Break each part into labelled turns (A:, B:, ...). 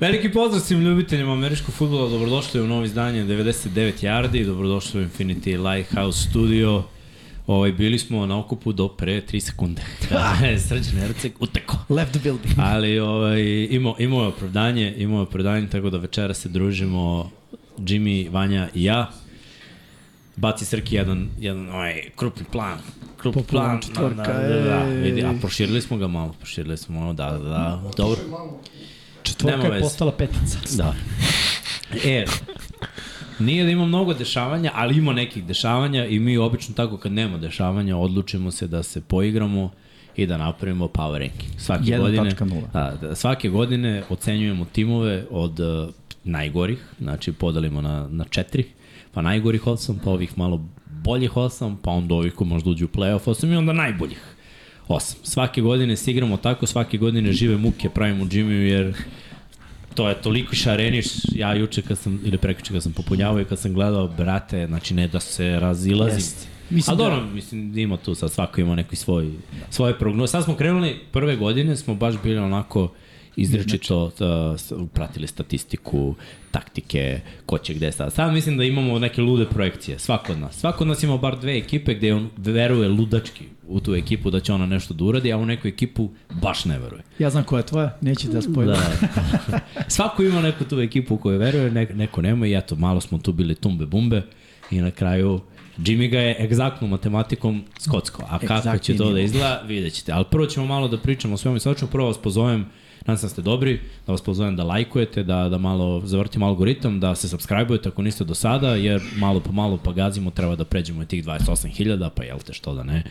A: Veliki pozdrav svim ljubiteljima američkog futbola, dobrodošli u novo izdanje 99 Yardi, dobrodošli u Infinity Lighthouse Studio. Ovaj, bili smo na okupu do pre 3 sekunde. Kada je Srđan Erceg uteko.
B: Left the building.
A: Ali ovaj, imao, imao je opravdanje, imao je opravdanje, tako da večera se družimo Jimmy, Vanja i ja. Baci Srki jedan, jedan ovaj, krupni plan. Krupni plan.
B: Popularna četvorka,
A: da, da, da, da.
B: ej.
A: Vidi, a proširili smo ga malo, proširili smo malo, da, da, da. Dobro.
B: Četvorka
A: Nema
B: je
A: veze.
B: postala petica.
A: Da. E, nije da ima mnogo dešavanja, ali ima nekih dešavanja i mi obično tako kad nema dešavanja odlučimo se da se poigramo i da napravimo power ranking. Svake godine,
C: 1.0.
A: da, da, svake godine ocenjujemo timove od uh, najgorih, znači podelimo na, na četiri, pa najgorih osam, pa ovih malo boljih osam, pa onda ovih ko možda uđu u playoff osam i onda najboljih osam. Svake godine se igramo tako, svake godine žive muke pravimo Jimmy jer to je toliko šareniš, ja juče kad sam, ili prekuče kad sam popunjavao i kad sam gledao, brate, znači ne da se razilazim.
B: Jeste.
A: Mislim,
B: Mislim
A: A
B: da-
A: dobro, mislim da ima tu, sad svako ima neki svoj, svoje prognoze. Sad smo krenuli, prve godine smo baš bili onako izrečito,
B: Znači.
A: uh, s- pratili statistiku, taktike, ko će gde sad. Sad mislim da imamo neke lude projekcije, svako od nas. Svako od nas ima bar dve ekipe gde on veruje ludački u tu ekipu da će ona nešto da uradi, a u neku ekipu baš ne veruje.
B: Ja znam koja je tvoja, neće da spojim. Da.
A: Da. Svako ima neku tu ekipu u koju veruje, ne, neko nema i eto, malo smo tu bili tumbe bumbe i na kraju Jimmy ga je egzaktnom matematikom skocko. A kako
B: Egzaktni
A: će to
B: nivo.
A: da izgleda, vidjet ćete. Ali prvo ćemo malo da pričamo o svemu i svačemu. Prvo vas pozovem, nadam se da ste dobri, da vas pozovem da lajkujete, da, da malo zavrtimo algoritam, da se subscribe-ujete ako niste do sada, jer malo po malo pa gazimo, treba da pređemo i tih 28.000, pa jel te što da ne.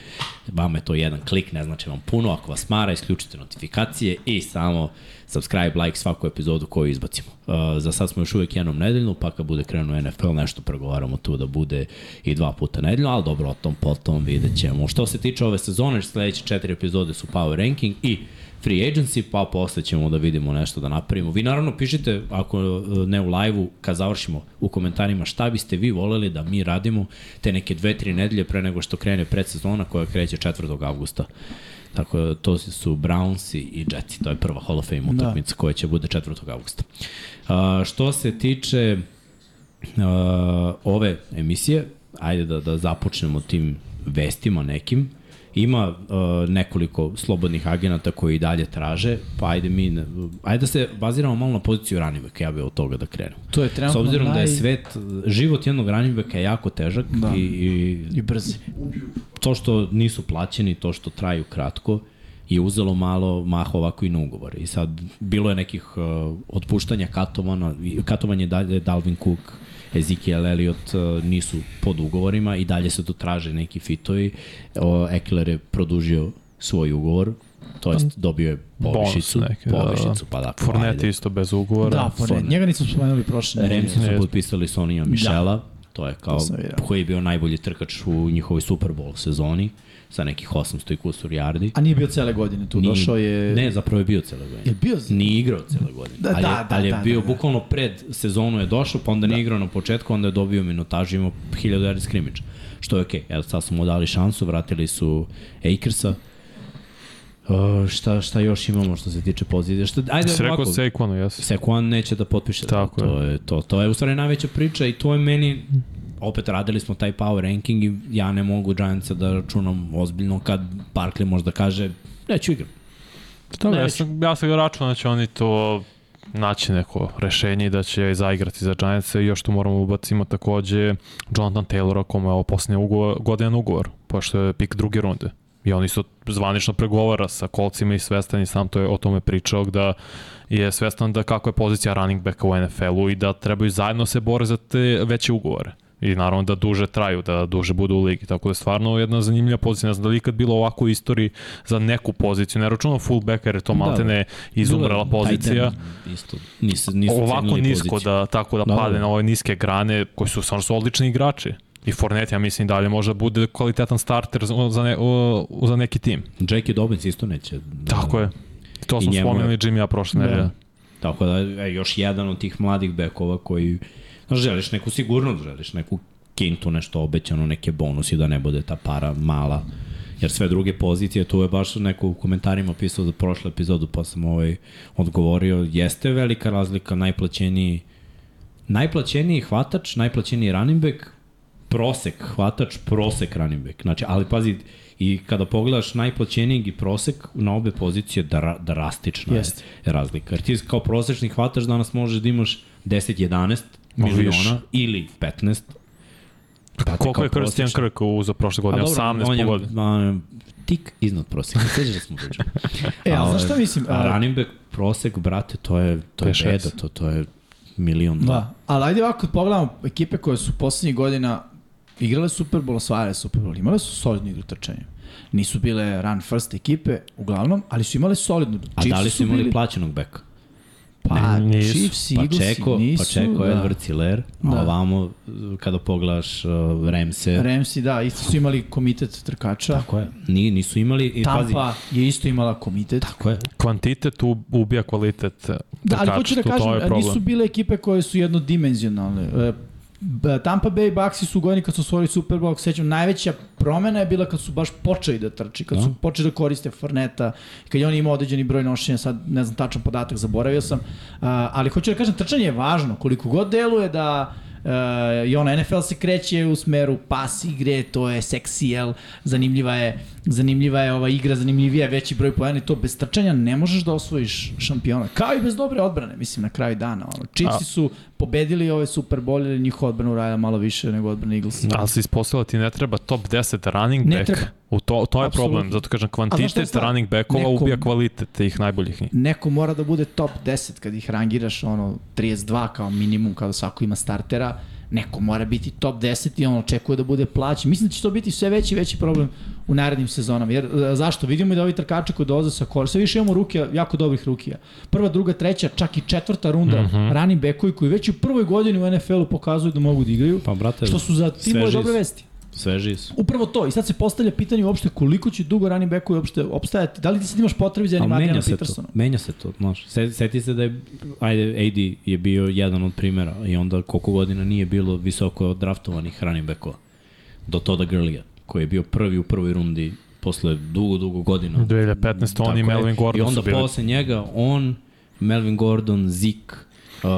A: Vama je to jedan klik, ne znači vam puno. Ako vas mara, isključite notifikacije i samo subscribe, like svaku epizodu koju izbacimo. Uh, za sad smo još uvijek jednom nedeljno, pa kad bude krenuo NFL, nešto pregovaramo tu da bude i dva puta nedeljno, ali dobro, o tom potom vidjet ćemo. Što se tiče ove sezone, sledeće četiri epizode su Power Ranking i Free Agency, pa posle ćemo da vidimo nešto da napravimo. Vi naravno pišite, ako uh, ne u live-u, kad završimo u komentarima šta biste vi voleli da mi radimo te neke dve, tri nedelje pre nego što krene predsezona koja kreće 4. avgusta. Tako da to su Brownsi i Jetsi, to je prva Hall of
B: Da.
A: Fame utakmica koja će bude 4. augusta. A, što se tiče a, ove emisije, ajde da, da započnemo tim vestima nekim. Ima a, nekoliko slobodnih agenata koji i dalje traže, pa ajde mi, ne- ajde da se baziramo malo na poziciju raniveka, ja bih od toga da krenu.
B: To je trenutno
A: S obzirom
B: naj...
A: da je svet, život jednog raniveka je jako težak da. i, i
B: I brzi.
A: to što nisu plaćeni, to što traju kratko, je uzelo malo maha ovako i na ugovore. I sad, bilo je nekih uh, otpuštanja katovana, i- katovan je dalje Dalvin Cook, Ezekiel Elliot uh, nisu pod ugovorima i dalje se tu traže neki fitovi. O, Eckler je produžio svoj ugovor, to jest dobio je povišicu,
D: Bonus neke, da, da.
A: povišicu, pa dakle,
D: Fornete
A: ajde.
D: isto bez ugovora.
B: Da, po ne.
A: Fornet.
B: Njega nismo spomenuli prošle. nedelje.
A: Remsi su
D: Jeste.
A: potpisali Sonija Mišela, da. to je kao
B: da. sam vidio.
A: koji je bio najbolji trkač u njihovoj Super Bowl sezoni sa nekih 800 i kusur yardi.
B: A nije bio cele godine tu,
A: Nije-
B: došao je...
A: Ne, zapravo je bio cele godine.
B: Je bio?
A: Nije igrao cele godine.
B: Da,
A: ali, je-
B: da, da,
A: ali je
B: da,
A: bio
B: da, da.
A: bukvalno pred sezonu je došao, pa onda nije igrao na početku, onda je dobio minutaž i imao 1000 yardi skrimiča. Što je okej. Okay. Evo, sad su mu dali šansu, vratili su Akersa. Uh, šta, šta još imamo što se tiče pozicije? Šta, ajde,
D: Si rekao
A: ovako.
D: Saquonu, jesi?
A: Sekuan neće da potpiše.
D: Tako
A: to
D: je.
A: je. To, to je u stvari najveća priča i to je meni opet radili smo taj power ranking i ja ne mogu Giantsa da računam ozbiljno kad Barkley možda kaže neću igram.
D: Dobro,
A: Ne,
D: ja
A: već-
D: sam, ja sam ga računao da će oni to naći neko rešenje i da će zaigrati za Giants i još tu moramo ubacimo takođe Jonathan Taylora kome je ovo posljednje ugovor, godan ugovor, pošto je pik druge runde. I on isto zvanično pregovara sa kolcima i svestan i sam to je o tome pričao da je svestan da kako je pozicija running backa u NFL-u i da trebaju zajedno se bore za te veće ugovore. I naravno da duže traju, da duže budu u ligi. Tako da je stvarno jedna zanimljiva pozicija. Ne znam da li je ikad bilo ovako u istoriji za neku poziciju. Ne računam fullback jer je to malte ne izumrela
A: Bilo je
D: pozicija.
A: Da. tight end Isto, nisu, nisu
D: Ovako
A: cenili
D: nisko
A: poziciju.
D: da, tako da
A: Dobro.
D: pade na ove niske grane koji su stvarno su odlični igrači. I Fornet, ja mislim, dalje može da bude kvalitetan starter za- za, ne, o, za neki tim.
A: Jackie Dobbins isto neće. da-
D: Tako je. To
A: I
D: smo
A: njemu je-
D: spomenuli Jimmy ja prošle nedelje.
A: Tako da e, još jedan od tih mladih bekova koji znaš, želiš neku sigurnost, želiš neku kintu, nešto obećano, neke bonusi da ne bude ta para mala jer sve druge pozicije, tu je baš neko u komentarima pisao za prošlu epizodu, pa sam ovaj odgovorio, jeste velika razlika, najplaćeniji najplaćeniji hvatač, najplaćeniji running back, prosek hvatač, prosek running back. Znači, ali pazi, i kada pogledaš najplaćenijeg i prosek na obe pozicije dra, drastična
B: Jeste.
A: je razlika. Jer ti kao prosečni hvatač danas možeš da imaš 10-11
D: Ma,
A: miliona
D: više.
A: ili 15. Brate,
D: Koliko
A: kao
D: je Christian
A: prosečni-
D: Kirk uzao prošle godine?
A: A dobro, on
D: 18
A: je,
D: po godine.
A: a, tik iznad proseka, sveđa da smo pričali.
B: E, ali
A: A, ovaj,
B: znaš šta mislim?
A: A
B: A,
A: running back prosek, brate, to je, to je
D: To je
A: beda,
D: šest.
A: to, to je milion.
B: Da, ali ajde ovako kad pogledamo ekipe koje su poslednjih godina igrale Super Bowl, osvajale Super Bowl, imale su solidno igru trčanjem. Nisu bile run first ekipe uglavnom, ali su imale solidnu.
A: A da li
B: Chiefs
A: su imali
B: bili-
A: plaćenog beka?
B: Pa,
D: Ne, nisu.
B: Chiefs i
A: Pa
B: Eaglesi
A: čeko,
B: nisu.
A: pa čeko
B: da.
A: Edward Ciller, a
B: Da.
A: ovamo kada pogledaš uh, Remse,
B: Ramsey, da, isto su imali komitet trkača.
A: tako je. Ni, nisu imali, i pazi,
B: Tampa je isto imala komitet.
A: tako je.
D: Kvantitet u- ubija kvalitet. e,
B: Da, ali
D: trkača,
B: hoću da
D: to- to
B: kažem,
D: je problem.
B: nisu bile ekipe koje su jednodimenzionalne. E, B- Tampa Bay Bucks su u godini kad su osvojili Super Bowl, ako se sećam, najveća promena je bila kad su baš počeli da trči, kad su
A: Da.
B: počeli da koriste Forneta, kad je on imao određeni broj nošenja, sad ne znam tačan podatak, zaboravio sam, A, ali hoću da kažem, trčanje je važno, koliko god deluje da Uh, i ona NFL se kreće u smeru pas igre, to je seksi, jel, zanimljiva je, zanimljiva je ova igra, zanimljivija je veći broj poena i to bez trčanja ne možeš da osvojiš šampiona. Kao i bez dobre odbrane, mislim, na kraju dana. Ono. Chiefsi su pobedili ove Super Bowl ili njih odbrana uradila malo više nego odbrana Eaglesa.
D: Ali se ispostavilo da ti ne treba top 10 running
B: Ne
D: back.
B: treba.
D: U to, to je
B: Apsolutno.
D: problem, zato kažem
B: A znaš šta je
D: kvantitet
B: stvar?
D: running backova
B: Nekom-
D: ubija kvalitet tih najboljih njih.
B: Neko mora da bude top 10 kad ih rangiraš ono 32 kao minimum kada svako ima startera. Neko mora biti top 10 i on očekuje da bude plaćen. Mislim da će to biti sve veći i veći problem u narednim sezonama. Jer e, zašto? Vidimo i da ovi trkači koji dolaze sa kor, sve više imamo ruke, jako dobrih rukija. Prva, druga, treća, čak i četvrta runda mm
A: Mhm.
B: -hmm. running backovi koji već i u prvoj godini u NFL-u pokazuju da mogu da igraju.
A: Pa, brate,
B: što su za timove
A: sveži
B: dobre
A: su.
B: vesti.
A: Sveži su.
B: Upravo to. I sad se postavlja pitanje uopšte koliko će dugo running backovi uopšte opstajati. Da li ti sad imaš potrebu za
A: Ali
B: Marjana
A: Pa, menja se to,
B: Petersonom?
A: menja se to, znaš. Se- Seti se da je, ajde, AD je bio jedan od primjera i onda koliko godina nije bilo visoko draftovanih running backova. Do Toda Gurley-a, koji je bio prvi u prvoj rundi posle dugo, dugo
B: Da.
A: godina.
D: 2015. on i
A: Tako je.
D: Melvin Gordon
A: I
D: su
A: onda
D: bili.
A: posle njega on, Melvin Gordon, Zik, uh,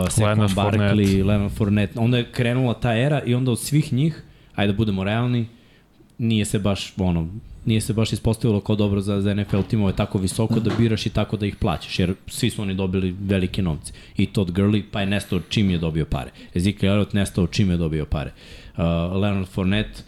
A: Sekon
D: Leonard
A: Barkley,
D: Fournette.
A: Leonard Fournette. Onda je krenula ta era i onda od svih njih, ajde da budemo realni, nije se baš ono, nije se baš ispostavilo kao dobro za, za NFL timove tako visoko da biraš i tako da ih plaćaš, jer svi su oni dobili velike novce. I Todd Gurley, pa je nestao čim je dobio pare. Ezekiel Elliott nestao čim je dobio pare. Uh, Leonard Fournette,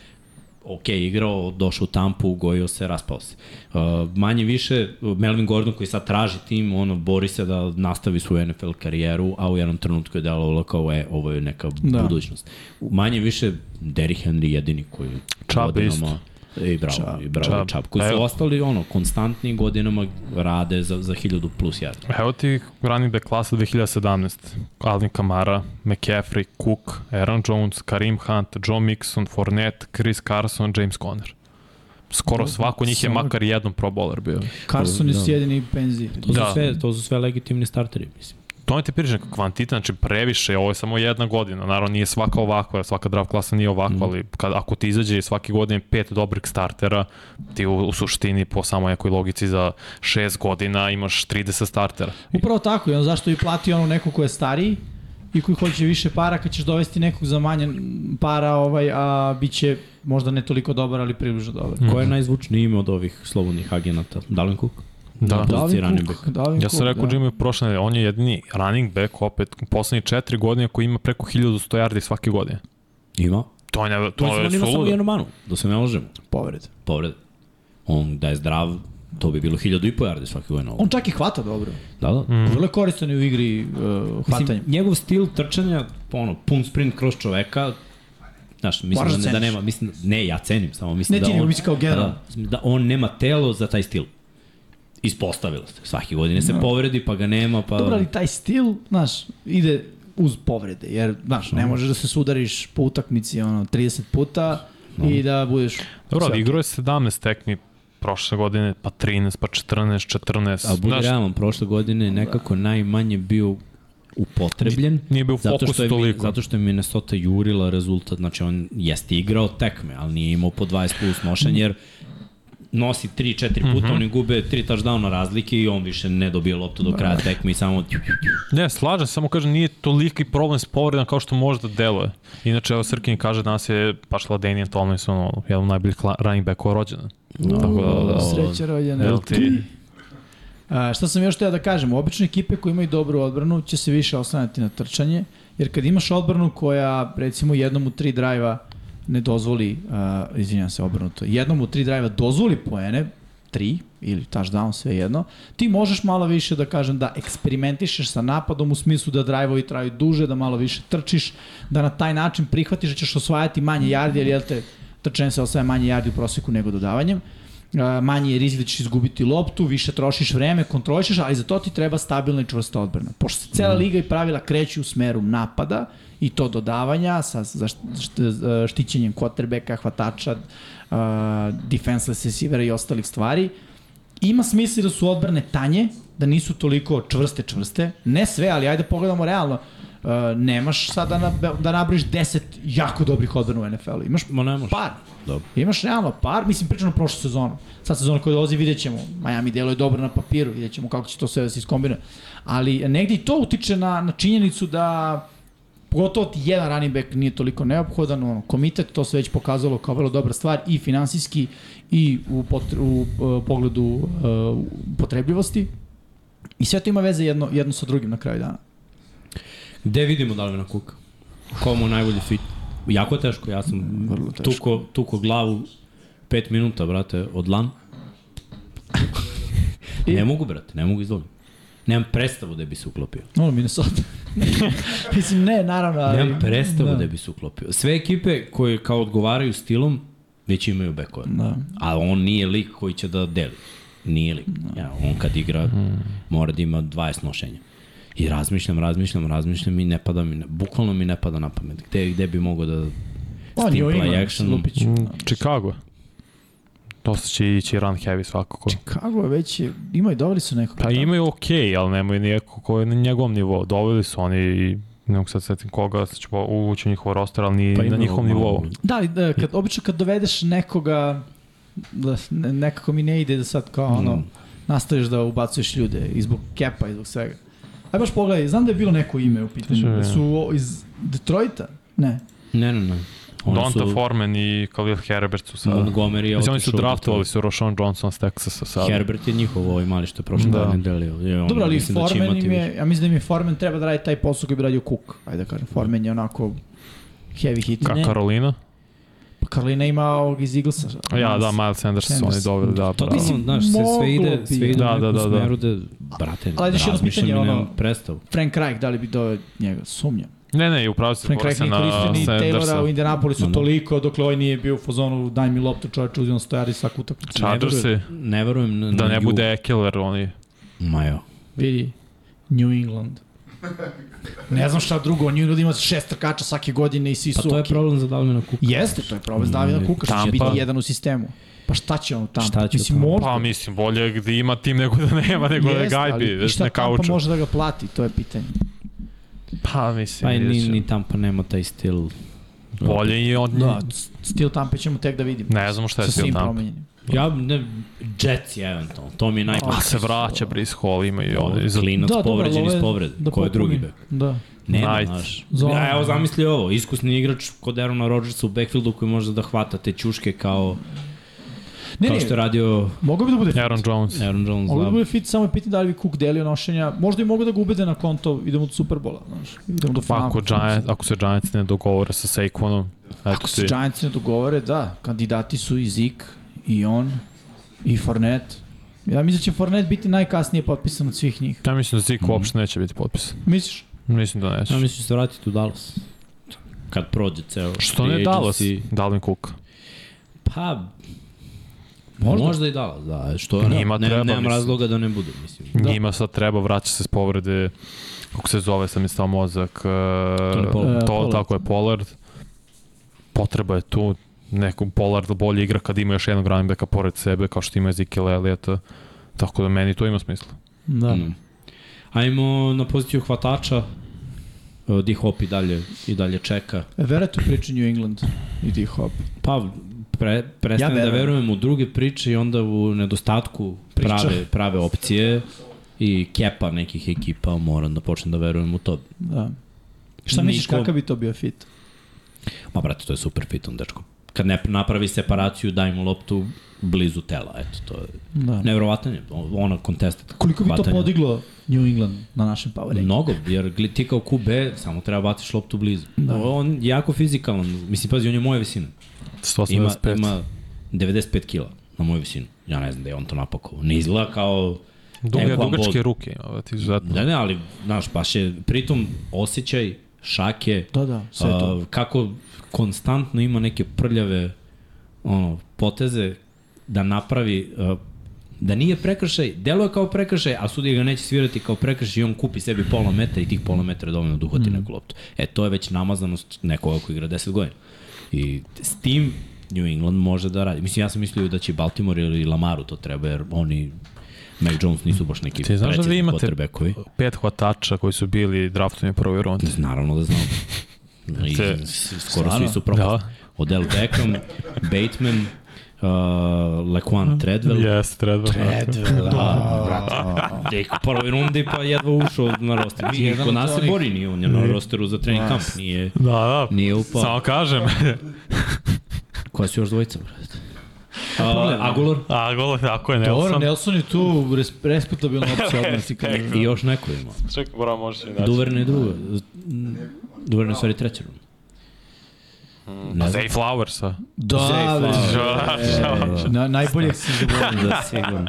A: ok, igrao, došao u tampu, ugojio se, raspao se. Uh, manje više, Melvin Gordon koji sad traži tim, ono, bori se da nastavi svoju NFL karijeru, a u jednom trenutku je delovalo kao, e, ovo je neka
B: Da.
A: da. budućnost. Manje više, Derrick Henry jedini koji
D: Chubb
A: godinama... I bravo, i bravo,
D: Chubb.
A: Čab. Čab, koji su
D: Evo.
A: ostali ono, konstantni godinama rade za, za 1000 plus jardi.
D: Evo ti running back klasa 2017. Alvin Kamara, McCaffrey, Cook, Aaron Jones, Karim Hunt, Joe Mixon, Fournette, Chris Carson, James Conner. Skoro svako njih je
B: Samo-
D: makar jednom pro bowler bio.
B: Carson je
A: Da.
B: sjedini i penzi.
A: To, da.
D: Da.
A: su sve, to su sve legitimni starteri, mislim.
D: To mi ti pričam kako kvantitet, znači previše, ovo je samo jedna godina, naravno nije svaka ovakva, svaka draft klasa nije ovakva, mm. ali kad, ako ti izađe svake godine pet dobrih startera, ti u, u suštini po samo nekoj logici za šest godina imaš 30 startera.
B: Upravo tako, i on zašto bi platio ono neko ko je stariji i koji hoće više para kad ćeš dovesti nekog za manje para, ovaj, a bit će možda ne toliko dobar, ali približno dobar.
D: Mhm.
A: Ko je najzvučniji ime od ovih slobodnih agenata? Dalvin Cook?
D: Da.
A: Da.
B: Dalvin
A: running
B: Cook,
A: back.
B: Dalvin
D: Ja sam
B: Cook,
D: rekao
B: da.
D: Jimmy prošle nedelje, on je jedini running back opet u poslednjih četiri godine koji ima preko 1100 yardi svake godine.
A: Ima.
D: To
A: To
D: je, to je
A: je ima samo
D: suludo.
A: jednu manu, da se ne lažemo.
B: Povred.
A: Povrede. On da je zdrav, to bi bilo 1000 i po jardi svake godine.
B: On čak i hvata dobro.
A: Da, da.
D: Mhm.
B: Mm. Vrlo je koristan je u igri uh, hvatanjem.
A: Mislim, njegov stil trčanja, ono, pun sprint kroz čoveka, znaš, mislim
B: Moraš
A: da, ne, da
B: da ceniš.
A: nema, mislim, ne, ja cenim, samo mislim
B: Ne
A: da
B: ti, nego
A: on,
B: mislim kao generalno.
A: da, da on nema telo za taj stil. Ispostavilo se. Svake godine se povredi, pa ga nema, pa...
B: Da. Dobro, ali taj stil, znaš, ide uz povrede, jer, znaš,
A: Mhm.
B: ne možeš da se sudariš po utakmici, ono, 30 puta
A: Mhm.
B: i da budeš...
D: Dobro,
B: sve.
D: ali igrao je 17 tekmi prošle godine, pa 13, pa 14, 14.
A: A budi
D: Znaš,
A: realan, prošle godine je nekako najmanje bio upotrebljen.
D: Nije bio u
A: zato
D: fokusu
A: što je,
D: toliko.
A: Zato što je Minnesota jurila rezultat, znači on jeste igrao tekme, ali nije imao po 20 plus nošenje, jer nosi 3-4
D: Mhm.
A: puta, mm -hmm. oni gube 3 touchdowna razlike i on više ne dobije loptu do kraja tekme i samo...
D: Pa- Ne, slažem, samo kažem, nije toliki problem s povredom kao što možda deluje. Inače, evo Srkin kaže, danas je baš Ladenijan Tomlinson, ono, jedan od najboljih kla- running backova rođena.
B: No,
D: Tako da, da,
B: sreće rođena.
D: Jel ti?
B: A, šta sam još teo da kažem, obične ekipe koje imaju dobru odbranu će se više oslanjati na trčanje, jer kad imaš odbranu koja recimo jednom u tri drajva ne dozvoli, uh, izvinjam se obrnuto, jednom u tri drajva dozvoli poene, tri ili touchdown, sve jedno, ti možeš malo više da kažem da eksperimentišeš sa napadom u smislu da drajvovi traju duže, da malo više trčiš, da na taj način prihvatiš da ćeš osvajati manje jardi, jer jel te trčanje se osvaja manje jardi u proseku nego dodavanjem manji je rizik da ćeš izgubiti loptu, više trošiš vreme, kontrolišeš, ali za to ti treba stabilna i čvrsta odbrana. Pošto se
A: Mhm.
B: cela liga i pravila kreću u smeru napada i to dodavanja sa za e, štićenjem quarterbacka, hvatača, uh, defenseless receivera i ostalih stvari, ima smisli da su odbrane tanje, da nisu toliko čvrste čvrste, ne sve, ali ajde pogledamo realno, uh, nemaš sada na, da nabriš 10 jako dobrih odbrana u NFL-u, imaš
A: Ma ne može.
B: par,
A: Dobro.
B: Imaš realno par, mislim pričano prošlu sezonu. Sad sezona koja dolazi vidjet ćemo, Miami deluje dobro na papiru, vidjet ćemo kako će to sve da se iskombinuje. Ali negdje i to utiče na, na činjenicu da pogotovo ti jedan running back nije toliko neophodan, ono, komitet to se već pokazalo kao vrlo dobra stvar i finansijski i u, potre, u, e, pogledu e, potrebljivosti. I sve to ima veze jedno, jedno sa drugim na kraju dana.
A: Gde vidimo Dalvina Cook? Komu najbolji fit? Jako je teško, ja sam
B: Vrlo teško.
A: tuko, tuko glavu 5 minuta, brate, od lan.
B: I-
A: ne mogu, brate, ne mogu izvolim. Nemam predstavu da bi se uklopio.
B: Ono, Minnesota. mislim, ne, naravno, ali...
A: Nemam predstavu da.
B: da
A: bi se uklopio. Sve ekipe koje kao odgovaraju stilom, već imaju bekove.
B: Da.
A: A on nije lik koji će da deli. Nije lik. Ja, on kad igra, mora da ima 20 nošenja. I razmišljam, razmišljam, razmišljam i ne pada mi, bukvalno mi ne pada na pamet. Gde, gde bi mogao da
B: On je u Da. Englandu,
A: actionom.
B: Lupić.
D: Mm, Chicago. Dosta će ići run heavy svakako.
B: Kako je već, je- imaju, doveli su nekog.
A: Da.
D: Pa imaju okej, okay, ali nemaju nijeko koji je na njegovom nivou. Doveli su oni i ne mogu sad da setim koga, sad ću po- uvući u njihov roster, ali ni
A: Pa
D: pa na
A: ima
D: njihovom
A: malo.
D: nivou.
B: Da, ali da, kad, obično kad dovedeš nekoga, da, ne- nekako mi ne ide da sad kao ono, mm. nastaviš da ubacuješ ljude i zbog kepa i zbog svega. Aj baš pogledaj, znam da je bilo neko ime u
D: Što
B: pitanju,
D: je?
B: da su o- iz Detroita, ne,
A: Ne, ne, ne. Oni
D: Donta
A: su,
D: Foreman i Khalil Herbert su sad.
A: Montgomery je
D: Mislim, oni su
A: otišao u
D: draftovali
A: Detroit.
D: su Rošon Johnson s Texasa sad.
A: Herbert je njihov ovaj mali što je prošle
D: Da.
A: da. godine delio. Je, on,
B: Dobro, ali
A: mislim da će
B: Formen
A: imati
B: im
A: više.
B: je, ja mislim da im je Formen treba da radi taj posao koji bi radio Cook, ajde da kažem, Formen je onako heavy hit.
D: Ka Karolina?
B: Pa Karolina ima ovog iz Eaglesa.
D: Ja, da, Miles Sanders su oni
B: Sanders.
D: doveli, da,
A: To
D: bravo.
A: mislim, znaš, se
B: moglo
A: sve ide,
B: bi.
A: sve ide
D: Da,
A: u
D: da,
A: nekom
D: da, da.
A: smeru da, brate,
B: Ali još jedno
A: razmišljam i
B: pitanje, ono-
A: nemam predstavu.
B: Frank Reich, da li bi doveo njega? Sumnjam.
D: Ne, ne, i upravo se
B: Frank
D: bore
B: Reich
D: se
B: nije koristio
D: na
B: ni Taylora u
D: Sandersa. Mm.
B: Indianapolisu
A: Ma da.
B: toliko, dokle ovaj nije bio u fazonu daj mi loptu čoveče, uzimam stojari svaku utakmicu.
D: Chargersi,
A: Ne verujem na,
D: da
A: na
D: ne
A: Ju.
D: bude Ekeler, oni
A: Ma jo.
B: Vidi, New England. Ne znam šta drugo, New England ima šest trkača svake godine i svi
A: Pa
B: su
A: to je
B: okej.
A: problem za Dalvina Kuka.
B: Jeste, to je problem s Davida Kuka, što će
D: Mm, Tampa.
B: biti jedan u sistemu. Pa šta će on tamo?
A: Šta će
B: Mislim,
A: Tampa?
B: možda...
D: Pa mislim, bolje gde ima tim nego da nema, nego da
B: Jeste, ali
D: gajbi,
B: i
D: već
B: šta
D: na
B: Tampa
D: kauču.
B: može da ga plati, to je pitanje.
D: Pa mislim,
A: Pa i
D: vidjet
A: ni,
D: ćemo.
A: ni Tampa nema taj stil.
D: bolje i on...
B: Da, stil Tampa ćemo tek da vidimo.
D: Mm. Ne znamo šta je
B: Sa
D: stil
B: svim
D: Tampa.
B: promenjenim.
A: Ja, ne, Jets je eventualno, to mi je najbolje.
D: A se vraća Brice Hall, ima i on. i za-
A: Klinac
B: dobro,
A: povređen
B: ali ovo
A: iz
B: je
A: povrede.
B: da
A: Ko je drugi
B: popuni.
A: bek?
B: Da.
A: Nema,
D: Knight.
A: znaš.
B: Zona.
A: Ja, evo zamisli ovo, iskusni igrač kod Aarona Rodgersa u backfieldu koji može da hvata te ćuške kao,
B: Ne,
A: kao što je
B: ne,
A: radio
B: mogu bi da bude
D: Aaron Jones.
A: Aaron Jones.
B: Mogu da
A: da.
B: bude fit, samo je pitanje da li bi Cook delio nošenja. Možda i mogu da ga ubede na konto, idemo do Superbola, znaš. Idemo do
D: Pa
B: finala.
D: ako, Giants, ako se Giants ne dogovore sa Saquonom, eto
B: Ako se
D: ti.
B: Giants ne dogovore, da, kandidati su i Zik, i on, i Fournette. Ja mislim da će Fournette biti najkasnije potpisan od svih njih.
D: Ja mislim da Zeke
B: Mhm.
D: uopšte neće biti potpisan.
B: Misliš?
D: Mislim da neće.
A: Ja mislim će se vratiti u Dallas. Kad prođe ceo
B: da
D: Što
A: free
D: ne Dallas?
A: agency.
D: Dalvin Cook.
A: Pa,
B: Možda.
A: možda, možda i Dallas, da. Što je,
D: Njima
A: ne,
D: treba,
A: nemam
D: mislim.
A: razloga da ne bude, mislim.
B: Da.
D: Njima sad treba, vraća se s povrede, kako se zove, sam mi stao mozak,
A: Tony
D: uh,
A: Pollard.
D: to,
B: Pollard.
D: tako je Pollard. Potreba je tu, nekom Pollard bolje igra kad ima još jednog running backa pored sebe, kao što ima Ezekiel Elliota. Tako da meni to ima smisla.
B: Da.
A: Mm. Ajmo na poziciju hvatača. E,
B: E,
A: D Hop i dalje, i dalje čeka.
B: Verujte u priči New England i D-Hop.
A: Pa, pre, prestanem
B: Ja
A: ja da
B: verujem.
A: verujem u druge priče i onda u nedostatku
B: Priča.
A: prave, prave opcije i kepa nekih ekipa moram da počnem da verujem u to.
B: Da. Šta misliš,
A: Niko-
B: kakav bi to bio fit?
A: Ma brate, to je super piton, dečko. Kad ne napravi separaciju, daj mu loptu blizu tela, eto, to je
B: Da.
A: nevjerovatan je, o- ona kontest.
B: Koliko bi to
A: hvatanja.
B: podiglo New England na našem power rankingu?
A: Mnogo, jer gli- ti kao QB samo treba baciš loptu blizu. Da. On je jako fizikalan, mislim, pazi, on je moje visine. Ima,
D: 185.
A: ima 95 kila na moju visinu. Ja ne znam da je on to napakovao. Ne izgleda kao...
D: Duge,
A: Enkwan
D: dugačke
A: Bolt.
D: ruke ima, brate, izuzetno.
A: Da ne, ali, znaš, baš je, pritom, osjećaj, šake,
B: Da, da, sve to.
A: a, kako konstantno ima neke prljave ono, poteze da napravi, a, da nije prekršaj, deluje kao prekršaj, a sudija ga neće svirati kao prekršaj i on kupi sebi pola metra i tih pola metra je dovoljno da uhvati mm. neku loptu. E, to je već namazanost nekoga ko igra 10 godina. I s tim New England može da radi. Mislim, ja sam mislio da će Baltimore ili Lamaru to treba, jer oni Mac Jones nisu baš neki
D: Ti znaš da vi
A: precizni
D: imate-
A: quarterbackovi.
D: Pet hvatača koji su bili draftovani u prvoj rundi.
A: Naravno da znam. I,
D: Te-
A: s- skoro
B: Stvarno?
A: svi su propali.
D: Da.
A: Da. Odell Beckham, Bateman, uh, Laquan Treadwell.
D: Yes, treba.
A: Da, brate. Tek u prvoj rundi pa jedva ušao na roster. Nije,
B: Jedan
A: kod
B: od
A: nas se
B: onih.
A: bori, nije on je na rosteru za trening kamp. Nije,
D: Da, da.
A: nije upao.
D: Samo kažem.
A: Koja su još dvojica, brate?
B: Pa
A: Uh, Agulor
D: A gol, ako je
B: Dobro,
D: Nelson.
B: Nelson je tu res, respektabilna opcija odmah ti kažem.
A: i još neko ima.
D: Čekaj, bro, možeš i
A: Duverne je druga. Duverne je u stvari treća runda. Ne znam.
D: Pa Zay Flowersa.
B: Da,
A: Zay
B: bre. na, najbolje si zaboravio.
A: Da, sigurno.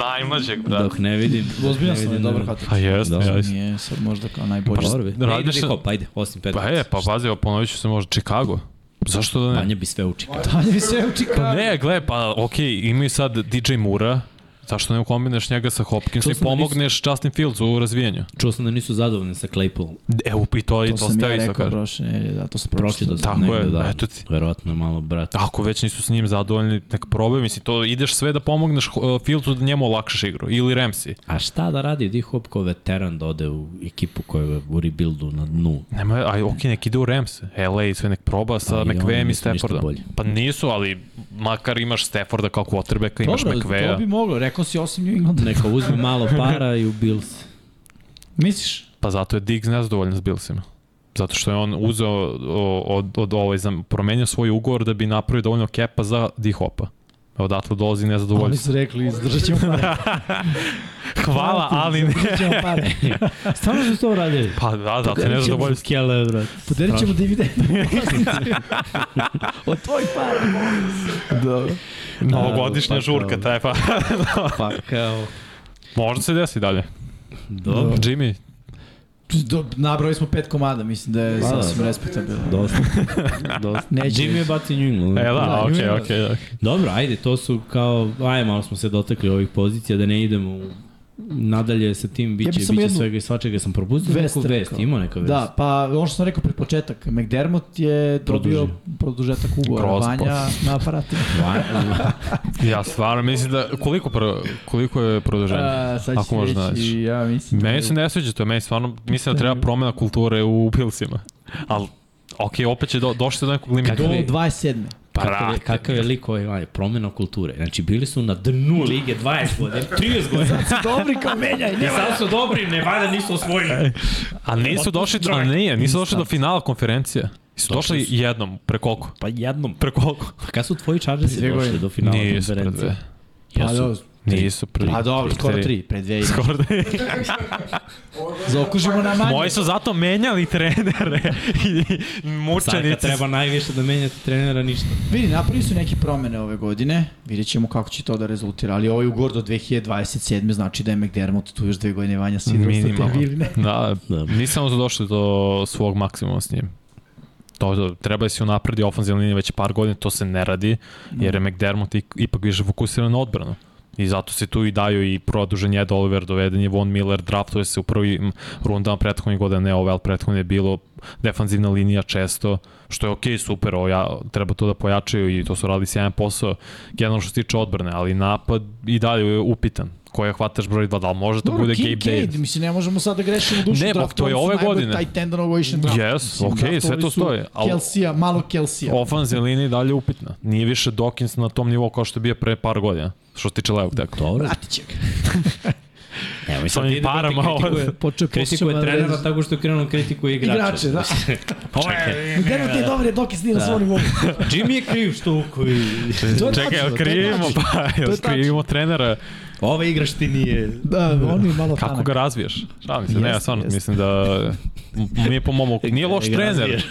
D: Najmlađeg,
A: Dok ne vidim.
B: Ozbiljno
A: ne
B: sam da je
A: vidim,
B: dobro
A: ne-
B: hvatač.
D: Pa jest,
A: Da.
D: ja isto.
B: Nije sad možda kao
A: Pa
B: najbolji.
A: dobro, bre. Ne
D: radiš
A: ide
D: sa-
A: niko, pa ajde, 8-5.
D: Pa je, pa pazi, evo, ponovit ću se možda Chicago. Zašto da ne?
A: Manje bi sve učika.
B: Tanje mi se uči kao...
D: Pa ne, gle, pa okej, okay, imaju sad DJ Mura, zašto ne kombineš njega sa Hopkinsom
A: To
D: i
A: sam da
D: pomogneš Justin Fields u razvijanju?
A: Čuo sam da nisu zadovoljni sa Claypoolom.
D: Evo, i to, i
B: To
D: to
B: sam
D: ste
B: ja
D: ja isto
B: rekao,
D: kažem.
B: broš, ne, da, to sam
A: Pročito
B: pročito.
A: sam
D: Tako
A: negde,
D: je,
A: da.
D: eto ti. Da.
A: Verovatno je malo brat.
D: Ako već nisu s njim zadovoljni, nek probaj, mislim, to ideš sve da pomogneš uh, Fieldsu da njemu olakšaš igru, ili Ramsey.
A: A šta da radi D Hop kao veteran da ode u ekipu koja je u rebuildu na dnu?
D: Nema, aj, okej, nek ide u Rams, LA i sve nek proba sa
A: Pa i oni
D: McVeem i
A: nisu ništa
D: Staffordom.
A: bolji.
D: Pa nisu, ali makar imaš Stafforda kao quarterbacka, imaš
B: Dobro,
D: McVeja.
B: to bi moglo, rekao si osim New England.
A: Neka uzme malo para i u Bills.
B: Misliš?
D: Pa zato je Diggs nezadovoljan s Billsima. Zato što je on uzeo o, od, od ovaj, znam, promenio svoj ugovor da bi napravio dovoljno kepa za D-Hopa. Odatle dolazi
B: Oni
D: nezadovoljstvo.
B: su rekli, izdržat ćemo pare.
D: Hvala, ali ne.
B: Izdržat ćemo pare.
A: Stvarno su to radili?
D: Pa da, zato je nezadovoljstvo.
A: Kjele, brat.
B: Podelit ćemo dividendu. Od tvojih para. Dobro.
D: Novogodišnja
A: Pa
D: žurka
A: kao-
D: taj pa.
A: Pa kao...
D: Možda se desi dalje.
A: Dobro.
D: Jimmy,
B: Do, nabrali smo pet komada, mislim da je
A: Pa da.
B: sasvim respektabilno.
A: Dosta. Dosta.
B: Neće
A: Jimmy je
B: više.
A: bacio New England.
D: e da,
B: Da,
D: okej,
B: Jimmy.
D: okej. ok.
A: Dobro, ajde, to su kao, ajde, malo smo se dotakli ovih pozicija, da ne idemo u- nadalje sa tim, biće,
B: bi
A: ja
B: samo
A: biće
B: jednu-
A: svega i svačega, sam propustio
B: Vest
A: vest, neku vest,
B: rekao.
A: ima neka vest.
B: Da, pa ono što sam rekao pred početak, McDermott je dobio produžetak ugovora
D: Grozno.
B: Vanja na aparatima.
A: Va-
D: Ja stvarno mislim da, koliko, pro, koliko je produženje?
B: A, sad
D: Ako
B: ću
D: možeš
B: reći, Mhm.
D: da naći.
B: ja mislim...
D: Meni se ne sviđa to, meni stvarno, mislim da treba promena kulture u Pilsima. Ali, okej, opet će do, došli do nekog limita.
B: Do
A: Kakav je-
B: 27.
A: kakav, je, kakav je
B: da.
A: lik ovaj, ovaj, promjena kulture. Znači, bili su na dnu lige 20 godina, 30 godina.
B: Dobri kao menjaj,
A: I
B: nema. E,
A: sad su dobri, ne valjda nisu osvojili.
D: A nisu došli, a nije, nisu došli do finala konferencije. Su
A: Došli
D: došli
A: su.
D: jednom, pre koliko?
A: Pa jednom.
D: Pre koliko?
A: Pa kada su tvoji Chargersi
B: Dve
A: došli
B: godine.
A: do finala
D: Nisu pre
A: konferencije?
D: dve.
B: Pa,
A: Jesu.
B: dobro,
D: Nisu pre
B: pa dobro, skoro
D: tri.
B: 3, pre 2 i
D: Skoro da
B: Zaokružimo na manje.
D: Moji su zato menjali trenere i
A: Sad
D: mučenici.
A: kad treba najviše da menjate trenera, ništa.
B: Vidi, napravili su neke promene ove godine, vidjet ćemo kako će to da rezultira, ali ovaj ugovor do 2027. znači da je McDermott tu još dve godine Vanja svi da
D: Minimalno.
B: ostate ili ne.
D: Da,
A: Da.
D: nisam su došli do svog maksimuma s njim. To, to treba se unapredi ofenzivna linija već par godina, to se ne radi, jer je McDermott ik- ipak više fokusiran na odbranu. I zato se tu i daju i produžen Ed Oliver, doveden je Von Miller, draftuje se u prvim rundama prethodnih godina, ne ove, ali prethodne je bilo defanzivna linija često, što je okej, okay, super, ovo ja, treba to da pojačaju i to su radili sjajan posao, generalno što se tiče odbrane, ali napad i dalje je upitan. koja hvataš broj 2, da li može to
B: Dobro,
D: bude Gabe
B: Kim Cade,
D: Davis?
B: mislim, ne možemo sad da grešimo dušu.
D: Ne, pa
B: draftovali
D: to je
B: su
D: ove
B: najbolji
D: godine.
B: Taj tendon ovogodišnji draft.
D: Yes, okej, sve to
B: draftovali da, su
D: stoji, al-
B: Kelsija, malo Kelsija.
D: Ofanzija linija je dalje upitna. Nije više Dawkins na tom nivou kao što je bio pre par godina, što se tiče levog tekla.
A: Dobro.
B: Vratit će ga.
A: Evo, mi
D: Sa
A: sad
D: ovim
A: ti da
D: parama
A: ti kritikuje,
D: ovo-
B: Počeo da
A: kritikuje trenera tako što je krenuo kritikuje igrače.
B: Igrače, da.
D: Pa,
A: Čekaj,
B: Gledam te dobre doki snima da. svoj nivou.
A: Jimmy je kriv što ukoji.
B: To je
D: Čekaj,
B: tačno,
D: jel
B: to je
D: krivimo,
B: tačno.
D: pa,
B: To
D: jel
B: je tačno.
D: krivimo trenera,
A: Ova igrač ti nije...
B: Da, on je malo
D: kako
B: tanak.
D: ga razviješ? Šalim se, ne, ja
B: Jeste,
D: stvarno
B: jeste.
D: mislim da m- nije po mom oku- nije loš
A: Ga
D: trener.
A: razviješ.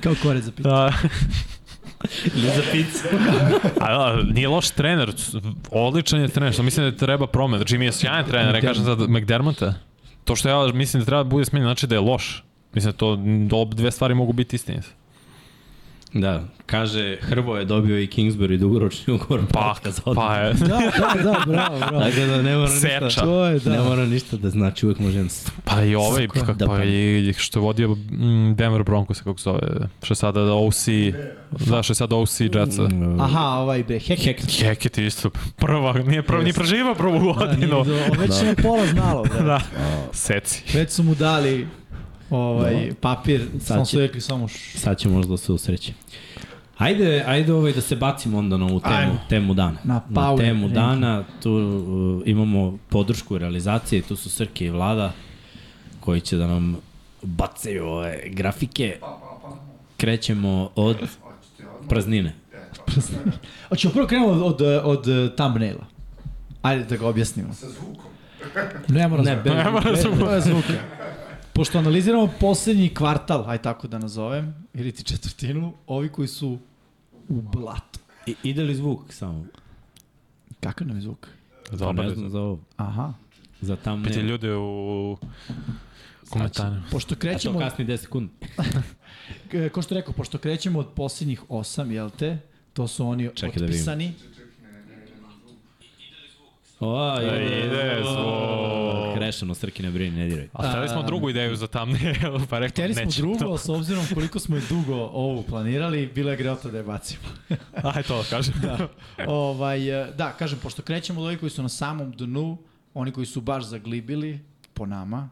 B: Kao korec za pitu.
D: Da,
A: Ne za pizzu.
D: a, da, nije loš trener, odličan je trener, što mislim da treba promena. Jimmy je sjajan trener, ja kažem sad McDermotta. To što ja mislim da treba da bude smenjen, znači da je loš. Mislim da to da ob- dve stvari mogu biti istinite.
A: Da, kaže Hrvo je dobio i Kingsbury dugoročni ugovor.
D: Pa,
A: Patka za
D: pa
A: odmah.
D: je.
B: Da, da, da, bravo, bravo.
A: Tako da ne mora
D: Seča.
A: ništa.
B: To je,
A: Ne
B: da.
A: mora ništa da znači, uvek može jedan
D: Pa i ovaj,
A: Sako je
D: kak,
A: da
D: pa
A: pravi.
D: i što je vodio mm, Denver Broncos, kako se zove, što je sada da OC, da što je sada OC Jetsa.
B: Aha, ovaj bre, hek. hek.
D: Heket isto, prva, nije prva, nije preživa prvu godinu.
B: on već je pola znalo, bre.
D: Da, seci.
B: Da. Već su mu dali ovaj papir, samo
A: će-
B: su rekli samo š...
A: Sad će možda da se usreći. Ajde, ajde ovaj da se bacimo onda na ovu temu,
B: Ajmo.
A: temu dana.
B: Na power
A: temu
B: ranking.
A: dana tu uh, imamo podršku realizacije, tu su Srke i Vlada koji će da nam bacaju ove grafike. Krećemo od praznine.
B: Hoćemo prvo krenemo od, od, od eh, thumbnaila. Ajde da ga objasnimo. Sa zvukom. Ne mora
A: Ne,
B: zvuka.
A: bez-
B: mora zvuka. Bez zvuka. Pošto analiziramo poslednji kvartal, aj tako da nazovem, ili ti četvrtinu, ovi koji su u blatu.
A: I, ide li zvuk samo?
B: Kakav nam je zvuk?
D: Dobar.
A: ne znam za ovo.
B: Aha.
A: Za tam
D: Piti
A: ne.
D: ljude u komentarima.
B: Znači, Pošto
A: A to
B: krećemo,
A: kasni 10 sekundi.
B: k- ko što rekao, pošto krećemo od poslednjih osam, jel te? To su oni
A: Čekaj da vidim.
B: otpisani.
A: O,
D: Da, ide zvuk.
A: Krešano, Srki ne brini, ne diraj.
D: A stavili smo
B: A,
D: drugu ideju za thumbnail, pa rekao
B: Hteli smo
D: neće
B: drugo,
D: to.
B: ali s obzirom koliko smo je dugo ovo planirali, bilo je grelta da je bacimo.
D: Aj to, kažem. Da.
B: ovaj, e, da, kažem, pošto krećemo od ovih koji su na samom dnu, oni koji su baš zaglibili, po nama,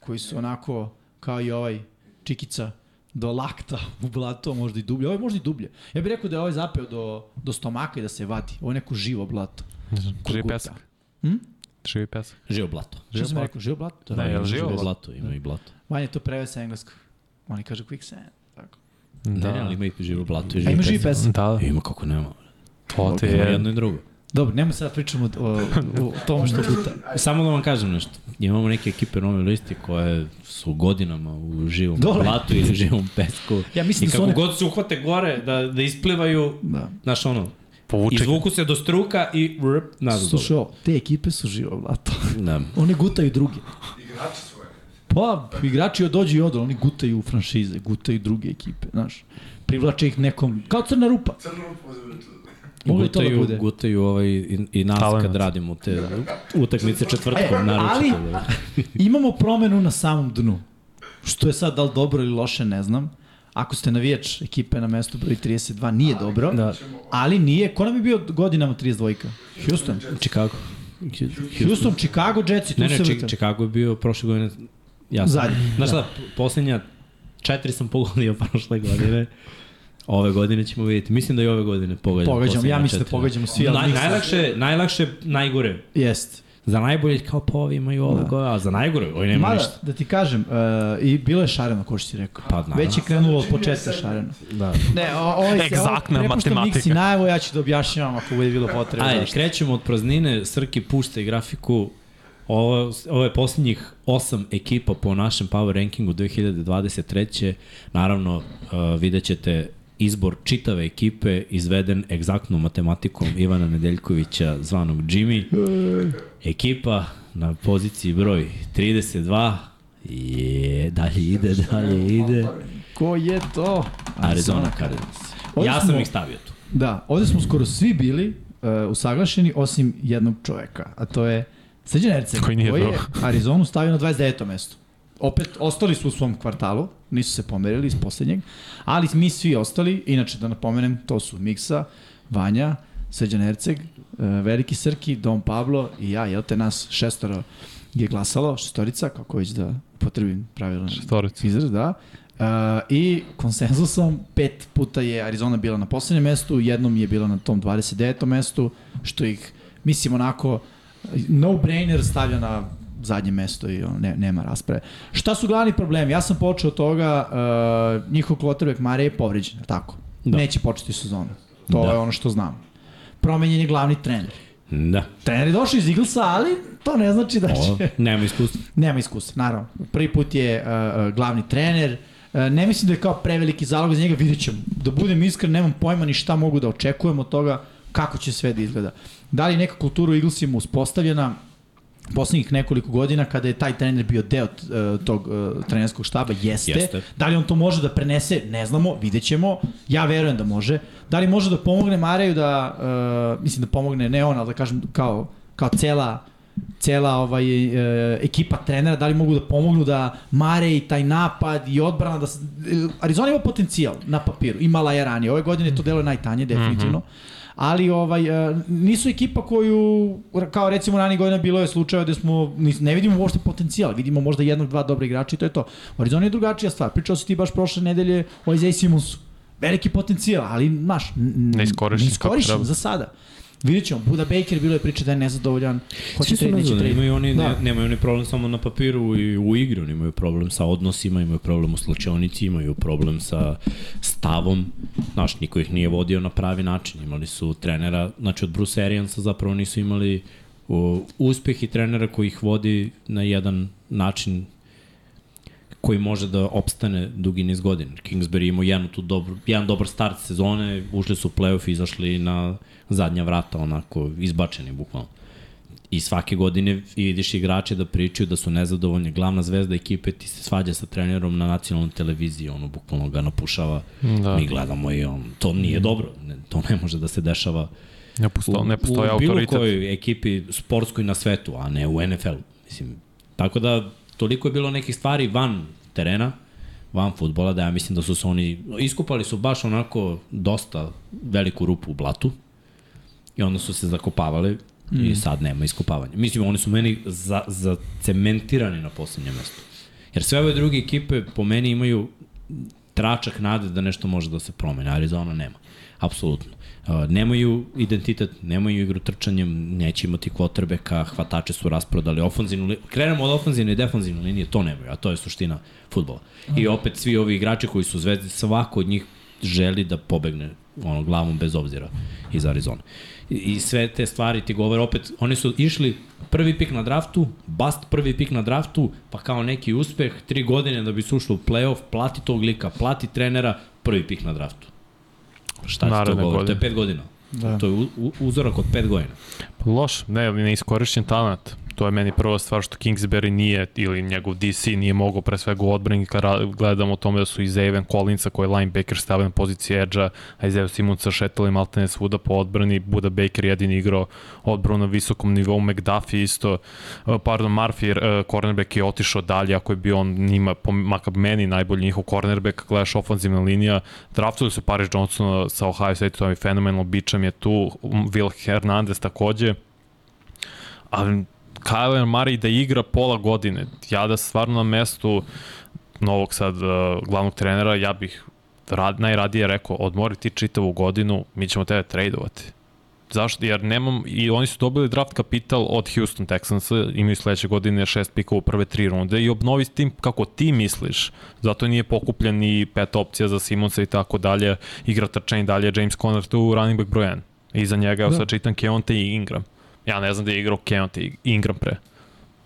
B: koji su onako, kao i ovaj Čikica, do lakta u blato, možda i dublje. Ovo je možda i dublje. Ja bih rekao da je ovaj zapeo do, do stomaka i da se vadi. Ovo je neko živo blato.
D: Živi
B: Kukuta.
D: pesak.
B: Hm?
D: Živi pesak.
A: Živo blato.
B: Što sam rekao? Živo blato?
D: Da, jel živo blato?
A: blato? Ima i blato.
B: Vanje to preve sa engleskog. Oni kažu quicksand. Tako.
A: Da. Ne, ne,
D: Da,
A: ali ima i živo blato i
B: A
A: živo
B: ima živi
A: pesma.
B: pesak.
D: da,
A: Ima kako nema.
D: to ti
A: Ima
D: je.
A: jedno i drugo.
B: Dobro, nema sad da pričamo o, o, o tom što puta.
A: Samo da vam kažem nešto. Imamo neke ekipe nove listi koje su godinama u živom
B: Dole.
A: blatu ili živom pesku.
B: Ja
A: I
B: mislim da su
A: kako
B: one...
A: god se uhvate gore, da, da isplivaju,
B: Da.
A: znaš ono,
D: Povuče ga.
A: izvuku se do struka i vrp, nazad.
B: Slušaj ovo, te ekipe su živo blato.
A: dole. Da.
B: One gutaju druge. Igrači svoje. Pa, igrači odođu i odu, oni gutaju franšize, gutaju druge ekipe, znaš. Privlače ih nekom, kao crna rupa.
A: I
B: Moglo je to da
A: gutaju,
B: bude. Da.
A: gutaju ovaj, i, i nas
D: Talenat.
A: kad radimo te utakmice četvrtkom, naročito.
B: ali-
A: da.
B: Imamo promenu na samom dnu. Što je sad, da li dobro ili loše, ne znam. Ako ste navijač ekipe na mestu broj 32, nije dobro.
A: Da.
B: Ali nije, ko nam je bio godinama 32-ka? Houston.
A: Chicago.
B: Houston, Chicago, Jetsi, tu
A: Ne, ne,
B: se
A: Chi-
B: vrte.
A: Chicago je bio prošle godine jasno.
B: Zadnji,
A: Znaš
B: da.
A: šta, p- poslednja četiri sam pogodio prošle godine. Ove godine ćemo vidjeti. Mislim da i ove godine pogađam.
B: Pogađam,
A: poslednja
B: ja mislim da
A: četiri.
B: pogađamo svi, ali
A: Na,
B: nisam.
A: najlakše, najlakše, najgore.
B: Jest.
A: Za najbolje kao pa ovi imaju ovo, da. a za najgore ovi nema
B: Mada,
A: ništa.
B: da ti kažem, uh, i bilo je šareno, ko što si rekao.
A: Pa, naravno.
B: Već je krenulo od početka šareno.
A: Da.
B: Ne, o, ovaj
D: Egzaktna matematika.
B: Miksi najavu, ja ću da objašnjavam ako bude bilo potrebno.
A: Ajde,
B: Zašto.
A: krećemo od praznine, Srki pušta i grafiku. Ovo, ovo je posljednjih osam ekipa po našem Power Rankingu 2023. Naravno, uh, vidjet ćete izbor čitave ekipe izveden egzaktnom matematikom Ivana Nedeljkovića, zvanog Jimmy. Ekipa na poziciji broj 32 je, dalje ide, dalje ide.
B: Ko je to?
A: Arizona Cardinals.
B: Ovdje
A: Ja sam
B: smo-
A: ih stavio tu.
B: Da, ovde smo skoro svi bili uh, usaglašeni, osim jednog čoveka, a to je Srđan Erceg,
D: Koji nije
B: koji je
D: dobro.
B: Arizonu stavio na 29. mesto. Opet, ostali su u svom kvartalu, nisu se pomerili iz poslednjeg, ali mi svi ostali, inače da napomenem, to su Miksa, Vanja, Srđan Erceg, e, Veliki Srki, Dom Pablo i ja, jel te nas šestoro je glasalo, šestorica, kako već da potrebim pravilan
D: Šestorica.
B: izraz, da. E, I konsenzusom, pet puta je Arizona bila na poslednjem mestu, jednom je bila na tom 29. mestu, što ih, mislim, onako, no-brainer stavlja na zadnje mesto i on, ne, nema rasprave. Šta su glavni problemi? Ja sam počeo od toga, uh, njihov kvotrbek Mare je povređen, je li tako?
A: Da.
B: Da. Neće početi sezonu. To
A: Da.
B: da. je ono što znam. Promenjen je glavni trener.
A: Da.
B: Trener je došao iz Eaglesa, ali to ne znači da
A: O,
B: će...
A: nema iskustva.
B: Nema iskustva, naravno. Prvi put je uh, uh, glavni trener. Uh, ne mislim da je kao preveliki zalog za njega, vidjet ćemo. Da budem iskren, nemam pojma ni šta mogu da očekujem od toga, kako će sve da izgleda. Da li je neka kultura u Eaglesima uspostavljena poslednjih nekoliko godina kada je taj trener bio deo uh, tog uh, trenerskog štaba, jeste.
A: Jeste.
B: jeste. Da li on to može da prenese, ne znamo, vidjet ćemo. Ja verujem da može. Da li može da pomogne Mareju da, uh, mislim da pomogne ne on, ali da kažem kao, kao cela cela ovaj, e, ekipa trenera, da li mogu da pomognu da Mare i taj napad i odbrana, da se, e, Arizona ima potencijal na papiru, imala je ranije, ove godine to delo je najtanje, definitivno, ali ovaj, e, nisu ekipa koju, kao recimo rani godina bilo je slučajeva gde smo, nis- ne vidimo uopšte potencijal, vidimo možda jednog, dva dobra igrača i to je to. U Arizoni je drugačija stvar, pričao si ti baš prošle nedelje o Isaiah Simonsu, veliki potencijal, ali naš,
D: Neiskorišćen kako
B: neiskorišen
D: treba.
B: za sada. Vidjet ćemo, Buda Baker bilo je priče da je nezadovoljan, hoće
A: Svi su
B: trade, neće
A: nezadovoljni,
B: trade.
A: imaju oni, Pa da.
B: Da.
A: ne, nemaju oni problem samo na papiru i u igri, oni imaju problem sa odnosima, imaju problem u slučajnici, imaju problem sa stavom, znaš, niko ih nije vodio na pravi način, imali su trenera, znači od Bruce Ariansa zapravo nisu imali o, uspeh i trenera koji ih vodi na jedan način koji može da opstane dugi niz godina. Kingsbury imao jednu tu dobro, jedan dobar start sezone, ušli su u play-off i izašli na zadnja vrata, onako, izbačeni bukvalno. I svake godine vidiš igrače da pričaju da su nezadovoljni. Glavna zvezda ekipe ti se svađa sa trenerom na nacionalnoj televiziji, ono bukvalno ga napušava. Da.
D: Da. Mhm.
A: Mi gledamo i on, to nije dobro, ne, to ne može da se dešava
D: Ne, posto, ne postoji
A: u, u bilo
D: autoritet.
A: kojoj ekipi sportskoj na svetu, a ne u NFL. Mislim, tako da toliko je bilo nekih stvari van terena, van futbola, da ja mislim da su se oni, iskupali su baš onako dosta veliku rupu u blatu i onda su se zakopavali mm. i sad nema iskopavanja. Mislim, oni su meni za, zacementirani na poslednjem mestu. Jer sve ove druge ekipe po meni imaju tračak nade da nešto može da se promene. Arizona nema. Apsolutno. Uh, nemaju identitet, nemaju igru trčanjem, neće imati kvotrbeka, hvatače su rasprodali ofanzivnu liniju. Krenemo od ofanzivne i defanzivne linije, to nemaju, a to je suština futbola. I opet svi ovi igrači koji su zvezde, svako od njih želi da pobegne ono, glavom bez obzira iz Arizone. I, I sve te stvari ti govore opet, oni su išli prvi pik na draftu, bast prvi pik na draftu, pa kao neki uspeh, tri godine da bi se ušlo u playoff, plati tog lika, plati trenera, prvi pik na draftu. Šta ti to
D: Naredne
A: govori? To je
D: godine.
A: pet godina. Da.
B: Da.
A: To je u, u, uzorak od pet godina.
D: Loš, ne, neiskorišćen talent. To je meni prva stvar što Kingsbury nije, ili njegov DC nije mogao pre svega u odbrani, kad ra- gledamo o tome da su i Zaven Collinsa koji je linebacker stavio na poziciji edge-a, a i Zeo Simonsa šetali maltene svuda po odbrani, Buda Baker jedini igrao odbranu na visokom nivou, McDuffie isto, e, pardon, Murphy, e, cornerback je otišao dalje, ako je bio on njima, po, makar meni najbolji njihov cornerback, gledaš ofanzivna linija, draftili su Paris Johnsona sa Ohio State, to je fenomenal, bičam je tu, um, Will Hernandez takođe, ali Kyler Murray da igra pola godine, ja da stvarno na mestu novog sad uh, glavnog trenera, ja bih rad, najradije rekao, odmori ti čitavu godinu, mi ćemo tebe tradeovati. Zašto? Jer nemam, i oni su dobili draft kapital od Houston Texansa, imaju sledeće godine šest pikova u prve tri runde i obnovi s tim kako ti misliš. Zato nije pokupljen ni pet opcija za Simonsa i tako dalje, igra trčanje dalje, James Conner tu running back broj 1. Iza njega, evo
B: Da.
D: sad čitam Keonte i Ingram. Ja ne znam da je igrao Keonte i Ingram pre.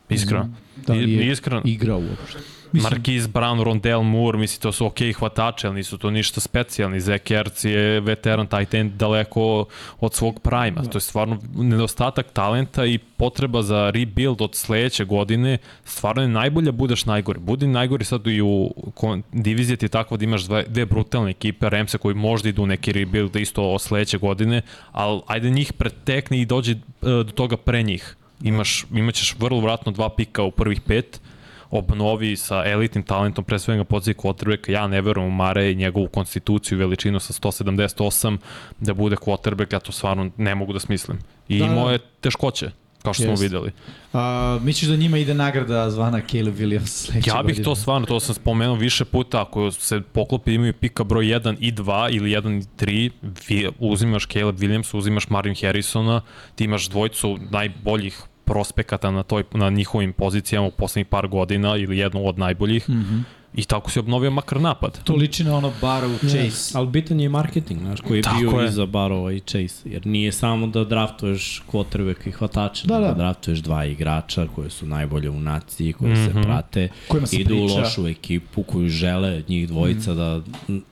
D: Iskreno.
B: Da
D: I-
B: li je
D: iskreno.
B: igrao uopšte.
D: Mislim. Marquise Brown, Rondell Moore, misli to su okej okay hvatače, ali nisu to ništa specijalni. Zach Ertz je veteran tight end daleko od svog prajma. To je stvarno nedostatak talenta i potreba za rebuild od sledeće godine. Stvarno je najbolje da budeš najgori. Budi najgori sad i u kon- diviziji ti je tako da imaš dve, dve brutalne ekipe, Remse koji možda idu u neki rebuild isto od sledeće godine, ali ajde njih pretekni i dođi e, do toga pre njih. Imaš, imaćeš vrlo vratno dva pika u prvih pet, obnovi sa elitnim talentom, pre svega na poziciji quarterbacka, ja ne verujem u Mare i njegovu konstituciju i veličinu sa 178 da bude quarterback, ja to stvarno ne mogu da smislim. I
B: Da,
D: da,
B: da.
D: imao je teškoće, kao što yes.
B: Jest.
D: smo videli.
B: A, misliš da njima ide nagrada zvana Caleb Williams sledeće
D: Ja bih to stvarno, to sam spomenuo više puta, ako se poklopi imaju pika broj 1 i 2 ili 1 i 3, vi, uzimaš Caleb Williams, uzimaš Marvin Harrisona, ti imaš dvojcu najboljih prospekata na, toj, na njihovim pozicijama u poslednjih par godina ili jednu od najboljih mm -hmm. i tako si obnovio makar napad.
B: To liči na ono Barrow Chase.
A: Chase. Ali bitan je i marketing, znaš, koji je
D: Tako
A: bio
D: je.
A: je. iza Barova i Chase. Jer nije samo da draftuješ quarterback i hvatače,
B: Da,
A: da, da.
B: da.
A: da draftuješ dva igrača koje su najbolje u naciji, koje mm -hmm. se prate,
B: Kojima se
A: idu
B: priča.
A: u lošu ekipu koju žele njih dvojica mm -hmm. da m,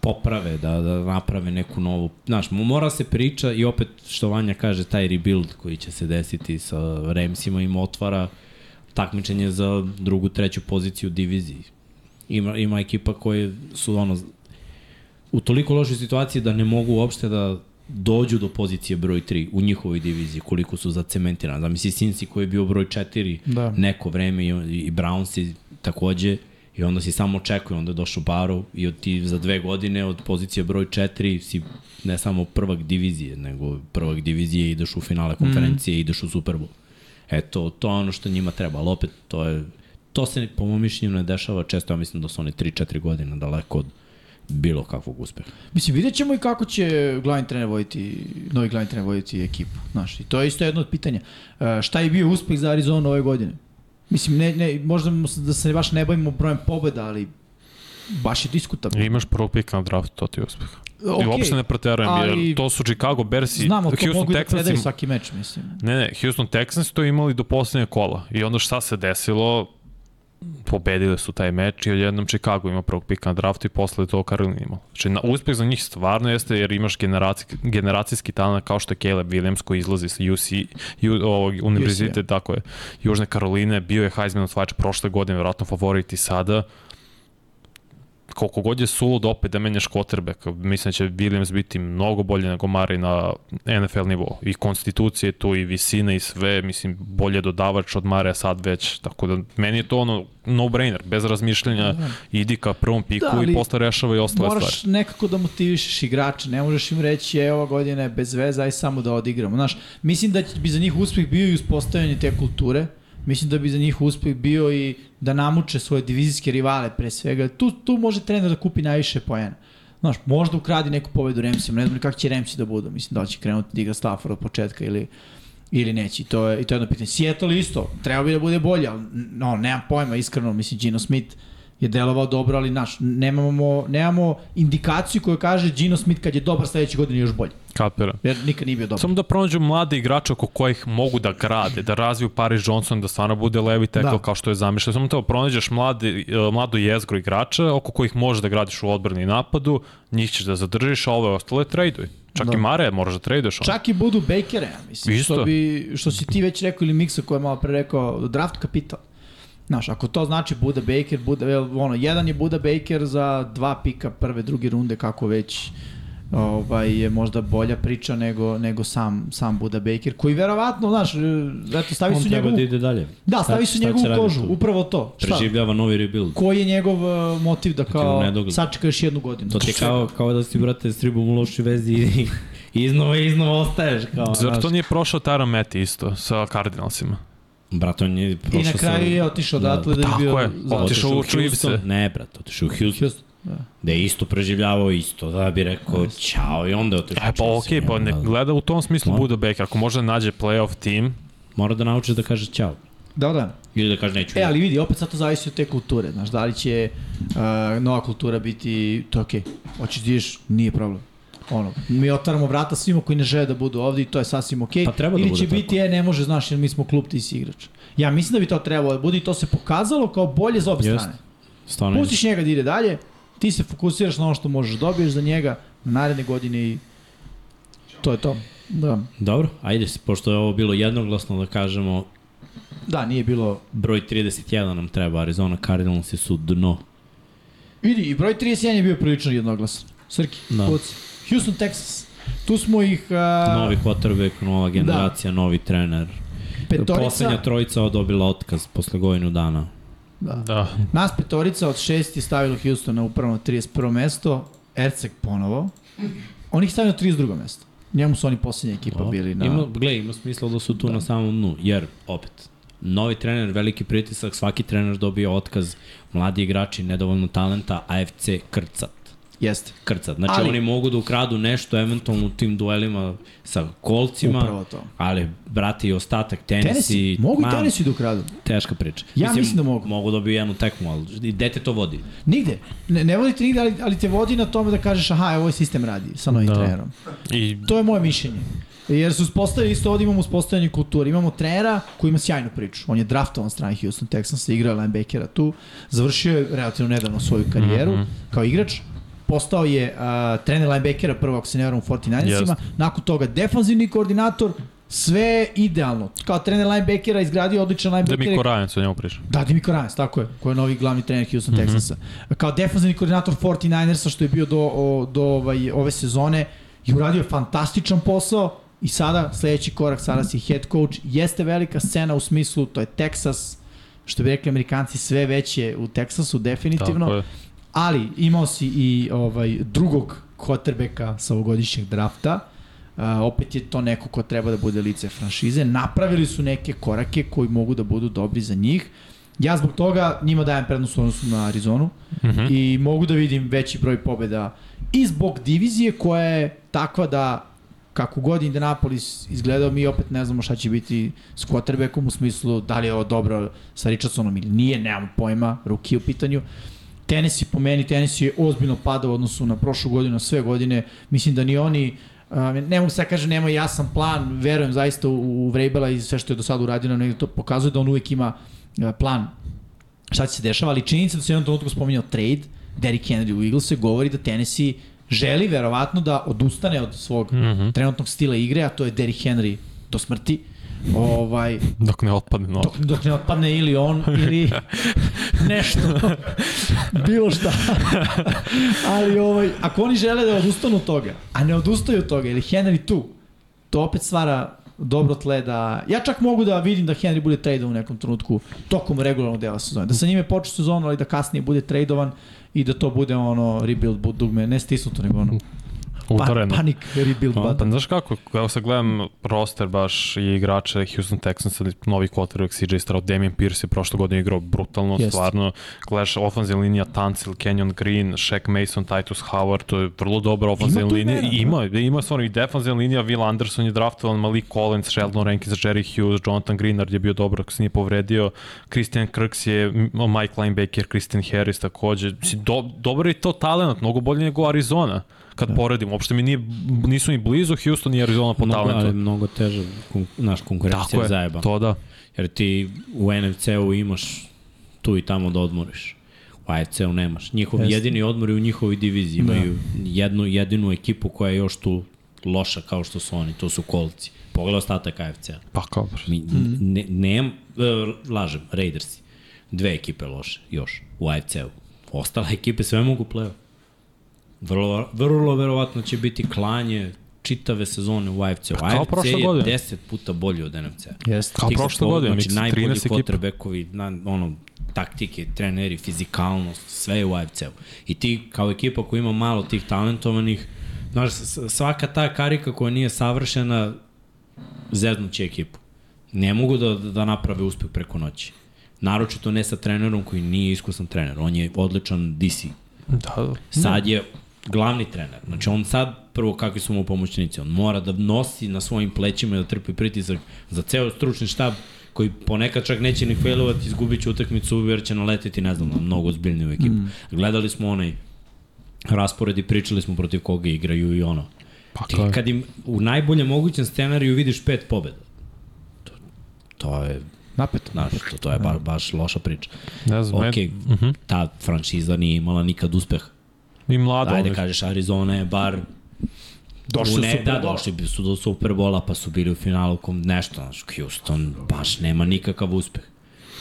A: poprave, da, da naprave neku novu... Znaš, mu mora se priča i opet što Vanja kaže, taj rebuild koji će se desiti sa Ramsima im otvara takmičenje za drugu, treću poziciju u diviziji. Ima, ima ekipa koje su ono, u toliko lošoj situaciji da ne mogu uopšte da dođu do pozicije broj 3 u njihovoj diviziji, koliko su zacementirani. Zamisli Sinsi koji je bio broj 4
B: Da.
A: neko vreme i, i Brownsi takođe i onda si samo očekuje, onda je došao Baro i od ti za dve godine od pozicije broj 4 si ne samo prvak divizije, nego prvak divizije ideš u finale
B: Mhm.
A: konferencije, mm. ideš u Super Bowl. Eto, to je ono što njima treba, ali opet to je to se po mom mišljenju ne dešava često, ja mislim da su oni 3-4 godina daleko od bilo kakvog uspeha.
B: Mislim, vidjet ćemo i kako će glavni trener voditi, novi glavni trener voditi ekipu. Znaš, I to je isto jedno od pitanja. E, šta je bio uspeh za Arizonu ove godine? Mislim, ne, ne, možda mu se- da se baš ne bavimo brojem pobjeda, ali baš je diskutabilno.
D: Imaš prvog pika na draftu, to ti je uspeh. Okay, I
B: Okej,
D: uopšte ne preterujem, ali...
B: ali-
D: jer to su Chicago Bears i
B: Znam, ali to
D: Houston
B: mogu i da
D: Texans
B: predaju
D: i
B: svaki meč, mislim.
D: Ne, ne, Houston Texans to imali do poslednje kola i onda šta se desilo, pobedili su taj meč i odjednom Chicago ima prvog pika na draftu i posle to Karolina imala. Znači, na, uspeh za njih stvarno jeste jer imaš generacijski, generacijski talent kao što je Caleb Williams koji izlazi sa UC, U, ovog univerziteta, tako je, Južne Karoline, bio je Heisman osvajač prošle godine, vjerojatno favorit i sada koliko god je sulud opet da menjaš quarterback, mislim da će Williams biti mnogo bolje nego Mari na NFL nivou. I konstitucije tu i visine i sve, mislim, bolje dodavač od Marija sad već. Tako da, meni je to ono no-brainer, bez razmišljanja,
B: Da.
D: idi ka prvom piku
B: Da, ali
D: i posle rešava i ostale
B: Moraš
D: stvari.
B: nekako da motivišeš igrače, ne možeš im reći evo godina je bez veza, aj samo da odigramo. Znaš, mislim da će- bi za njih uspeh bio i uspostavljanje te kulture, mislim da bi za njih uspeh bio i da namuče svoje divizijske rivale pre svega. Tu, tu može trener da kupi najviše poena. Znaš, možda ukradi neku pobedu Remsima, ne znam ni kako će Remsi da budu, mislim da li će krenuti da igra Stafford od početka ili ili neće. I to je, i to je jedno pitanje. Seattle isto, trebao bi da bude bolje, ali no, nemam pojma, iskreno, mislim, Gino Smith je delovao dobro, ali naš, nemamo, nemamo indikaciju koja kaže Gino Smith kad je dobar sledeće godine je još bolje.
D: Kapira.
B: Jer nikad nije bio dobar.
D: Samo da pronađu mlade igrače oko kojih mogu da grade, da razviju Paris Johnson, da stvarno bude levi tackle
B: Da.
D: da. kao što je zamišljeno. Samo to pronađeš mlade, e, mlado jezgro igrača oko kojih možeš da gradiš u odbrani i napadu, njih ćeš da zadržiš, a ove ostale traduj. Čak
B: Da.
D: da. i Mare moraš da traduješ. Čak...
B: Čak i budu Bakere, ja mislim.
D: Isto.
B: Što, bi, što si ti već rekao ili Miksa koja je malo pre rekao, draft kapital. Znaš, ako to znači Buda Baker, Buda, jel, ono, jedan je Buda Baker za dva pika prve, druge runde, kako već ovaj, je možda bolja priča nego, nego sam, sam Buda Baker, koji verovatno, znaš, e, eto, stavi
A: On
B: su
A: treba
B: njegovu...
A: da ide dalje.
B: Da, stavi
A: Šta-
B: su
A: šta
B: njegovu
A: će raditi
B: kožu,
A: tu?
B: upravo to. Šta?
A: Preživljava novi rebuild.
B: Koji je njegov e, motiv da
A: u
B: kao
A: nedogled.
B: sačeka još jednu godinu? Znači,
A: To ti je kao, kao da si, brate, s ribom u lošoj vezi i i iznova i iznova ostaješ. Kao,
D: Zar
A: znaš.
D: to nije prošao Tyron Matty isto sa Cardinalsima?
A: Brate, on je prošao
B: I na kraju je otišao
A: Da,
B: odatle da, je
D: tako
B: bio...
D: je.
B: za-
D: Otišao u
A: Houston.
D: Chiefse.
A: Ne, brate, otišao u Houston.
B: Houston, da.
A: Da je isto preživljavao isto, da bi rekao čao i onda je otišao.
D: E
A: u
D: pa
A: Chiefse,
D: okej, pa
A: nema
D: ne
A: da-
D: gleda u tom smislu
A: Ono.
D: Buda Baker. Ako može da nađe playoff tim,
A: Mora da naučiš da kažeš čao.
B: Da, da.
A: Ili da kažeš neću.
B: E, ali vidi, opet sad to zavisi od te kulture. Znaš, da li će uh, nova kultura biti, to je okej, okay. hoćeš da ideš, nije problem. Ono, mi otvaramo vrata svima koji ne žele da budu ovde i to je sasvim okej. Okay.
A: Pa treba da
B: Ili
A: bude
B: će
A: tako.
B: biti, e, ne može, znaš, jer mi smo klub, ti si igrač. Ja mislim da bi to trebalo da bude i to se pokazalo kao bolje za obe
A: Jest.
B: strane.
A: Stvarno,
B: Pustiš njega da ide dalje, ti se fokusiraš na ono što možeš da dobiješ za njega na naredne godine i to je to. Da,
A: Dobro, ajde, pošto je ovo bilo jednoglasno da kažemo
B: da nije bilo...
A: broj 31 nam treba, Arizona Cardinals su dno.
B: Vidi, i broj 31 je bio prilično jednoglasan. Srki, da.
A: Da.
B: puci. Houston, Texas. Tu smo ih a,
A: Novi quarterback, nova generacija, da. novi trener.
B: petorica.
A: Poslednja trojica odobila otkaz posle godinu dana.
B: Da.
D: Da.
B: Nas petorica od šest je stavilo Houston na upravo 31. mesto, Erceg ponovo. Oni ih stavili na 32. mesto. Njemu su oni posljednja
A: Pa
B: ekipa bili na...
A: Ima, gle, ima smisla da su tu da. na samom dnu, jer, opet, novi trener, veliki pritisak, svaki trener dobio otkaz, mladi igrači, nedovoljno talenta, AFC krcat.
B: Jeste.
A: Krcat. Znači,
B: Ali-
A: ali, oni mogu da ukradu nešto, eventualno u tim duelima sa kolcima,
B: Upravo to.
A: ali, brate, i ostatak, tenisi,
B: Tenisi, mogu i
A: ma,
B: tenisi da ukradu.
A: Teška priča.
B: Ja mislim da mogu.
A: Mogu dobiju jednu tekmu, ali i dete to vodi.
B: Nigde. Ne, ne vodi te nigde, ali, ali te vodi na tome da kažeš aha, evo ovaj sistem radi sa novim da.
D: Da.
B: trenerom.
D: I
B: To je moje mišljenje. Jer su uspostavili, isto ovdje imamo uspostavljanje kulture. Imamo trenera koji ima sjajnu priču. On je draftovan od strane Houston Texansa, igrao je linebackera tu. Završio je relativno nedavno svoju karijeru mm -hmm. kao igrač. Postao je uh, trener linebackera prvo ako se ne varam u 49ersima.
D: Jeste.
B: Nakon toga defanzivni koordinator. Sve izgradio. Kao trener linebackera izgradio odličan linebacker.
D: Demiko Ryan se o njemu priča.
B: Da, Dimico Ryan, tako je, koji je novi glavni trener Houston
D: Mhm.
B: mm -hmm. Texansa. Kao defanzivni koordinator 49ersa što je bio do, o, do ovaj, ove sezone i uradio je fantastičan posao i sada sledeći korak, sada si head coach, jeste velika scena u smislu, to je Texas, što bi rekli amerikanci, sve veće u Texasu definitivno,
D: Tako je.
B: ali imao si i ovaj, drugog quarterbacka sa ovogodišnjeg drafta, Uh, opet je to neko ko treba da bude lice franšize. Napravili su neke korake koji mogu da budu dobri za njih. Ja zbog toga njima dajem prednost u odnosu na Arizonu
D: Mhm.
B: i mogu da vidim veći broj pobjeda i zbog divizije koja je takva da kako god Indianapolis izgledao, mi opet ne znamo šta će biti s quarterbackom u smislu da li je ovo dobro sa Richardsonom ili nije, nemamo pojma, ruki u pitanju. Tennessee po meni, Tennessee je ozbiljno padao u odnosu na prošlu godinu, na sve godine. Mislim da ni oni, a, ne mogu sad kažem, nema jasan plan, verujem zaista u, u Vrabela i sve što je do sada uradio nam negde to pokazuje da on uvek ima a, plan šta će se dešava, ali činjenica da se u jednom trenutku spominjao trade, Derrick Henry u Eaglese, govori da Tennessee želi verovatno da odustane od svog mm -hmm. trenutnog stila igre, a to je Derrick Henry do smrti, ovaj,
D: Dok ne otpadne no.
B: dok, dok ne otpadne ili on, ili nešto, bilo šta. ali ovaj, ako oni žele da odustanu od toga, a ne odustaju od toga, ili Henry tu, to opet stvara dobro tle da... Ja čak mogu da vidim da Henry bude tradovan u nekom trenutku tokom regularnog dela sezone. Da sa njime počne sezonu, ali da kasnije bude tradovan i da to bude ono rebuild bu- dugme, ne stisnuto nego ono pa,
D: Utoreno.
B: panik rebuild
D: Pa,
B: button.
D: znaš kako, evo sad gledam roster baš i igrače Houston Texansa, novi quarterback CJ Stroud, Damian Pierce je prošle godine igrao brutalno,
B: Jest.
D: Jest. stvarno. Gledaš ofenzivna linija Tancil, Kenyon Green, Shaq Mason, Titus Howard, to je vrlo dobra ofenzivna
B: tu
D: linija.
B: imena, da.
D: Ima, ima stvarno i defenzivna linija, Will Anderson je draftovan, Malik Collins, Sheldon Rankins, Jerry Hughes, Jonathan Greenard je bio dobar ako se nije povredio, Christian Kirks je, m- Mike Linebacker, Christian Harris takođe. Mislim, Do, dobar je to talent, mnogo bolje nego Arizona kad da. poredim. Uopšte mi nije, nisu ni blizu Houston i Arizona po
A: Mnogo, ali
D: talentu.
A: mnogo teže, kon, naš konkurencija
D: Tako
A: je
D: je,
A: zajeba.
D: to da.
A: Jer ti u NFC-u imaš tu i tamo da odmoriš. U AFC-u nemaš. Njihov
B: Jeste.
A: jedini odmor je u njihovoj diviziji.
D: Da.
A: Imaju jednu jedinu ekipu koja je još tu loša kao što su oni. To su kolci. Pogledaj ostatak AFC-a.
D: Pa kao,
A: Mi, ne, ne, e, lažem, Raidersi. Dve ekipe loše još u AFC-u. Ostale ekipe sve mogu play-off. Vrlo, vrlo verovatno će biti klanje čitave sezone u AFC-u.
D: Pa kao
A: AFC
D: prošle
A: je
D: godine.
A: 10 puta bolji od NFC-a.
B: Jeste.
D: kao
A: Tih
D: prošle
A: za to,
D: godine,
A: znači,
D: znači,
A: najbolji
D: 13 ekipa.
A: quarterbackovi, na, ono, taktike, treneri, fizikalnost, sve je u AFC-u. I ti kao ekipa koja ima malo tih talentovanih, znaš, s- svaka ta karika koja nije savršena, zeznuće ekipu. Ne mogu da, da naprave uspeh preko noći. Naročito ne sa trenerom koji nije iskusan trener. On je odličan DC
D: Da, da.
A: Sad je glavni trener. Znači on sad prvo kakvi su mu pomoćnici. On mora da nosi na svojim plećima i da trpi pritisak za ceo stručni štab koji ponekad čak neće ni failovati, izgubit će utakmicu jer će naletiti, ne znam, na mnogo ozbiljniju ekipu. Mm. Gledali smo onaj raspored i pričali smo protiv koga igraju i ono.
D: Pa
A: Ti
D: kao, je.
A: kad im u najboljem mogućem scenariju vidiš pet pobeda. To, to je
B: Napeto.
A: Znaš, to, to je ba, baš loša priča.
D: ne znam,
A: Ok,
D: okay. mhm.
A: ta franšiza nije imala nikad uspeha.
D: i mlado.
A: Ajde
D: ono,
A: kažeš Arizona je bar
B: Došli
A: u
B: su
A: ne-
B: Super
A: da,
B: Bowl.
A: došli bi su do Superbola pa su bili u finalu kom nešto, znači Houston baš nema nikakav uspeh.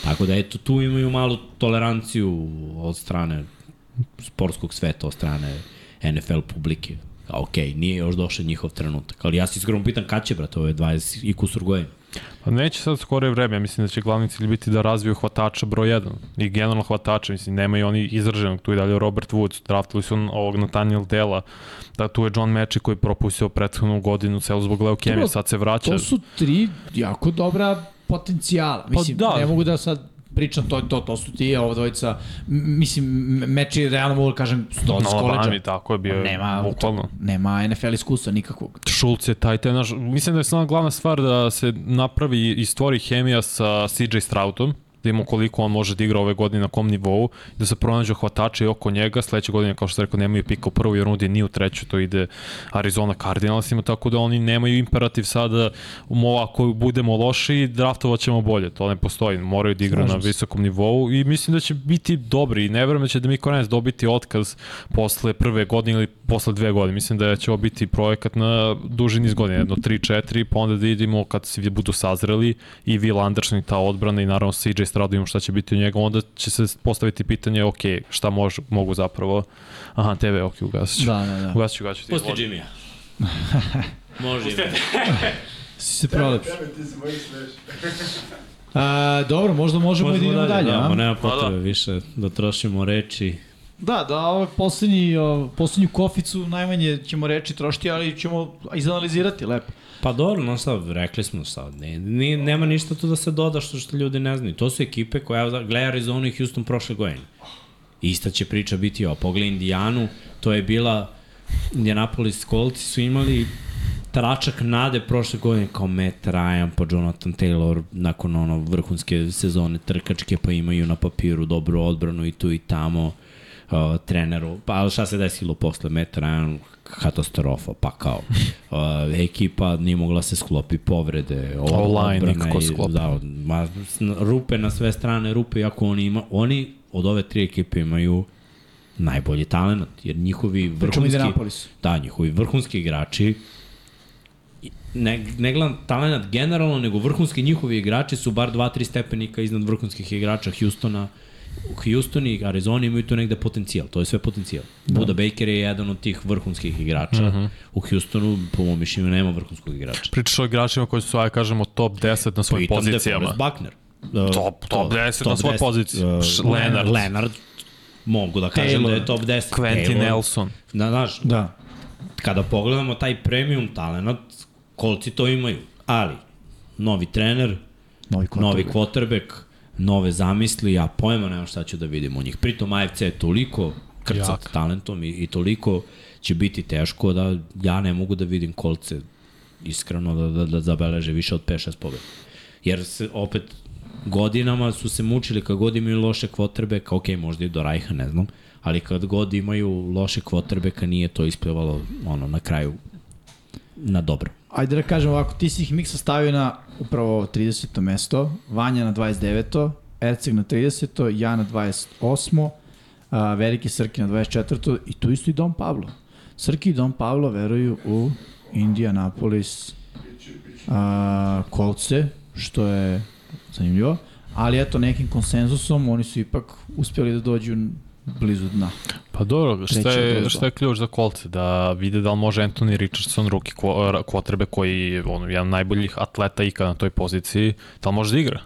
A: Tako da eto tu imaju malu toleranciju od strane sportskog sveta, od strane NFL publike. A okej, nije još došao njihov trenutak, ali ja se iskreno pitan kad će, brate, ove 20 i kusur godina.
D: Pa Neće sad skorije vreme, ja mislim da će glavni cilj biti da razviju hvatača broj 1 i generalno hvatača, mislim nemaju oni izraženog, tu i dalje Robert Woods, draftili su ovog Nathaniel Dela, da tu je John Meči koji je propustio prethodnu godinu celo zbog leukemije,
B: Dobro,
D: sad se vraća.
B: To su tri jako dobra potencijala. Mislim,
D: da.
B: ne mogu da sad pričam, to, to, to su ti, ovo dvojica, m- mislim, m- meči realno mogu da kažem, sto
D: na
B: s koleđa.
D: Alabami, tako je bio,
B: Pa nema-
D: nema, bukvalno.
B: Nema NFL iskustva nikakvog.
D: Šulc je taj te, naš, mislim da je samo glavna stvar da se napravi i stvori hemija sa CJ Stroutom, da imamo koliko on može da igra ove godine na kom nivou, da se pronađu hvatače i oko njega, sledeće godine, kao što sam rekao, nemaju pika u prvoj rundi, ni u trećoj, to ide Arizona Cardinalsima, tako da oni nemaju imperativ sada, mo, ako budemo loši, draftovat ćemo bolje, to ne postoji, moraju da igraju na
B: Slažem se.
D: visokom nivou i mislim da će biti dobri i ne verujem da će da Miko Rennes dobiti otkaz posle prve godine ili posle dve godine. Mislim da će ovo biti projekat na duži niz godina, jedno 3-4, pa onda da vidimo kad svi budu sazreli i Will Anderson i ta odbrana i naravno CJ Stroud imamo šta će biti u njega, onda će se postaviti pitanje, ok, šta mož, mogu zapravo, aha, TV, ok, ugasit ću.
B: Da, da, da.
D: Ugasit ću, ugasit ću.
A: Pusti Jimmy-a. Može Jimmy.
B: Si se prolepš.
C: Tebe ti se moji smeš.
B: A, dobro, možda možemo i da idemo dalje,
A: da,
B: a?
A: ma nema potrebe više da trošimo reči.
B: Da, da, ovo je poslednji, o, poslednju koficu najmanje ćemo reći trošiti, ali ćemo izanalizirati lepo.
A: Pa dobro, no sad, rekli smo sad, ne, ni, nema ništa tu da se doda što, što ljudi ne znaju. To su ekipe koja, evo, gleda Arizonu i Houston prošle godine. Ista će priča biti o pogledaj Indijanu, to je bila Indianapolis Colts su imali tračak nade prošle godine kao Matt Ryan pa Jonathan Taylor nakon ono vrhunske sezone trkačke pa imaju na papiru dobru odbranu i tu i tamo uh, treneru, pa ali šta se desilo posle Matt Ryan katastrofa, pa kao uh, ekipa nije mogla se sklopi povrede, ova
D: O-line
A: odbrana
D: nikako
A: i-
D: sklopi.
A: Da, ma, s- n- rupe na sve strane, rupe, iako oni, ima, oni od ove tri ekipe imaju najbolji talent, jer njihovi
B: Pričamo
A: vrhunski...
B: Indianapolis.
A: Da, njihovi vrhunski igrači i- ne, ne gledam talent generalno, nego vrhunski njihovi igrači su bar 2-3 stepenika iznad vrhunskih igrača Houstona. Houston i Arizona imaju tu negde potencijal, to je sve potencijal. Da. Buda Baker je jedan od tih vrhunskih igrača. Uh -huh. U Houstonu, po mom mišljenju, nema vrhunskog igrača.
D: Pričaš o igračima koji su, aj kažemo, top 10 na svojim
A: Pritom
B: pa
D: pozicijama.
A: DeForest Buckner. Uh,
D: Top- top 10 na svojoj
A: 10,
D: poziciji.
A: uh,
D: Š- Leonard.
A: Leonard, mogu da kažem
B: Taylor.
A: da je top 10.
D: Quentin
A: Taylor.
D: Nelson.
A: Da, znaš,
B: Da.
A: kada pogledamo taj premium talent, kolci to imaju, ali novi trener,
B: Novi
A: novi
B: quarterback.
A: quarterback, nove zamisli, ja pojma nemam šta ću da vidim u njih. Pritom AFC je toliko krcat
D: Jak.
A: talentom i, i toliko će biti teško da ja ne mogu da vidim kolce iskreno da, da, da zabeleže više od 5-6 pobjeda. Jer se opet godinama su se mučili kad god imaju loše quarterbacka, ok, možda i do Rajha, ne znam, ali kad god imaju loše quarterbacka nije to isplivalo ono, na kraju na dobro.
B: Ajde da kažem ovako, ti si ih miksa stavio na upravo 30. mesto, Vanja na 29. Erceg na 30. Ja na 28. A, Veliki Srki na 24. I tu isto i Don Pablo. Srki i Don Pablo veruju u Indianapolis a, kolce, što je zanimljivo. Ali eto, nekim konsenzusom oni su ipak uspjeli da dođu blizu dna.
D: Pa dobro, šta
B: Treći od
D: je,
B: druga.
D: šta je ključ za kolce? Da vide da li može Anthony Richardson, ruki kvotrebe koji je ono, jedan od najboljih atleta ikada na toj poziciji, da li može da igra?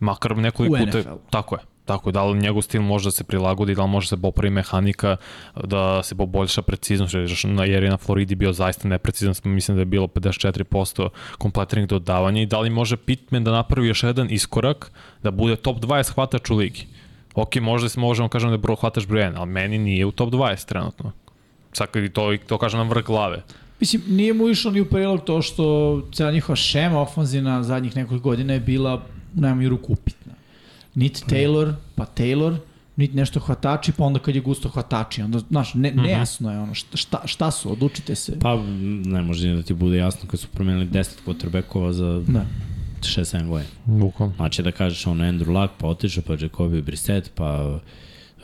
D: Makar nekoliko
B: U
D: puta.
B: NFL-u.
D: Tako je. Tako je, da li njegov stil može da se prilagodi, da li može da se popravi mehanika, da se poboljša preciznost, jer na- jer je na Floridi bio zaista neprecizan, mislim da je bilo 54% kompletnih dodavanja i da li može Pittman da napravi još jedan iskorak, da bude top 20 hvatač u ligi. Ok, možda se možemo kažem da je bro hvatač broj 1, ali meni nije u top 20 trenutno. Sad kad i to, i to kažem na vrh glave.
B: Mislim, nije mu išlo ni u prilog to što cela njihova šema ofanzivna zadnjih nekoliko godina je bila u najmanju ruku upitna. Niti Taylor, pa Taylor, niti nešto hvatači, pa onda kad je gusto hvatači, onda, znaš, ne, nejasno je ono, šta, šta, šta su, odlučite se.
A: Pa ne može ni da ti bude jasno kad su promenili 10 quarterbackova za
B: Da.
A: 6-7 godina.
D: Bukvalno.
A: Znači da kažeš ono Andrew Luck, pa otišao, pa Jacobi Brissett, pa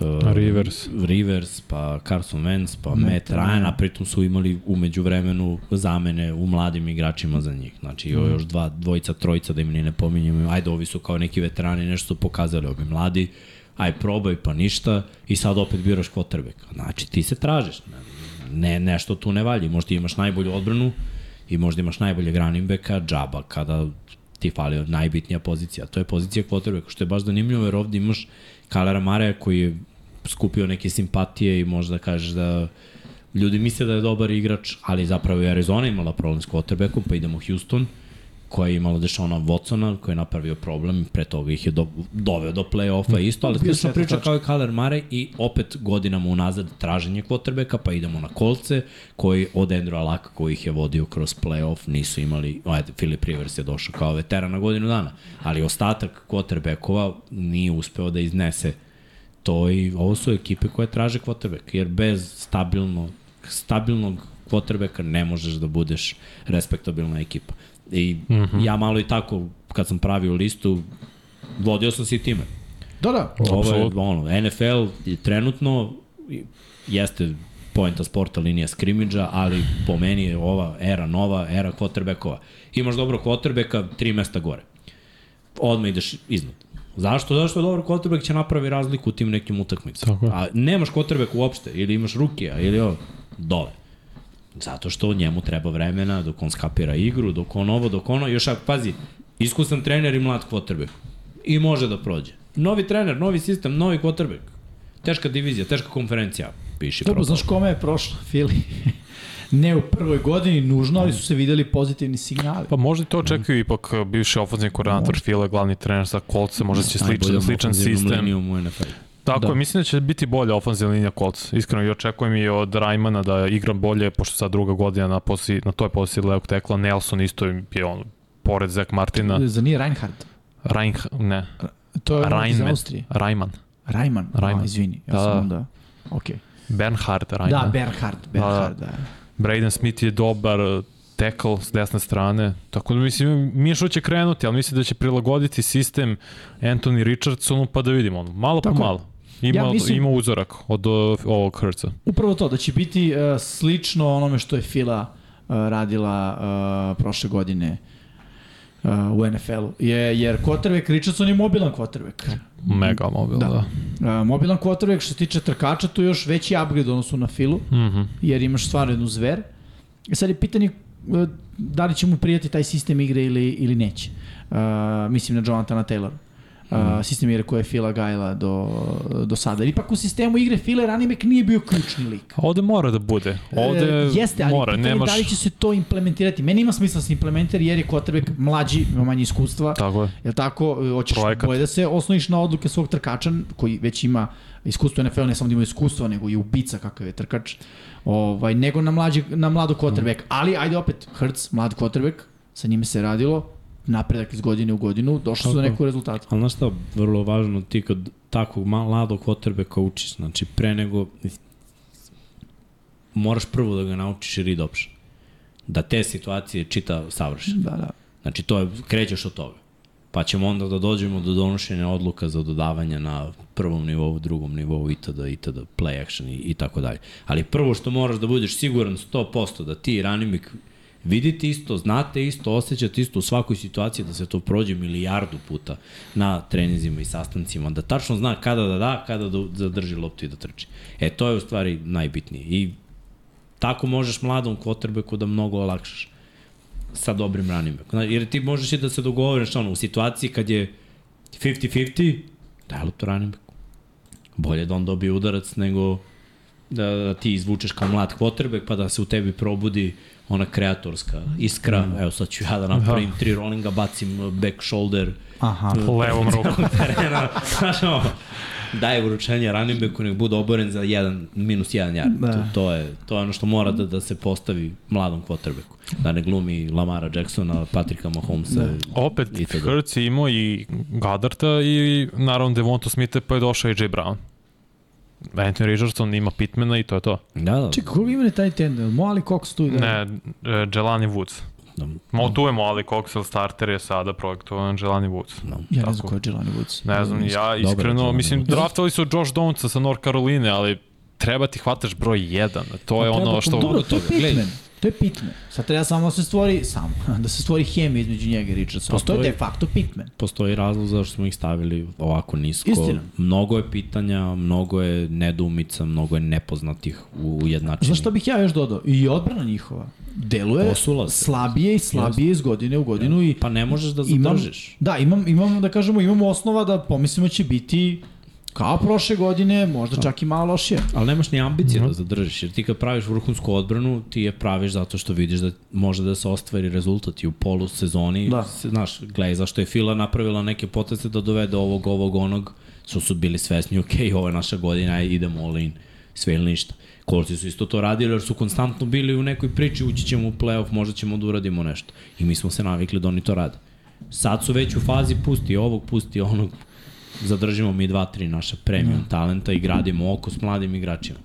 A: uh,
D: Rivers.
A: Rivers, pa Carson Wentz, pa Matt Ryan, a pritom su imali umeđu vremenu zamene u mladim igračima za njih. Znači mm. još dva, dvojica, trojica da im ni ne pominjamo. Ajde, ovi su kao neki veterani, nešto su pokazali ovi mladi. Aj, probaj, pa ništa. I sad opet biraš quarterback. Znači ti se tražiš. Ne, nešto tu ne valji. Možda imaš najbolju odbranu i možda imaš najbolje running backa, džaba, kada ti ti falio najbitnija pozicija, to je pozicija quarterbacka, što je baš zanimljivo jer ovde imaš Kalera Mareja koji je skupio neke simpatije i možda kažeš da ljudi misle da je dobar igrač, ali zapravo je Arizona imala problem s quarterbackom, pa idemo u Houston, koja je imala Dešona Watsona, koji je napravio problem, pre toga ih je do, doveo do play-offa isto, ali
B: Bio
A: slična
B: šeta
A: priča
B: tačka.
A: kao i Kaler Mare i opet godinama unazad traženje quarterbacka, pa idemo na kolce, koji od Andrew Alaka koji ih je vodio kroz play-off, nisu imali, ajde, Philip Rivers je došao kao veteran na godinu dana, ali ostatak quarterbackova nije uspeo da iznese to i ovo su ekipe koje traže quarterback, jer bez stabilno, stabilnog quarterbacka ne možeš da budeš respektabilna ekipa. I mm -hmm. ja malo i tako, kad sam pravio listu, vodio sam se i time.
B: Da, da.
A: Ovo je,
D: Apsolutno.
A: ono, NFL je trenutno jeste poenta sporta linija skrimidža, ali po meni je ova era nova, era quarterbackova. Imaš dobro quarterbacka, tri mesta gore. Odmah ideš iznad. Zašto? Zašto dobar quarterback će napravi razliku u tim nekim utakmicama.
D: Tako je.
A: A nemaš quarterback uopšte, ili imaš rukija, ili ovo, dole. Zato što njemu treba vremena dok on skapira igru, dok on ovo, dok ono. Još ako, pazi, iskusan trener i mlad quarterback. I može da prođe. Novi trener, novi sistem, novi quarterback. Teška divizija, teška konferencija. Piši
B: Dobro,
A: propalo.
B: znaš kome je prošlo, Fili? ne u prvoj godini nužno, ali su se videli pozitivni signali.
D: Pa možda i to očekuju ipak e, bivši ofenzivni koordinator Fila, glavni trener za kolce, možda će sličan,
A: Najboljom
D: sličan
A: ofenzivnom
D: sistem.
A: linijom da u NFL.
D: Tako
B: Da.
D: da. je, mislim da će biti bolja ofenzivna linija kolca. Iskreno, i očekujem i od Rajmana da igra bolje, pošto sad druga godina na, posi, na toj poziciji levog tekla. Nelson isto je on, pored Zek Martina.
B: Za nije Reinhardt.
D: Rajnh, ne,
B: To je ono iz
D: Rajnman.
B: Austrije.
D: Rajman.
B: Rajman. Rajman.
D: Rajman.
B: A, izvini, ja
D: Da,
B: sam
D: da.
B: onda... Okej.
D: Bernhard Rajman.
B: Da, Berhard, Berhard, da.
D: Braden Smith je dobar e, tackle s desne strane, tako da mislim Mišo će krenuti, ali mislim da će prilagoditi sistem Anthony Richardsonu pa da vidimo ono, malo
B: Tako
D: po
B: je.
D: malo. Ima,
B: Ja
D: ja
B: mislim-
D: mislim... ima uzorak od e, ovog Hrca.
B: Upravo to, da će biti uh, slično onome što je Fila uh, radila uh, prošle godine uh, u NFL-u. Je, jer quarterback Richardson je mobilan quarterback.
D: Mega mobil,
B: Da.
D: da. da.
B: Uh, mobilan quarterback što se tiče trkača, tu je još veći upgrade u odnosu na Filu,
D: Mhm.
B: jer imaš stvarno jednu zver. E sad je pitanje uh, da li će mu prijati taj sistem igre ili, ili neće. Uh, mislim na Jonathana Taylora. Uh, sistem igre koje je Fila gajla do, do sada. Jer Ipak u sistemu igre Fila Ranimek nije bio ključni lik.
D: A Ovde mora da bude. Ovde
B: E, jeste, ali
D: mora,
B: pitanje
D: nemaš...
B: da li će se to implementirati. Meni ima smisla da se implementira jer je quarterback mlađi, ima manje iskustva.
D: Tako je.
B: Jel tako, E, hoćeš
D: Da. Projekat.
B: boje da se osnoviš na odluke svog trkača koji već ima iskustvo u NFL, ne samo da ima iskustva, nego i ubica kakav je trkač, ovaj, nego na, mlađi, na mladu quarterback.
D: Mm.
B: Ali, ajde opet, Hertz, mlad quarterback, sa njime se radilo, napredak iz godine u godinu, došli su do
A: Tako.
B: nekog rezultata.
A: Ali znaš šta, vrlo važno ti kad takvog mladog quarterbacka učiš, znači pre nego moraš prvo da ga naučiš read option. Da te situacije čita savršeno.
B: Da, da.
A: Znači, to je, krećeš od toga. Pa ćemo onda da dođemo do donošenja odluka za dodavanja na prvom nivou, drugom nivou, itd., itd., play action i, i tako dalje. Ali prvo što moraš da budeš siguran 100% da ti i ranimik vidite isto, znate isto, osjećate isto u svakoj situaciji da se to prođe milijardu puta na trenizima i sastancima, da tačno zna kada da da, kada da zadrži loptu i da trči. E, to je u stvari najbitnije. I tako možeš mladom quarterbacku da mnogo olakšaš sa dobrim running backom. Znači, jer ti možeš i da se dogovoriš ono, u situaciji kad je 50-50, daj loptu running backu. Bolje da on dobije udarac nego da, da ti izvučeš kao mlad quarterback pa da se u tebi probudi ona kreatorska iskra. Mm. Evo sad ću ja da napravim tri rollinga, bacim eh, back shoulder,
B: Aha.
D: Levom rukom.
A: terena, znaš ono, daje uručenje running backu, nek bude oboren za 1, minus 1 yard.
B: Da.
A: Da. To, to, je, to je ono što mora da, da se postavi mladom quarterbacku. Da ne glumi Lamara Jacksona, Patrika Mahomesa. Da.
D: Opet,
A: I to je dobro.
D: Hertz je imao i Gaddarta i naravno Devonta Smitha pa je došao i Jay Brown. Anthony Richardson ima Pitmana i to je to.
A: da, da.
B: Čekaj, koliko imene taj tender? Moali Cox tu? Da...
D: Ne, e, Jelani Woods.
A: da.
D: Mo, tu je Molly Coxel starter je sada projektovan Jelani Woods.
A: da.
B: Ja ne znam
D: Tako.
B: ko je Jelani Woods.
D: Ne znam, ja
A: Dobar je
D: iskreno,
A: Da, Jelani
D: mislim,
A: Woods.
D: draftali su Josh Donca sa North Caroline, ali treba ti hvataš broj 1. To Pa je
B: Treba
D: ono
A: Pa
B: kontrolu,
D: što...
B: to je
A: Gledaj.
B: Pittman. To je pitman. Sad treba samo da se stvori, samo, da se stvori hemija između njega i Richardsona. To je
A: Postoji-
B: de facto pitman.
A: postoji razlog zašto smo ih stavili ovako nisko.
B: Istina.
A: Mnogo je pitanja, mnogo je nedumica, mnogo je nepoznatih u ujednačenju.
B: Znaš što bih ja još dodao? I odbrana njihova deluje
A: Posula se.
B: slabije i slabije iz godine u godinu i
A: Pa ne možeš da
B: imam,
A: zadržiš.
B: da, imam, imam, da kažemo, imamo osnova da pomislimo će biti kao prošle godine, možda čak i malo lošije.
A: Ali nemaš ni ambicije da zadržiš, jer ti kad praviš vrhunsku odbranu, ti je praviš zato što vidiš da može da se ostvari rezultat i u polu sezoni.
B: Da.
A: Se, znaš, gledaj, zašto je Fila napravila neke poteze da dovede ovog, ovog, onog, što su bili svesni, ok, ovo je naša godina, ajde, idemo all in, sve ili ništa. Kolci su isto to radili jer su konstantno bili u nekoj priči, ući ćemo u playoff, možda ćemo da uradimo nešto. I mi smo se navikli da oni to rade. Sad su već u fazi pusti ovog, pusti onog, zadržimo mi dva, tri naša premium
D: Da.
A: talenta i gradimo oko s mladim igračima.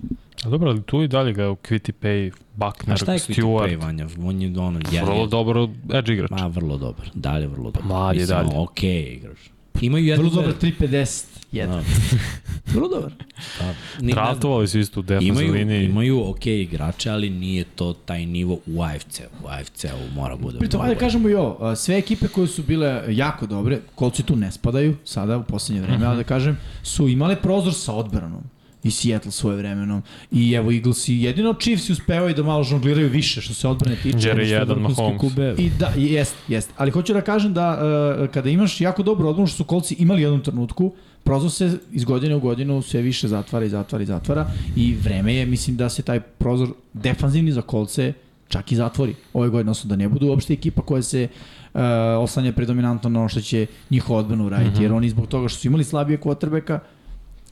D: A dobro, ali tu i dalje ga Quitty Pay,
A: A
D: Buckner,
A: šta je Quitty
D: Stewart,
A: Pay, Vanja? On je ono, jer
D: vrlo
A: je,
D: dobro edge igrač.
A: ma, vrlo dobar, dalje vrlo dobar.
D: Mlad je
A: Mislim,
D: dalje.
A: Ok, igrač. Imaju jednu...
B: Vrlo dobro, 3.50. Jedan.
A: Da.
B: Vrlo dobar.
A: Da. Ni- ne znam.
D: Draftovali su isto u defensivnoj
A: Imaju,
D: liniji.
A: imaju ok igrače, ali nije to taj nivo u AFC-u. U AFC-u mora bude.
B: Pritom,
A: mnogo
B: ajde kažemo i ovo, a, sve ekipe koje su bile jako dobre, kolci tu ne spadaju, sada u poslednje vreme, ali da kažem, su imale prozor sa odbranom i Seattle svoje vremenom i evo Eagles i jedino Chiefs uspevaju da malo žongliraju više što se odbrane tiče.
D: Jer
A: bolje.
D: je jedan
A: Vrhunski
D: Mahomes.
A: kube.
B: I da, jest, jest. Ali hoću da kažem da uh, kada imaš jako dobru odbranu što su kolci imali u jednom trenutku, prozor se iz godine u godinu sve više zatvara i zatvara i zatvara i vreme je, mislim, da se taj prozor defanzivni za kolce čak i zatvori ove godine, odnosno da ne budu uopšte ekipa koja se uh, oslanja predominantno na ono što će njihovu odbranu uraditi, mm -hmm. jer oni zbog toga što su imali slabije kvotrbeka,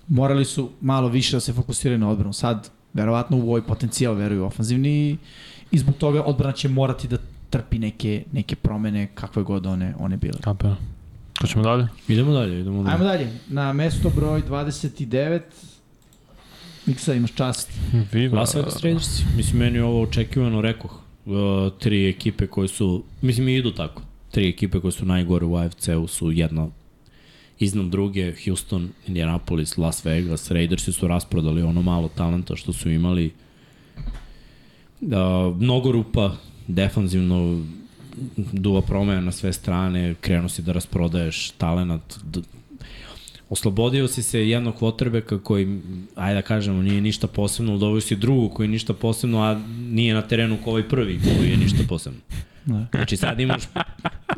B: morali su malo više da se fokusiraju na odbranu. Sad, verovatno u ovoj potencijal veruju ofanzivni i, i zbog toga odbrana će morati da trpi neke, neke promene kakve god one, one bile.
D: Kapira. Ko ćemo dalje?
A: Idemo dalje, idemo dalje.
B: Ajmo dalje, na mesto broj 29, Miksa imaš čast.
D: Viva.
A: Las Vegas Raidersi. da, Mislim, meni je ovo očekivano, rekoh. Uh, tri ekipe koje su, mislim i idu tako, tri ekipe koje su najgore u AFC-u su jedna iznad druge, Houston, Indianapolis, Las Vegas, Raidersi su rasprodali ono malo talenta što su imali. Uh, mnogo rupa, defanzivno, duva promena na sve strane, krenuo si da rasprodaješ talenat, d- oslobodio si se jednog quarterbacka koji, ajde da kažemo, nije ništa posebno, dovio si drugu koji je ništa posebno, a nije na terenu kao ovaj prvi koji je ništa posebno.
B: Da.
A: Znači sad imaš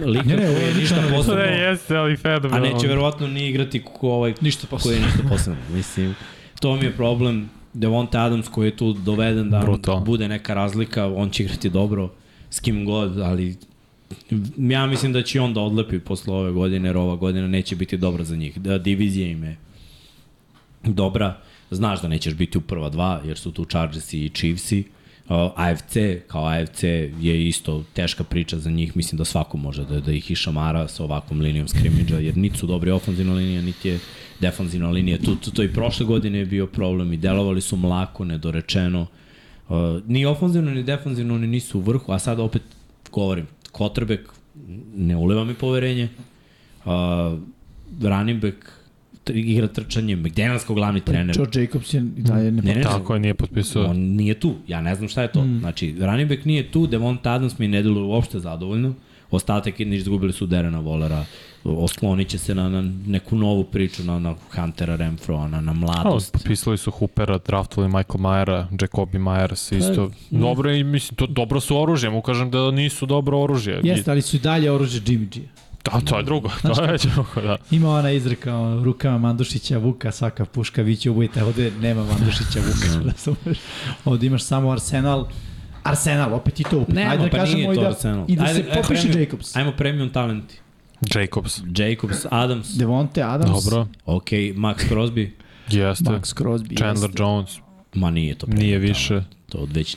A: lika
B: Ne, ne, ovo
A: koji
B: je
A: je ništa
B: odličan
A: posebno,
D: jeste, ali fenomenalno.
A: a neće verovatno ni igrati ko ovaj ništa koji je ništa posebno. Mislim, to mi je problem. Devonta Adams koji je tu doveden da
D: Brutalno.
A: bude neka razlika, on će igrati dobro s kim god, ali ja mislim da će i on da odlepi posle ove godine, jer ova godina neće biti dobra za njih. Da, divizija im je dobra, znaš da nećeš biti u prva dva, jer su tu Chargersi i Chiefsi. Uh, AFC, kao AFC, je isto teška priča za njih. Mislim da svako može da, da ih išamara sa ovakvom linijom skrimidža, jer niti su dobri ofenzivna linija, niti je defanzivna linija. Tu, tu, to i prošle godine je bio problem i delovali su mlako, nedorečeno. Uh, ni ofenzivno, ni defanzivno, oni nisu u vrhu, a sad opet govorim, Kotrbek ne uliva mi poverenje, uh, running back tr- igra trčanje, McDaniels kao glavni trener.
B: George Jacobs je i dalje ne,
A: Ne, ne,
D: Pa, Tako je, nije potpisao.
A: on nije tu, ja ne znam šta je to. Mm. Znači, running back nije tu, Devonta Adams mi ne deluje uopšte zadovoljno, ostatak je izgubili su Derena Volera, oslonit će se na, na neku novu priču, na, na Huntera Renfroa, na, na
D: O,
A: mladost.
D: potpisali su Hoopera, draftovali Michael Myera, Jacobi Myers isto. Dobro je, mislim, to dobro su oružje, mu kažem da nisu dobro oružje.
B: Jeste, ali su i dalje oruđe Jimmy G.
D: Da, to je drugo, to je drugo, da.
B: Ima ona izreka o rukama Mandušića, Vuka, svaka puška, vi će ubojite, ovde nema Mandušića, Vuka, razumeš? Ovde imaš samo Arsenal, Arsenal, opet i to upit.
A: Nema,
B: Ajde da
A: pa
B: kažemo
A: nije
B: i
A: to
B: da,
A: Arsenal.
B: i da
A: Ajde,
B: se
A: ajde,
B: popiše
A: premium-
B: Jacobs.
A: Ajmo premium talenti.
D: Jacobs.
A: Jacobs, Adams,
B: Devonte Adams,
D: Dobro,
A: ok, Max Crosby,
D: jeste.
B: Max Crosby.
D: Chandler
B: jeste.
D: Jones,
A: ma nije to premium
D: nije
A: talent.
D: više.
A: To od već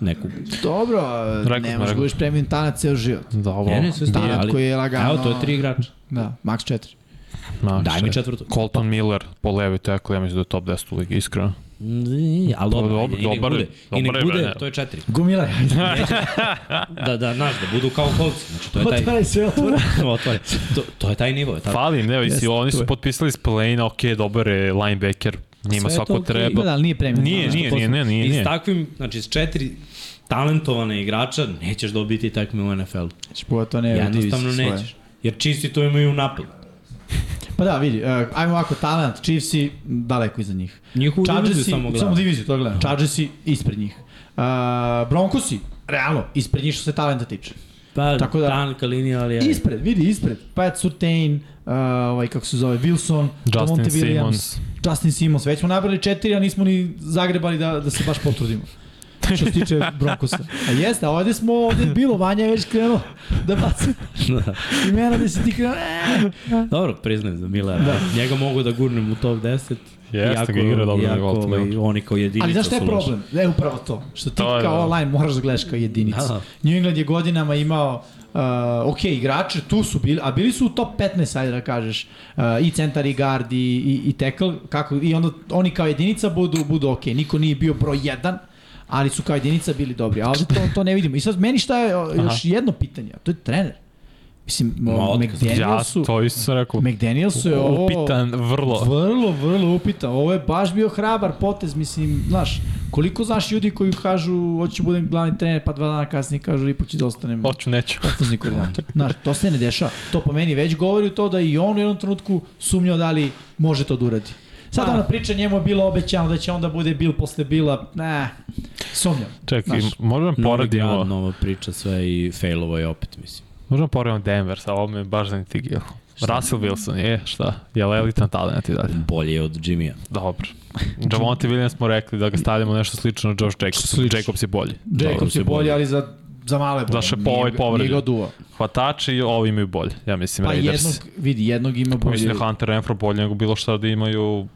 A: neku...
B: Dobro,
D: Rekao
B: ne
D: sam,
B: možeš
D: rekao
B: budeš premium talent ceo život.
D: Da, ovo.
A: Ne, ne, sve stoji,
B: Talent
A: ali...
B: koji je lagano...
A: Evo, to je tri igrača.
B: Da, max četiri.
D: Max,
A: Daj mi
D: e.
A: četvrtu.
D: Colton Miller po levi tekli, ja mislim da je top 10 u ligi, iskreno.
A: Mm, Ali dobro,
D: Pa dobro,
A: i nek
D: dobar je,
A: bude. I nek
D: dobar je,
A: bude,
D: bre.
A: to je četiri.
B: Gumila je.
A: Da, da, znaš, da budu kao kolci. Znači, to je taj...
B: Otvaraj sve, otvaraj.
A: Otvori. To, to je taj nivo. Je taj...
D: Fali im, ne,
B: Jeste,
D: yes, oni
B: tu je.
D: su potpisali Splane, ok, dobar je linebacker, njima
A: Sve je
D: svako
A: to okej,
D: treba.
B: Da, ali nije premium
D: Nije,
B: talent.
D: nije, nije, ne, nije,
A: I s
D: nije.
A: takvim, znači, s četiri talentovana igrača, nećeš dobiti takme u NFL-u.
B: Špotone,
A: Jednostavno nećeš. Jer Chiefs to imaju napad.
B: Pa da, vidi, uh, ajmo ovako, talent, Chiefsi daleko iza njih.
A: Njihovu diviziju
B: Chargersi,
A: samo
B: samo,
A: gledam.
B: samo diviziju, to gledam. Chargersi ispred njih. Uh, Broncosi, realno, ispred njih što se talenta tiče.
A: Pa,
B: Tako da-
A: tanka linija, ali... ajde.
B: Ispred, vidi, ispred. Pat Surtain, uh, ovaj, kako se zove, Wilson,
D: Justin
B: Damonte Williams,
D: Simmons.
B: Justin Simmons. Već smo nabrali četiri, a nismo ni zagrebali da, da se baš potrudimo. što se tiče Broncosa. A jeste, a ovde smo, ovde je bilo, Vanja je već krenuo da baca
A: Da.
B: imena gde si ti krenuo. E,
A: Dobro, priznajem za Milera. Da. Njega mogu da gurnem u top 10.
D: Jeste,
A: iako-
D: ga igra dobro
A: iako,
D: nego Baltimore.
A: ovaj, oni kao jedinica
B: Ali znaš šta je
A: su loši.
B: problem? E, upravo to. Što ti
D: To je,
B: kao
D: da.
B: online moraš da gledaš kao jedinicu.
A: Da.
B: New England je godinama imao Uh, ok, igrače tu su bili, a bili su u top 15, ajde da kažeš, uh, i centar, i guard, i, i, i tackle, kako, i onda oni kao jedinica budu, budu ok, niko nije bio broj 1, ali su kao jedinica bili dobri, a ovde to, to ne vidimo. I sad, meni šta je o, još Aha. jedno pitanje, a to je trener. Mislim,
A: Ma,
B: o,
A: otkaz.
D: Ja
B: McDanielsu,
D: to isto sam rekao.
B: McDanielsu je ovo...
D: Upitan, vrlo.
B: Vrlo, vrlo upita. Ovo je baš bio hrabar potez, mislim, znaš, koliko znaš ljudi koji kažu hoću da budem glavni trener, pa dva dana kasnije kažu ipak ću da ostanem
D: Hoću, neću.
B: ofenzivni koordinator. Znaš, to se ne dešava. To po meni već govori u to da i on u jednom trenutku sumnjao da li može to da uradi. Sad
A: Pa.
B: ona priča njemu je bilo obećano da će onda bude bil posle bila, ne, sumnjam.
D: Čekaj,
B: Znaš,
D: možemo
A: Novi grad,
D: poredimo,
A: nova priča, sve i failovo je opet, mislim.
D: možemo poredimo Denver, sa ovo me baš zanitigio. Russell Wilson je, šta? Je li elitan talent i dalje?
A: Bolje je od Jimmya.
D: Dobro. Javonte Williams smo rekli da ga stavljamo nešto slično na Josh Jacobs.
B: Slično.
D: Jacobs je Da, bolji.
A: Dobro
B: Jacobs
A: se
B: je bolji,
A: bori.
B: ali za, za male bolje.
D: Za Šepo
B: Nije
D: ovaj
B: ga-
D: povređen.
B: Nije ga duo.
D: Hvatači i ovi imaju bolje, ja mislim,
B: Pa
D: Raiders.
B: jednog, vidi, jednog ima bolje.
D: Mislim da je Hunter Renfro bolje nego bilo šta da imaju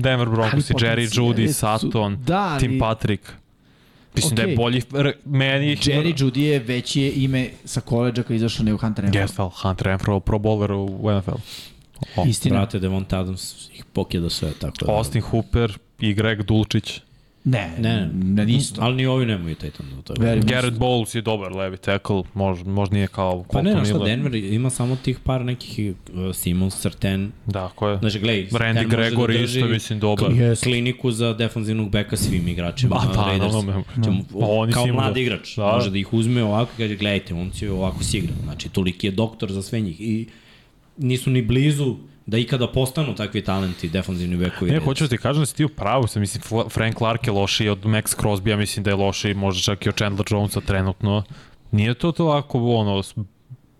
D: Denver
B: Ali
D: Broncos i
B: potencijali
D: Jerry Judy,
B: su-
D: Sutton,
B: da, ali-
D: Tim Patrick. Mislim da je
B: Okej.
D: bolji r- meni...
B: Jerry Judy je veće ime sa koleđa koji je izašao nego Hunter Renfro.
D: Yes, well, Hunter Renfro, pro bowler u NFL. O,
B: Istina.
A: Brate, Devont Adams ih pokjeda sve, tako da...
D: Austin Hooper i Greg Dulčić.
B: Ne,
A: Ne, ne,
B: ne, isto.
A: Mm, Ali ni ovi nemaju taj tamo. To je.
B: Verujem.
D: Garrett Bowles je dobar levi tackle, možda mož nije kao
A: Pa ne,
D: Colton
A: znaš šta,
D: Miller.
A: Denver ima samo tih par nekih uh, Simons, Sertan,
D: Da, ko
B: Pa.
D: je?
A: Znači, gledaj,
D: Randy Gregory isto je, mislim, dobar.
A: Yes. kliniku za defanzivnog beka svim igračima.
D: Ba, pa,
A: Raiders.
D: naravno, me-
A: Čemu-
D: Pa, oni
A: kao
D: svi mogu.
A: mlad igrač.
D: Da.
A: Može da ih uzme ovako i kaže, gledajte, on će ovako si igra. Znači, toliki je doktor za sve njih. I nisu ni blizu da ikada postanu takvi talenti defanzivni bekovi.
D: Ne,
A: Raiders.
D: hoću da ti kažem da si ti u pravu, sam, mislim, Fla- Frank Clark je lošiji od Max Crosby, ja mislim da je lošiji, možda čak i od Chandler Jonesa trenutno. Nije to to ovako, ono, s-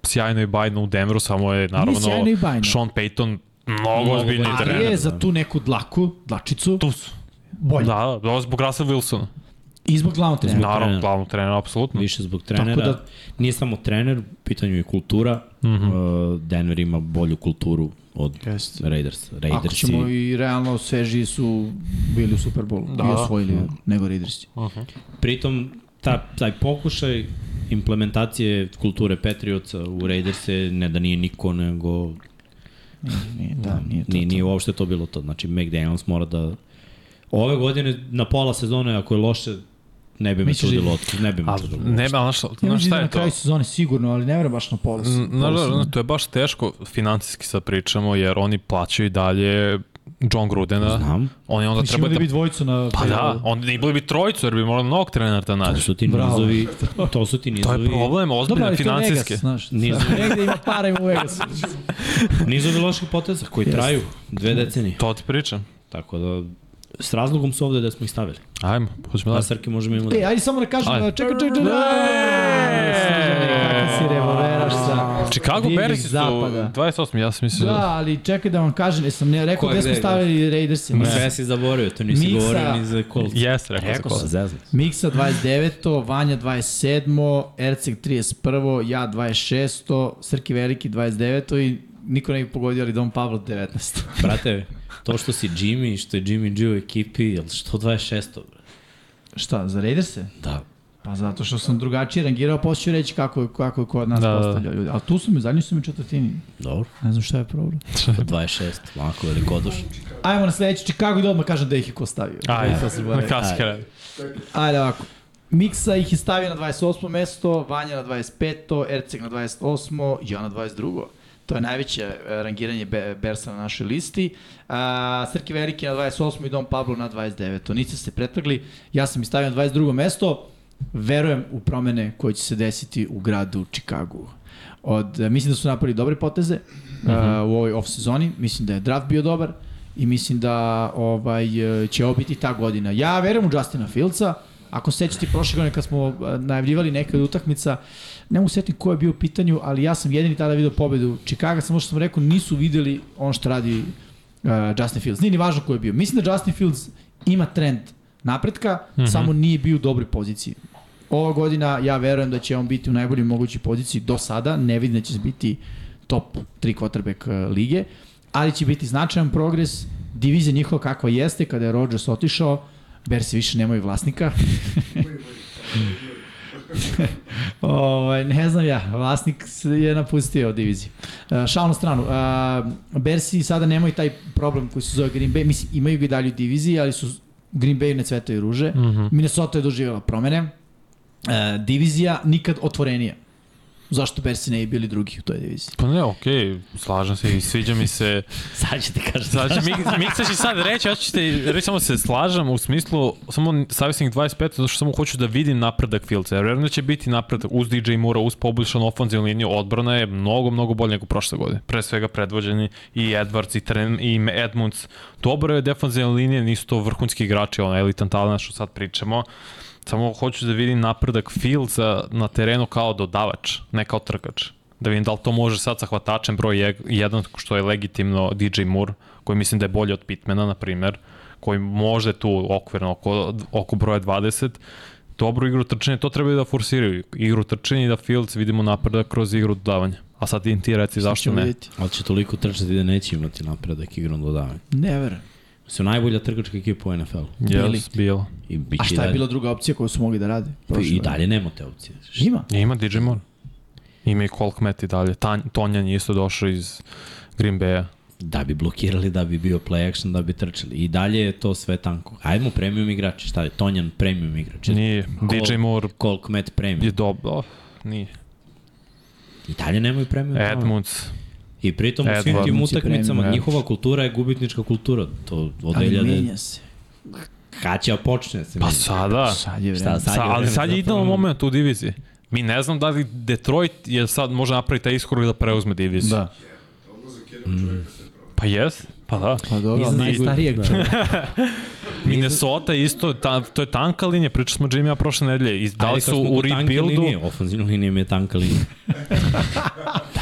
D: sjajno i bajno u Denveru, samo je, naravno,
B: sjajno i bajno.
D: Sean Payton mnogo
A: Mnogo
D: ozbiljni
A: bolji.
B: Ali
D: trener.
B: je za tu neku dlaku, dlačicu,
D: Tu su.
B: bolje. Da.
D: Da, da, zbog Russell Wilsona.
B: I zbog glavnog trenera.
D: Naravno,
A: trenera.
D: glavno trener, apsolutno.
A: Više zbog trenera.
B: Tako da-
A: Da... Nije samo trener, u pitanju je kultura. Mm
D: Mhm.
A: -hmm. Denver ima bolju kulturu od
B: Jeste.
A: Raiders.
B: Ako
A: Raidersi...
B: ćemo i realno svežiji su bili u Superbowlu da.
D: Da.
B: i osvojili nego Raidersi.
D: Mhm.
A: Pritom, ta, taj pokušaj implementacije kulture Patriotsa u Raiderse, ne da nije niko, nego
B: Nije, da, nije to.
A: nije, nije uopšte to bilo to. Znači, McDaniels mora da... Ove godine, na pola sezone, ako je loše, ne bi me
B: Misliš da-
A: čudilo. otkud- Ne bi me
D: Ali,
A: čudilo.
D: ne, ali znaš,
B: Ja
D: znaš
B: mislim
D: šta
B: da na
D: je to?
B: kraju sezone sigurno, ali ne vrem baš na polos.
D: Znaš, da, to je baš teško financijski sad pričamo, jer oni plaćaju i dalje John Grudena.
A: Znam.
D: Oni onda
B: Mislim
D: treba
B: da
D: da
B: bi dvojicu na...
D: Pa da, onda i bili bi trojicu, jer bi morao novog trenera da
A: To
D: nađe.
A: su ti
B: Bravo.
A: nizovi, to su ti
D: To
A: nizovi,
D: je problem,
B: Dobro,
D: ozbiljne
B: ali Da, to je
D: financijske.
B: Vegas, znaš.
A: Nije-
B: Negde ima para ima u Vegasu.
A: nizovi loših poteza koji traju dve decenije.
D: To ti pričam.
A: Tako da, s razlogom su ovde da smo ih stavili.
D: Ajmo, hoćemo
A: Da,
D: da.
A: Srke, možemo imati.
B: E, ajde samo da kažem,
D: Ajde.
B: čekaj, čekaj, čekaj. Kako si revolveraš sa
D: Chicago
B: divnih
D: Bears su
B: zapada.
D: 28, ja sam mislio.
B: Da,
D: Da.
B: ali čekaj da vam kažem, jesam ne rekao
A: Ko je
B: gde smo
A: gde,
B: stavili Raiders.
A: Sve si zaboravio, to nisi
B: Miksa-
A: govorio ni za Colts.
D: Jes, rekao,
A: Rekao
D: rekao
A: sam.
D: sam.
A: Zezno.
B: Miksa 29. Vanja 27. Erceg 31. Ja 26. Srki Veliki 29. I niko ne bi pogodio, ali Dom Pavlo 19.
A: Brate, to što si Jimmy, što je Jimmy G u ekipi, jel što 26. Bre?
B: Šta, za Raiderse?
A: Da.
B: Pa zato što sam drugačije rangirao, posle ću reći kako je, kako je kod nas
D: Da,
B: da.
D: da, da.
B: postavlja ljudi. Ali tu su mi, zadnji su mi u četvrtini.
A: Dobro, pa
B: Ne znam šta je problem.
A: to 26, onako velikoduš.
B: Ajmo na sledeći Chicago i da odmah kažem da ih je ko stavio.
D: Ajde,
B: Da se bore.
D: klasika. Ajde.
B: Ajde ovako. Miksa ih je stavio na 28. mesto, Vanja na 25. Erceg na 28. Ja na 22. To je najveće e, rangiranje Be- Bersa na našoj listi. A, Srki Veliki na 28. i Dom Pablo na 29. Niste se pretrgli. Ja sam ih stavio na 22. mesto. verujem u promene koje će se desiti u gradu Čikagu. Od, e, mislim da su napravili dobre poteze uh -huh. u ovoj off sezoni, mislim da je draft bio dobar i mislim da ovaj, e, će ovo biti ta godina. Ja verujem u Justina Fieldsa, Ako se sećate prošle godine kad smo e, najavljivali neke od utakmica, ne mogu se setiti ko je bio u pitanju, ali ja sam jedini tada video pobedu Čikaga, samo što sam rekao nisu videli ono što radi uh, Justin Fields. Nije ni važno ko je bio. Mislim da Justin Fields ima trend napretka, mm -hmm. samo nije bio u dobroj poziciji. Ova godina ja verujem da će on biti u najboljoj mogućoj poziciji do sada, ne vidim da će biti top 3 quarterback uh, lige, ali će biti značajan progres, divizija njihova kakva jeste, kada je Rodgers otišao, Bersi više nemaju vlasnika. Ovaj ne znam ja, vlasnik se je napustio diviziju. Uh, šal na stranu, uh, Bersi sada nemaju taj problem koji se zove Green Bay, mislim imaju ga i dalje u diviziji, ali su Green Bay ne cvetaju ruže. Mm -hmm. Minnesota je doživjela promene. Uh, divizija nikad otvorenija. Zašto Bersi ne bi bili drugi u toj diviziji?
D: Pa ne, okej, slažem se i sviđa mi se.
A: Sad ću ti kažem.
D: Znači, mi, Miksa će sad reći, ja ću ti reći samo se slažem u smislu, samo savjesnik 25, zato što samo hoću da vidim napredak Fieldsa. Jer vjerujem da će biti napredak uz DJ Mura, uz poboljšanu ofenzivnu liniju, odbrana je mnogo, mnogo bolje nego prošle godine. Pre svega predvođeni i Edwards i, Tren, i Edmunds. Dobro je defanzivna linija, nisu to vrhunski igrači, ona elitan talent što sad pričamo samo hoću da vidim napredak Fieldsa na terenu kao dodavač, ne kao trkač. Da vidim da li to može sad sa hvatačem broj 1, što je legitimno DJ Moore, koji mislim da je bolje od Pitmana, na primer, koji može tu okvirno oko, oko broja 20, dobru igru trčanja, to trebaju da forsiraju. Igru trčanja i da Fields vidimo napredak kroz igru dodavanja. A sad im ti reci zašto
B: Ćemo
D: ne.
B: vidjeti.
A: Ali će toliko trčati da neće imati napredak igrom dodavanja.
B: Ne verujem.
A: Su najbolja trgačka ekipa u NFL-u.
B: Bili.
D: Yes, bilo.
A: I bit
B: A
A: će
B: šta je
A: dalje-
B: bila druga opcija koju su mogli da rade?
A: Pa I dalje nema te opcije.
B: Ima.
D: Ima DJ Moore. Ima i Colt Met i dalje. Tan, Tonjan je isto došao iz Green Bay-a.
A: Da bi blokirali, da bi bio play action, da bi trčali. I dalje je to sve tanko. Ajmo premium igrači, šta je? Tonjan premium igrač.
D: Nije.
A: Cole-
D: DJ Moore
A: Cole Kmet premium.
D: je dobro. Oh, nije.
A: I dalje nemaju premium.
D: Edmunds.
A: I pritom u svim
D: Edwards.
A: tim
B: Edmunds i
A: utakmicama
D: premium.
A: njihova kultura je gubitnička kultura. To od
B: Ali
A: 2000...
B: menja se.
A: Kaća počne se.
D: Pa
A: menja.
D: sada.
B: Sad je
A: Šta
B: vreme.
A: sad?
D: Sa, ali
A: vreme
D: sad
A: za
D: je idealan
A: promenu.
D: moment u diviziji. Mi ne znam da li Detroit je sad može napraviti taj iskorak da preuzme diviziju.
B: Da.
D: Pa jes, pa da.
B: Pa dobro,
A: Iznad
B: najstarijeg čovjeka.
D: Minnesota isto, ta, to je tanka linija, pričali smo Jimmy-a prošle nedelje. I da
A: Ali
D: li
A: kad
D: su
A: smo
D: u
A: kod tanke linije,
D: rebuildu,
A: Ofenzivna linija mi je tanka linija.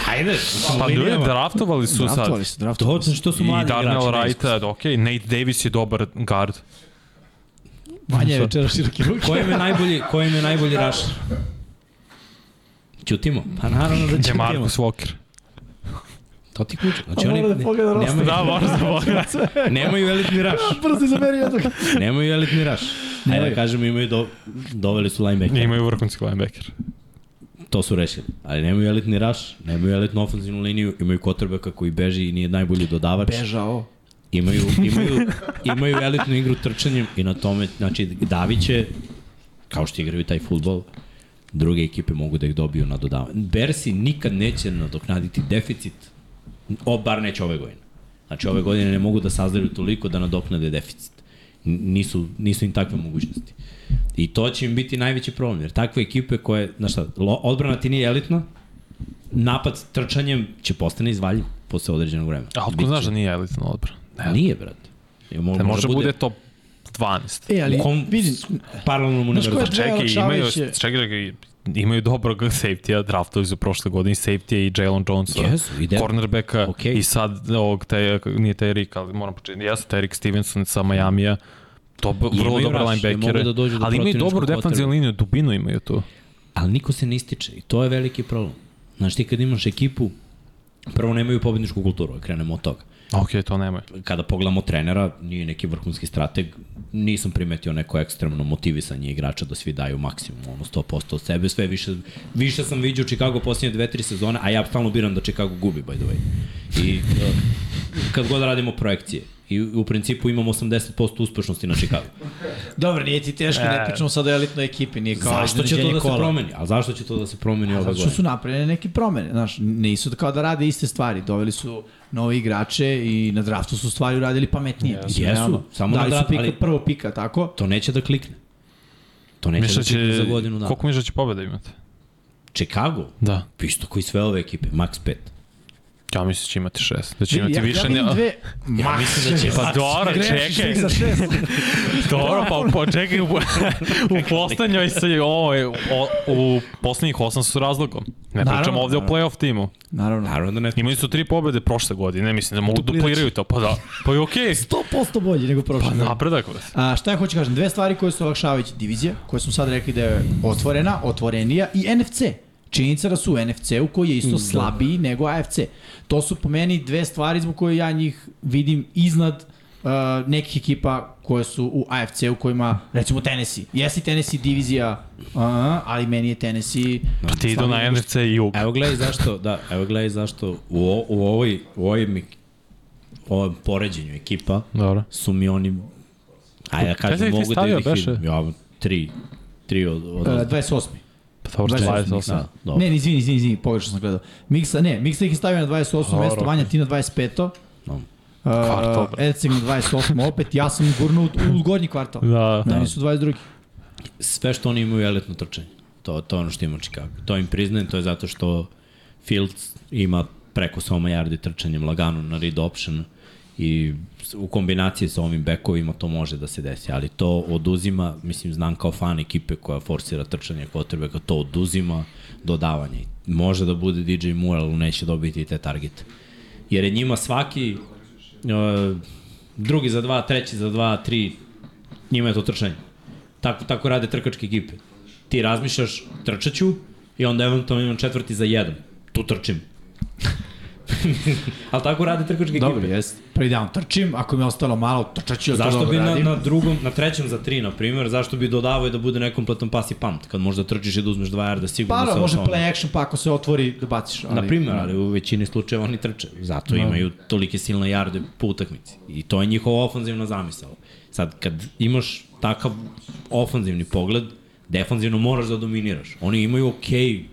A: Ajde,
D: pa
A: u
D: ljudi
A: linijama.
D: draftovali su sad.
B: Draftovali su, draftovali
A: To sam što su
D: I
A: mladi igrači.
D: Darnell
A: ne,
D: Wrighta, ok, Nate Davis je dobar guard.
B: Vanja je večera široki ruke.
A: Ko im je najbolji, ko im je najbolji raš? Ćutimo. Pa naravno da
D: Je
A: ćutimo.
D: Marcus Walker.
A: To ti kuće. Znači
B: A
A: oni
B: mora da pogleda roster.
A: nemaju,
D: Da, možda Walker.
A: nemaju elitni raš.
B: Brzo izaberi jednog.
A: Nemaju elitni raš. Ajde
B: Nemaju.
A: da kažem imaju do, doveli su linebacker.
D: Imaju vrhunski linebacker.
A: To su rešili. Ali nemaju elitni raš, nemaju elitnu ofenzivnu liniju, imaju quarterbacka koji beži i nije najbolji dodavač.
B: Bežao.
A: Imaju, imaju, imaju elitnu igru trčanjem i na tome, znači Davić će, kao što igraju taj futbol, druge ekipe mogu da ih dobiju na dodavanje. Bersi nikad neće nadoknaditi deficit, o, bar neće ove godine. Znači ove godine ne mogu da sazdaju toliko da nadoknade deficit. N- Nisu, nisu im takve mogućnosti. I to će im biti najveći problem, jer takve ekipe koje, znaš šta, lo- odbrana ti nije elitna, napad trčanjem će postane izvaljiv posle određenog vremena.
D: A otko
A: Biće-
D: znaš da nije elitna odbrana? Ne.
A: Nije, brate. Ja, mo, da
D: Ne Pa može bude top 12.
B: E, ali
A: u kom
B: vidim,
A: paralelnom
B: Znaš ko je
A: univerzu.
B: Dve
D: Čekaj, imaju,
B: olakšavajuće-
D: čekaj, čekaj, imaju dobrog safety-a, draftovi su prošle godine, i safety-a i Jalen Johnson.
A: Jesu, i de-
D: cornerbacka
A: Okej.
D: i sad ovog, taj, nije taj Rick, ali moram početi, jeste taj Rick Stevenson sa Majamija, to
A: Imaju
D: vrlo
A: rush,
D: dobre
A: mogu
D: linebackere,
A: da dođu do
D: ali imaju
A: protivničkog
D: dobru defensivnu
A: quarterbacka.
D: liniju, dubinu imaju tu.
A: Ali niko se ne ističe i to je veliki problem. Znaš, ti kad imaš ekipu, prvo nemaju pobedničku kulturu, krenemo od toga.
D: Ok, to nemaju.
A: Kada pogledamo trenera, nije neki vrhunski strateg, nisam primetio neko ekstremno motivisanje igrača da svi daju maksimum, ono 100% od sebe, sve više, više sam vidio Chicago posljednje dve, tri sezone, a ja stalno biram da Chicago gubi, by the way. I uh, kad god radimo projekcije, i u principu imamo 80% uspešnosti na Chicago.
B: Dobro, nije ti teško, ne pričamo sad o elitnoj ekipi, nije kao
A: E. zašto će to
B: iznenađenje
A: da
B: kola.
A: se promeni? A zašto će to da se promeni ove
B: Zato što
A: godine?
B: su napravljene neke promene, znaš, nisu kao da rade iste stvari, doveli su nove igrače i na draftu su stvari uradili pametnije. Yes.
A: Jesu, samo na
B: Dali su
A: draftu,
B: pika,
A: ali-
B: prvo pika, tako?
A: To neće da klikne. To neće
D: Misliš
A: da
D: da će,
A: čeka za godinu dana.
D: koliko misliš da će pobjeda imati?
A: Chicago, Pa
D: Da.
A: isto koji sve ove ekipe, max 5.
D: Ja mislim da će imati šest. Da će imati
B: ja,
D: više...
B: ja vidim
D: ne-
B: dve...
A: Ja mislim da će...
D: Pa dobro,
B: Grešiš
D: čekaj.
B: ti sa šest.
D: Dobro, pa pa čekaj, u, u poslednjoj se, ovo je, o, u poslednjih osam su razlogom. Ne
B: Naravno,
D: pričamo ovde o play-off timu.
B: Naravno.
A: Naravno da ne.
D: Imali su tri pobjede prošle godine, mislim da mogu
B: Dupliraće.
D: dupliraju to, pa da. Pa je okej,
B: 100% bolji nego prošle.
D: pa napredak. bre.
B: A, šta ja hoću kažem, dve stvari koje su olakšavajuće divizija, koje smo sad rekli da je otvorena, otvorenija i NFC. Činjenica da su u NFC-u koji je isto slabiji nego AFC. To su po meni dve stvari zbog koje ja njih vidim iznad uh, nekih ekipa koje su u AFC-u kojima, recimo Tennessee. Jesi Tennessee divizija, uh, ali meni je Tennessee...
D: Pa ti idu na NFC i jug.
A: Evo gledaj zašto, da, evo gledaj zašto u, o, u ovoj, u ovoj mi, ovom poređenju ekipa
D: Dobro.
A: su mi oni, ajde da
D: si
A: kažem,
D: ih ti
A: mogu da
D: stavio,
A: ih vidim.
D: beše? E, da,
A: Ja, tri, tri od, od,
B: Uh,
A: od
B: 28.
D: Pa dobro,
B: 28.
D: 28.
A: Da, dobro.
B: Ne, ne, izvini, izvini, izvini, pogrešno sam gledao. Miksa, ne, Miksa ih je stavio na 28.
D: Dobro,
B: mesto, Vanja ti na 25.
A: Dobro.
D: Kvartal,
B: Uh,
D: bre.
B: Edceg na 28. opet, ja sam gurnuo u, u gornji kvartal.
D: Da.
B: Da. Oni su 22.
A: sve što oni imaju je elitno trčanje. To, to je ono što ima Chicago. To im priznajem, to je zato što Fields ima preko 100 yardi trčanjem lagano na read option i s- u kombinaciji sa ovim bekovima to može da se desi, ali to oduzima, mislim, znam kao fan ekipe koja forsira trčanje potrebe, da to oduzima dodavanje. Može da bude DJ Moore, ali neće dobiti te targete. Jer je njima svaki e, drugi za dva, treći za dva, tri, njima je to trčanje. Tako, tako rade trkačke ekipe. Ti razmišljaš, trčaću, i onda eventualno imam četvrti za jedan. Tu trčim. Ali tako rade trkačke
B: Dobro,
A: ekipe.
B: jest. Prvi down trčim, ako mi je ostalo malo, trčat ću, to
A: Zašto
B: dobro
A: bi na,
B: radim.
A: na drugom, na trećem za tri, na primjer, zašto bi dodavao da bude nekompletan pas i punt, kad možda trčiš i da uzmeš dva jarda sigurno.
B: Pa, da,
A: sa
B: može
A: osnovom.
B: play action, pa ako se otvori, da baciš. Ali,
A: Na primjer, ali u većini slučajeva oni trče. Zato imaju tolike silne jarde po utakmici. I to je njihova ofanzivna zamisao. Sad, kad imaš takav ofanzivni pogled, defanzivno moraš da dominiraš. Oni imaju okej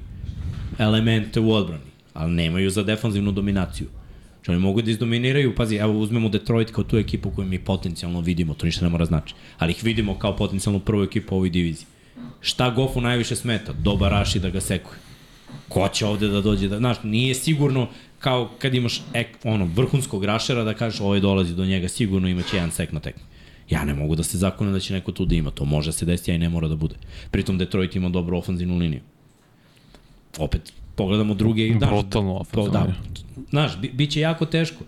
A: elemente u odbrani, ali nemaju za defanzivnu dominaciju. Znači oni mogu da izdominiraju, pazi, evo uzmemo Detroit kao tu ekipu koju mi potencijalno vidimo, to ništa ne mora znači, ali ih vidimo kao potencijalno prvu ekipu u ovoj diviziji. Šta Goffu najviše smeta? Dobar raši da ga sekuje. Ko će ovde da dođe, da, znaš, nije sigurno kao kad imaš ek, ono, vrhunskog rašera da kažeš ovaj dolazi do njega sigurno imaće jedan sek na tekmi. Ja ne mogu da se zakonem da će neko tu da ima, to može da se desiti, a i ne mora da bude. Pritom Detroit ima dobru ofanzivnu liniju opet pogledamo druge i daš,
D: Brutalno
A: to,
D: ofanzivno.
A: da, znaš, bi, bit će jako teško.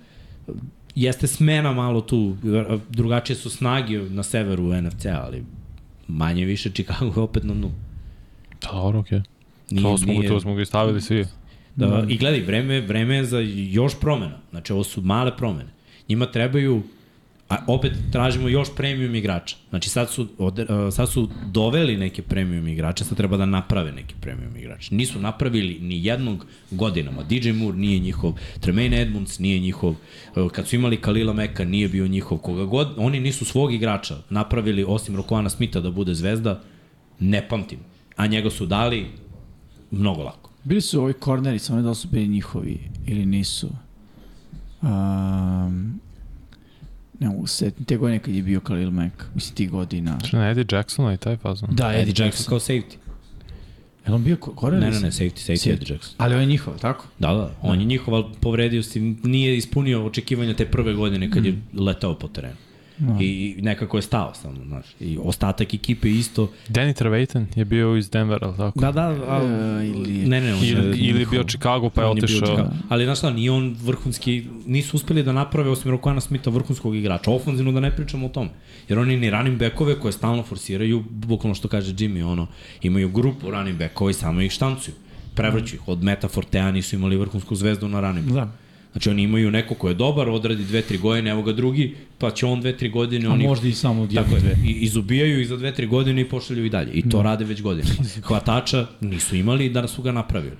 A: Jeste smena malo tu, drugačije su snage na severu NFC-a, ali manje više Chicago je opet na dnu.
D: Da, Dobro, okej.
A: Nije-
D: To smo,
A: nije-
D: to smo ga i stavili svi. Znači,
A: Da, I gledaj, vreme, vreme je za još promena. Znači, ovo su male promene. Njima trebaju, a opet tražimo još premium igrača. Znači, sad su, od, sad su doveli neke premium igrače, sad treba da naprave neki premium igrače. Nisu napravili ni jednog godinama. DJ Moore nije njihov, Tremaine Edmonds nije njihov, e, kad su imali Kalila Meka nije bio njihov, koga god, oni nisu svog igrača napravili, osim Rokovana Smitha da bude zvezda, ne pamtim. A njega su dali mnogo lako.
B: Bili su ovi korneri, samo ne da li su bili njihovi ili nisu. Um, ne mogu se setiti, te godine kad je bio Khalil Mack, mislim ti godina.
D: Znači, na Eddie Jacksona i taj fazon.
B: Da,
A: Eddie Jackson kao safety.
B: Je on bio ko- korner?
A: Ne,
B: ili
A: ne, ne,
B: sam-
A: safety, safety Eddie Jackson.
B: Ali on je njihov, tako?
A: Da, da, on je njihov, ali povredio se, nije ispunio očekivanja te prve godine kad je letao po terenu. I nekako je stao samo, znaš. I ostatak ekipe isto.
D: Danny Trevathan je bio iz Denvera, ali tako?
A: Da, da, ali...
B: E, ili-
A: Ne, ne, on je
D: Ili, ili je bio
A: njihov.
D: Chicago pa je
A: On bio
D: otišao.
A: Chicago.
B: Da.
A: Ali znaš šta, nije on vrhunski, nisu uspeli da naprave osim Rokana Smitha vrhunskog igrača. Ofenzivno da ne pričamo o tome. Jer oni ni running backove koje stalno forsiraju, bukvalno što kaže Jimmy, ono, imaju grupu running backova i samo ih štancuju. Prevrću ih. Od Meta Fortea nisu imali vrhunsku zvezdu na running back.
B: Da.
A: Znači oni imaju neko ko je dobar, odradi dve, tri godine, evo ga drugi, pa će on dve, tri godine,
B: A
A: oni
B: možda i samo od
A: Tako
B: jedne dve.
A: je, i, izubijaju ih za dve, tri godine i pošalju i dalje. I to rade već godinama. Hvatača nisu imali i danas su ga napravili.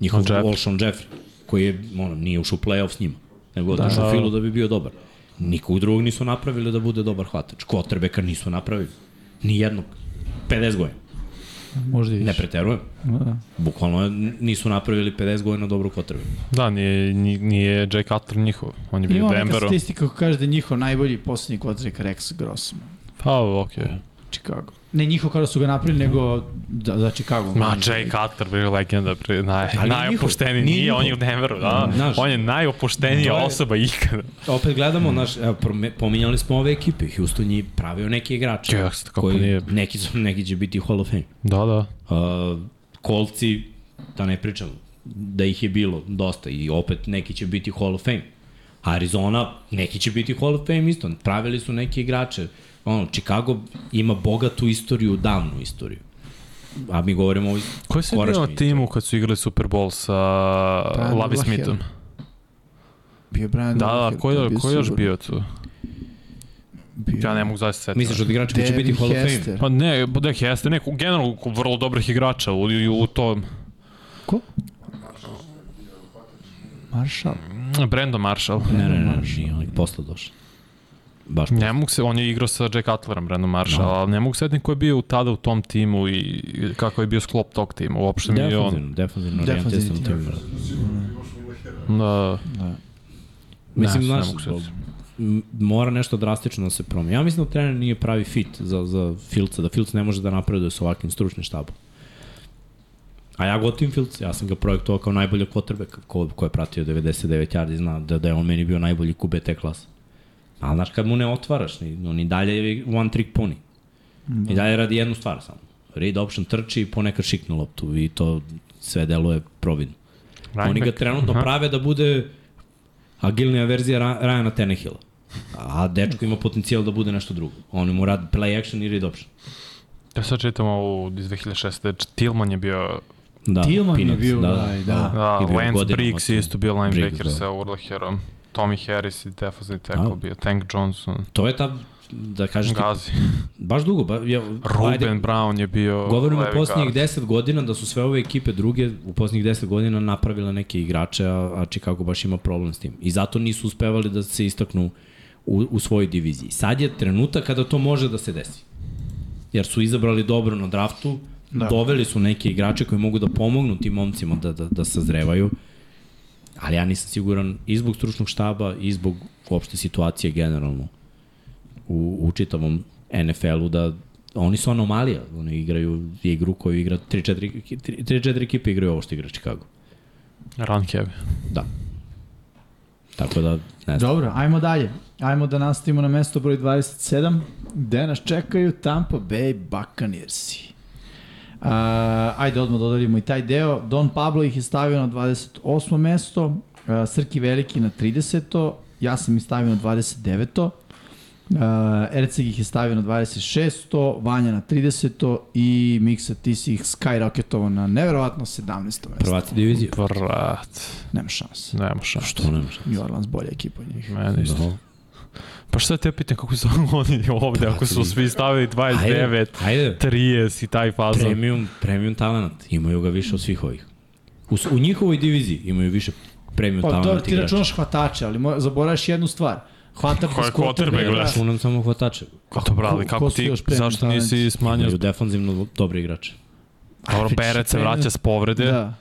A: Njihov
D: Al Jeffrey.
A: Olson Jeffrey, koji je, ono, nije ušao u play-off s njima, nego da,
D: Da.
A: otišao u filu da bi bio dobar. Nikog drugog nisu napravili da bude dobar hvatač. Kotrbeka nisu napravili. Nijednog. 50 godina.
B: Možda i
A: Ne
B: više.
A: preterujem.
B: Da.
A: Bukvalno n- nisu napravili 50 godina dobru kotrbeka.
D: Da, nije, nije, nije Jay Cutler njihov. On pa je bio u
B: Ima neka
D: Denveru.
B: statistika koja kaže da je njihov najbolji poslednji kvotrek Rex Grossman.
D: Pa, okej. Okay.
B: Chicago. Ne njihov kada su ga napravili, nego da, za Chicago.
D: Ma, Jay Cutler, bio legenda, pri, naj,
A: Mm. Ali nije
D: najopušteniji.
A: njihov,
D: Nije,
A: nije
D: on je u
A: njihov.
D: Denveru, da.
A: Znaš.
D: on je najopuštenija
A: To je-
D: osoba ikada.
A: Opet gledamo, naš, evo, prome- pominjali smo ove ekipe, Houston je pravio neke igrače.
D: Jes, kako
A: koji,
D: nije.
A: Neki, su, neki će biti Hall of Fame.
D: Da, da.
A: Uh, kolci, da ne pričam, da ih je bilo dosta i opet neki će biti Hall of Fame. Arizona, neki će biti Hall of Fame isto. Pravili su neke igrače. Ono, Chicago ima bogatu istoriju, davnu istoriju. A mi govorimo o
D: Koji se bio
A: skorašnjoj
D: na
A: istoriji.
D: timu kad su igrali Super Bowl sa
A: Pa,
C: Brian
D: Lavi
C: Dullahill.
D: Smithom?
C: Bio je Brian
D: Da, da,
C: Dullahill,
D: ko
C: to
D: je,
C: je bio
D: ko je još
C: sigurno.
D: bio tu?
C: Bio.
D: Ja ne mogu zaista setiti.
A: Misliš od igrača koji da će
C: Devin
A: biti Hall of Fame?
C: Hester.
D: Pa ne, da jeste, neko, generalno vrlo dobrih igrača u, u, u tom.
C: Ko? Marshall.
D: Brandon Marshall.
A: Ne, ne, ne, ne, nije, on je posle došao. Baš
D: Ne mogu se, on je igrao sa Jack Cutlerom, Brandon Marshall, no. ali ne mogu se setiti ko je bio tada u tom timu i kako je bio sklop tog tima, uopšte mi da je on.
A: Defanzivno, defanzivno
C: Defanzivni
A: orijentisan
C: tim.
A: tim.
D: Da,
A: Mislim,
D: Ne,
A: znaš,
D: ne mogu se setiti.
A: m- mora nešto drastično da se promeni. Ja mislim da trener nije pravi fit za, za Filca, da Filca ne može da napreduje sa ovakvim stručnim štabom. A ja gotivim Filca, ja sam ga projektovao kao najbolji quarterback ko, ko je pratio 99 yardi, zna da, da je on meni bio najbolji QB te klase. Ali znaš, kad mu ne otvaraš, ni, on i dalje je one trick pony.
D: Da.
A: I dalje radi jednu stvar samo. Read option trči i ponekad šikne loptu i to sve deluje providno.
D: Running
A: Oni ga
D: back.
A: trenutno
D: Aha.
A: prave da bude agilnija verzija Ra- Ryana Tannehilla. A dečko ima potencijal da bude nešto drugo. Oni mu radi play action i read option.
D: Ja sad čitam ovu iz 2006. Tillman je bio,
A: Da,
B: Tillman je
A: Peanuts,
B: bio, da, da.
D: da,
A: I bio
D: Lance
A: godinama
D: Briggs
A: tu.
D: je isto bio linebacker
A: Briggs, da.
D: sa Urlacherom, Tommy Harris i defensive tackle
A: Da.
D: bio, Tank Johnson,
A: To je ta, da kažeš ti,
D: Gazi,
A: baš dugo. Ba, ja,
D: Ruben Brown je bio
A: govorimo o
D: levi
A: posljednjih
D: guard.
A: 10 godina da su sve ove ekipe druge u posljednjih 10 godina napravile neke igrače, a, a Chicago baš ima problem s tim. I zato nisu uspevali da se istaknu u, u svojoj diviziji. Sad je trenutak kada to može da se desi. Jer su izabrali dobro na draftu, da. doveli su neke igrače koji mogu da pomognu tim momcima da, da, da sazrevaju, ali ja nisam siguran i zbog stručnog štaba i zbog uopšte situacije generalno u, u čitavom NFL-u da oni su anomalija, oni igraju igru koju igra 3-4 3 4 ekipe igraju ovo što igra Chicago.
D: Run heavy.
A: Da. Tako da, ne znam.
B: Dobro, ajmo dalje. Ajmo da nastavimo na mesto broj 27, gde nas čekaju Tampa Bay Buccaneersi. Uh, ajde odmah dodavimo i taj deo. Don Pablo ih je stavio na 28. mesto, uh, Srki Veliki na 30. Ja sam ih stavio na 29. Uh, Erceg ih je stavio na 26. Vanja na 30. I Miksa ti si ih skyrocketovao na neverovatno 17. mesto.
A: Prvaci divizije.
D: Brat,
B: Nema šanse.
D: nema šta.
A: Što ne može?
B: New Orleans bolja ekipa od njih.
D: Meni isto.
A: Da.
D: Pa šta te pitan kako su oni ovde, ako su svi stavili 29,
A: Ajde, ajde.
D: 30 i taj fazon.
A: Premium, premium talent. Imaju ga više od svih ovih. U, s- u njihovoj diviziji imaju više premium
B: Pa dobro,
A: talent
B: ti
A: igrača.
B: računaš hvatače, ali mora, zaboraviš jednu stvar. Hvatač
D: Ko je
B: bez quarterbacka.
D: quarterback, brate?
A: Računam samo hvatače.
D: Kako brali,
B: ko-
D: kako
B: ko su
D: ti,
B: još premium
D: zašto nisi
B: talenti?
D: smanjio?
A: Imaju defanzivno dobre igrače.
D: Dobro, Berec se vraća s povrede.
B: Da.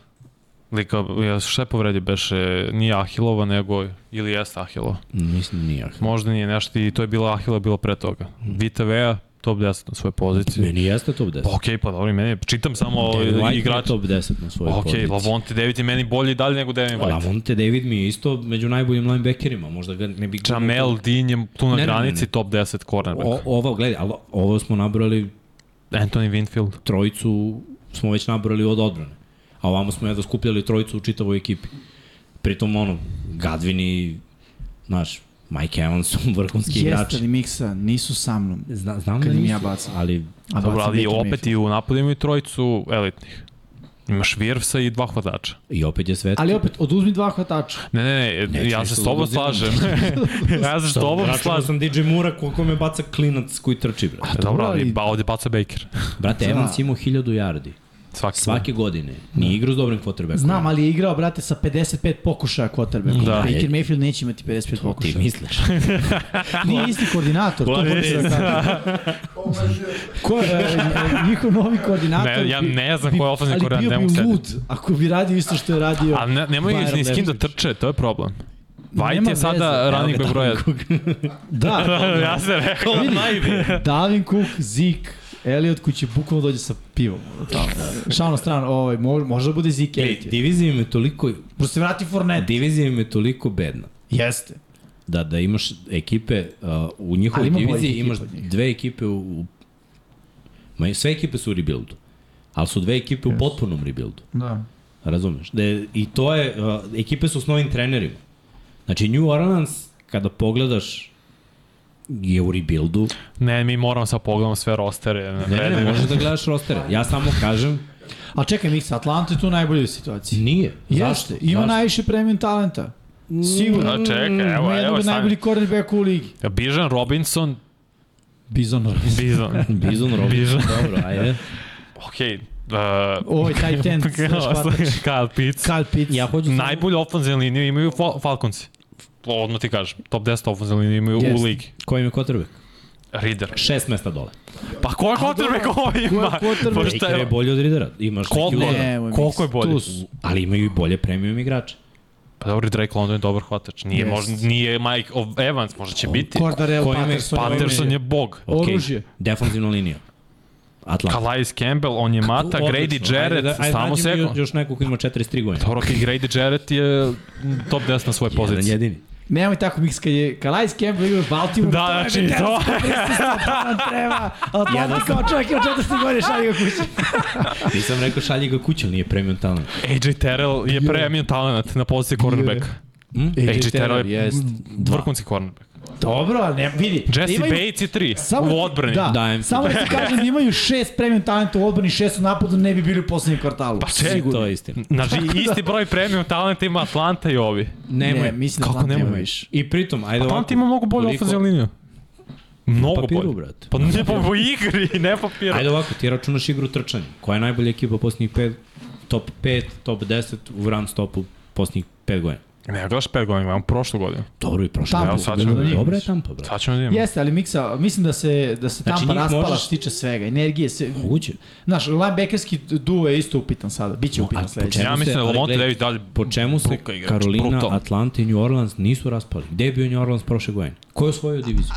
D: Lika, ja šta je povredio beše, nije Ahilova, nego, ili jeste Ahilova.
A: Mislim, nije.
D: Možda nije nešto i to je bilo Ahilova bilo pre toga.
A: Mhm.
D: Vita Vea, top 10 na svojoj poziciji.
A: Meni jeste top 10.
D: Ok, pa dobro, i meni, čitam samo ovaj
A: Devin White je
D: igrač.
A: top 10 na svojoj
D: Ok,
A: poziciji.
D: Lavonte David je meni bolji dalje nego Devin White.
A: Lavonte David mi je isto među najboljim linebackerima, možda ga ne bih...
D: Jamel Dean je tu na
A: Ne, ne, ne,
D: granici
A: ne.
D: top 10 cornerback.
A: O, ovo, gledaj, ali ovo smo nabrali,
D: Anthony Winfield.
A: trojicu smo već nabrali od odbrane. A ovamo smo jedva skupljali trojicu u čitavoj ekipi. Pritom, ono, Gadvin i, znaš, Mike Evans su vrhunski igrači.
B: Jeste li miksa, nisu sa mnom.
A: Zna, znam
B: Kad
A: da
B: im ja
A: nisu,
B: bacam.
A: Ali,
B: A
D: Dobro,
B: bacam
D: ali
B: Baker
D: opet
B: Mayfield.
D: i u napadu imaju trojicu elitnih. Imaš Virvsa i dva hvatača.
A: i opet je sve...
B: Ali opet, oduzmi dva hvatača.
D: Ne, ne, ne,
A: Neću
D: ja se
A: ništa
D: s tobom
A: da uzimam.
D: slažem. ja se s tobom
A: Računao
D: slažem.
A: sam DJ Mura koliko me baca klinac koji trči, brate.
D: Dobro,
B: ali-
D: ali ba, ovdje baca Baker.
A: Brate,
B: Da.
A: Evans imao 1000 yardi.
D: Svaki.
A: Svake godine. Nije igrao s dobrim quarterbackom.
B: Znam, ali je igrao, brate, sa 55 pokušaja quarterbacka.
D: Da.
B: Baker Mayfield neće imati 55
A: Ti
B: pokušaja.
A: misliš?
B: Nije isti koordinator, to
D: Blažević.
B: hoću da kažem. Ko, e, njihov novi koordinator...
D: Ne, ja
B: bi-
D: ne znam ko je ofenzivni
B: ali
D: koordinator, ne mogu
B: bio bi
D: setiti.
B: lud ako bi radio isto što je radio.
D: A ne, nemoj
B: Bayern
D: ni s kim da
B: Leverkusen.
D: trče, to je problem. White
B: Nema
D: je sada
B: veze.
D: running back broja.
B: Da,
D: ja sam rekao, najbolje.
B: Dalvin Cook, Zik, Elliot koji će bukvalno dođe sa pivom. Tamo. Šal na stranu, ovaj, može, može da bude Zeke
A: Ej,
B: Elliot.
A: divizija im je toliko,
B: Prosto se vrati Fournette.
A: divizija im je toliko bedna.
B: Jeste.
A: Da, da imaš ekipe, uh, u njihovoj
B: Ali ima boljih
A: diviziji
B: ekipa
A: imaš
B: od njih.
A: dve ekipe u, u ma, sve ekipe su u rebuildu. Ali su dve ekipe u potpunom rebuildu.
B: Da.
A: Razumeš? Da je, I to je, uh, ekipe su s novim trenerima. Znači, New Orleans, kada pogledaš, je u rebuildu.
D: Ne, mi moramo sad pogledamo sve rostere. Ne,
A: Ne, ne, ne, možeš da gledaš rostere. Ja samo kažem,
B: A čekaj, Miksa, Atlanta je tu u najboljoj situaciji.
A: nije. Zašto?
B: Jeste, ima
A: Zašto?
B: najviše premium talenta. Sigurno.
D: A čekaj, Znači, evo,
B: Ima jednog
D: evo,
B: Mm, od najboljih
D: stani.
B: cornerbacka u ligi.
D: Bižan Robinson,
B: Bizon Robinson.
D: Bizon.
A: Bizon Robinson,
D: Bizon.
A: dobro, ajde.
D: Okej, okay, uh,
B: Ovaj tight end, slash hvatač.
D: Kyle Pitts.
B: Kyle Pitts.
A: Ja hoću samo-
D: Najbolju ofenzivnu liniju imaju Fal Falconsi. Odmah ti kažem, top 10 ofenzivnu liniju imaju
B: Jeste.
D: u ligi.
A: Koji im je kotrbek?
D: Reader.
A: Šest mesta dole.
D: Pa ko je quarterback ovo ima?
B: quarterback?
D: Pa šta
A: Baker je
D: je?
A: bolji od Ridera. Imaš neki
D: Koliko?
A: uloga.
B: Nemoj,
D: Koliko je
B: Miksa,
D: bolje?
B: tu su.
A: Ali imaju i bolje premium igrače.
D: Pa dobro, Drake London je dobar hvatač. Nije,
B: Yes.
D: yes. možda, nije Mike Ov- Evans, možda će biti.
B: Cordarel
A: Ko ima-
B: Patterson.
D: Patterson je bog.
A: Okay.
B: Oružje.
A: Defanzivna linija. Atlanta.
D: Calais Campbell, on je mata, Grady Jarrett, samo
A: da- nađi mi
D: seko.
A: Još, još neko ko ima 43 godine.
D: Dobro, ok, Grady Jarrett je top 10 na svojoj
A: Jedan
D: poziciji.
A: jedini.
B: Nemoj tako Miks, kad je Calais Campbell igra u Baltimore,
D: Da,
B: je
D: znači, to
B: nam treba. Atlanta kao čovjek ima 40 godine šalje ga kući.
A: Nisam rekao šalji ga kuća, nije premium talent.
D: AJ Terrell je premium talent na poziciji cornerback.
A: Hm?
D: AJ Terrell je
B: jest.
D: vrhunski cornerback.
B: Dobro, ali ne, vidi.
A: Da.
D: Jesse
B: imaju-
D: Bates je 3 u odbrani.
B: Da,
A: Dajem ti.
B: samo da ti kažem da imaju šest premium talenta u odbrani, šest u napadu, ne bi bili u poslednjem kvartalu.
D: Pa če-
A: To je istina.
D: Znači,
A: Da.
D: isti broj premium talenta ima Atlanta i ovi.
A: Nemoj.
B: Ne, mislim da
D: Kako
B: Atlanta
D: nemoj?
B: nema više.
A: I pritom, ajde
D: Atlanta Pa ima mnogo bolju
A: koliko- pa
D: ofenzivnu liniju. Mnogo
A: papiru,
D: bolje.
A: brate.
D: Pa ne pa po igri, ne papiru.
A: Ajde ovako, ti računaš igru trčanja. Koja je najbolja ekipa posljednjih 5, top 5, top 10 u run stopu posljednjih 5 godina?
D: Ne, gledaš 5 godina, gledam prošlu godinu.
A: Dobro i prošlo.
B: Tampa.
A: Evo,
D: Evo, sad ćemo
A: dobro,
D: da
A: Dobra je Tampa, brate.
D: Sad ćemo da vidimo.
B: Jeste, ali Miksa, mislim da se, da se
A: Znači,
B: Tampa
A: njih
B: raspala
A: možeš-
B: što se tiče svega, energije, se...
A: Moguće.
B: Znaš, linebackerski duo je isto upitan sada, bit će upitan
A: a
B: sledeće.
A: po čemu
D: Ja mislim
A: se,
D: da
A: ali
D: Lamonte
A: gledaj,
D: David dalje
A: Po čemu se
D: Bruka igrač,
A: Karolina,
D: brutal.
A: Atlanta i New Orleans nisu raspali? Gde je bio New Orleans prošle godine? Ko je osvojio diviziju?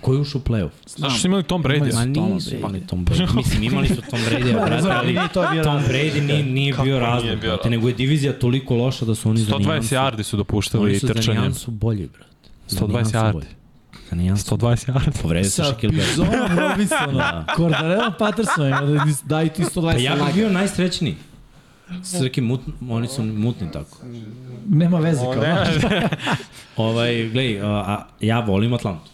A: Ko je ušao u play-off?
D: Znaš što imali Tom Brady?
A: Ma
B: Tom
A: nisu
B: Brady.
A: imali Tom Brady. Mislim, imali su Tom Brady, brate,
B: Razumem,
A: ali
B: nije to bio
A: Tom
B: razlog.
A: Brady nije, nije
D: Kako
A: bio
D: nije
A: razlog,
D: bio
A: brate,
D: razlog?
A: nego je divizija toliko loša da su oni za
D: 120
A: nijansu.
D: yardi su dopuštali
A: Oni
D: i
A: su za
D: trčanje.
A: nijansu bolji, brate. Za
D: 120
A: nijansu
D: yardi.
A: bolji. Za nijansu.
D: 120 yardi.
A: Povredio se
B: Sa
A: Shaquille Barrett. Da.
B: Bizonom Robinsonom, Cordarellom Pattersonom, da daju ti 120
A: Pa ja bih
B: lagi.
A: bio najsrećniji. S nekim mut, oni su mutni tako.
B: Nema veze kao. da.
A: Ovaj, glej, a, a, ja volim Atlantu.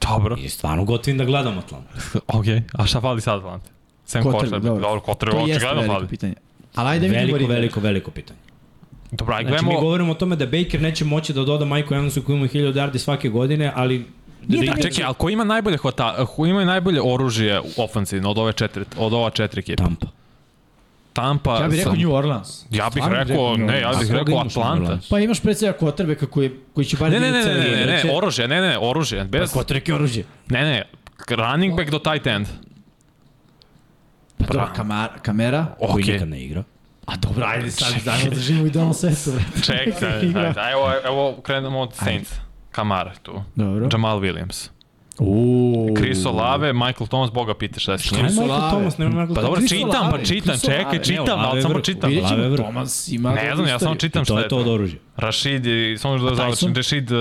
D: Dobro.
A: I stvarno gotovim da gledam Atlantu.
D: Ok, a šta fali sad Atlante? Sam
B: Quarterback,
D: Kotler,
B: dobro.
D: dobro, Kotler,
B: To jeste
D: očigledno
B: veliko
D: fali.
B: pitanje. Ali ajde da vidimo
A: Veliko,
B: River.
A: veliko, veliko pitanje.
D: Dobro, aj
A: Znači, mi
D: E, gledamo...
A: govorimo o tome da Baker neće moći da doda Michael Evansu koji ima 1000 yardi svake godine, ali... da
D: A čekaj, ali ko ima najbolje hvata, ko ima najbolje oružje u ofenzivno od ove četiri, od ova četiri ekipa?
A: Tampa.
D: Tampa.
B: Ja bih rekao
D: sam-
B: New Orleans.
D: Ja bih
B: Stvarno
D: rekao, ne, ja
A: A
D: bih
A: koga
D: rekao
A: imaš na
D: Atlanta.
A: Orleans?
B: Pa imaš pred svega Kotrbeka koji, koji će bar
D: Ne, ne, ne,
B: dignuti
D: ne,
B: celu
D: ne, ne,
B: ligu, da će-
D: ne, oružje, ne, ne, oružje, bez,
A: Kotrek je Pa oružje.
D: ne, ne, running back do tight end.
B: Pa dobro, kamara, kamera.
A: Koji
D: Okej,
A: nikad ne igra.
B: A dobro, ajde sad, dajmo da živimo u idealnom svetu. brate.
D: čekaj, ajde, evo, evo krenemo od Saints. Kamara je tu.
B: Dobro.
D: Jamal Williams.
B: Uuu.
D: Chris Olave, Michael Thomas, boga pita šta je s njim.
A: Ajde Michael
B: Olave.
A: Thomas, nema Michael
D: Pa dobro,
B: Chris
D: čitam,
B: Olave,
D: pa čitam,
B: Chris
D: čekaj,
B: Olave.
A: Ne,
D: čitam,
A: Olave
D: ali
A: je
D: samo
A: vrh.
D: čitam.
B: Vidjet ćemo,
A: Olave, bro.
B: Tomas ima...
D: Ne znam, ja samo čitam
A: I to
D: šta
A: je
D: je
A: to od
D: to.
A: oružja.
D: Rashid, i- samo još da završim, Rashid uh,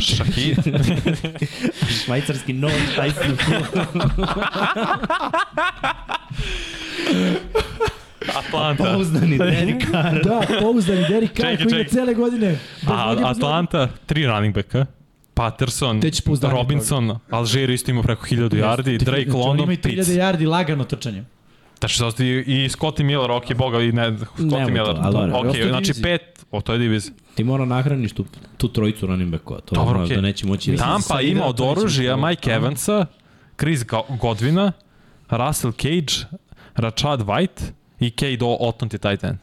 D: Shahid.
A: Švajcarski nož, taj si
D: Atlanta.
A: pouzdani Derek Carr.
B: Da, pouzdani Derek Carr
D: Čekaj,
B: koji igra
D: čekaj.
B: cele godine.
D: A,
B: Godine,
D: Pa, Atlanta, tri running backa. Patterson,
B: Te će pouzdanje
D: Robinson, Alžir isto ima preko 1000 yardi,
B: Ti-
D: Drake
B: znači, oni
D: London,
B: imaju
D: Pitts.
B: 3000 yardi lagano trčanje.
D: Znači, znači, i Scotty Miller, ok, boga, i ne, Scotty
A: Nemoj to,
D: Miller.
A: ali dobro.
B: Ovo je
D: Ok, znači
B: divizija.
D: pet, o, to je divizija.
A: Ti mora da nahraniš tu, tu trojicu running backova. To
D: Dobro,
A: znaš
D: okej.
A: da neće moći da...
D: Tampa
B: sad
D: ima
B: igra,
D: od
B: to neće
D: oružja
B: biti
D: Mike Evansa, Chris Go- Godwina, Russell Cage, Rachad White i Cade O- Otton je tight end.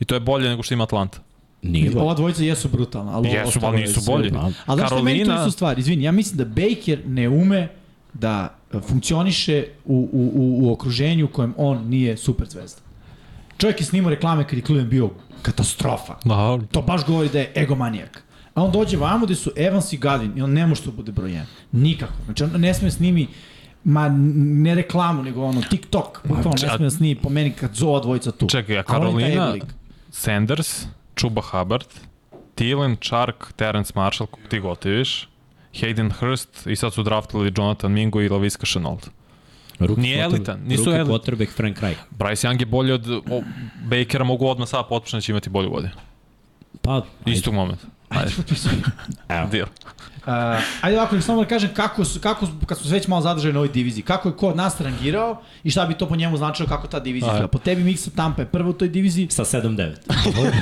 D: I to je bolje nego što ima Atlanta.
A: Nije bolje.
B: Ova dvojica jesu brutalna. Ali ovo
D: Jesu,
B: ostalo
D: ali
B: je
D: nisu
B: sve
D: bolji.
B: brutalno. Ali znaš što meni tu
D: Karolina-
B: istu stvar, izvini, ja mislim da Baker ne ume da funkcioniše u, u, u, u okruženju u kojem on nije super zvezda. Čovjek je snimao reklame kad je Cleveland bio katastrofa.
D: Da,
B: To baš govori da je egomanijak. A da on dođe vamo gde su Evans i Godwin i on ne može tu bude broj 1. Nikako. Znači on ne sme snimi Ma, n- ne reklamu, nego ono, TikTok. Bukvalno,
D: če-
B: ne
D: a-
B: smije nas ni po meni kad zova dvojica tu.
D: Čekaj, a
B: A on je taj
D: Karolina,
B: lik.
D: Sanders, Chuba Hubbard, Thielen, Chark, Terence Marshall, kog ti gotiviš, Hayden Hurst i sad su draftili Jonathan Mingo i Laviska Chenault.
A: Ruki
D: Nije elitan, nisu
A: ruki
D: elitan.
A: quarterback Frank Reich.
D: Bryce Young je bolji od o, Bakera, mogu odmah sada potpuno da će imati bolju godinu.
A: Pa,
D: Istog momenta. Ajde,
A: Evo.
D: deal.
B: Uh, ajde ovako, samo da kažem kako, su, kako su, kad smo se već malo zadržali na ovoj diviziji, kako je ko od nas rangirao i šta bi to po njemu značilo kako ta divizija
D: Ajde.
B: izgleda. Po tebi Miksa Tampa je prva u toj diviziji,
A: Sa 7-9.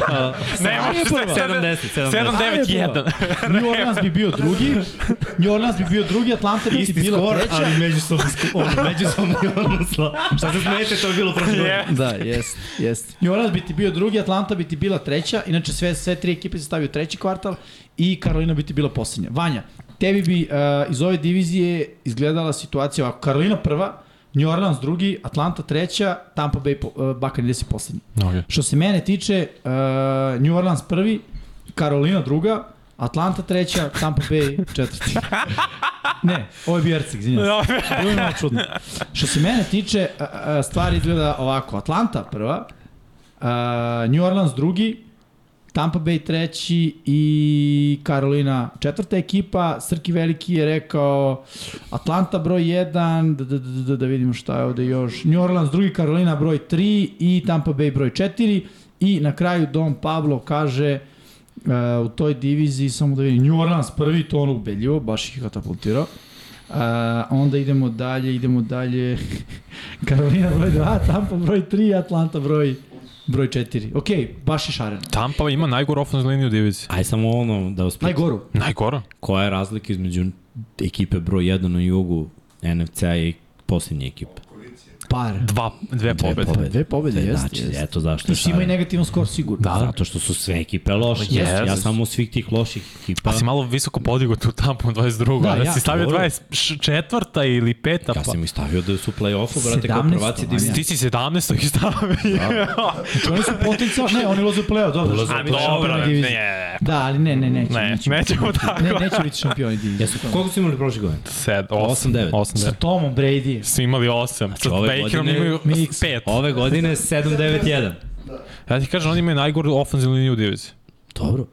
D: Pa, Ne, možete
A: 70, 70.
D: 7-9-1.
B: New Orleans bi bio drugi, New Orleans bi bio drugi, Atlanta bi ti
A: Isti
B: bila
A: skor,
B: treća.
A: ali međusobno ono, međusobno odnosno. Šta se smete, to je bilo prošle godine.
B: Da, jest, jest. New Orleans bi ti bio drugi, Atlanta bi ti bila treća, inače sve, sve tri ekipe se stavio u treći kvartal i Karolina bi ti bila posljednja. Vanja, tebi bi uh, iz ove divizije izgledala situacija ovako, Karolina prva, New Orleans drugi, Atlanta treća, Tampa Bay po, uh, Buccaneers je posljednji.
D: Okay.
B: Što se mene tiče, uh, New Orleans prvi, Karolina druga, Atlanta treća, Tampa Bay četvrti. ne, ovo je bio Ercik, izvinjam se. Bilo mi malo čudno. Što se mene tiče, a, a, stvar izgleda ovako. Atlanta prva, a, New Orleans drugi, Tampa Bay treći i Karolina četvrta ekipa. Srki Veliki je rekao Atlanta broj 1, da, da, da, da, da vidimo šta je ovde još. New Orleans drugi, Karolina broj 3 i Tampa Bay broj 4. I na kraju Don Pablo kaže Uh, u toj diviziji samo da vidim New Orleans prvi, to ono ubedljivo, baš ih je katapultirao. Uh, onda idemo dalje, idemo dalje. Karolina broj 2, Tampa broj 3, Atlanta broj broj 4. Ok, baš je šareno.
D: Tampa ima najgoru ofenzivnu liniju u diviziji.
A: Aj samo ono da vas pitam,
B: Najgoru.
D: Najgora?
A: koja je razlika između ekipe broj 1 na jugu NFC-a i posljednje ekipe?
B: Par.
D: Dva, dve pobede.
B: Dve pobede,
A: Dve,
B: Pa, jeste,
A: Znači,
B: jeste.
A: eto zašto
B: I
A: je
B: svi imaju
A: šareno.
B: negativan skor sigurno.
A: Da, zato što su sve ekipe loše.
D: Pa, Jeste.
A: Ja samo svih tih loših ekipa.
D: Pa si malo visoko podigo tu tampu na 22. Da,
B: Da,
D: ja,
B: ja.
D: si stavio
A: Dobro.
D: 24. ili 5.
A: Ja
D: pa.
A: sam ih stavio da su play-offu, brate, kao
B: 17,
A: prvaci
B: Vanja.
A: divizije.
D: Ti si 17. ih
A: Da.
D: stavio.
B: Znači, oni su potencijal, ne, oni ulaze u play-off, dobro.
A: Ulaze u
B: Šampioni
A: play-off,
B: šampioni divizije.
D: ne,
B: Da, ali ne, ne, neće.
A: Znači,
D: ne,
B: neće.
D: nećemo tako.
B: Ne, neće biti šampioni divizije.
A: Jesu, koliko su imali prošle godine?
D: 7,
A: Osam,
D: 8,
A: devet. Znači,
D: 9. 8,
B: Sa
D: 9.
B: Tomom Brady.
D: Svi imali 8. Sa
A: ove
D: Bakerom
A: godine
D: imaju
A: mix.
D: 5.
A: Ove godine 7-9-1.
D: Ja ti kažem, oni imaju najgoru ofenzivnu liniju u diviziji.
A: Dobro.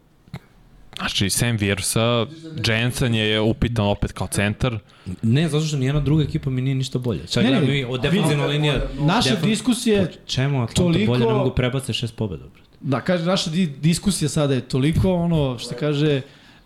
D: Znači, Sam Viersa, Jensen je upitan opet kao centar.
A: Ne, zato što nijedna druga ekipa mi nije ništa bolja. Čak
B: Ne, ne,
A: gledam i od
B: a
A: defensivna
B: vidi,
A: linija.
B: Naša
A: defen-
B: diskusija,
A: Čemu Atlanta
B: toliko-
A: bolje ne mogu prebace šest pobjeda, brate?
B: da, kaže, naša di, diskusija sada je toliko, ono, što kaže,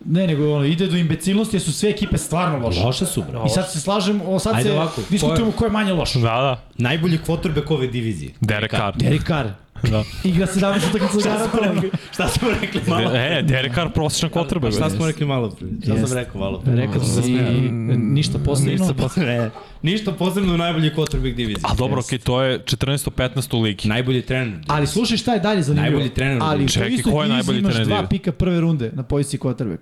B: ne, nego ono, ide do imbecilnosti jer su sve ekipe stvarno loše.
A: Loše su, brate.
B: Pa, I sad se slažemo, o, sad
A: Ajde
B: se
A: ovako,
B: diskutujemo ko je manje loš.
D: Da, da.
A: Najbolji quarterback ove divizije.
D: Derek Carr.
B: Derek Carr.
D: Da.
B: Igra 17 utakmica za Garantovanog.
A: Šta smo rekli malo?
D: E, Derek Carr prosječan kotrbe.
A: Šta smo rekli malo prije? Šta sam
B: Jeste.
A: rekao malo prije?
B: Rekao sam i ništa posebno.
A: Mm. Ništa posebno, ne. Ništa posebno najbolji quarterback divizije.
D: A dobro, okej, to je 14-15 u ligi.
A: Najbolji trener.
B: Ali slušaj šta je dalje zanimljivo.
A: Najbolji trener u
B: Ali u
A: ligi.
B: toj
D: Čekaj,
B: istoj
D: ko je
B: diviziji
D: najbolji
B: imaš
D: trener u
B: dva
D: ligi?
B: pika prve runde na poziciji quarterback.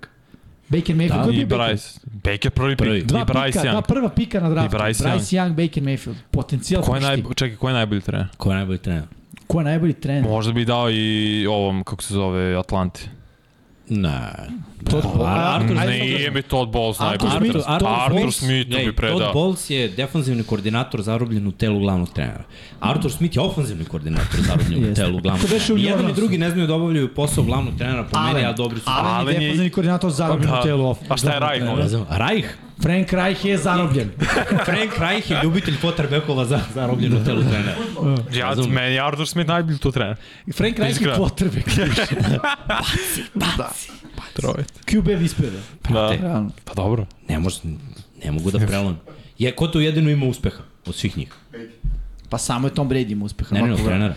B: Baker Mayfield. Ko je
D: Da. I
B: bio Baker?
D: Bryce. Baker prvi pik.
A: Da, Prvi.
D: I
B: Dva
D: Bryce
B: pika, dva
D: Young.
B: prva pika na draftu.
D: I Bryce
B: Bryce, Young. Baker Mayfield. Potencijal
D: Ko je, naj,
B: pušti.
D: čekaj, ko je najbolji trener?
A: Ko je najbolji trener?
B: Ko je najbolji trener?
D: Možda bi dao i ovom, kako se zove, Atlanti.
A: Ne.
B: To-
A: Pa,
B: a-
A: Arthur
B: ajde,
D: Nije mi Todd Bowles
B: Arthur
D: najbolji trener.
B: Smith,
D: Arthur,
B: Todd
D: Arthur
B: Bowles,
D: Smith to
A: Ej,
D: bi predao.
A: Todd Bowles je defanzivni koordinator zarobljen u telu glavnog trenera. Arthur Smith je ofanzivni koordinator zarobljen u
B: Jeste.
A: telu glavnog
B: To beše u
A: trenera. I Jedan i
B: Orleansu.
A: drugi ne znaju da obavljaju posao glavnog trenera po meni, a dobri su.
B: Allen
D: Allen
B: je
D: je-
B: defanzivni koordinator zarobljen
D: Da.
B: u telu off.
D: A šta je Reich
A: Ne
D: onda?
A: znam, Reich?
B: Frank Reich je zarobljen.
A: Frank Reich je ljubitelj quarterbackova za, zarobljen u telu trenera.
D: Ja,
A: Razumem.
D: meni je Arthur Smith najbolji tu trener.
B: Frank Reich je
D: Iskreno.
B: quarterback.
D: Trojet.
B: QB vispeda.
D: Da.
B: Realno.
D: Pa dobro.
A: Ne, mož, ne mogu da prelom. Je, ko tu jedino ima uspeha od svih njih?
B: Pa samo je Tom Brady ima uspeha.
A: Ne, ne, od
B: Ovako,
A: trenera.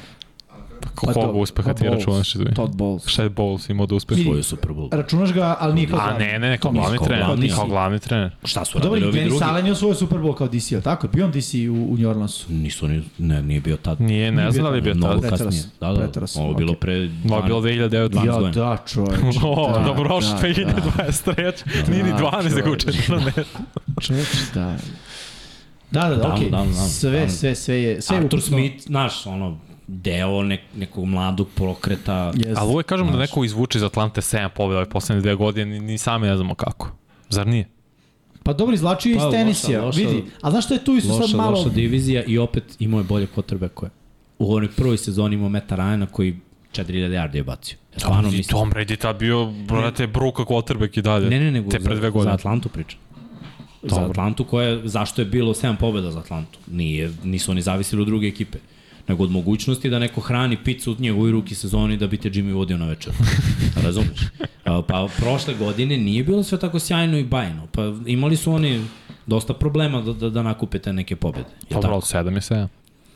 B: pa
D: Koliko
B: to-
D: pa uspeha
B: pa
D: ti
B: Bowles.
D: računaš? izvini?
B: Todd Bowles.
D: Šta je Bowles imao da uspeha?
A: Svoju Super Bowl.
B: Računaš ga, ali nije kao
D: A
B: glavni.
D: ne, ne, ne, kao
B: Tom je
D: glavni
A: kao
D: trener.
A: glavni.
D: Kao glavni trener.
A: Šta su
B: Dobro,
A: radili
B: i
A: ovi
B: Dennis
A: drugi?
B: Allen je osvojio Super Bowl kao DC, ali tako? Bio on DC u, u New Orleansu.
A: Nisu, ni- ne, nije bio tad.
D: Nije, ne znam da li je bio
A: Mnogo
D: tada.
B: Pretero
A: kasnije.
B: sam,
A: Da, da,
B: pretero sam,
A: ovo je bilo
B: okej.
A: pre...
D: Ovo je bilo
A: 12
D: 2009.
A: godina.
B: Ja, da, čoveč.
D: O,
B: da,
D: dobro,
B: da,
D: došlo
B: da,
D: 2023. Nije ni
B: Da,
D: 12, nego
B: čoveče.
D: 14.
B: Čoveč, da. Da, da, da,
A: Da,
B: okej.
A: da, da, da.
B: sve, sve, sve je... Sve je
A: Arthur
B: ukusno.
A: Smith, znaš, ono, deo nek, nekog mladog prokreta.
B: Jest.
D: Ali uvek kažemo da neko izvuče iz Atlante 7 pobjeda ove poslednje dve godine, ni, ni sami ne znamo kako. Zar nije?
B: Pa dobro, izlačio je
A: Pa,
B: iz
A: loša,
B: tenisija,
A: loša-
B: vidi. A znaš što je tu isto
A: Loša,
B: sad malo...
A: loša divizija i opet imao je bolje koje. U onoj prvoj sezoni imao Meta Ryana koji 4000 yardi je bacio. Ja stvarno
D: I
A: mislim.
D: Tom Brady ta bio, brate, bruka quarterback i dalje.
A: Ne, ne, nego
D: Te pre dve
A: za, za
D: godine.
A: Atlantu pričam. Za Atlantu koja, je- zašto je bilo 7 pobjeda za Atlantu? Nije, nisu oni zavisili od druge ekipe nego od mogućnosti da neko hrani picu u njegovoj ruki sezoni da bi te Jimmy vodio na večer. Razumeš? A, Pa prošle godine nije bilo sve tako sjajno i bajno. Pa imali su oni dosta problema da, da, da nakupe te neke pobjede. Je
D: Dobro,
A: tako?
D: od 7 i 7.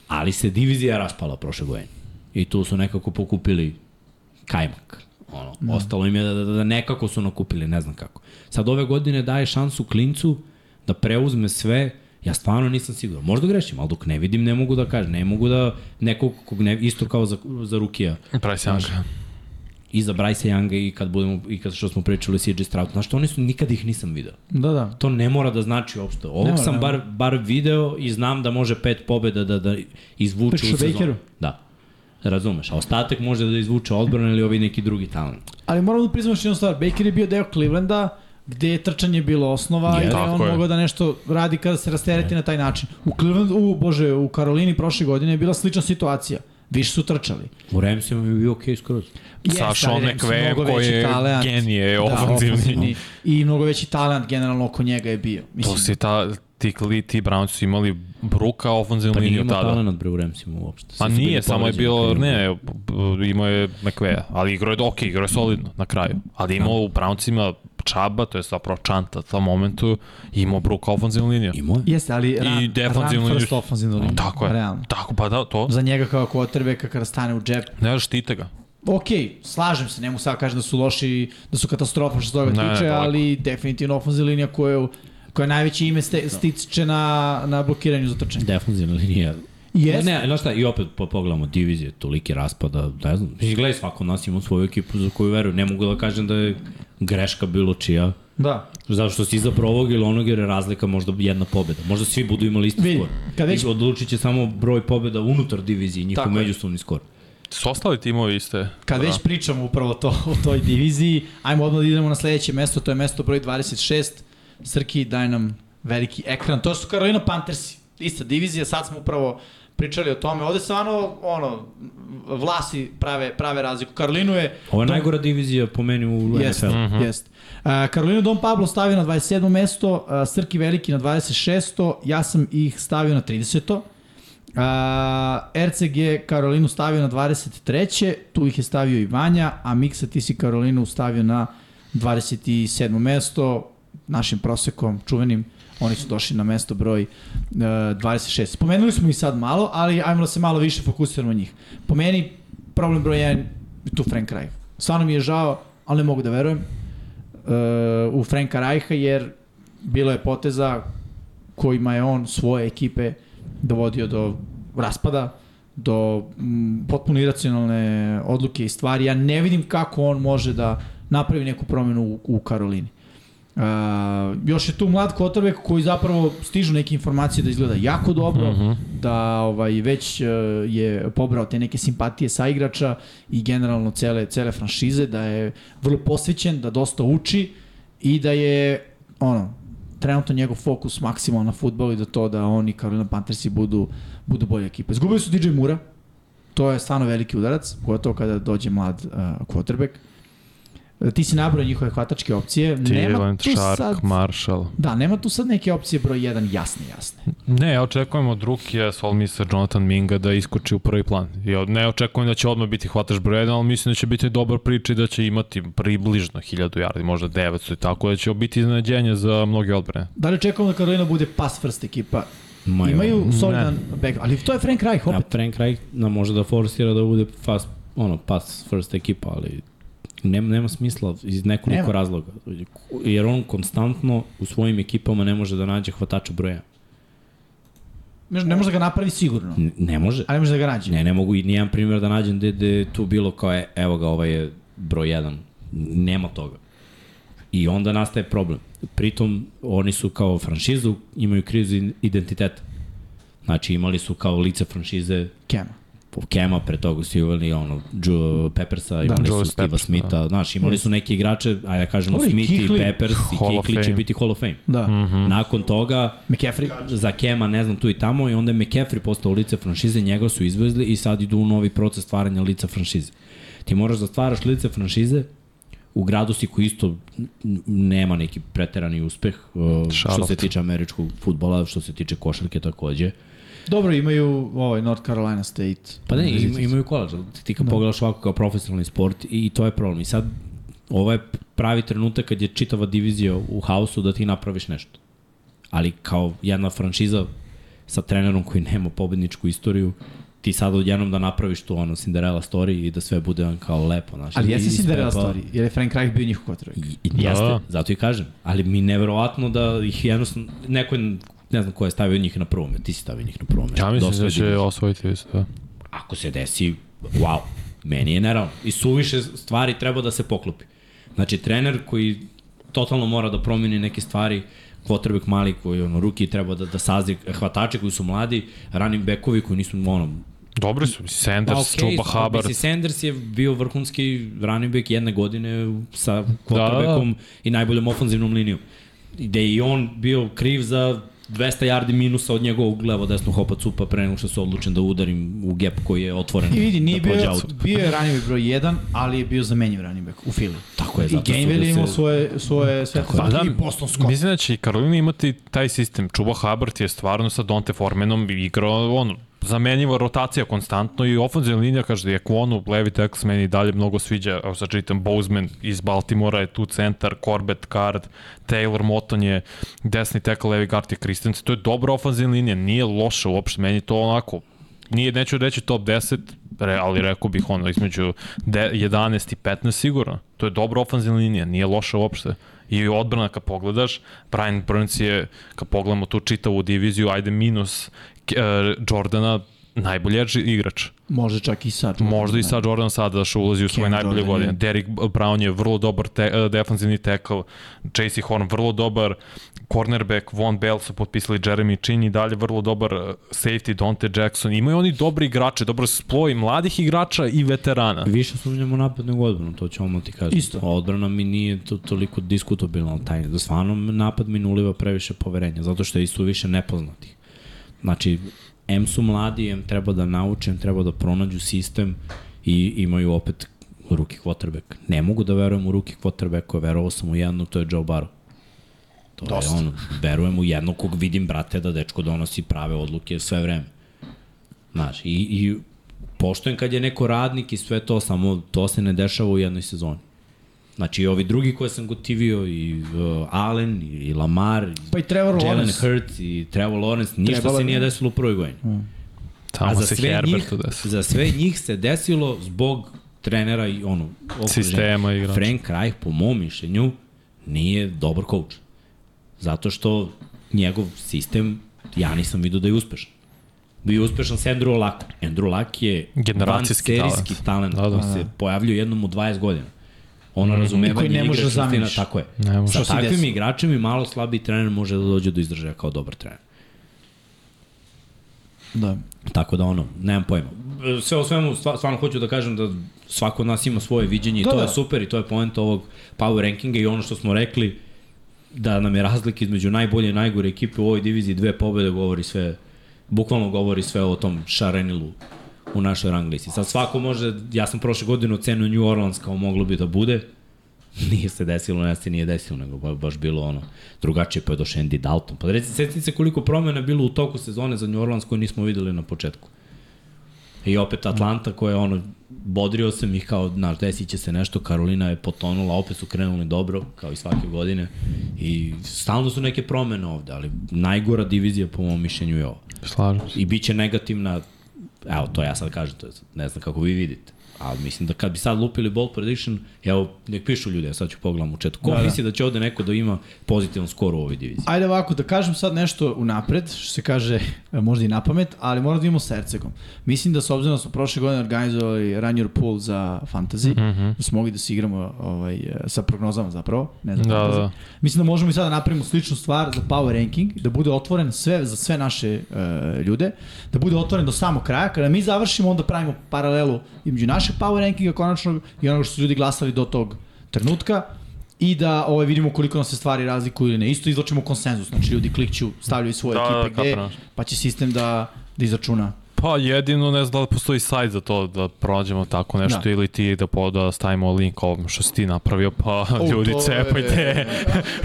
A: Ali se divizija raspala prošle godine. I tu su nekako pokupili kajmak. Ono, Ostalo im je da, da, da nekako su nakupili, ne znam kako. Sad ove godine daje šansu klincu da preuzme sve, ja stvarno nisam siguran. Možda grešim, ali dok ne vidim ne mogu da kažem, ne mogu da nekog kog ne, isto kao za, za Rukija
D: Bryce Young.
A: i za Bryce Younga i kad budemo i kad što smo pričali o CJ Stroud. Znaš što oni su nikad ih nisam video.
B: Da, da.
A: To ne mora da znači uopšte. Ovog
B: mora,
A: sam
B: ne
A: bar, bar video i znam da može pet pobjeda da, da izvuče
B: Pričaš
A: u
B: o Bakeru?
A: sezonu. Da. Razumeš, a ostatak može da izvuče odbrana ili ovi neki drugi talent.
B: Ali moramo da priznamo što jednu stvar. Baker je bio deo Clevelanda, gde je trčanje bilo osnova i
D: Je,
B: da je
D: tako
B: on
D: je.
B: mogao da nešto radi kada se rastereti na taj način. U Clevelandu, u, bože, u Karolini prošle godine je bila slična situacija. Više su trčali.
A: U Remsima mi je bio okej okay skroz.
B: Jeste,
D: Sa
B: ali
D: Sean
B: Rams su
D: McVay,
B: mnogo
D: koji
B: veći
D: je
B: talent.
A: Da,
B: Da,
D: genije
B: ofenzivni.
D: ofenzivni.
B: I mnogo veći talent generalno oko njega je bio.
D: To
B: Mislim,
D: si ta, ti, kli- ti Browns su imali bruka ofenzivnu
A: Pa nije
D: liniju
A: imao
D: tada.
A: talent bre u Remsima uopšte. Svi su
D: Ma
A: bili
D: Pa nije, samo je
A: povređeni
D: bilo,
A: kad
D: ne, b- b- imao je McVeja, ali igrao je, ok, igrao je solidno na kraju, ali
B: Da.
D: imao u Browncima Čaba, to je zapravo Čanta u tom momentu, i imao Brook ofenzivnu liniju.
A: Imao je.
B: Jeste, ali run,
D: I defanzivnu
B: run
D: liniju.
B: first ofenzivnu liniju.
D: Tako je,
B: Realno.
D: tako, pa da, to,
B: Za njega kao quarterbacka kada stane u džep.
D: ne štite ga.
B: Ok, slažem se, ne mogu sada kažem da su loši, da su katastrofa što se toga
D: Ne, ne,
B: tiče,
D: daleko.
B: ali definitivno ofenzivna linija koja je koja je najveće ime ste, stiče na, na blokiranju za trčanje.
A: Defenzivna linija.
B: Jeste.
A: Ne, znaš šta, i opet po, pogledamo divizije, toliki raspada, ne znam. Mislim, gledaj, svako od nas ima svoju ekipu za koju veruju. Ne mogu da kažem da je greška bilo čija.
B: Da.
A: Zato što si izabrao ovog ili onog jer je razlika možda jedna pobeda. Možda svi budu imali isti
B: Vidi,
A: skor.
B: kad već-
A: I odlučit će samo broj pobeda unutar divizije i njihov
B: Tako je.
A: međusobni skor.
D: Su ostali timovi iste.
B: Kad
D: Da.
B: već pričamo upravo to o toj diviziji, ajmo odmah da idemo na sledeće mesto, to je mesto broj 26. Srki, daj nam veliki ekran. To su Carolina Panthersi. Ista divizija, sad smo upravo pričali o tome. Ovde stvarno, ono, vlasi prave, prave razliku. Karolinu je...
A: Ovo je
B: Dom-
A: najgora divizija po meni u
B: Jeste,
A: NFL.
B: jeste. Uh, Karolinu Dom Pablo stavio na 27. mesto, uh, Srki Veliki na 26. Ja sam ih stavio na 30. Uh, RCG je Karolinu stavio na 23. Tu ih je stavio i Vanja, a Miksa ti si Karolinu stavio na 27. mesto našim prosekom, čuvenim. Oni su došli na mesto broj uh, 26. Spomenuli smo ih sad malo, ali ajmo da se malo više fokusiramo na njih. Po meni, problem broj 1 je tu Frank Reich. Stvarno mi je žao, ali ne mogu da verujem uh, u Franka Reicha, jer bilo je poteza kojima je on svoje ekipe dovodio do raspada, do mm, potpuno iracionalne odluke i stvari. Ja ne vidim kako on može da napravi neku promenu u, u Karolini. Uh, još je tu mlad Kotrbek koji zapravo stižu neke informacije da izgleda jako dobro,
D: Mhm.
B: mm -hmm. da ovaj, već uh, je pobrao te neke simpatije sa igrača i generalno cele, cele franšize, da je vrlo posvećen, da dosta uči i da je ono, trenutno njegov fokus maksimalno na futbol i da to da oni Carolina Panthersi budu, budu bolja ekipa. Izgubili su DJ Mura, to je stvarno veliki udarac, gotovo kada dođe mlad uh, quarterback. E, Ti si nabrao njihove hvatačke opcije. nema
D: Thielen,
B: tu
D: Shark,
B: sad,
D: Marshall.
B: Da, nema tu sad neke opcije broj 1 jasne, jasne.
D: Ne, ja očekujem od Rukija, Sol Misa, Jonathan Minga da iskoči u prvi plan. Ja ne očekujem da će odmah biti hvataš broj 1, ali mislim da će biti dobar priča i da će imati približno 1000 yardi, možda 900 i tako, da će biti iznenađenje za mnoge odbrane.
B: Da li očekujemo da Carolina bude pass first ekipa?
A: Ma,
B: Mm. Imaju solidan back, ali to je Frank Reich
A: A
B: opet.
A: Frank Reich nam može da forsira da bude fast, ono, pass first ekipa, ali nema, nema smisla iz nekoliko
B: Nema.
A: nema. razloga. Jer on konstantno u svojim ekipama ne može da nađe hvatača broja.
B: Ne može da ga napravi sigurno,
A: N- ne može.
B: ali ne može da ga nađe.
A: Ne, ne mogu i nijedan primjer da nađem gde, gde je tu bilo kao je, evo ga, ovaj je broj 1. Nema toga. I onda nastaje problem. Pritom, oni su kao franšizu, imaju krizu identiteta. Znači, imali su kao lice franšize
B: Kema.
A: Kema, pre toga su imali ono, Joe Peppersa, imali da,
D: Joe
A: su Steve
D: Peppers,
A: Smitha, da. znaš, imali su neke igrače, a ja kažemo
C: Dobro, i
A: Smith i
C: Kihli.
A: Peppers
D: Hall
A: i
D: of
A: Kikli će
D: Fame.
A: biti Hall of Fame.
B: Da. Mm.
A: Nakon toga,
B: McCaffrey.
A: za Kema, ne znam, tu i tamo, i onda je McCaffrey postao lice franšize, njega su izvezli i sad idu u novi proces stvaranja lica franšize. Ti moraš da stvaraš lice franšize u gradu si koji isto n- n- nema neki preterani uspeh uh, što se
D: Charlotte.
A: tiče američkog futbola, što se tiče košarke takođe.
B: Dobro, imaju ovaj North Carolina State.
A: Pa ne, im, imaju koleđ, ali ti
B: Da.
A: kad pogledaš ovako kao profesionalni sport i to je problem. I sad, ovo je pravi trenutak kad je čitava divizija u hausu da ti napraviš nešto. Ali kao jedna franšiza sa trenerom koji nema pobedničku istoriju, ti sad odjednom da napraviš tu ono Cinderella story i da sve bude on kao lepo. Znaš,
B: Ali jeste
A: I- i
B: Cinderella
A: ispepa-
B: story, jer je Frank Reich bio njih kotrovik.
A: I, i jeste,
D: Da.
A: zato i kažem. Ali mi je neverovatno da ih jednostavno, neko je, ne znam ko je stavio njih na prvo mesto, ti si stavio njih na prvo mesto.
D: Ja mislim
A: Dosta
D: da
A: je
D: će
A: divizija
D: osvojiti isto, da.
A: ako se desi, wow, meni je neravno. I suviše stvari treba da se poklopi. Znači, trener koji totalno mora da promeni neke stvari, kvotrbek mali koji ono, ruki treba da, da sazri, hvatači koji su mladi, running backovi koji nisu ono,
D: Dobri su, mislim, Sanders,
A: okej,
D: Chuba
A: mislim,
D: Hubbard,
A: Sanders je bio vrhunski running back jedne godine sa
D: da.
A: quarterbackom da. i najboljom ofanzivnom linijom. Gde je i on bio kriv za 200 yardi minusa od njegovog levo desnog hopa cupa pre nego što se odlučen da udarim u gap koji je otvoren.
B: I vidi, nije
A: da prođe
B: bio,
A: out.
B: bio je ranjiv broj 1, ali je bio zamenjiv running back u Philly.
A: Tako je,
B: I
A: zato su
B: Gainville
A: da
B: je imao
A: se-
B: svoje, svoje sve
D: Pa da,
B: i Boston Scott.
D: Mislim da će i Karolina imati taj sistem. Čuba Hubbard je stvarno sa Dante Formanom igrao, ono, zamenjiva rotacija konstantno i ofenzivna linija kaže da je Kwonu, levi tackle meni i dalje mnogo sviđa, evo sad čitam Bozeman iz Baltimora je tu centar, Corbett Card, Taylor Moton je desni tackle, levi guard je Christensen, to je dobra ofenzivna linija, nije loša uopšte, meni to onako, nije, neću reći top 10, re, ali rekao bih ono između de, 11 i 15 sigurno. To je dobra ofenzivna linija, nije loša uopšte. I odbrana kad pogledaš, Brian Burns je, kad pogledamo tu čitavu diviziju, ajde minus uh, Jordana, najbolji edge igrač.
B: Možda čak i sad.
D: Možda i sa Jordan sada da što ulazi u svoje
B: Cam
D: najbolje
B: Jordan
D: godine.
B: je-
D: Derek Brown je vrlo dobar te, e, defanzivni tackle, Chasey Horn vrlo dobar, cornerback Von Bell su potpisali Jeremy Chin i dalje vrlo dobar e, safety Dante Jackson. Imaju oni dobri igrače, dobro sploj mladih igrača i veterana.
A: Više sumnjamo napad nego odbranu, to ćemo ti kažem.
B: Isto.
A: Odbrana mi nije to, toliko diskutabilna, ali taj, da stvarno napad mi ne uliva previše poverenja, zato što je isto više nepoznatih. Znači, M su mladi, M treba da nauče, M treba da pronađu sistem i imaju opet ruki quarterback. Ne mogu da verujem u ruki quarterback, verovao sam u jednog, to je Joe Barrow. To Dosta. je ono, verujem u jednog kog vidim, brate, da dečko donosi prave odluke sve vreme. Znaš, i, i poštojem kad je neko radnik i sve to, samo to se ne dešava u jednoj sezoni. Znači i ovi drugi koje sam gotivio, i uh, Allen, i, i Lamar, i
B: Pa i Trevor
A: Jalen
B: Lawrence.
A: Hurts i Trevor Lawrence, ništa
B: Trebalo
A: se
B: je-
A: nije desilo u prvoj godini. A
D: Tamo
A: za
D: se
A: sve, njih,
D: Herbertu desi.
A: za sve njih se desilo zbog trenera i ono, okruženja.
D: Sistema igrača.
A: Frank Reich, po mom mišljenju, nije dobar coach. Zato što njegov sistem, ja nisam vidio da je uspešan. Bio je uspešan s Andrew Luck. Andrew Luck je
D: Generacijski
A: vanserijski talent,
D: talent.
A: da,
D: Da, da.
A: da, koji se pojavljuje jednom u 20 godina. Ono razumevanje
B: Koji ne
A: igre,
B: možeš da
A: čustina,
B: zameniš.
A: Tako je.
D: Ne možeš.
A: Sa
B: Što se
A: takvim
B: desilo?
A: igračem i malo slabiji trener može da dođe do izdražaja kao dobar trener.
B: Da.
A: Tako da ono, nemam pojma. Sve o svemu, stva- stvarno hoću da kažem da svako od nas ima svoje viđenje i
B: Da,
A: to
B: da.
A: je super i to je point ovog power rankinga i ono što smo rekli da nam je razlika između najbolje i najgore ekipe u ovoj diviziji dve pobede govori sve, bukvalno govori sve o tom šarenilu u našoj rang listi. Sad svako može, ja sam prošle godine ocenio New Orleans kao moglo bi da bude, nije se desilo, ne se nije desilo, nego ba- baš bilo ono, drugačije pa je došao Andy Dalton. Pa reci, sjeti se koliko promjena je bilo u toku sezone za New Orleans koju nismo videli na početku. I opet Atlanta koja je ono, bodrio sam ih kao, znaš, desit će se nešto, Karolina je potonula, opet su krenuli dobro, kao i svake godine. I stalno su neke promene ovde, ali najgora divizija po mom mišljenju je ova
D: Slažem se.
A: i bit će negativna, evo to ja sad kažem, to je, sad, ne znam kako vi vidite. Ali mislim da kad bi sad lupili ball prediction, evo, nek pišu ljudi, ja sad ću pogledam u četu. Ko da, misli da će ovde neko da ima pozitivan skor u ovoj diviziji?
B: Ajde ovako, da kažem sad nešto unapred, što se kaže e, možda i na pamet, ali moramo da imamo s Ercegom. Mislim da s obzirom da smo prošle godine organizovali Run Your Pool za fantasy, mm
D: Mhm.
B: -hmm. da smo mogli da se igramo ovaj, e, sa prognozama zapravo, ne za
D: Da,
B: fantasy.
D: da.
B: Mislim da možemo i sada da napravimo sličnu stvar za power ranking, da bude otvoren sve za sve naše e, ljude, da bude otvoren do samog kraja, kada mi završimo onda pravimo paralelu između našeg power rankinga konačnog i onoga što su ljudi glasali do tog trenutka i da ovaj, vidimo koliko nam se stvari razlikuju ili ne. Isto izlačimo konsenzus, znači ljudi klikću, stavljaju svoje
D: Da, da,
B: ekipe gde,
D: kapiram.
B: pa će sistem da, da izračuna.
D: Pa jedino ne znam da li postoji sajt za to da pronađemo tako nešto
B: Da.
D: da. ili ti da, po, da stavimo link ovom što si ti napravio pa
B: O,
D: o, ljudi
B: to je-
D: cepajte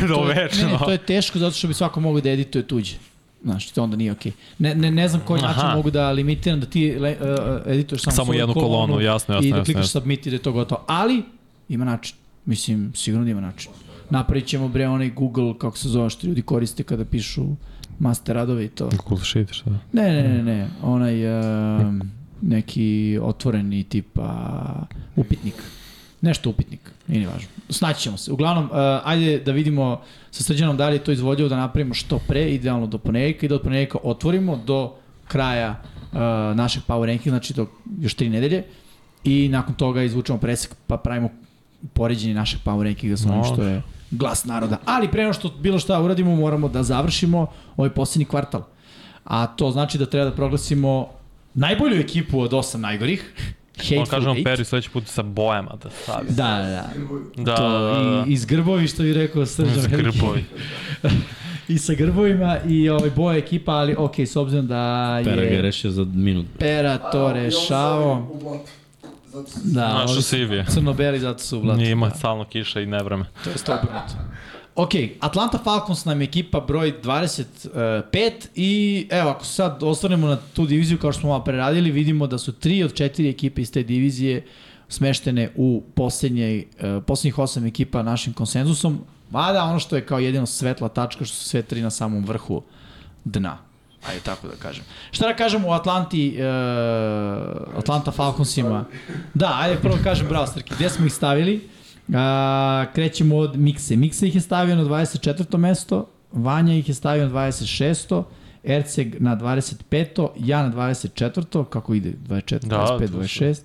D: do
B: To je- Ne,
D: večno.
B: ne, to je teško zato što bi svako mogao da edituje tuđe. Znaš, to onda nije okej. Ne, ne, ne znam koji
D: Aha.
B: način mogu da limitiram, da ti le, uh, edituješ samo,
D: Samo
B: svoju
D: jednu kolonu, jasno, jasno,
B: I da
D: jasno,
B: klikaš
D: jasno.
B: submit i da je to gotovo. Ali, ima način. Mislim, sigurno da ima način. Napravit ćemo bre onaj Google, kako se zove, što ljudi koriste kada pišu master radove i to.
D: Cool shit, šta?
B: Ne, ne, ne, ne, onaj um, neki otvoreni tipa upitnik. Nešto upitnik, nije ni važno. Snaći ćemo se. Uglavnom, uh, ajde da vidimo sa srđanom da li je to izvodljivo da napravimo što pre, idealno do ponedjeljka i da od ponedjeljka otvorimo do kraja uh, našeg power rankinga, znači do još tri nedelje i nakon toga izvučemo presek pa pravimo poređenje našeg power rankinga sa onim
D: Može.
B: što je glas naroda. Ali pre nego što bilo šta uradimo, moramo da završimo ovaj posljednji kvartal. A to znači da treba da proglasimo najbolju ekipu od osam najgorih.
D: Ono kažemo
B: Hateful Eight.
D: Peri sledeći put sa bojama da stavi.
B: Da, da, da.
D: Da,
B: To,
D: da, da.
B: i, iz grbovi što bi rekao Srđan
D: Iz
B: Veliki.
D: grbovi.
B: I sa grbovima i ovaj boja ekipa, ali ok, s obzirom da
A: Pera ga je
B: je
A: rešio za minut.
B: Pera to rešavao. Da,
D: Našo
B: ovi
D: sivije.
B: crno-beli zato su u blatu.
D: Nije ima stalno kiša i nevreme.
B: To je sto obrnuto. Ok, Atlanta Falcons nam je ekipa broj 25 i evo ako se sad osvrnemo na tu diviziju kao što smo malo preradili, vidimo da su tri od četiri ekipe iz te divizije smeštene u posljednje, e, posljednjih osam ekipa našim konsenzusom, mada ono što je kao jedino svetla tačka što su sve tri na samom vrhu dna. Ajde tako da kažem. Šta da kažem u Atlanti, e, Atlanta Falconsima? Da, ajde prvo kažem bravo Srki, gde smo ih stavili? A, krećemo od Mikse. Mikse ih je stavio na 24. mesto, Vanja ih je stavio na 26. Erceg na 25. Ja na 24. Kako ide? 24,
D: Da,
B: 25,
D: tu su.
B: 26.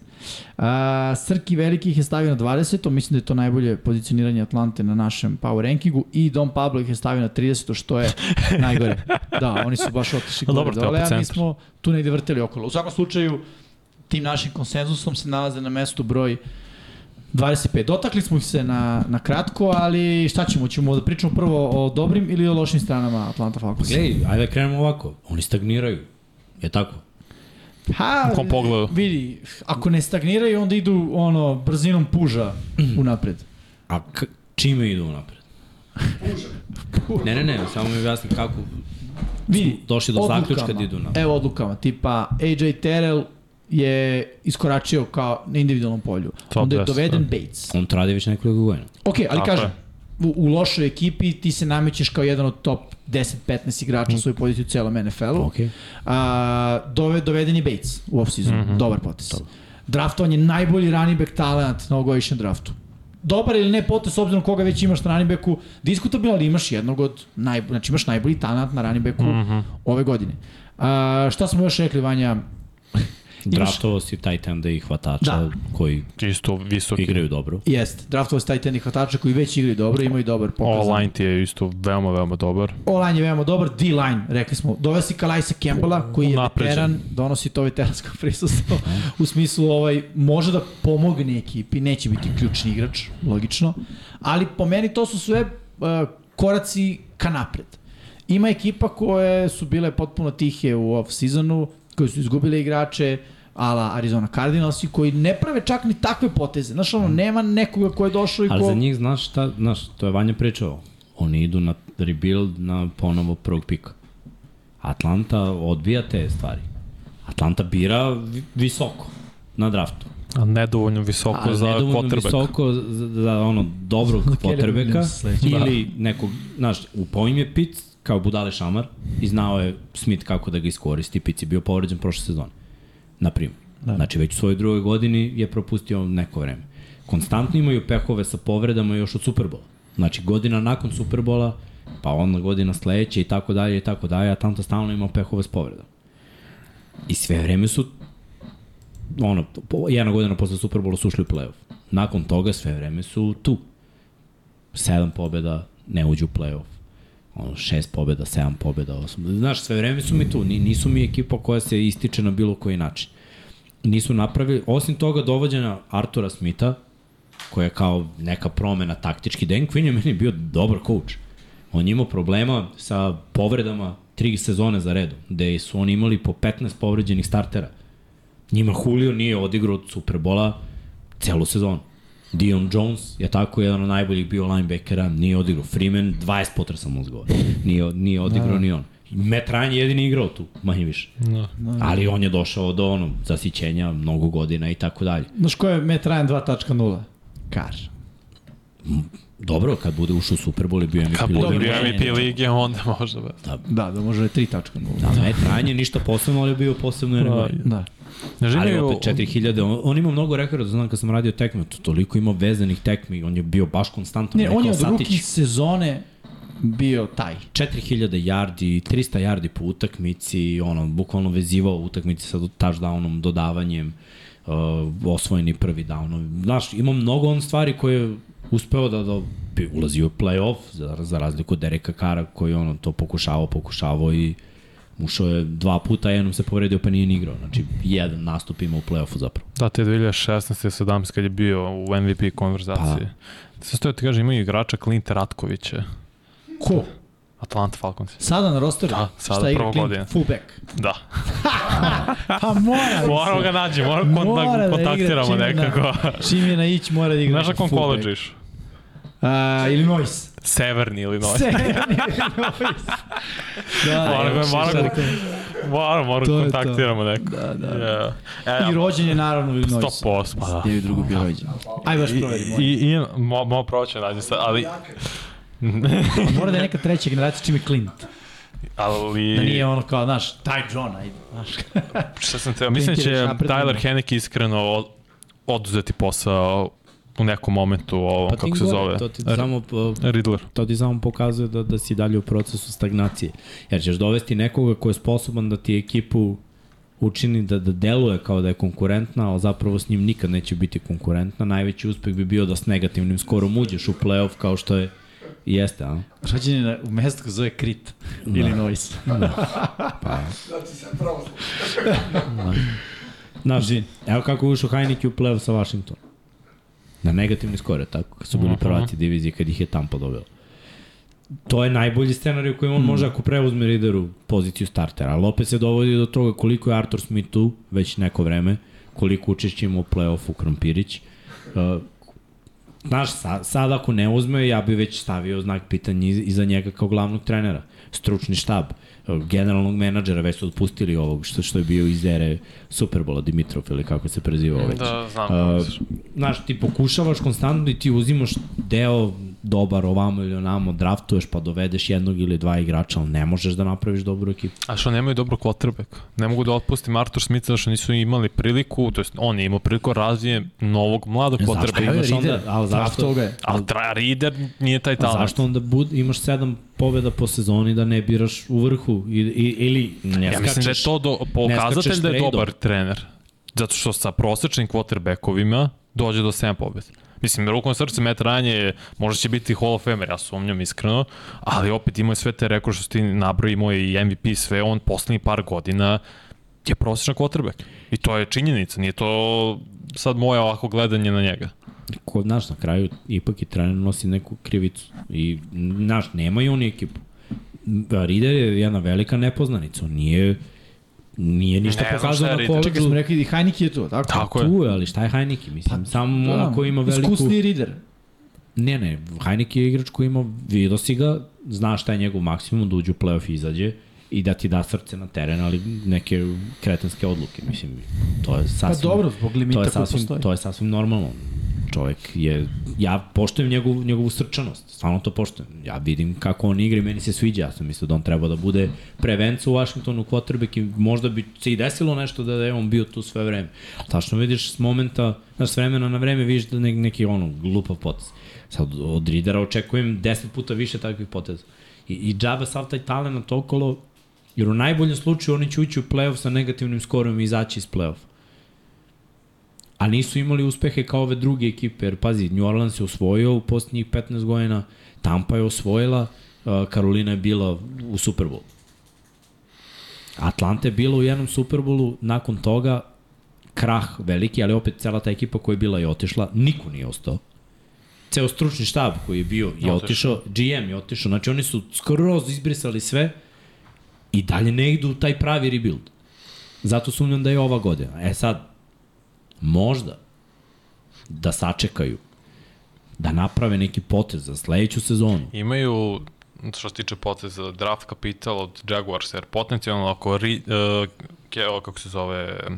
B: A, Srki Veliki ih je stavio na 20. Mislim da je to najbolje pozicioniranje Atlante na našem power rankingu. I Don Pablo ih je stavio na 30. Što je najgore. Da, oni su baš otišli gore
D: Dobro, to je
B: dole,
D: opet
B: a mi
D: centar.
B: smo tu negde vrteli okolo. U svakom slučaju, tim našim konsenzusom se nalaze na mestu broj 25. Dotakli smo ih se na, na kratko, ali šta ćemo? Ćemo da pričamo prvo o dobrim ili o lošim stranama Atlanta Falcons?
A: Gledaj, ajde da krenemo ovako. Oni stagniraju. Je tako?
B: Ha,
D: U kom pogledu?
B: Vidi, ako ne stagniraju, onda idu ono, brzinom puža
D: Mm.
B: unapred.
A: A k čime idu napred? Ne, ne, ne, samo mi objasni kako
B: Vidi,
A: došli do zaključka da idu napred.
B: Evo odlukama, tipa AJ Terrell je iskoračio kao na individualnom polju.
D: Top
B: onda je
D: deset,
B: doveden
D: da.
B: Bates.
A: On to radi već nekoliko godina.
B: Ok, ali
D: Tako
B: kažem,
D: je.
B: u, u lošoj ekipi ti se namećeš kao jedan od top 10-15 igrača
D: Mm.
B: na svojoj poziciji u celom NFL-u.
A: Okej.
B: A, dove, doveden je Bates u off-season, mm -hmm. dobar potes. Dobar. Draftovan je najbolji running back talent na ovogodišnjem draftu. Dobar ili ne potes, s obzirom koga već imaš na running backu, diskutabilan, ali imaš jednog od naj, znači imaš najbolji talent na running backu mm -hmm. ove godine. A, šta smo još rekli, Vanja? Imaš-
A: Draftovao si tight enda i hvatača
B: Da.
A: da. koji
D: Čisto visoki.
A: igraju dobro.
B: Jeste, draftovo si taj tenih hvatača koji već igraju dobro, imaju dobar pokazan.
D: Online ti je isto veoma, veoma dobar.
B: O-line je veoma dobar, D-line, rekli smo. Dovesi Kalajsa Campbella, koji je
D: Unapređen.
B: veteran, donosi to veteransko prisustvo. U smislu, ovaj, može da pomogne ekipi, neće biti ključni igrač, logično. Ali po meni to su sve uh, koraci ka napred. Ima ekipa koje su bile potpuno tihe u off-seasonu, koje su izgubile igrače, ala Arizona Cardinals i koji ne prave čak ni takve poteze. Znaš, ono, nema nekoga ko je došao i ko...
A: Mm. Ali za njih, znaš šta, znaš, to je Vanja pričao. Oni idu na rebuild na ponovo prvog pika. Atlanta odbija te stvari. Atlanta bira vi- visoko na draftu.
D: A nedovoljno visoko
A: Ali
D: za
A: nedovoljno
D: quarterback.
A: visoko za, za ono dobrog potrebeka
B: Williams sledeći.
A: ili nekog, znaš, upao im je Pitt kao budale šamar i znao je Smith kako da ga iskoristi. Pitt je bio povređen prošle sezone, na primjer.
C: Da.
A: Znači već u svojoj drugoj godini je propustio neko vreme. Konstantno imaju pehove sa povredama još od Superbola. Znači godina nakon Superbola, pa onda godina sledeća i tako dalje i tako dalje, a Tanta stalno ima pehove s povredama. I sve vreme su ono, po- jedna godina posle Superbola su ušli u play-off. Nakon toga sve vreme su tu. Sedam pobjeda, ne uđu u play-off. Ono, šest pobjeda, sedam pobjeda, osam. Znaš, sve vreme su mi tu. Ni- Nisu mi ekipa koja se ističe na bilo koji način. Nisu napravili, osim toga dovođena Artura Smitha, koja je kao neka promena taktički. Dan Quinn je meni bio dobar coach. On je imao problema sa povredama tri sezone za redom, gde su oni imali po 15 povređenih startera. Njima Julio nije odigrao od Superbola celu sezonu. Dion Jones je tako jedan od najboljih bio linebackera, nije odigrao. Freeman 20 potresa mozgova. Nije, nije odigrao ni on. Matt Ryan je jedini igrao tu, manje više.
D: Da.
A: Ali on je došao do onog zasićenja mnogo godina i tako dalje.
B: Znaš ko je Matt Ryan 2.0? Kar.
A: Dobro, kad bude ušao u Super Bowl i bio MVP
D: Kad budu
A: lige.
D: MVP lige, onda možda bez.
B: Da, da može je 3.0.
A: Da, Matt Ryan je ništa posebno, ali je bio posebno
D: Da.
A: jedan
B: Da.
D: Ne
A: Ali
D: želim
A: opet 4000, on, on ima mnogo rekorda, znam kad sam radio tekme, to, toliko ima vezanih tekmi, on je bio baš konstantan.
B: Ne, on je od
A: Satić.
B: ruki sezone bio taj.
A: 4000 yardi, 300 yardi po utakmici, ono, bukvalno vezivao utakmice sa touchdownom, dodavanjem, uh, osvojeni prvi down. Znaš, ima mnogo on stvari koje je uspeo da, da bi ulazio u play-off, za, za razliku od Dereka Kara koji ono to pokušavao, pokušavao i ušao je dva puta, jednom se povredio pa nije ni igrao. Znači, jedan nastup ima u play-offu zapravo.
D: Da, te 2016. i 17. kad je bio u MVP konverzaciji. Pa. Sve stoje ti kaže, imaju igrača Klinta Ratkovića,
B: Ko?
D: Atlanta Falcons.
B: Sada na rosteru?
D: Da, sada
B: Šta igra
D: prva
B: Clint?
D: godina.
B: Fullback.
D: Da.
B: Pa mora.
D: Moramo ga nađi, moramo
B: Mora da
D: kontak,
B: igra
D: kontaktiramo
B: čim da-
D: nekako.
B: Čim je na ić mora da igra.
D: Znaš na kom koleđu iš?
B: Uh, Illinois.
D: Severni ili novi.
B: Severni Illinois. Da,
D: Moram
B: evo,
D: ga- moram
B: šta
D: ga- E,
B: da kažem.
D: Moramo, moramo
B: To je to.
D: kontaktiramo neko.
B: Da, da.
D: Yeah.
B: I
D: E,
B: rođen je naravno u Illinoisu.
D: 100%. Pa da.
C: Gdje bi drugo bio rođen?
B: Aj baš
D: I,
B: proverimo.
D: i, i mo, mo proće nađe sad, ali,
B: Mora da je neka treća generacija čim je Clint.
D: ali...
B: Da nije ono kao, znaš, taj John, ajde. Znaš.
D: Šta sam teo, mislim da će
B: Krentireš napred,
D: Tyler
B: ono.
D: Heneke iskreno od- oduzeti posao u nekom momentu ovo, pa kako se zove.
A: To ti
D: R-
A: samo uh,
D: Riddler.
A: to ti samo pokazuje da, da si dalje u procesu stagnacije. Jer ćeš dovesti nekoga ko je sposoban da ti ekipu učini da, da deluje kao da je konkurentna, ali zapravo s njim nikad neće biti konkurentna. Najveći uspeh bi bio da s negativnim skorom uđeš u play-off kao što je i jeste, a?
B: Rođen je na, u mestu koje zove Krit. Da. Illinois.
A: Znaš, evo kako je ušao Heineke u play-off sa Washington. Na negativni skor je tako, kad su bili prvaci divizije, kad ih je Tampa dobila. To je najbolji scenarij u kojem on može ako preuzme lideru poziciju startera, ali opet se dovodi do toga koliko je Arthur Smith tu već neko vreme, koliko učešće ima u play-offu Krompirić. Uh, Znaš, sa, sad ako ne uzme, ja bi već stavio znak pitanja iz- iza njega kao glavnog trenera, stručni štab, e, generalnog menadžera, već su otpustili ovog što, što je bio iz ere Superbola, Dimitrov ili kako se prezivao već.
D: Da, znam.
A: Uh, znaš, ti pokušavaš konstantno i ti uzimaš deo dobar ovamo ili onamo, draftuješ pa dovedeš jednog ili dva igrača, ali ne možeš da napraviš dobru ekipu.
D: A što nemaju dobro quarterback. Ne mogu da otpustim Arthur Smitha što nisu imali priliku, to jest on je imao priliku razvijem novog mladog
A: E, Zašto
D: quarterbacka.
A: imaš onda,
B: Rider.
A: ali zašto,
B: Draftovao ga je.
D: Ali tra, Reader nije taj
A: Pa
D: talent.
A: zašto onda bud, imaš sedam pobjeda po sezoni da ne biraš u vrhu i, i, ili ne
D: Ja mislim da je
A: skačeš?
D: to do, pokazatelj
A: skačeš
D: da je
A: trade-om.
D: dobar trener. Zato što sa prosečnim quarterbackovima dođe do 7 pobjeda. Mislim, rukom na srce Matt Ryan je, možda će biti Hall of Famer, ja sumnjam iskreno, ali opet imao je sve te rekorde što ti nabrao, imao je i MVP i sve, on poslednjih par godina je prosječan quarterback. I to je činjenica, nije to sad moje ovako gledanje na njega.
A: ko, znaš, na kraju ipak i trener nosi neku krivicu. I, znaš, nemaju oni ekipu. Rider je jedna velika nepoznanica. On nije, nije ništa
D: Ne znam šta
A: pokazao
D: je
A: na
D: Rieder.
B: Čekaj, smo
A: koleđu.
B: rekli i Heineke je tu, tako?
D: Tako je.
A: Tu je, ali šta je Heineke? Mislim,
B: Pa,
A: samo da, onako ima veliku...
B: Iskusni rider.
A: Ne, ne, Heineke je igrač koji ima, vidio si ga, zna šta je njegov maksimum, da uđe u playoff i izađe i da ti da srce na teren, ali neke kretenske odluke, mislim, to je
B: Pa
A: sasvim...
B: dobro, zbog limita
A: to je
B: koji
A: sasvim,
B: postoji.
A: to je sasvim normalno. čovjek je, ja poštujem njegov, njegovu srčanost, stvarno to poštujem. Ja vidim kako on igra i meni se sviđa, ja sam mislio da on treba da bude prevenca u Washingtonu quarterback i možda bi se i desilo nešto da je on bio tu sve vreme. Tačno vidiš s momenta, znaš, s vremena na vreme vidiš da ne, neki ono, glupav potes. Sad od Ridera očekujem 10 puta više takvih poteza. I, i džaba sav taj talent okolo, jer u najboljem slučaju oni će ući u playoff sa negativnim skorom i izaći iz playoffa a nisu imali uspehe kao ove druge ekipe, jer pazi, New Orleans je osvojio u posljednjih 15 godina, Tampa je osvojila, uh, Karolina je bila u Superbowlu. Atlanta je bila u jednom Superbowlu, nakon toga krah veliki, ali opet cela ta ekipa koja je bila je otišla, niko nije ostao. Ceo stručni štab koji je bio je otišao, GM je otišao, znači oni su skroz izbrisali sve i dalje ne idu u taj pravi rebuild. Zato sumnjam da je ova godina. E sad, možda da sačekaju da naprave neki potez za sledeću sezonu.
D: Imaju što se tiče poteza draft kapital od Jaguars, jer potencijalno ako ri, uh, ke, o, kako se zove uh,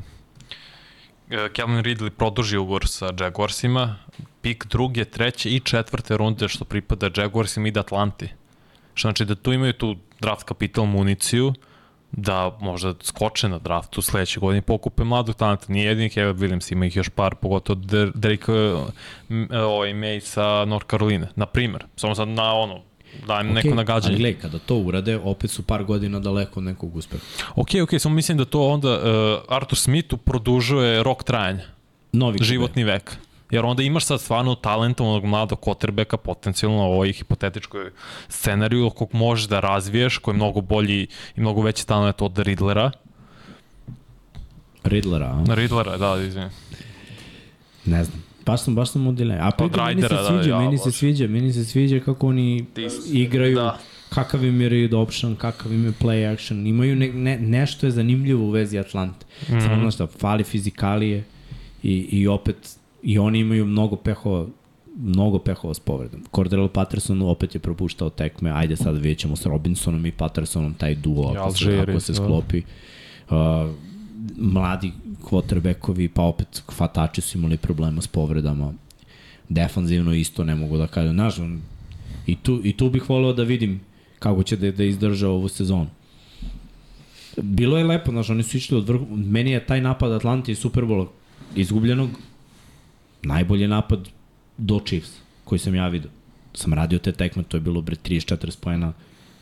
D: Calvin Ridley produži ugovor sa Jaguarsima, pik druge, treće i četvrte runde što pripada Jaguarsima ide Atlanti. Što znači da tu imaju tu draft kapital municiju, da možda skoče na draftu sledeće godine i pokupe mladog talenta. Nije jedini Caleb Williams, ima ih još par, pogotovo Der- Drake uh, m- uh, ovaj, May sa North Carolina, na primer. Samo sad na ono, dajem okay, neko nagađanje.
A: Ali gledaj, kada to urade, opet su par godina daleko od nekog uspeha.
D: Ok, ok, samo mislim da to onda uh, Arthur Smithu produžuje rok trajanja,
A: Novi
D: životni vek. Jer onda imaš sad stvarno talentovanog mladog quarterbacka potencijalno u ovoj hipotetičkoj scenariju kog možeš da razviješ, koji je mnogo bolji i mnogo veći talent od Riddlera.
A: Riddlera, a?
D: Riddlera, da, izvinim.
A: Ne znam. Baš sam, baš sam u dilemi. A pritom meni se
D: Rydera, da,
A: sviđa,
D: ja,
A: da, meni se
D: baš.
A: sviđa, meni se sviđa kako oni igraju, da.
D: da.
A: kakav im je read option, kakav im je play action. Imaju ne, ne, nešto je zanimljivo u vezi Atlante. Mm -hmm. Samo znaš da fali fizikalije i, i opet i oni imaju mnogo pehova mnogo pehova s povredom. Cordero Patterson opet je propuštao tekme, ajde sad vidjet ćemo s Robinsonom i Pattersonom taj duo ako se,
D: Algieri,
A: ako se
D: da.
A: sklopi. Uh, mladi quarterbackovi, pa opet hvatači su imali problema s povredama. Defanzivno isto ne mogu da kažem. Znaš, on- i tu, i tu bih voleo da vidim kako će da, da izdrža ovu sezonu. Bilo je lepo, znaš, oni su išli od vrhu. Meni je taj napad Atlante i Superbola izgubljenog najbolji napad do Chiefs koji sam ja vidio. Sam radio te tekme, to je bilo bre 34 pojena.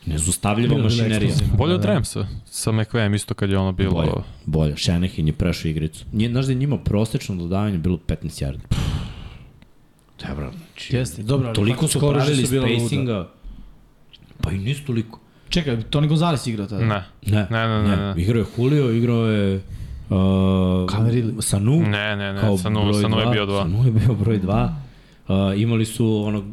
A: Nezustavljiva
B: Bilo je bilo
A: mašinerija.
B: eksplozivno.
D: Bolje od Ramsa sa McVeighem isto kad je ono bilo...
A: Da. Bolje, bolje. Shanahan je prešao igricu. Nije, znaš da je njima prosečno dodavanje bilo 15 yardi. Dobro, znači...
B: Jeste, dobro, ali
A: toliko
B: fakt,
A: su
B: skoraže
A: pravili
B: su bila luda.
A: spacinga. Pa i nisu toliko.
B: Čekaj, Tony Gonzalez igrao tada.
D: Ne.
A: da. Ne,
D: Ne, ne, ne, ne.
A: Igrao je Julio, igrao je...
B: Calvin
A: Uh,
B: Ridley.
A: Sanu.
D: Ne, ne, ne, Sanu,
A: broj
D: Sanu je
A: dva.
D: bio dva.
A: Sanu je bio broj 2. Uh, imali su onog,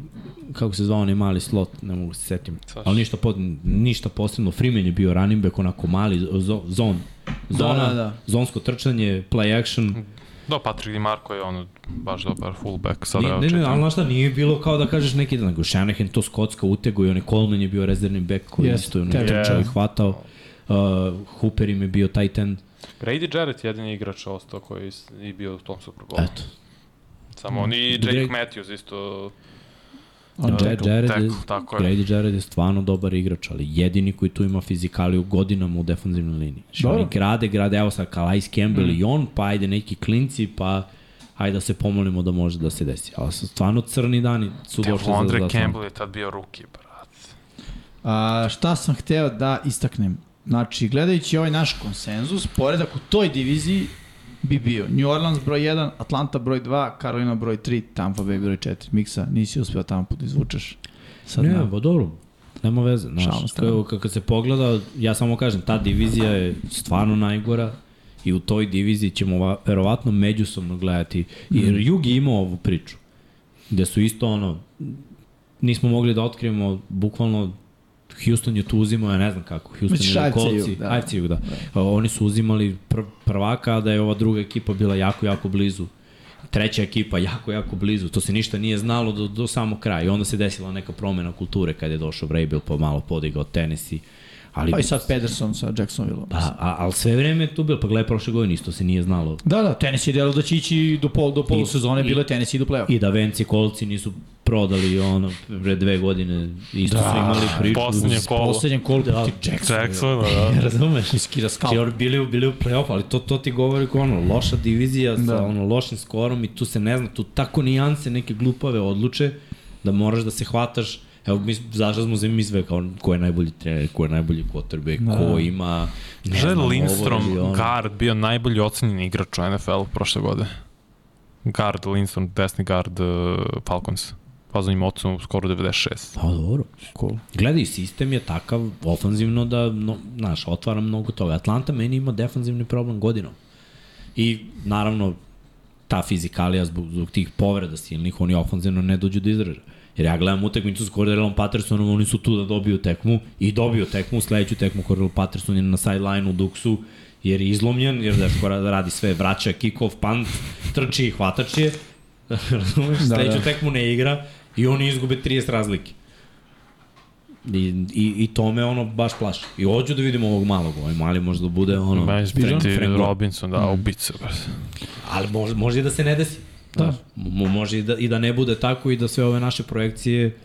A: kako se zvao onaj mali slot, ne mogu se setim.
D: Svašta.
A: Ali ništa, po, ništa posebno. Freeman je bio running back, onako mali, zo, zon. Zona, da, da, da.
B: da, da.
A: zonsko trčanje, play action.
D: Da, Patrick DiMarco je ono baš dobar fullback. Sada
A: Nije,
D: evo
A: ne, ne,
D: čitam.
A: ali znaš šta, nije bilo kao da kažeš neki dan, nego Shanahan to skocka utego i on je Coleman je bio rezervni back koji yes,
B: Jeste,
A: isto je
B: te-
A: trčao i
D: Yeah.
A: hvatao. Uh, Hooper im je bio tight end.
D: Brady Jarrett je jedini igrač ostao koji s- i bio u tom Super Bowlu.
A: Eto,
D: Samo on i
A: Greg-
D: Jake Matthews isto...
A: On Jared,
D: tackle,
A: Jared, je,
D: tackle, tako je.
A: Grady Jared je stvarno dobar igrač, ali jedini koji tu ima fizikaliju godinama u defanzivnoj liniji. Što
B: Dobro.
A: oni grade, grade, evo sad Calais Campbell mm. i on, pa ajde neki klinci, pa ajde da se pomolimo da može da se desi. Ali su stvarno crni dani su došli za, za
D: Devondre
A: Atlanta.
D: Campbell je tad bio ruki, brat.
B: A, šta sam hteo da istaknem? Znači, gledajući ovaj naš konsenzus, poredak u toj diviziji bi bio New Orleans broj 1, Atlanta broj 2, Carolina broj 3, Tampa Bay broj 4. Miksa, nisi uspeo Tampu da izvučeš. Sad da.
A: Ne,
B: na-
A: pa dobro, nema veze.
B: Šalim
A: Znaš,
B: se.
A: kao, kako se pogleda, ja samo kažem, ta divizija je stvarno najgora i u toj diviziji ćemo va, verovatno međusobno gledati. Jer
B: Mhm.
A: Jug je imao ovu priču, gde su isto ono, nismo mogli da otkrijemo bukvalno Houston je tu uzimao, ja ne znam kako, Houston
B: Misliš
A: je
B: AFC Jug,
A: kolci,
B: da.
A: AFC Jug, da. da. Oni su uzimali pr prvaka, a da je ova druga ekipa bila jako, jako blizu treća ekipa jako, jako blizu. To se ništa nije znalo do, do samo kraja. I onda se desila neka promena kulture kada je došao Vrabel, pa malo podigao tenisi. Ali,
B: Pa i sad Pederson sa Jacksonvilleom.
A: Pa, a, ali sve vreme je tu bilo, pa gledaj prošle godine, isto se nije znalo.
B: Da, da, tenis je delo da će ići do, pol, do polusezone, bilo je tenis i do play-offa.
A: I da Venci Kolci nisu prodali ono pre dve godine, isto da, su imali priču.
D: Poslednje kolo.
B: Poslednjem kolu da, proti
D: Jackson,
B: Jacksonville.
D: da.
A: Razumeš?
B: Iskira
A: Kao.
B: skalu.
A: Jer bili, u- bili u play-off, ali to, to ti govori kao ono, loša divizija da. sa ono, lošim skorom i tu se ne zna, tu tako nijanse neke glupave odluče da moraš da se hvataš. Evo, mi, zašto smo se mi sve kao ko je najbolji trener, ko je najbolji quarterback, da. ko ima... ne
D: Že
A: znam, ovo ili ono.
D: Lindstrom guard bio najbolji ocenjen igrač u NFL prošle godine. Guard Lindstrom, desni guard uh, Falcons. Fazovim ocenu skoro 96.
A: Pa dobro. Cool. Gledaj, sistem je takav ofanzivno da, no, znaš, otvara mnogo toga. Atlanta meni ima defanzivni problem godinom. I, naravno, ta fizikalija zbog, zbog tih povreda silnih, oni ofanzivno ne dođu do izražaja. Jer ja gledam utakmicu s Cordelom Pattersonom, oni su tu da dobiju tekmu i dobiju tekmu, sledeću tekmu Cordell Patterson je na sideline u Duksu jer je izlomljen, jer Deško ra- radi sve, vraća kick-off, punt, trči i hvatač je, razumeš, da,
B: Da,
A: sledeću
B: da.
A: da. tekmu ne igra i oni izgube 30 razlike. I, i, i to me ono baš plaši. I hoću da vidim ovog malog, ovaj mali možda bude ono...
D: Meni se
A: Frank-
D: priti
A: Frank Gore.
D: Robinson, da,
A: Mm.
D: ubica. brate.
A: Ali može, može i da se ne desi.
B: Da.
A: Znaš, mo- može i da, i da ne bude tako i da sve ove naše projekcije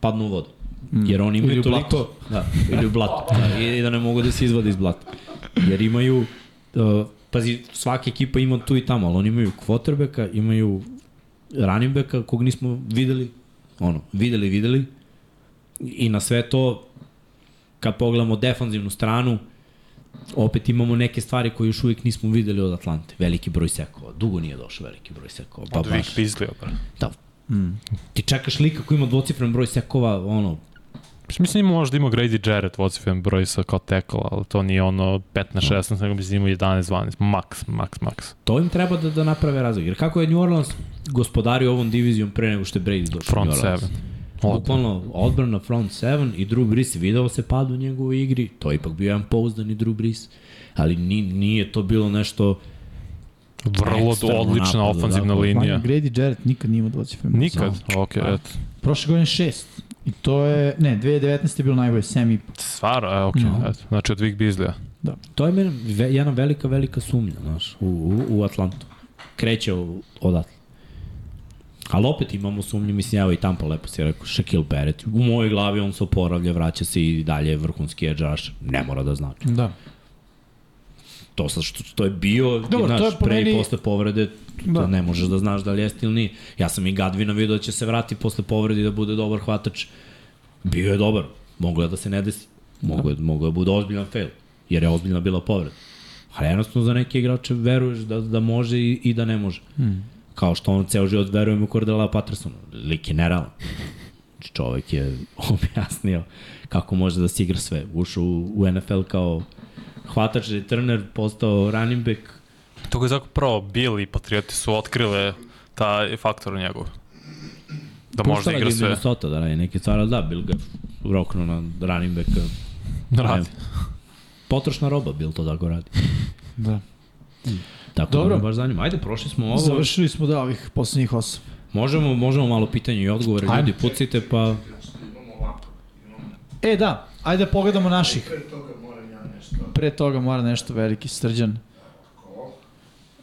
A: padnu u vodu. Mm. Jer oni imaju
B: Ili u
A: toliko...
B: blato.
A: Da, ili u blato. Da, I da ne mogu da se izvade iz blata. Jer imaju... Uh, pazi, svaka ekipa ima tu i tamo, ali oni imaju quarterbacka, imaju running backa kog nismo videli, ono, videli, videli. I na sve to, kad pogledamo defanzivnu stranu, opet imamo neke stvari koje još uvijek nismo videli od Atlante. Veliki broj sekova. Dugo nije došao veliki broj sekova. Ba,
D: Od Vic
A: Pa baš.
D: Beasley, bro.
A: Da. Ti čekaš lika koji ima dvocifren broj sekova, ono,
D: Mislim ima možda imao Grady Jarrett vocifen broj sa kao tekla, ali to nije ono
A: Da.
D: 15-16, nego mislim imao 11-12, maks, maks, maks.
A: to im treba da, da naprave razlog. Jer kako je New Orleans gospodario ovom divizijom pre nego što je Brady došao? u
D: Front
A: New Orleans?
D: 7.
A: Bukvalno odbrana front 7 i Drew Brees video se pad u njegovoj igri, to je ipak bio jedan pouzdani Drew Brees, ali ni, nije to bilo nešto
D: Vrlo
A: ekstremno
D: odlična
A: napadu, da,
D: ofanzivna
A: da.
D: linija.
B: Grady Jarrett nikad nije imao dvocifrenu.
D: Nikad, ok, eto.
B: Prošle godine šest. I to je, ne, 2019. je bilo najbolje, semi.
D: Stvarno, e, ok,
B: No.
D: eto. Znači od Vic Beasley-a.
A: To je meni ve, jedna velika, velika sumnja, znaš, u, u, u Atlantu. Kreće u- odatle. Ali opet imamo sumnje, mislim, evo i Tampa lepo si rekao, Shaquille Barrett, u mojoj glavi on se oporavlja, vraća se i dalje je vrhunski edge rush, ne mora da znači.
B: Da.
A: To sa što, što je bio,
B: Dobro,
A: Dobar, znaš,
B: to
A: to
B: je
A: je
B: po
A: pre
B: meni-
A: i posle povrede,
B: Da.
A: da. ne možeš da znaš da li jeste ili nije. Ja sam i Gadvina vidio da će se vrati posle povrede i da bude dobar hvatač. Bio je dobar, moglo je da se ne desi. Moglo je, moglo je da bude ozbiljan fail, jer je ozbiljna bila povreda. Ali jednostavno za neke igrače veruješ da, da može i, i da ne može. Mm. Kao što on ceo život verujem u Cordela Pattersona. Lik je nerealan. Znači, čovek je objasnio kako može da se igra sve. Ušao u, u NFL kao hvatač, returner, postao running back.
D: To ga je zato pravo bili i Patrioti su otkrile taj faktor njegov. Da može da
A: Puštala ga
D: igra
A: je
D: sve.
A: Minnesota da radi neke stvari, ali da, bil ga roknu na running backa.
D: Radi.
A: Potrošna roba, bil to da go radi.
B: Da.
A: Tako Dobro. da
B: Dobro.
A: me baš zanima. Ajde, prošli smo ovo. Završ.
B: Završili smo da ovih poslednjih osam.
A: Možemo, možemo malo pitanja i odgovore.
B: Ajde.
A: Ljudi, pucite pa...
B: E, da, ajde da pogledamo naših. Pre toga mora nešto veliki srđan.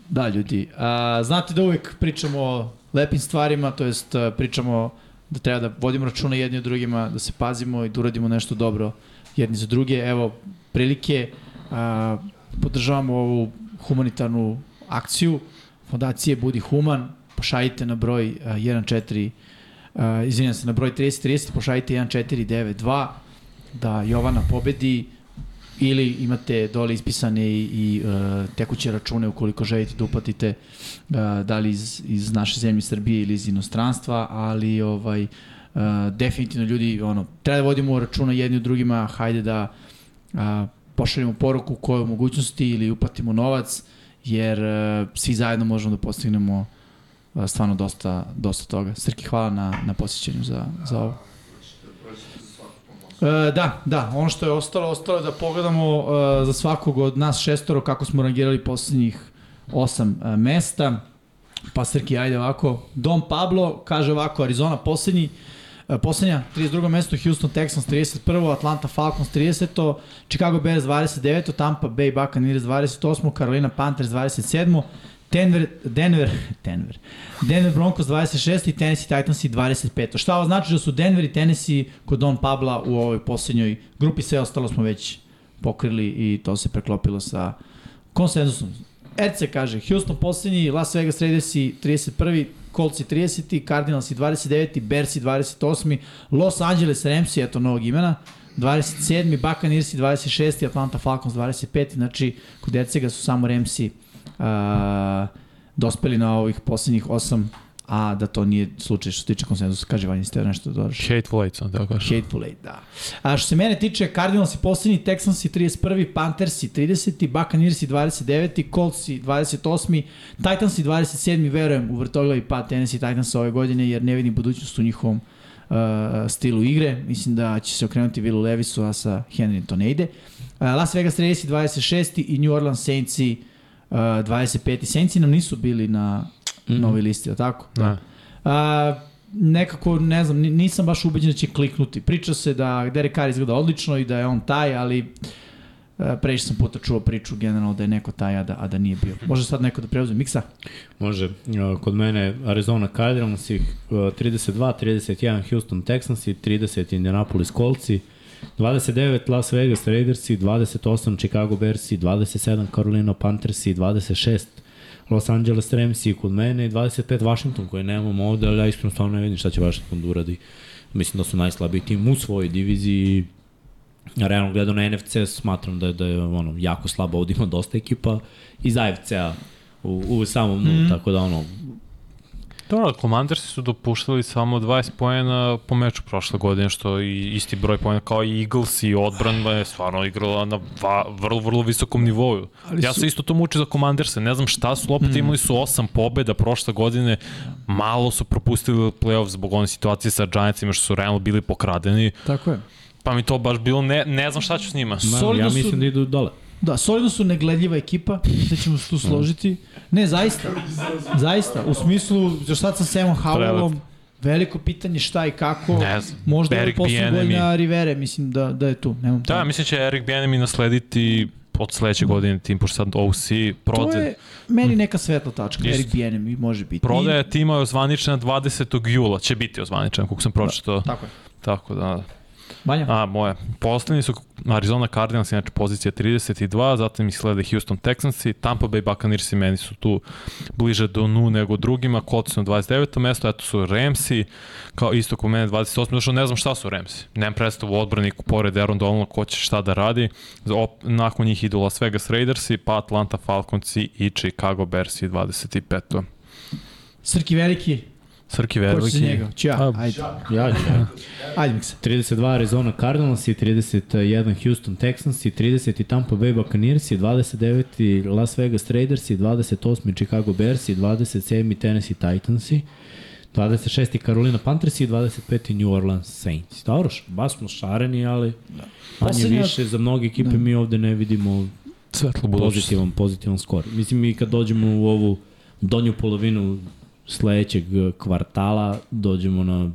B: Da, ljudi. A, znate da uvek pričamo o lepim stvarima, to jest a, pričamo da treba da vodimo računa jedni o drugima, da se pazimo i da uradimo nešto dobro jedni za druge. Evo, prilike, a, podržavamo ovu humanitarnu akciju fondacije Budi Human, pošaljite na broj a, 14 Uh, izvinjam se, na broj 3030 pošaljite 1492 da Jovana pobedi ili imate dole ispisane i, i uh, tekuće račune ukoliko želite da uplatite uh, da li iz, iz naše zemlje Srbije ili iz inostranstva, ali ovaj uh, definitivno ljudi ono, treba da vodimo računa jedni u drugima, hajde da uh, pošaljemo poruku koje mogućnosti ili uplatimo novac, jer uh, svi zajedno možemo da postignemo a, stvarno dosta, dosta toga. Srki, hvala na, na posjećanju za, za ovo. E, da, da, ono što je ostalo, ostalo je da pogledamo e, za svakog od nas šestoro kako smo rangirali poslednjih osam e, mesta. Pa Srki, ajde ovako. Don Pablo kaže ovako, Arizona poslednji, Poslednja, 32. mesto, Houston Texans 31. Atlanta Falcons 30. Chicago Bears 29. Tampa Bay Buccaneers 28. Carolina Panthers 27. Denver, Denver, Denver, Denver Broncos 26 i Tennessee Titans i 25. Šta ovo znači da su Denver i Tennessee kod Don Pabla u ovoj posljednjoj grupi, sve ostalo smo već pokrili i to se preklopilo sa konsenzusom. Erce kaže, Houston posljednji, Las Vegas Raiders i 31. Colts i 30. Cardinals i 29. Bears i 28. Los Angeles Rams i eto novog imena. 27. Buccaneers i 26. Atlanta Falcons 25. Znači, kod Ercega su samo Ramsi a, dospeli na ovih posljednjih osam, a da to nije slučaj što se tiče konsenzusa. Kaže, Vanja, ste nešto dodaš?
D: Hateful Eight, sam teo kažem.
B: Hateful Eight, da. A što se mene tiče, Cardinals i poslednji, Texans i 31. Panthers i 30. Buccaneers i 29. Colts i 28. Titans i 27. Verujem u vrtoglavi pad Tennessee Titans ove godine, jer ne vidim budućnost u njihovom uh, stilu igre. Mislim da će se okrenuti Willu Levisu, a sa Henrym to ne ide. Uh, Las Vegas Raiders i 26. i New Orleans Saints i uh, 25. Saints nam nisu bili na mm. novoj listi, je li tako?
D: Da.
B: A, nekako, ne znam, ni- nisam baš ubeđen da će kliknuti. Priča se da Derek Carr izgleda odlično i da je on taj, ali a, previše sam puta čuo priču generalno da je neko taj, a da, a da nije bio. Može sad neko da preuzme miksa?
A: Može. E, Kod mene Arizona Cardinals ih, e, 32, 31 Houston Texans i 30 Indianapolis Colts i 29 Las Vegas Raiders i 28 Chicago Bears i 27 Carolina Panthers i 26 Los Angeles Rams i kod mene i 25 Washington koje nemamo ovde, ali ja iskreno stvarno ne vidim šta će Washington da uradi. Mislim da su najslabiji tim u svojoj diviziji i realno gledao na NFC, smatram da je, da je ono, jako slabo, ovdje ima dosta ekipa iz AFC-a u, u samom dnu,
B: Mhm.
A: mm. tako da ono,
D: Dobro, Commandersi su dopuštali samo 20 poena po meču prošle godine, što je isti broj poena kao i Eagles i odbrana je stvarno igrala na va, vrlo, vrlo visokom nivou.
C: Ali
D: ja
C: su-
D: se isto to muči za Commanderse, ne znam šta su,
B: Mm.
D: opet imali su 8 pobeda prošle godine, malo su propustili playoff zbog one situacije sa Giantsima što su realno bili pokradeni,
C: Tako je.
D: pa mi to baš bilo, ne, ne znam šta ću s njima.
A: ma,
B: Solidno
A: ja
B: su-
A: mislim da idu dole.
B: Da, solidno su negledljiva ekipa, da ćemo se tu složiti. Ne, zaista, zaista, u smislu, za sad sa Samom Howellom, veliko pitanje šta i kako,
D: Ne znam,
B: možda je
D: Eric
B: posljednji
D: Bieniemy.
B: godina Rivere, mislim da, da je tu, nemam
D: Da,
B: pojma.
D: mislim će Eric Bienemi naslediti od sledeće godine tim, pošto sad OC prode.
B: To je meni neka svetla tačka,
D: Isto.
B: Eric Bienemi može biti.
D: Prodaja tima je ozvaničena 20. jula, će biti ozvaničena, koliko sam pročitao.
B: Tako je.
D: Tako da,
B: Vanja?
D: a moje. Poslednji su Arizona Cardinals, inače pozicija 32, zatim ih slede Houston Texans i Tampa Bay Buccaneers i meni su tu bliže do nu nego drugima, Colts na 29. mesto, eto su Ramsi, kao isto ko mene 28. Zato što ne znam šta su Ramsi. Nemam predstavu u odbraniku pored Aaron Donald ko će šta da radi. Op, nakon njih idu Las Vegas Raidersi, pa Atlanta Falconsi i Chicago Bearsi 25.
B: Srki veliki,
D: Srki
B: hoćeš za
D: Verliki.
B: njega? Ću ja,
D: A,
B: ajde.
A: Ja ću.
B: Ajde miksa.
A: 32 Arizona Cardinals i 31 Houston Texans i 30 Tampa Bay Buccaneers i 29 Las Vegas Raiders i 28 Chicago Bears i 27 Tennessee Titans i 26 Carolina Panthers i 25 New Orleans Saints. Dobro, š- baš smo šareni, ali manje
B: Da. Poslednja- Da.
A: više za mnoge ekipe mi ovde ne vidimo
D: Svetlo budućnost.
A: pozitivan, pozitivan skor. Mislim, mi kad dođemo u ovu donju polovinu sledećeg eh, kvartala, dođemo na,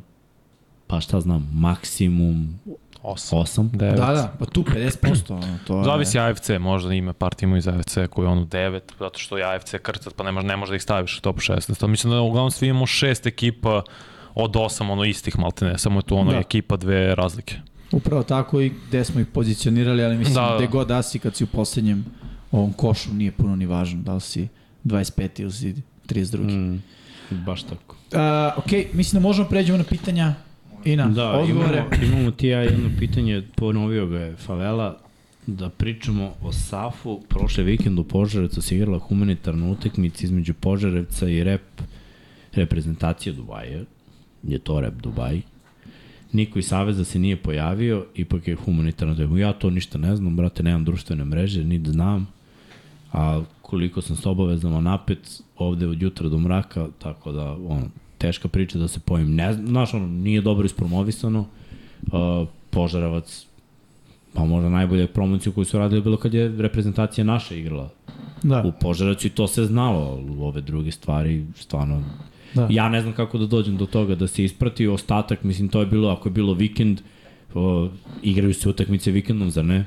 A: pa šta znam, maksimum
D: 8.
A: 8.
D: Da,
B: Da, da, pa tu 50%, ono, to je...
D: Zavisi AFC, možda ima par timova iz AFC koji je ono 9, zato što je AFC krcat, pa ne, može, ne može da ih staviš u top 16. To mislim da uglavnom svi imamo šest ekipa od osam ono istih maltene, samo je tu ono
B: Da.
D: da. ekipa dve razlike.
B: Upravo tako i gde smo ih pozicionirali, ali mislim da.
D: Da.
B: gde god da si kad si u poslednjem ovom košu nije puno ni važno, da li si 25 ili si 32. Mm.
A: Mm, baš tako.
B: ok, mislim da možemo pređemo na pitanja i na da,
A: Da,
B: odgovore.
A: imamo, imamo ti ja jedno pitanje, ponovio ga je Favela, da pričamo o Safu. Prošle vikend u Požarevcu se igrala humanitarna utekmica između Požarevca i rep reprezentacije Dubaja. Je to rep Dubaj. Niko iz Saveza se nije pojavio, ipak je humanitarno tema. Ja to ništa ne znam, brate, nemam društvene mreže, niti znam. A koliko sam s obavezama napet ovde od jutra do mraka, tako da, ono, teška priča da se pojim. Ne znam, znaš, ono, nije dobro ispromovisano. Uh, Požarevac, pa možda najbolje promociju koju su radili je bilo kad je reprezentacija naša igrala
B: Da.
A: u Požarevacu i to se znalo, ali u ove druge stvari stvarno
C: Da.
A: Ja ne znam kako da dođem do toga da se isprati ostatak, mislim to je bilo, ako je bilo vikend, o, igraju se utakmice vikendom, zar ne?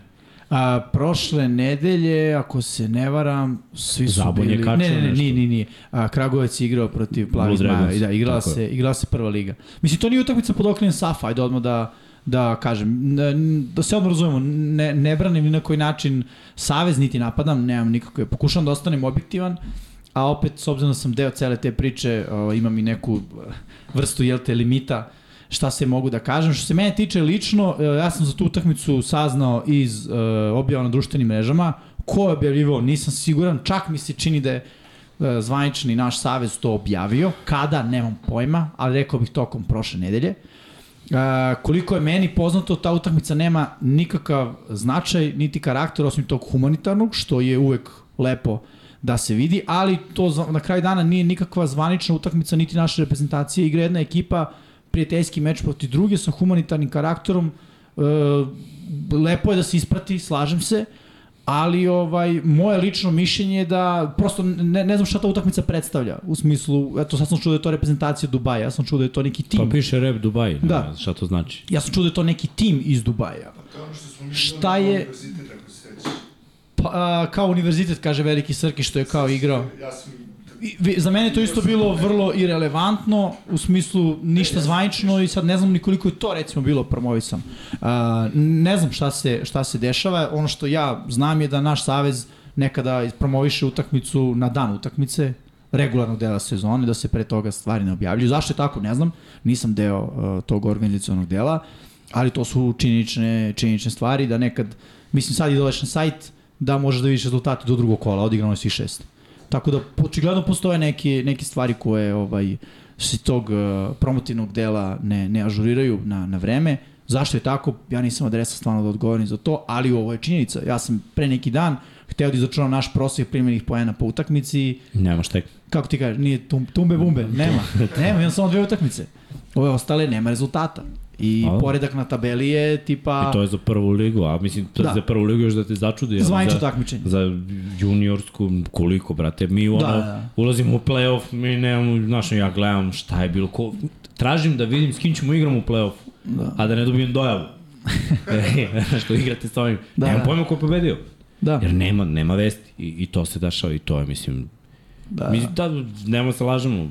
B: A, prošle nedelje, ako se ne varam, svi su
A: Zabon je
B: bili...
A: kačio
B: ne, ne, ne,
A: nešto.
B: nije, nije, nije. A, Kragovac je igrao protiv Plavih
A: Blue
B: Maja.
A: Dragons,
B: I Da, igrala
A: tako je.
B: se, igrala se prva liga. Mislim, to nije utakmica pod okriljem Safa, ajde odmah da da kažem, N- da se odmah razumemo, ne, ne branim ni na koji način savez, niti napadam, nemam nikakve, pokušam da ostanem objektivan, a opet, s obzirom da sam deo cele te priče, o, imam i neku eh, vrstu, jel te, limita šta se mogu da kažem. Što se mene tiče lično, e, ja sam za tu utakmicu saznao iz e, objava na društvenim mrežama. Ko je objavljivao, nisam siguran. Čak mi se čini da je e, zvanični naš savez to objavio. Kada, nemam pojma, ali rekao bih tokom prošle nedelje. E, koliko je meni poznato, ta utakmica nema nikakav značaj, niti karakter, osim tog humanitarnog, što je uvek lepo da se vidi, ali to za- na kraju dana nije nikakva zvanična utakmica, niti naše reprezentacije, igra jedna ekipa, prijateljski meč protiv druge sa humanitarnim karakterom, e, lepo je da se isprati, slažem se, ali ovaj moje lično mišljenje je da prosto ne, ne znam šta ta utakmica predstavlja u smislu eto sad sam čuo da je to reprezentacija Dubaja ja sam čuo da je to neki tim
A: Pa piše Rep Dubai, ne
B: Da.
A: znam šta to znači.
B: Ja sam čuo da je to neki tim iz Dubaja. Šta
E: Šta
B: je-
E: je...
B: Pa, a, kao univerzitet, kaže Veliki Srki, što je kao igrao.
E: Ja sam...
B: I, vi- za mene je to isto bilo vrlo irelevantno, u smislu ništa zvanično i sad ne znam ni koliko je to recimo bilo promovisan. A, ne znam šta se, šta se dešava, ono što ja znam je da naš savez nekada promoviše utakmicu na dan utakmice, regularnog dela sezone, da se pre toga stvari ne objavljuju. Zašto je tako, ne znam, nisam deo uh, tog organizacionog dela, ali to su činične, činične stvari, da nekad, mislim sad i dođeš na sajt, da možeš da vidiš rezultate do drugog kola, odigrano je svih šest. Tako da očigledno postoje neke, neke stvari koje ovaj se tog uh, promotivnog dela ne, ne ažuriraju na, na vreme. Zašto je tako? Ja nisam adresa stvarno da odgovorim za to, ali ovo je činjenica. Ja sam pre neki dan hteo da izračunam naš prosjek primljenih poena po utakmici i
A: Nema štek.
B: kako ti kažeš, nije tum, tumbe bumbe, nema, nema, imam samo dve utakmice. Ove ostale nema rezultata. I
A: A.
B: poredak na tabeli je tipa
A: I to je za prvu ligu, a mislim to da.
B: Da.
A: za prvu ligu još da te začudi. ali
B: zvanično
A: za-
B: takmičenje.
A: za juniorsku koliko brate mi ono da, da.
B: da.
A: ulazimo u plej-of mi nemamo znaš ja gledam šta je bilo ko tražim da vidim s kim ćemo igram u plej-of da. a da ne dobijem dojavu E, što igrate sa ovim da,
B: Da,
A: nemam
B: da.
A: pojma ko je pobedio
B: Da.
A: jer nema nema vesti i, i to se dešava i to je mislim da, mislim da nema se lažemo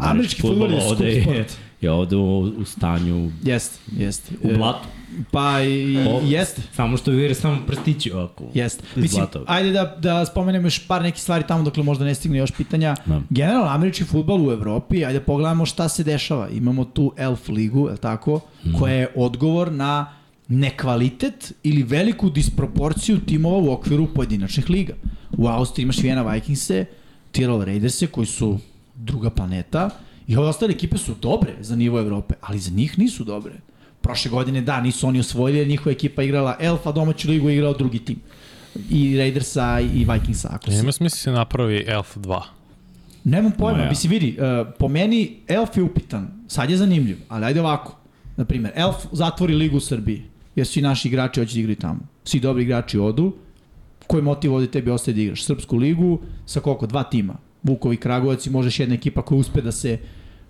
B: Američki fudbal je skup
A: ovde je,
B: sport.
A: je ovde u, u stanju
B: Jeste, jeste.
A: u
B: E,
A: blatu
B: Pa i,
A: O.
B: jeste.
A: samo što vire samo prstići ovako
B: Jeste.
A: iz
B: Mislim,
A: blata.
B: ajde da, da spomenemo još par nekih stvari tamo dokle možda ne stigne još pitanja.
A: Da.
B: Generalno, američki futbal u Evropi, ajde da pogledamo šta se dešava. Imamo tu Elf ligu, je li tako,
A: Mhm.
B: koja je odgovor na nekvalitet ili veliku disproporciju timova u okviru pojedinačnih liga. U Austriji imaš Vienna Vikingse, Tirol Raiderse koji su druga planeta i ove ostale ekipe su dobre za nivo Evrope, ali za njih nisu dobre. Prošle godine, da, nisu oni osvojili, jer njihova ekipa je igrala Elfa, domaću ligu je igrao drugi tim. I Raidersa i Vikingsa. Ako se
D: Nema smisla se napravi Elf 2.
B: Nemam pojma,
A: Ma ja.
B: ja. mislim vidi, uh, po meni Elf je upitan, sad je zanimljiv, ali ajde ovako. Na primer, Elf zatvori ligu u Srbiji, jer svi naši igrači hoće da igraju tamo. Svi dobri igrači odu, koji motiv ovde tebi ostaje da igraš? Srpsku ligu sa koliko? Dva tima. Vukovi, Kragovac i možeš jedna ekipa koja uspe da se,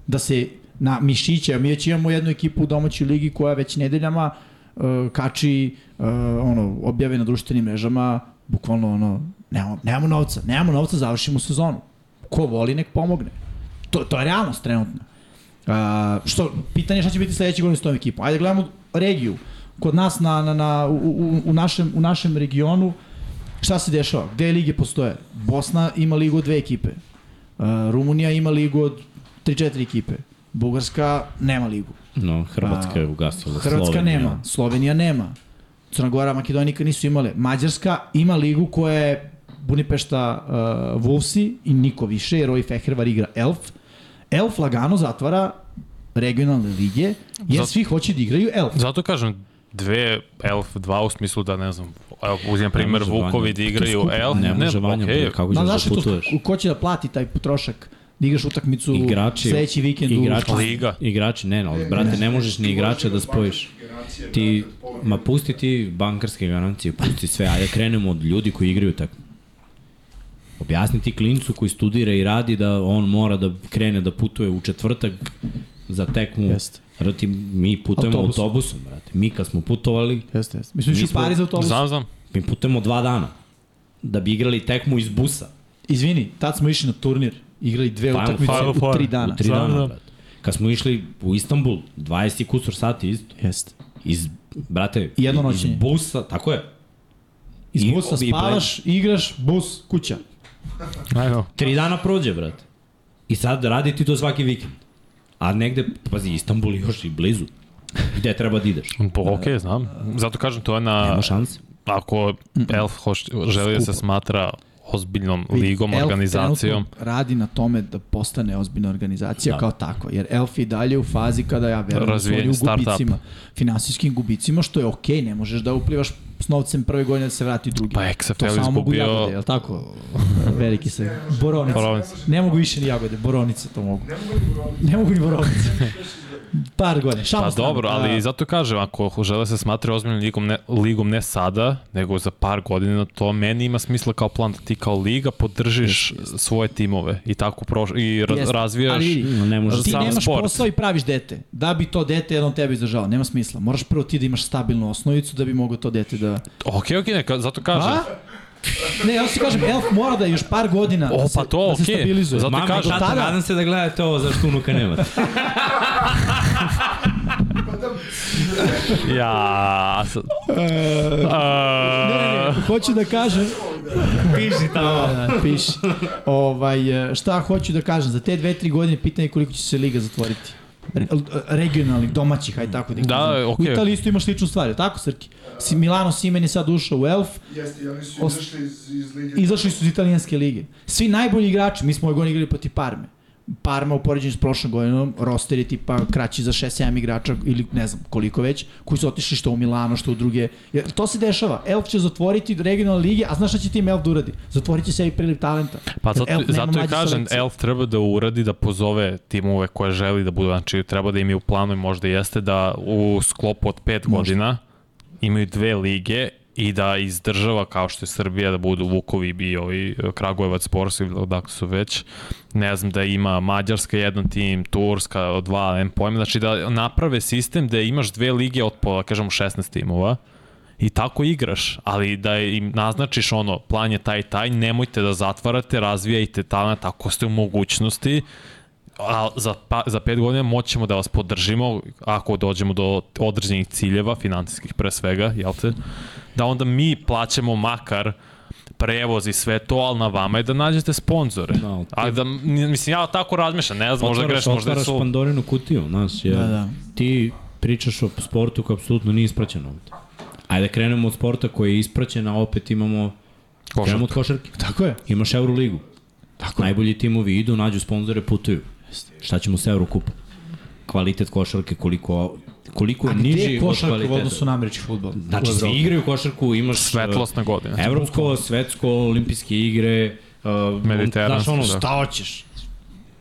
B: da se na mišiće, a mi već imamo jednu ekipu u domaćoj ligi koja već nedeljama uh, kači uh, ono, objave na društvenim mrežama, bukvalno ono, nemamo, nemamo novca, nemamo novca, završimo sezonu. Ko voli nek pomogne. To, to je realnost trenutno. A, što, pitanje je šta će biti sledeće godine s tom ekipom. Ajde gledamo regiju. Kod nas na, na, na, u, u, u, našem, u našem regionu šta se dešava? Gde lige postoje? Bosna ima ligu od dve ekipe. Uh, Rumunija ima ligu od 3-4 ekipe. Bugarska nema ligu.
A: no Hrvatska je ugasila
B: Hrvatska
A: Slovenija.
B: nema, Slovenija nema. Crna Gora, Makedonija nikad nisu imale. Mađarska ima ligu koja je Bunipešta uh, Wolvesi i niko više, jer ovaj Fehervar igra Elf. Elf lagano zatvara regionalne lige, jer
D: Zato-
B: svi hoće da igraju Elf.
D: Zato kažem dve Elf 2 u smislu da ne znam, evo uzimam primer
A: Ne može
D: Vukovi
A: Vanja.
D: da
A: To je
D: igraju
A: skupo.
D: Elf,
A: ne može Vanja,
D: okej,
A: okay. kako
B: Ma
A: ćeš da
B: znaš to,
A: putuješ.
B: ko će da plati taj potrošak da igraš utakmicu
A: Igrači-
B: sledeći vikend u
A: igrači-
B: Španiji?
D: Liga.
A: Igrači, ne,
B: E,
A: no, brate, ne možeš ni igrača da spojiš. Ti, ma pusti ti bankarske garancije, pusti sve, ajde krenemo od ljudi koji igraju tako. objasniti klincu koji studira i radi da on mora da krene da putuje u četvrtak za tekmu.
C: Jeste.
A: Brati, mi putujemo
C: Autobusom.
A: autobusom, brate. Mi kad smo putovali,
C: Jeste, jeste.
B: Mi smo išli u
A: smo-
B: Pariz autobus.
D: Znam, znam.
A: mi putujemo dva dana da bi igrali tekmu iz busa.
B: Izvini, tad smo išli na turnir. Igrali dve
A: Final
B: utakmice
D: Four.
B: u tri dana.
A: U tri
D: Znam,
A: dana,
D: znam.
A: brate. Kad smo išli u Istanbul, 20 i kusor sati isto.
C: Jeste.
A: Iz, brate,
B: I jedno
A: iz
B: noćenje.
A: busa, tako je.
B: Iz
A: I-
B: busa
A: i ple-
B: spavaš, igraš, bus, kuća.
D: Ajmo.
A: Tri dana prođe, brate. I sad radi ti to svaki vikend. A negde, pazi, Istanbul je još i blizu. Gde treba da ideš?
D: Po, ok, znam. Zato kažem, to je na...
A: Nema šanse.
D: Ako Elf hoš, želi da se smatra ozbiljnom ligom,
B: Elf
D: organizacijom,
B: trenutno radi na tome da postane ozbiljna organizacija da.
A: Da.
B: kao tako, jer Elf je i dalje u fazi kada ja verujem da su
D: Razvijeni
B: oni u
D: startup.
B: gubicima, finansijskim gubicima, što je okej, okay, ne možeš da uplivaš s novcem prve godine da se vrati drugi.
D: Pa
B: to
D: XFL
B: samo mogu
D: izgubio-
B: jagode, jel tako? Veliki se, borovnice.
D: Borovnice.
B: Ne mogu više ni jagode, borovnice to mogu.
E: da
B: Ne mogu ni borovnice. Par godine, šamo
D: Pa dobro, ali
B: da.
D: zato kažem, ako žele se smatra ozbiljnom ligom ne, ligom ne sada, nego za par godina, to meni ima smisla kao plan da ti kao liga podržiš svoje timove i tako proš, i raz, razvijaš.
B: ali vidi,
A: Ne može.
D: Za
B: Ti
D: sam
B: nemaš
D: sport.
B: posao i praviš dete. Da bi to dete jednom tebe izdržalo, nema smisla. Moraš prvo ti da imaš stabilnu osnovicu da bi mogao to dete da...
D: Ok, ok, neka, zato kažem.
B: A? Ne, ja ti kažem, Elf mora da još par godina
D: O,
B: da se,
D: pa to,
B: da se
D: okej.
B: stabilizuje.
D: Zato-
A: Mama i
D: kažem-
A: tata,
B: Tada-
A: nadam se da gledate ovo zašto unuka nemate.
D: Ja, sad...
B: Ne, ne, hoću da kažem...
A: Piši tamo.
B: Da, da, piši. Ovaj, e, šta hoću da kažem, za te dve, tri godine pitanje je koliko će se liga zatvoriti. Re- e, regionalnih, domaćih, aj tako da ih
D: Da,
B: nazovem. U
D: okej.
B: Italiji isto imaš sličnu stvar, je li tako Srki? Si Milano Simen je sad ušao u Elf,
E: Jeste, i oni su
B: Os-
E: izašli iz, iz Lige.
B: izašli su iz italijanske lige. Svi najbolji igrači, mi smo ove godine igrali protiv Parme. Parma u poređenju s prošlom godinom, roster je tipa kraći za 6-7 igrača ili ne znam koliko već, koji su otišli što u Milano, što u druge. Jer to se dešava. Elf će zatvoriti regionalne lige, a znaš šta će tim Elf da uradi? Zatvorit će se i priliv talenta.
D: Pa
B: Jer
D: zato,
B: Elf nema
D: zato i
B: mlađe
D: kažem,
B: selekcije.
D: Elf treba da uradi, da pozove timove koje želi da budu, znači treba da im je u planu i možda jeste da u sklopu od pet godina imaju dve lige i da iz država kao što je Srbija da budu Vukovi i ovi Kragujevac, Spors ili odakle su već ne znam da ima Mađarska jedan tim, Turska dva, nema pojma znači da naprave sistem da imaš dve lige od po, da kažemo 16 timova i tako igraš, ali da im naznačiš ono, plan je taj i taj, nemojte da zatvarate, razvijajte talent ako ste u mogućnosti, a za, pa, za pet godina moćemo da vas podržimo ako dođemo do određenih ciljeva, financijskih pre svega, jel te? Da onda mi plaćamo makar prevoz i sve to, ali na vama je da nađete sponzore.
A: No,
D: No, a da, m- mislim, ja tako razmišljam, ne znam, možda greš, možda
A: otvaraš
D: su...
A: Pandorinu kutiju, znaš, jer
B: Da, da.
A: ti pričaš o sportu koji apsolutno nije ispraćen ovde. Ajde krenemo od sporta koji je ispraćen, a opet imamo, krenemo od košarke.
B: Tako je.
A: Imaš Euroligu. Tako Najbolji timovi idu, nađu sponzore, putuju. Šta ćemo sa Eurokupom? Kvalitet košarke koliko koliko
B: A
A: je
B: gde
A: niži
B: je
A: od
B: košarka u
A: kvaliteta.
B: odnosu na američki futbol?
A: Znači, svi igraju košarku, imaš...
D: Svetlosna godina.
A: uh, Evropsko, svetsko, olimpijske igre, uh,
D: Mediteransko,
A: Znaš, ono,
D: da.
A: šta hoćeš?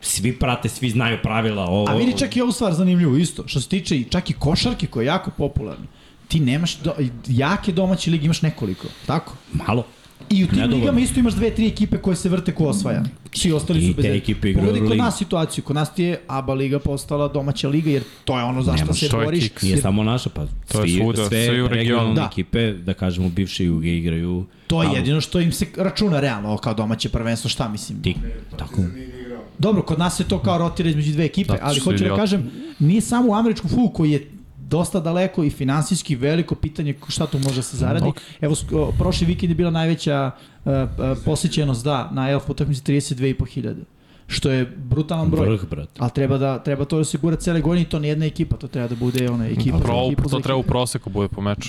A: Svi prate, svi znaju pravila. Ovo,
B: A vidi čak i ovu stvar zanimljivu isto. Što se tiče i čak i košarke koja je jako popularna. Ti nemaš do, jake domaće lige, imaš nekoliko. Tako?
A: Malo.
B: I u tim
A: Nedovoljno.
B: ligama isto imaš dve, tri ekipe koje se vrte ko osvaja. Svi ostali
A: I
B: su bez
A: te
B: veze.
A: ekipe igraju
B: Pogledaj kod
A: Euroligu.
B: nas situaciju. Kod nas ti je ABA liga postala domaća liga, jer to je ono za što
A: Nemaš,
B: se
D: to je
B: boriš.
D: kiks.
A: Nije
B: Jer
A: samo naša, pa
D: To je
A: svi, sve,
D: svuda, sve u
A: regionalne
D: regionu.
B: Da.
A: ekipe, da kažemo, bivše juge igraju.
B: to je
A: tamo.
B: jedino što im se računa realno, ovo kao domaće prvenstvo, šta mislim.
A: Ti, tako.
E: Nije ni igrao.
B: Dobro, kod nas se to
A: Mm.
B: kao rotira između dve ekipe,
D: Zato
B: ali
D: su
B: hoću da
D: idioti.
B: kažem, nije samo u američkom fulu koji je dosta daleko i finansijski veliko pitanje šta tu može da se zaradi.
D: Ok.
B: Evo, sk- o, prošli vikend je bila najveća uh, uh, posjećenost, da, na Elf utakmici 32,5 hiljade, što je brutalan broj.
A: Vrh, brate.
B: Ali treba, da, treba to da se gura cele godine i to nije jedna ekipa, to treba da bude ona ekipa. za
D: Pro,
B: ekipu, za
D: to treba u
B: ekipu.
D: proseku bude po meču.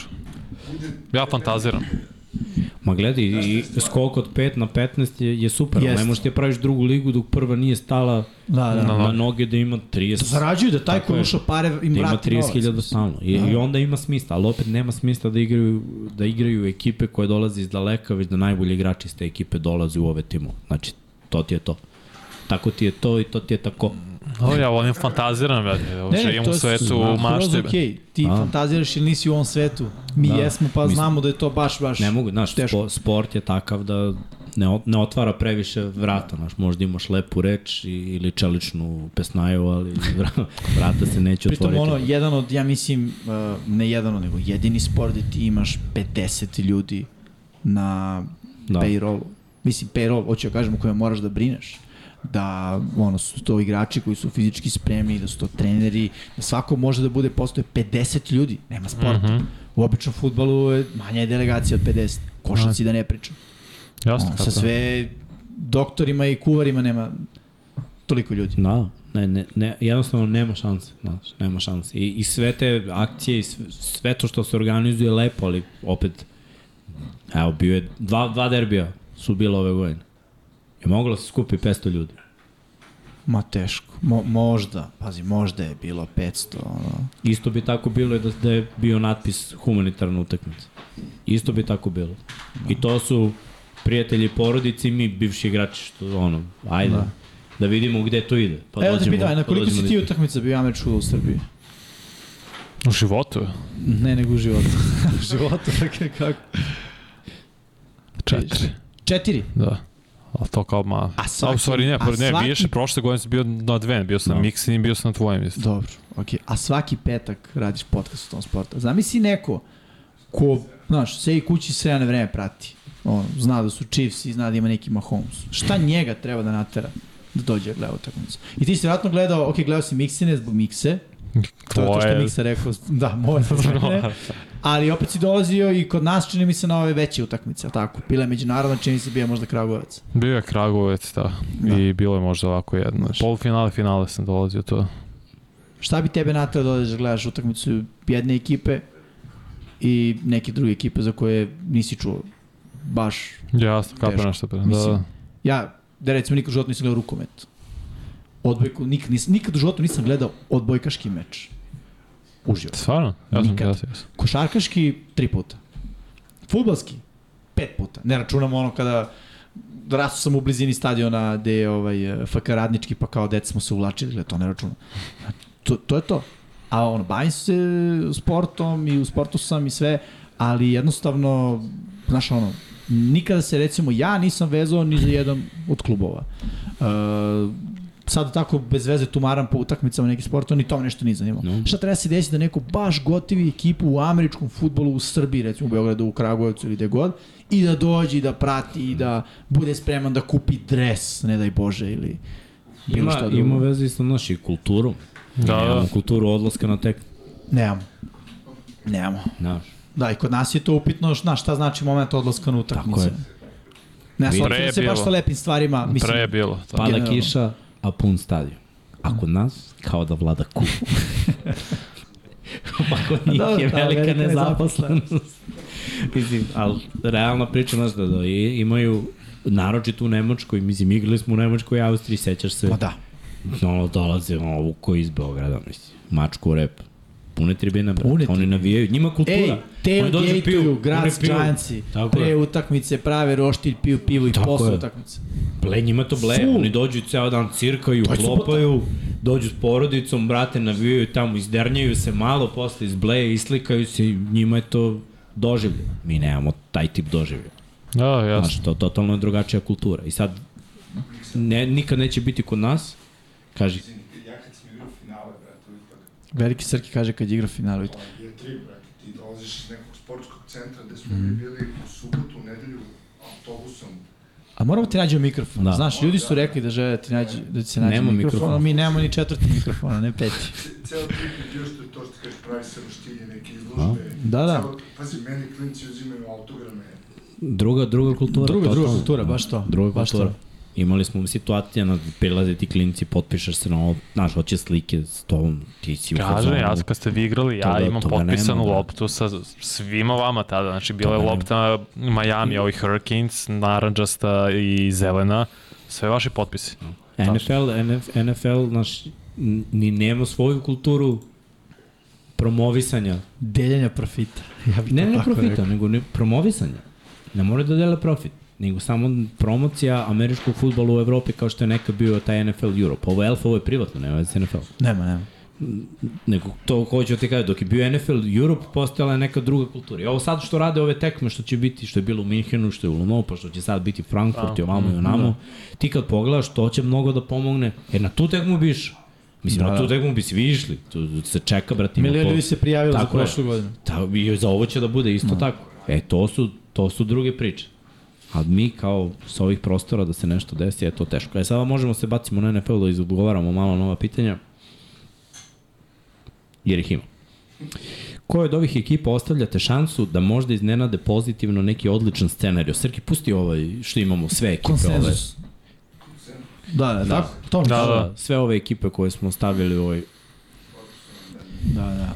D: Ja fantaziram.
A: Ma gledaj, i skok od 5 na 15 je, je super, ali
B: Jest.
A: ne možeš ti da praviš drugu ligu dok prva nije stala
B: Da, da.
A: na,
D: noge.
A: na noge da ima 30.
B: Zarađuju da taj
A: Tako
B: koji
A: je.
B: ušao pare im
A: da ima
B: vrati novac. Da.
A: 30.000 stalno. I, I onda ima smisla, ali opet nema smisla da igraju, da igraju ekipe koje dolaze iz daleka, već da najbolji igrači iz te ekipe dolaze u ove timove. Znači, to ti je to. Tako ti je to i to ti je tako.
D: O, ja volim fantaziram, ja živim u
B: je
D: svetu
B: skroz
D: mašte.
B: okej. Ti
A: A.
B: fantaziraš ili nisi u ovom svetu. Mi
A: Da.
B: jesmo, pa
A: Mislim-
B: znamo da je to baš, baš...
A: Ne mogu, znaš,
B: Teško.
A: spo, sport je takav da ne, o- ne otvara previše vrata, znaš, možda imaš lepu reč i, ili čeličnu pesnaju, ali vra- vrata se neće
B: Pritom
A: otvoriti.
B: ono, jedan od, ja mislim, uh, ne jedan od, nego jedini sport gde ti imaš 50 ljudi na
A: Da.
B: da. payrollu. Mislim, payroll, hoću da kažem, o kojem moraš da brineš da ono, su to igrači koji su fizički spremni, da su to treneri, da svako može da bude, postoje 50 ljudi, nema sporta.
D: Mhm.
B: U običnom futbalu je manja je delegacija od 50, košarci da ne pričam.
D: Jasno,
B: Ono,
D: kako.
B: sa sve doktorima i kuvarima nema toliko ljudi.
A: Da, ne, ne, ne, jednostavno nema šanse, znaš, nema šanse. I, I sve te akcije i sve, sve to što se organizuje je lepo, ali opet, evo, bio je, dva, dva derbija su bila ove godine. Je moglo da se skupi 500 ljudi.
B: Ma teško. Mo, možda, pazi, možda je bilo 500, ono.
A: Isto bi tako bilo i da, da je bio natpis humanitarna utakmica. Isto bi tako bilo. I to su prijatelji porodici, mi bivši igrači, što ono, ajde, da, da vidimo gde to ide. Pa
B: Pa Evo te
A: dođemo-
B: pitam, na
A: pa
B: koliko
A: dođemo
B: si
A: da-
B: ti utakmica bio Američku u Srbiji?
D: U životu?
B: Ne, nego u životu. u životu, dakle, kako?
D: Četiri.
B: Četiri.
D: Da. A to kao ma...
B: A
D: A, u
B: svaki-
D: stvari ne,
B: a
D: ne,
B: svaki-
D: više, prošle godine sam bio na dve, bio sam
A: Da.
D: na Mixin, bio sam na tvojem. isto.
B: Dobro, okej. A svaki petak radiš podcast o tom sportu. Zamisli neko ko, znaš, se i kući sve na vreme prati. On zna da su Chiefs i zna da ima neki Mahomes. Šta njega treba da natera da dođe da gleda utakmicu? I ti si vjerojatno gledao, okej, gledao si Miksine zbog Mikse, To je to što
D: Tvoje-
B: Miksa rekao, da, moje zbog mene. Ali opet si dolazio i kod nas čini mi se na ove veće utakmice, jel tako? Bila je međunarodna, čini mi se bio možda Kragujevac.
D: Bio je Kragovec, da.
B: Da.
D: I bilo je možda ovako jedno.
B: Znaš.
D: Polufinale, finale sam dolazio to.
B: Šta bi tebe natalo da odeš da gledaš utakmicu jedne ekipe i neke druge ekipe za koje nisi čuo baš?
D: Jasno,
B: Teško.
D: kapra nešto pre. Da,
B: Mislim,
D: da.
B: Ja, da recimo nikad u životu nisam gledao rukomet. Odbojku, nikad, nis, nikad u životu nisam gledao odbojkaški meč. Uživo.
D: da. Stvarno? Ja sam,
B: Nikad.
D: ja sam, ja sam.
B: Košarkaški tri puta. Futbalski pet puta. Ne računamo ono kada rastu sam u blizini stadiona gde je ovaj, eh, FK radnički pa kao deca smo se uvlačili, gleda, to ne računam. To, to je to. A ono, bavim se sportom i u sportu sam i sve, ali jednostavno, znaš ono, nikada se recimo ja nisam vezao ni za jedan od klubova. E, sad tako bez veze tumaram po utakmicama neki sport, to ni to me nešto nije zanimalo.
A: No.
B: No. Šta treba se desiti da neko baš gotivi ekipu u američkom futbolu u Srbiji, recimo u Beogradu, u Kragujevcu ili gde god, i da dođe i da prati i da bude spreman da kupi dres, ne daj Bože, ili bilo
A: Ima,
B: šta drugo.
A: ima veze i sa našoj kulturom.
D: Da, da.
A: Nemamo kulturu odlaska na tek,
B: Nemamo. Nemamo.
A: znaš.
B: Da, i kod nas je to upitno, znaš, šta znači moment odlaska na utakmicu.
A: Tako je.
B: Ne,
D: Pre
B: sotira se
D: je
B: baš
D: bilo.
B: sa lepim stvarima, mislim, Pa-
D: Pre je bilo. Da.
A: Pada
B: Generalno.
A: kiša, a pun stadion. A kod nas, kao da vlada kup. pa kod njih
B: Dobro,
A: je
B: ta
A: velika
B: velika
A: nezaposlenost. mislim, ali realna priča, znaš, da, da i- imaju naročito u Nemačkoj, mislim, igrali smo u Nemačkoj i Austriji, sećaš se,
B: Ma da.
A: ono, dolaze ono, vuko iz Beograda, mislim, mačku u rep. Pune tribine, brate.
B: Pune
A: Oni
B: tribine.
A: navijaju, njima kultura.
B: Ej,
A: Pa da. Oni dođu, piju,
B: tailgateuju,
A: oni
B: grad
A: piju.
B: stranci,
A: Tako je.
B: pre utakmice prave roštilj, piju pivo i
A: Tako je.
B: posle utakmice.
A: Ble, njima to ble,
B: Ful.
A: oni dođu ceo dan cirkaju,
B: To je subota.
A: klopaju, dođu s porodicom, brate, navijaju tamo, izdernjaju se malo, posle izbleje, islikaju se, i njima je to doživlje. Mi nemamo taj tip doživlja.
D: Da,
B: Pa
D: jasno.
A: Znaš, to je totalno drugačija kultura. I sad, ne, nikad neće biti kod nas, kaži,
E: Ja kad sam igrao finale, brate, ipak,
B: Veliki Srki kaže kad igra finale.
E: je tri, brate, ti dolaziš iz nekog sportskog centra gde smo mi
A: Mhm.
E: bili u subotu, u nedelju, autobusom.
B: A moramo ti nađemo mikrofon.
A: Da.
B: Da. Znaš, ljudi su rekli da žele ti nađi, da ti se nađe
A: Nema
B: mikrofon, mikrofon,
A: mikrofona.
B: a mi nemamo ni četvrti mikrofon, a ne peti.
E: Ce- Ceo trip je bio što je to što kažeš, pravi se roštilje, neke izložbe.
B: Da, da.
E: Ceo, pazi, meni klinci uzimaju autograme.
A: druga, druga kultura.
B: Druga, druga
A: totalno. Da,
B: kultura, baš to.
A: Druga
B: baš
A: kultura. Imali smo situacija na prilaze ti klinci, potpišeš se na ovo, znaš, hoće slike s tobom, ti si u
D: Kažem,
A: fazonu.
D: ja kad ste vi igrali, ja
A: Toga-
D: imam
A: toga
D: potpisanu
A: nema, da.
D: loptu sa svima vama tada. Znači, bila je
A: Toga nema.
D: lopta Miami, ovih Hurricanes, naranđasta i zelena. Sve vaši potpisi.
A: NFL, NF, NFL naš, n- ni nema svoju kulturu promovisanja.
B: Deljenja profita. Ja bih
A: Ne,
B: to
A: ne
B: tako
A: profita,
B: rekao.
A: nego ne, promovisanja. Ne mora da dele profit, nego samo promocija američkog futbola u Evropi kao što je nekad bio taj NFL Europe. Ovo je Elf, ovo je privatno, nema veze s NFL.
B: Nema, nema.
A: nego to hoću da ti kažem, dok je bio NFL, Europe postala je neka druga kultura. I ovo sad što rade ove tekme, što će biti, što je bilo u Minhenu, što je u Lumovu, pa što će sad biti Frankfurt i ovamo i onamo, ti kad pogledaš, to će mnogo da pomogne, jer na tu tekmu biš, mislim, da. na tu tekmu bi svi išli, tu se čeka, brati, ima
B: Milion
A: po-
B: ljudi se prijavilo za
A: Tako je.
B: prošlu godinu.
A: Ta, I za ovo će da bude isto tako. E, to su, to su druge priče. A mi kao sa ovih prostora da se nešto desi, je to teško. E, sada možemo se bacimo na NFL da izgovaramo malo nova pitanja. Jer ih ima. Koja od ovih ekipa ostavljate šansu da možda iznenade pozitivno neki odličan scenariju? Srki, pusti ovaj što imamo, sve ekipe ove.
B: Konsenzus. Da, da, da. To, da,
D: Da, da.
A: ovaj. Da, sve ove ekipe koje smo stavili u ovaj...
B: Da, da.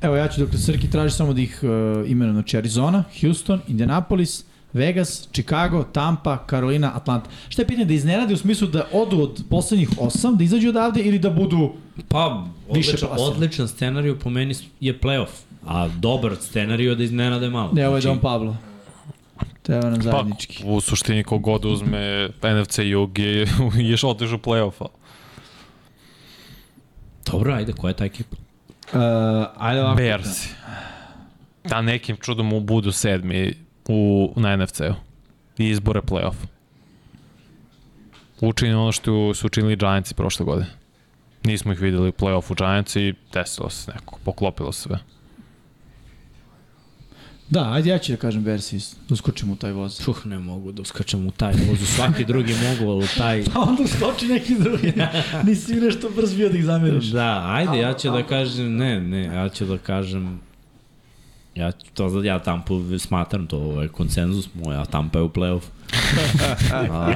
B: Evo ja ću dok Srki traži samo da ih uh, imenujem. Znači Arizona, Houston, Indianapolis, Vegas, Chicago, Tampa, Carolina, Atlanta. Šta je pitanje da iznenade u smislu da odu od poslednjih osam, da izađu odavde ili da budu...
A: Pa,
B: Više
A: odličan,
B: plasira.
A: odličan scenariju po meni je playoff, a dobar scenariju je da iznenade malo.
B: Ne, ovo je
A: Znači,
B: Don Pablo. Treba
A: Da,
B: nam
D: Pa,
B: zajednički.
D: u suštini kogod uzme NFC Jug je, ješ otiš u play-offa.
A: Dobro, ajde, koja je ta ekipa?
B: Uh, ajde ovako.
D: Bears. Da nekim čudom u budu sedmi u, na NFC-u. I izbore play-off. Učinili ono što su učinili Giantsi prošle godine. Nismo ih videli u play-offu Giantsi i desilo se neko, poklopilo se sve.
B: Da, ajde ja ću da kažem Versis. Uskočimo u taj voz.
A: Puh, ne mogu da uskačem u taj voz, u svaki drugi mogu, ali u taj...
B: Pa onda skoči neki drugi. Nisi mi nešto brz bio da ih zameriš.
A: Da, ajde, ja ću da kažem, ne, ne, ja ću da kažem... Ja, ću- to, ja Tampu smatram, to je konsenzus moj, a Tampa je u play-off. a,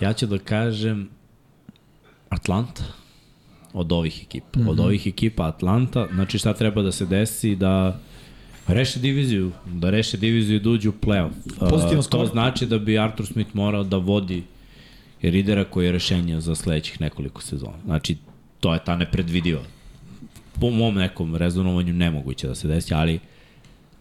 A: ja ću da kažem Atlanta od ovih ekipa. Od ovih ekipa Atlanta, znači šta treba da se desi da reše diviziju, da reše diviziju i da uđu u play-off.
B: Pozitivno
A: A, To
B: skoro.
A: znači da bi Arthur Smith morao da vodi ridera koji je rešenje za sledećih nekoliko sezona. Znači, to je ta nepredvidiva. Po mom nekom rezonovanju nemoguće da se desi, ali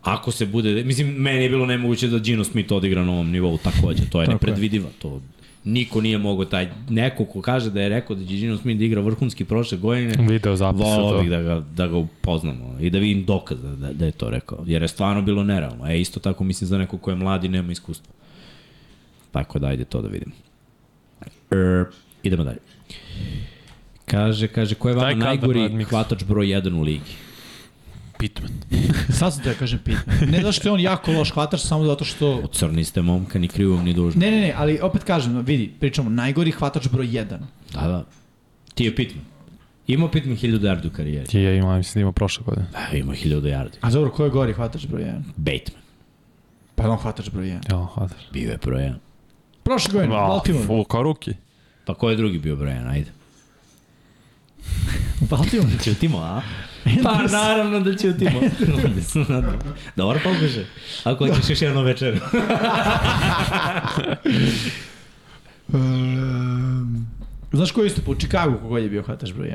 A: ako se bude, mislim, meni je bilo nemoguće da Gino Smith odigra na ovom nivou takođe, to je
B: Tako je.
A: nepredvidiva, to niko nije mogao taj, neko ko kaže da je rekao da će Gino Smith da igra vrhunski prošle godine,
D: Video zapisa
A: Hm. volao
D: to.
A: bih da ga, da ga upoznamo i da vidim dokaz da, da, da je to rekao, jer je stvarno bilo nerealno, e isto tako mislim za neko ko je mlad i nema iskustva. Tako da ajde to da vidimo. Er, idemo dalje. Kaže, kaže, ko je
D: Taj
A: vama
D: kadar, Mad
A: najgori
D: Mix.
A: hvatač broj 1 u ligi? da-
D: Pitman.
B: Sad sam da kažem pitanje. Ne zato što je on jako loš hvatač, samo zato što...
A: Crni ste momka, ni krivom, ni dužni.
B: Ne, ne, ne, ali opet kažem, vidi, pričamo, najgori hvatač broj 1.
A: Da, da. Ti je Pitman. Imao Pitman 1000 yardi u karijeri.
D: Ti je imao, mislim da imao prošle godine.
A: Da, imao 1000 yardi.
B: A dobro, ko je gori hvatač broj 1?
A: Bateman.
B: Pa je on hvatač broj 1.
D: Evo, hladar.
A: Bio je broj 1.
B: Prošle godine, Baltimore.
D: Ovo kao ruki.
A: Pa ko je drugi bio broj 1? Ajde.
B: Baltimore.
A: Ćutimo, a? Pa naravno da ćutimo. Da. Dobar pokušaj. Ako hoćeš još jedno večer.
B: Um, Znaš ko je isto po Chicago kogod je bio hvatač broj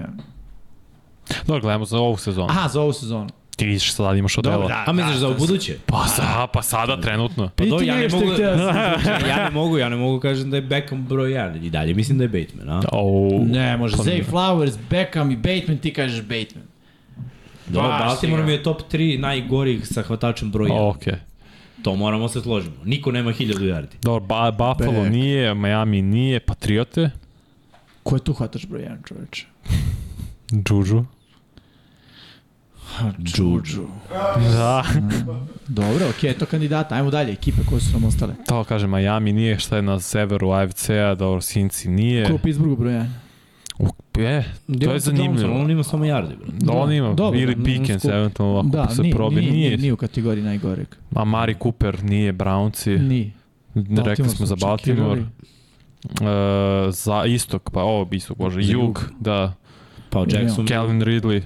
B: 1?
D: Dobro, gledamo za ovu sezonu.
B: Aha, za ovu sezonu.
D: Ti sad imaš odela.
B: Dobro, da.
A: A misliš za ubuduće?
D: Pa, sa, pa sada trenutno.
A: Pa do,
B: Vidite
A: ja ne
B: njega što
A: mogu,
B: je htio da
A: ja ne mogu, ja ne mogu kažem da je Beckham broj 1. I dalje mislim da je Bateman, a?
D: Au.
B: Ne, može.
D: Pa
B: Zay
D: ne.
B: Flowers, Beckham i Bateman, ti kažeš Bateman.
A: Dobro,
B: baš
A: Baltimore
B: ti ga.
A: mi je top 3 najgorih sa hvatačem broj 1.
D: Okej.
A: To moramo se složimo. Niko nema 1000 yardi.
D: Dobro, ba, Buffalo
B: Back.
D: nije, Miami nije, Patriote,
B: Ko je tu hvatač broj 1, čoveče?
D: Juju.
A: Juju.
D: Da.
B: Dobro, okej, okay, to kandidata. Ajmo dalje, ekipe koje su nam ostale.
D: To kaže, Miami nije, šta je na severu AFC-a, dobro, Sinci nije.
B: Ko je u Pittsburghu broj 1?
D: U, e, to je zanimljivo.
A: On ima samo yardi, bro.
D: Da, on ima,
B: Dobro,
D: ili
B: da,
D: Pickens,
B: skup.
D: eventualno, ako
B: Da,
D: se
B: nije,
D: probi,
B: nije, nije,
D: nije.
B: nije u kategoriji najgoreg.
D: A Mari Cooper nije, Brownci,
B: Ni.
D: rekli
B: Mm. Baltimore
D: smo za
B: su
D: Baltimore.
B: čekirali.
D: E, za istok, pa ovo istok, bože,
A: Za jug.
D: jug, da.
A: Pa Jackson.
D: Calvin Ridley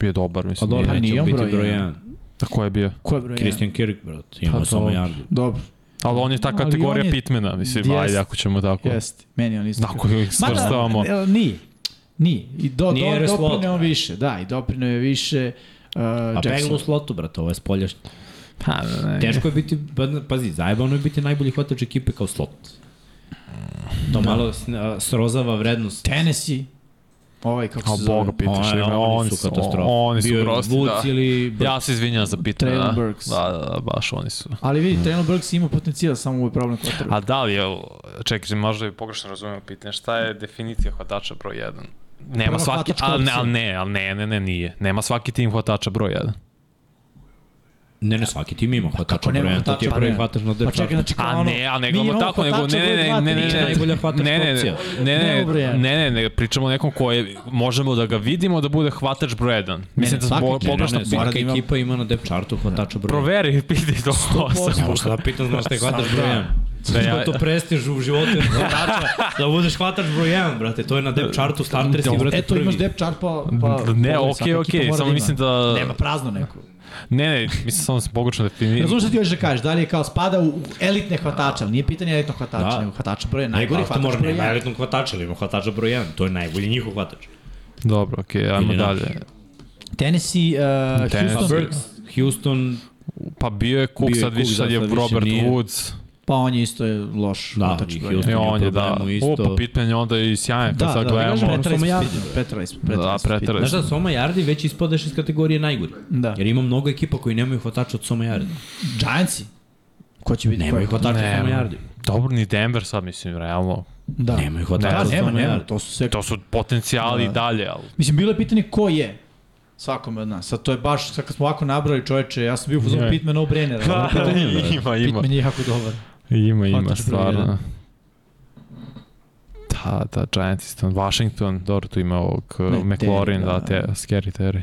D: je dobar,
A: Pa
D: mislim.
A: dobro,
B: Pa
D: nije.
A: neće
B: nije on
A: biti
B: broj
A: broj
B: jedan.
A: 1.
D: A ko je bio?
B: Ko je broj 1?
A: Christian Kirk, brat. Ima
D: Pa
A: samo
D: dobro.
A: yardi.
B: Dobro,
D: Ali on je ta
B: Ali on
D: kategorija
B: je-
D: Pitmana, mislim,
B: Jest. da.
D: ajde, ako ćemo tako.
B: jeste. Meni on isto.
D: Ako ih
B: Mada,
D: svrstavamo.
B: e, Nije. Nije. I do,
A: Nije
B: do,
A: jer je slot,
B: doprineo
A: brate.
B: više. Da, i doprineo je više. Uh,
A: A Jackson.
B: Jackson.
A: u slotu, brate, ovo je spoljašnje.
D: Pa, ne, ne.
A: Teško je biti, pa- pazi, zajebano je biti najbolji hvatač ekipe kao slot. To malo s- a, srozava vrednost.
B: Tennessee. Ovaj, kako
D: A
B: se zove?
D: boga pa- pitaš,
A: Ona-
D: ima, oni su,
A: katastrofa.
D: oni su
A: Bio je
D: prosti,
A: Vuc
D: da.
A: ili Brk.
D: Ja se izvinjam za pitanje,
B: Traylon
D: da.
B: Burks.
D: Da, da, baš oni su.
B: Ali vidi, Treno Brooks ima potencijal, samo mu je problem kvotrbe.
D: A da li je, čekaj, možda je pogrešno razumio pitanje, šta je definicija hvatača broj 1? Nema
B: Prva
D: svaki,
B: hvatačka
D: ali ne,
B: opcija.
D: ali ne, ali ne, ne, ne, nije. Nema svaki tim hvatača broj 1.
A: Ne, ne, svaki tim ima hvatača
B: kako nema
A: broj 1, to ti je
B: hvatača,
A: prvi
B: pa ne.
A: hvatač na
B: Pa
A: drčaču.
B: čekaj, znači kao
D: A
B: ono,
D: ne, a ne
B: mi
D: gledamo
B: imamo
D: tako, nego
B: hvatača
D: ne, ne,
B: broj dva,
D: ne,
B: tri,
D: ne, ne,
B: četiri.
D: ne,
A: najbolja hvatačka
D: ne, ne,
A: opcija.
D: ne,
B: Nema broj
D: ne,
B: jedan.
D: ne, ne, ne, pričamo o nekom koje možemo da ga vidimo da bude hvatač broj 1. Mislim da
B: svaki
D: smo
B: tim,
A: Ne, ne,
D: pogrešno
A: ne,
B: mora
A: svaka
B: da ima-
A: ekipa ima na dep chartu hvatača broj 1.
D: proveri, piti to
A: Ne
D: sam.
A: možeš da pitam, znaš šta je hvatač broj 1.
D: Da,
A: Da,
D: ja-
A: ja, to prestiž u životu jednog hvatača, da budeš hvatač broj 1, brate. To je na depth chartu starter si, brate,
B: Eto,
A: prvi.
B: imaš depth chart, pa... pa
D: Ne,
B: pogledaj,
D: okej,
B: svaka ekipa
D: okej,
B: mora
D: samo
B: ima.
D: mislim da...
B: Nema prazno neko.
D: Ne, ne, mislim samo sam pogrešno definirao.
B: Razumeš šta ti hoćeš da kažeš, da li je kao spada u, u elitne hvatače, ali nije pitanje elitnog hvatača,
A: Da.
B: nego hvatača broj,
A: Najgori
B: najgori
A: hvatač
B: hvatač
A: mora
B: broj.
A: nema
B: jedan.
A: elitnog hvatača, ali ima hvatača broj 1. To je najbolji njihov hvatač.
D: Dobro, okej, ajmo
A: Ili naš.
D: dalje.
B: Tennessee, uh,
D: Tennessee.
A: Pa
B: Houston,
A: Burks, Houston,
D: Pa bio je Cook,
A: Bio je
D: sad više
A: Cook,
D: sad
A: da,
D: je
A: sad više
D: Robert
A: nije.
D: Woods.
B: pa on je isto je loš
A: Da,
B: hvatač
A: i
B: broj. jedan.
A: Houston.
D: I
A: Nije
D: on je, da.
A: problemu isto.
D: O, pa pitanje onda je i sjajno,
B: Da,
D: kad sad
B: da,
D: gledamo.
B: da,
A: kažemo,
B: pretrali smo,
A: Toma
B: ja-
A: Jardi.
B: pretrali smo,
D: Da,
B: pretrali smo.
D: pretrali
A: znaš
D: smo.
A: da Soma Jardi već ispadaš iz kategorije najgori.
B: Pa Da.
A: Jer ima mnogo ekipa koji nemaju hvatača od Soma Jardi.
B: Giantsi? Ko će biti?
A: Nemaju
B: koji?
A: hvatača od
D: Ne,
A: Soma Jardi.
D: Dobro, ni Denver sad, mislim, realno.
B: Da.
A: Nemaju
B: Da,
A: hvatača od
B: nema,
A: Soma
B: nema,
A: Jardi.
B: to su sve...
D: To su potencijali i dalje, ali...
B: Mislim, bilo je pitanje ko je svakome od nas. Sad to je baš, sad kad smo ovako nabrali čoveče, ja sam bio u fazonu
D: Ne.
B: Pitman no brainer. ali
D: ima, ima.
B: Pitman je jako dobar.
D: Ima, ima,
B: Hvatač broj
D: stvarno.
B: jedan.
D: Da, da, Giants isto. Washington, dobro, tu ima ovog uh,
B: Ne,
D: McLaurin,
B: Terry,
D: da,
B: da.
D: te, Scary Terry.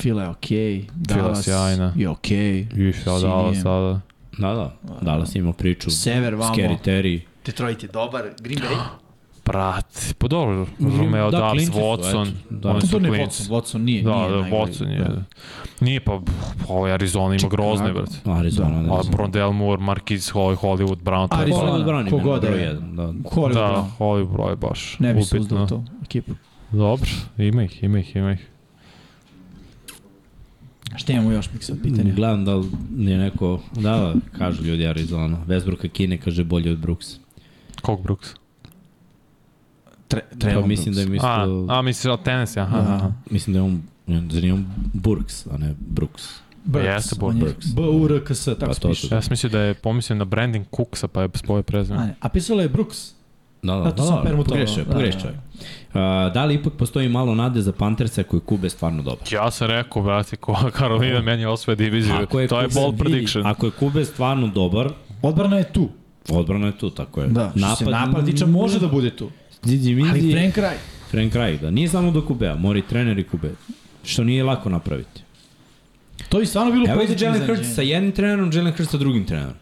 B: Fila je okej,
D: Fila
B: Dallas
D: sjajna.
B: je okej,
D: Više od
B: Sinijem.
D: Dallas, da, da.
A: Da, da. Dallas ima priču.
B: Sever vamo.
A: Scary Terry.
B: Detroit je dobar, Green Bay.
D: Brat, pa dobro, Romeo
A: da,
D: da, Dubs,
A: klinci su,
D: Watson,
A: eto, da.
D: oni
B: To
D: su
B: ne
D: klinci.
B: Watson, Watson nije,
D: Da,
B: nije
D: da,
B: najgori.
D: Watson je. Nije pa, pa ovaj Arizona ima grozne, brate.
A: Arizona. Da,
D: A Brondell Moore, Marquise Holly, Hollywood Brown. to je
B: Arizona,
A: Hollywood Brown ima
B: kogod
A: broj
B: je.
A: jedan, Da.
B: Ko je
D: Da,
B: da.
D: Hollywood broj baš.
B: Ne bi se
D: upitno.
B: uzdao to ekipu.
D: Dobro, ima ih, ima ih, ima ih.
B: Šta imamo još mi sad pitanje?
A: Gledam da li je neko, da, da, kažu ljudi Arizona. Westbrooka Kine kaže bolje od Brooksa.
D: Kog Brooks?
B: Tre,
A: Pa
B: Trevon
A: mislim da je
B: Brooks.
D: A,
A: mislio,
D: a misliš od tenisi, aha.
B: Da.
D: aha.
A: mislim da je on, zar je on Burks, a ne Brooks.
B: Burks,
D: Jeste,
B: on je-
A: Burks.
B: B-U-R-K-S,
A: Pa
B: tako se
A: to
B: piše.
A: su-
D: Ja sam mislio da je pomislio na branding Cooksa, pa je spoje prezime.
B: A, ne, a pisalo je Brooks.
A: Da, da, da,
B: Zato sam
A: da, da,
B: permutovao.
A: pogrešio, je,
B: Da,
A: pogrešio.
B: da.
A: je. A, da li ipak postoji malo nade za Panthersa koji kube stvarno dobar?
D: Ja sam rekao, brate, ko Karolina meni osvoje diviziju. to je
A: Kube-
D: ball prediction.
A: Ako je kube stvarno dobar,
B: Odbrana je tu.
A: odbrana je tu, tako je.
B: Da, napad, se napad tiče, može da bude tu.
A: Didi Midi,
B: Ali
A: Frank...
B: Frank Reich.
A: Frank Reich, da. Nije samo do kubea, mora i trener i kube. Što nije lako napraviti.
B: To je stvarno bilo
A: Evo
B: pozitivno
A: vidite Jalen
B: iznenađenje.
A: Hurts sa jednim trenerom, Jalen Hurts sa drugim trenerom.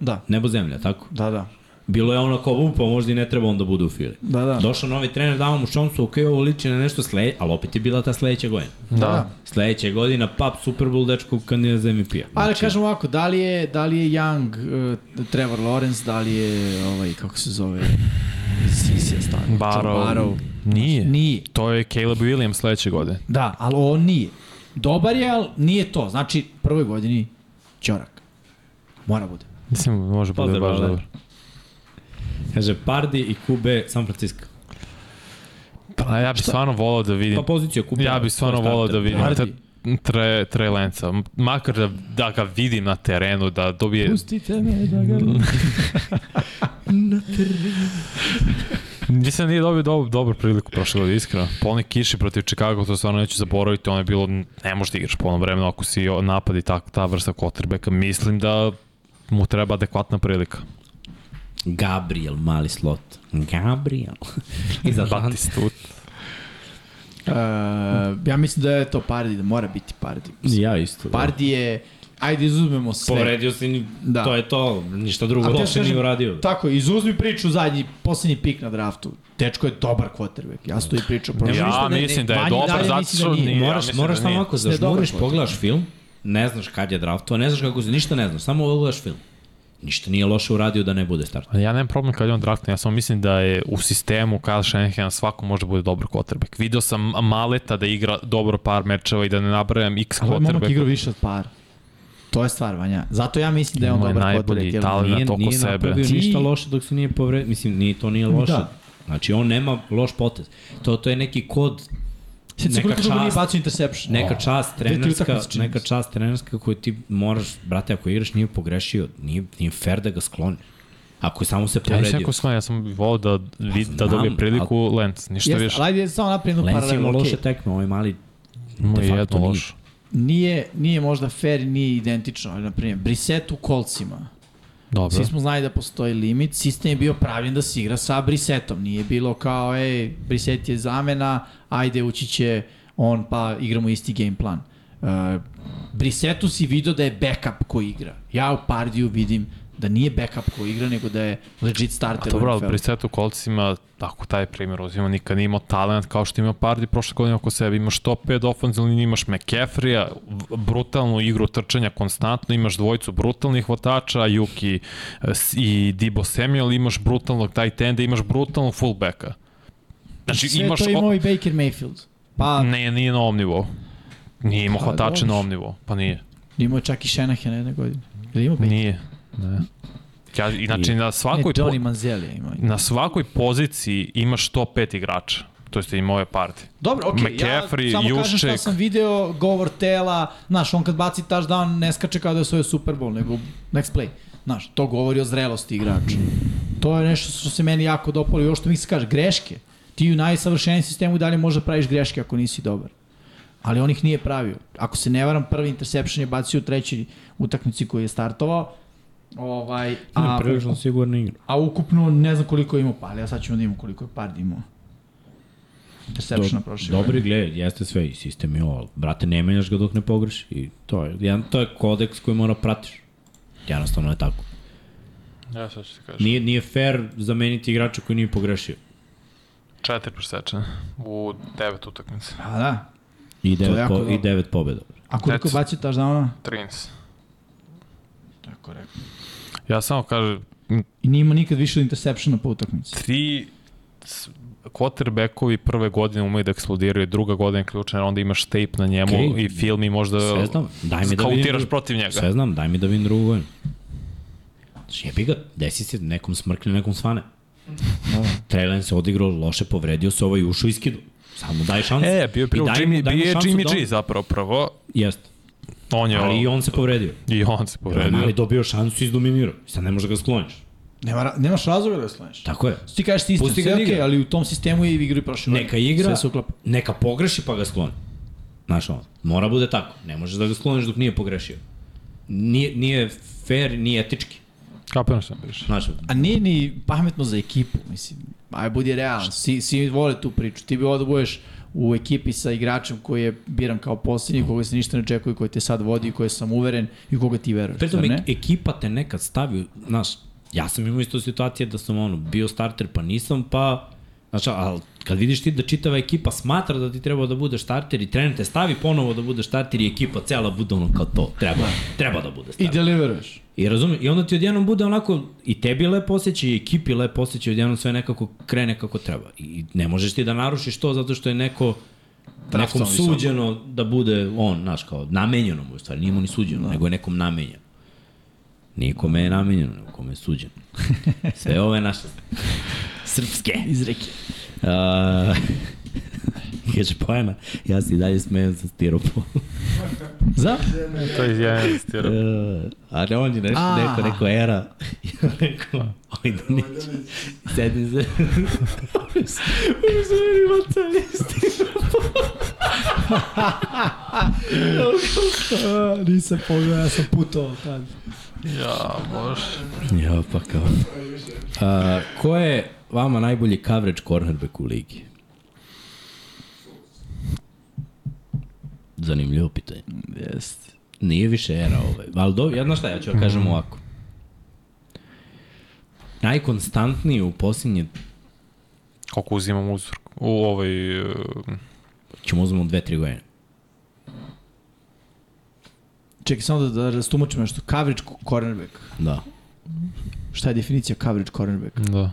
B: Da,
A: Nebo zemlja, tako?
B: da, da.
A: Bilo je ono kao upa, možda i ne treba onda bude u fili.
B: Da, da.
A: Došao novi trener, dao mu šansu, ok, ovo liči na nešto sledeće, ali opet je bila ta sledeća godina.
D: da.
A: Sledeća godina, pap, Super Bowl, dečko, kandidat za P-a. MVP-a.
B: Ali kažem ovako, da li je, da li je Young, uh, Trevor Lawrence, da li je, ovaj, kako se zove, Sisija stavio.
D: Barrow.
B: Barrow.
D: Nije.
B: Nije.
D: To je Caleb Williams sledeće godine.
B: Da, ali on nije. Dobar je, ali nije to. Znači, prvoj godini Ćorak. Mora bude.
D: Mislim, može bude
A: Pozdrav,
D: baš
A: Bale.
D: dobro.
A: Kaže, Pardi i Kube, San Francisco.
D: Pa ja bih stvarno volao da vidim.
A: Pa pozicija Kube.
D: Ja bih stvarno volao da vidim
B: Hardy.
D: te, tre, tre lenca. M- Makar da, da ga vidim na terenu, da dobije...
B: Pustite me da ga...
D: Mislim da nije dobio dob, dobru priliku prošle godine, iskreno. Po onoj kiši protiv Chicago, to stvarno neću zaboraviti, ono je bilo, ne možeš da igraš po onom vremenu ako si o- napad i ta, ta vrsta quarterbacka. Mislim da mu treba adekvatna prilika.
A: Gabriel, mali slot. Gabriel. I
D: Pa-
A: za dan.
D: Batistut.
B: Uh, ja mislim da je to Pardi, da mora biti Pardi.
A: Ja isto. Da.
B: Pardi je, ajde izuzmemo sve.
A: Povredio si, ni-
B: Da.
A: to je to, ništa drugo
B: Ali ja
A: loše nije
B: kažem,
A: uradio.
B: Tako, je, izuzmi priču zadnji, poslednji pik na draftu. Dečko je dobar quarterback. Ja sam to i pričao. prošle godine.
D: Ja mislim da je
B: Manji
D: dobar,
B: dalje
D: zato
B: mislim da
D: što
B: nije.
D: nije. ja
A: moraš,
D: mislim
A: moraš
D: da
A: samo
D: nije.
A: ako
B: Mislim da je dobar
A: zažmuriš,
B: kvalitet.
A: pogledaš film, ne znaš kad je draftovao, ne znaš kako se, ništa ne znaš, samo pogledaš film. Ništa nije loše uradio da ne bude start.
D: Ali Pa Ja nemam problem kad je on draftan, ja samo mislim da je u sistemu Kyle Shanahan svako može da bude dobar quarterback. Video sam Maleta da igra dobro par mečeva i da ne nabrajam x
B: Ali ovaj momak igra
D: quarterback.
B: više od par. To je stvar, Vanja. Zato ja mislim da je on
D: Imao je
B: dobar
D: najbolji
B: quarterback. jer
D: talent. Ali na
A: Nije,
D: toliko
A: nije
D: sebe.
A: napravio
B: Ti-
A: ništa loše dok se nije povredio, mislim, nije, to nije loše.
B: Da.
A: Znači, on nema loš potez. To, to je neki kod
B: Sjeti se
A: Neka
B: koliko dugo da nije
A: čast.
B: bacio interception.
A: neka čast
B: ti
A: trenerska,
B: utakmice, čini mi
A: neka
B: se.
A: čast trenerska koju ti moraš, brate, ako igraš nije pogrešio, nije, nije fair da ga skloni. Ako je samo se
D: Ja nisam
A: povredio.
D: jako smanj, ja sam volao da, vid, da
A: Znam,
D: dobije priliku Lenz, ništa
B: Jeste,
D: više.
B: ali ajde samo napravim jednu
A: Lenz ima
B: paralelu.
A: loše
B: Okay.
A: tekme, ovaj mali
D: Ima
A: de facto
D: jedno
A: nije.
D: loš.
B: Nije, nije možda fair, i nije identično. Ali, na primjer, Briset u kolcima.
D: Dobro.
B: Svi smo znali da postoji limit, sistem je bio pravljen da se igra sa Brisetom, nije bilo kao, ej, Briset je zamena, ajde ući će on, pa igramo isti game plan. Uh, Brisetu si video da je backup koji igra. Ja u Pardiju vidim da nije backup koji igra, nego da je legit
D: A
B: starter. u
D: dobro, ali
B: NFL-u.
D: Brissett u kolcima, tako taj primjer uzimamo, nikad nije imao talent kao što ima Pardi prošle godine oko sebe. Imaš top 5 ofenzivnih, linija, imaš McCaffrey-a, v- brutalnu igru trčanja konstantno, imaš dvojicu brutalnih hvatača, Juki e, s- i Dibo Samuel, imaš brutalnog tight enda, imaš brutalnog fullbacka. Znači,
B: Sve
D: imaš...
B: to
D: o- Mm.
B: imao i Baker Mayfield. Pa,
D: Ne, nije na ovom nivou. Nije imao
B: Pa,
D: hvatače
B: dobro.
D: na ovom nivou, pa nije.
B: imao je čak i Shanahan jedne godine. Ili imao Baker?
D: Nije. Ne. Ja, inače,
A: Nije.
D: na
B: Ne,
D: svakoj...
B: E, Johnny Manziel je imao.
D: na svakoj poziciji imaš top 5 igrača. To jeste i moje parti.
B: Dobro, okej,
D: McCaffrey,
B: ja samo kažem šta
D: Jušček.
B: sam video, govor tela, znaš, on kad baci touchdown ne skače kao da je svoj Super Bowl, nego next play. Znaš, to govori o zrelosti igrača. To je nešto što se meni jako dopalo i ovo što mi se kaže, greške. Ti u najsavršenijem sistemu i dalje možda praviš greške ako nisi dobar. Ali on ih nije pravio. Ako se ne varam, prvi interception je bacio u trećoj utakmici koju je startovao. Ovaj, a,
A: A, pa- prilično sigurno igra.
B: a ukupno ne znam koliko je imao, pa ali ja sad ćemo da imamo koliko je pard imao. Interceptiona prošle. godine.
A: Dobri gled, jeste sve i sistem i ovo, ali, brate, ne menjaš ga dok ne pogreši. I to je, jedan, to je kodeks koji mora pratiš. Jednostavno je tako.
D: Ja sad ću ti kažem.
A: Nije, nije fair zameniti igrača koji nije pogrešio.
D: Četiri presečene u devet utakmice.
B: A da,
A: I
B: je
A: devet,
B: jako
A: po,
B: dobro.
A: i devet pobjeda.
B: A koliko
D: That's-
B: bacio touchdowna?
D: 13.
B: Tako rekao.
D: Ja samo kažem,
B: I nije imao nikad više od interceptiona po utakmici.
D: tri s- quarterbackovi prve godine umeju da eksplodiraju, druga godina je ključna, jer onda imaš tape na njemu
A: Okej.
D: i film i možda
A: Sve znam, daj mi da vidim.
D: skautiraš
A: drugu-
D: protiv njega.
A: Sve znam, daj mi da vidim drugu godinu. Znači, jebi ga, desi se nekom smrkne, nekom svane. Trailen se odigrao loše, povredio se ovaj ušao iskidu. Samo daj šansu.
D: E, bio je prvo
A: I daj mu-
D: Jimmy,
A: daj mu
D: bio je
A: šansu
D: Jimmy
A: da
D: G
A: on-
D: zapravo prvo.
A: Jeste.
D: On je,
A: Ali i
D: on,
A: on se povredio.
D: i on se povredio.
A: Mali dobio šansu i izdominirao. Sad ne možeš da ga skloniš.
B: Nema, ra- nemaš razloga da slaniš.
A: Tako je.
B: Ti kažeš ti istim,
A: Pusti ga
B: sve
A: da
B: okej,
A: igra.
B: ali u tom sistemu je i igru i prošle.
A: Neka
B: godine.
A: igra,
B: Sve se uklapa.
A: neka pogreši pa ga skloni. Znaš ono, mora bude tako. Ne možeš da ga skloniš dok nije pogrešio. Nije, nije fair, nije etički.
D: Kapiram što mi piše.
A: Znaš,
B: A nije ni pametno za ekipu, mislim. Aj, budi realan. Svi, svi vole tu priču. Ti bi ovo da budeš u ekipi sa igračem koji je biran kao posljednji, koga se ništa ne očekuje, koji te sad vodi, koji sam uveren i u koga ti veruješ.
A: Pritom
B: zar ne?
A: ek, ekipa te nekad stavi, znaš, ja sam imao isto situacije da sam ono, bio starter pa nisam, pa, znaš, ali kad vidiš ti da čitava ekipa smatra da ti treba da budeš starter i trener te stavi ponovo da budeš starter i ekipa cela bude ono kao to, treba, treba da bude
B: I
A: starter.
B: deliveruješ.
A: I razumem, i onda ti odjednom bude onako, i tebi lepo osjećaj, i ekipi lepo osjećaj, odjednom sve nekako krene kako treba. I ne možeš ti da narušiš to zato što je neko, nekom
B: visoko.
A: suđeno da bude on, znaš, kao namenjeno mu je u stvari, nije mu ni suđeno, nego je nekom namenjeno. Nikome je namenjeno, nego kome je suđeno. Sve ove naše srpske.
B: Izreke.
A: Uh, kaže pojena, ja se i dalje smejem sa stiropom.
B: Za?
D: To je jedan stira.
A: Uh, a ne, on je nešto,
B: A.
A: neko, neko era. I on rekao, oj, da
E: 아,
A: neće. Sedi se. Uvijek se meni vaca isti.
B: A, nisam pogledao, ja sam putovao tad.
D: Ja, bože.
A: Ja, pa kao. Uh, ko je vama najbolji coverage cornerback u ligi? Zanimljivo pitanje.
B: Jeste.
A: Nije više era ovaj. Ali do, ja znaš šta, ja ću vam
B: Mm.
A: kažem ovako. Najkonstantniji u posljednje,
D: Koliko uzimam uzor u ovaj... e,
A: ćemo uzmemo dve, tri godine.
B: Čekaj, samo da, da rastumačim nešto. Coverage cornerback.
A: Da.
B: Šta je definicija coverage cornerback?
D: Da.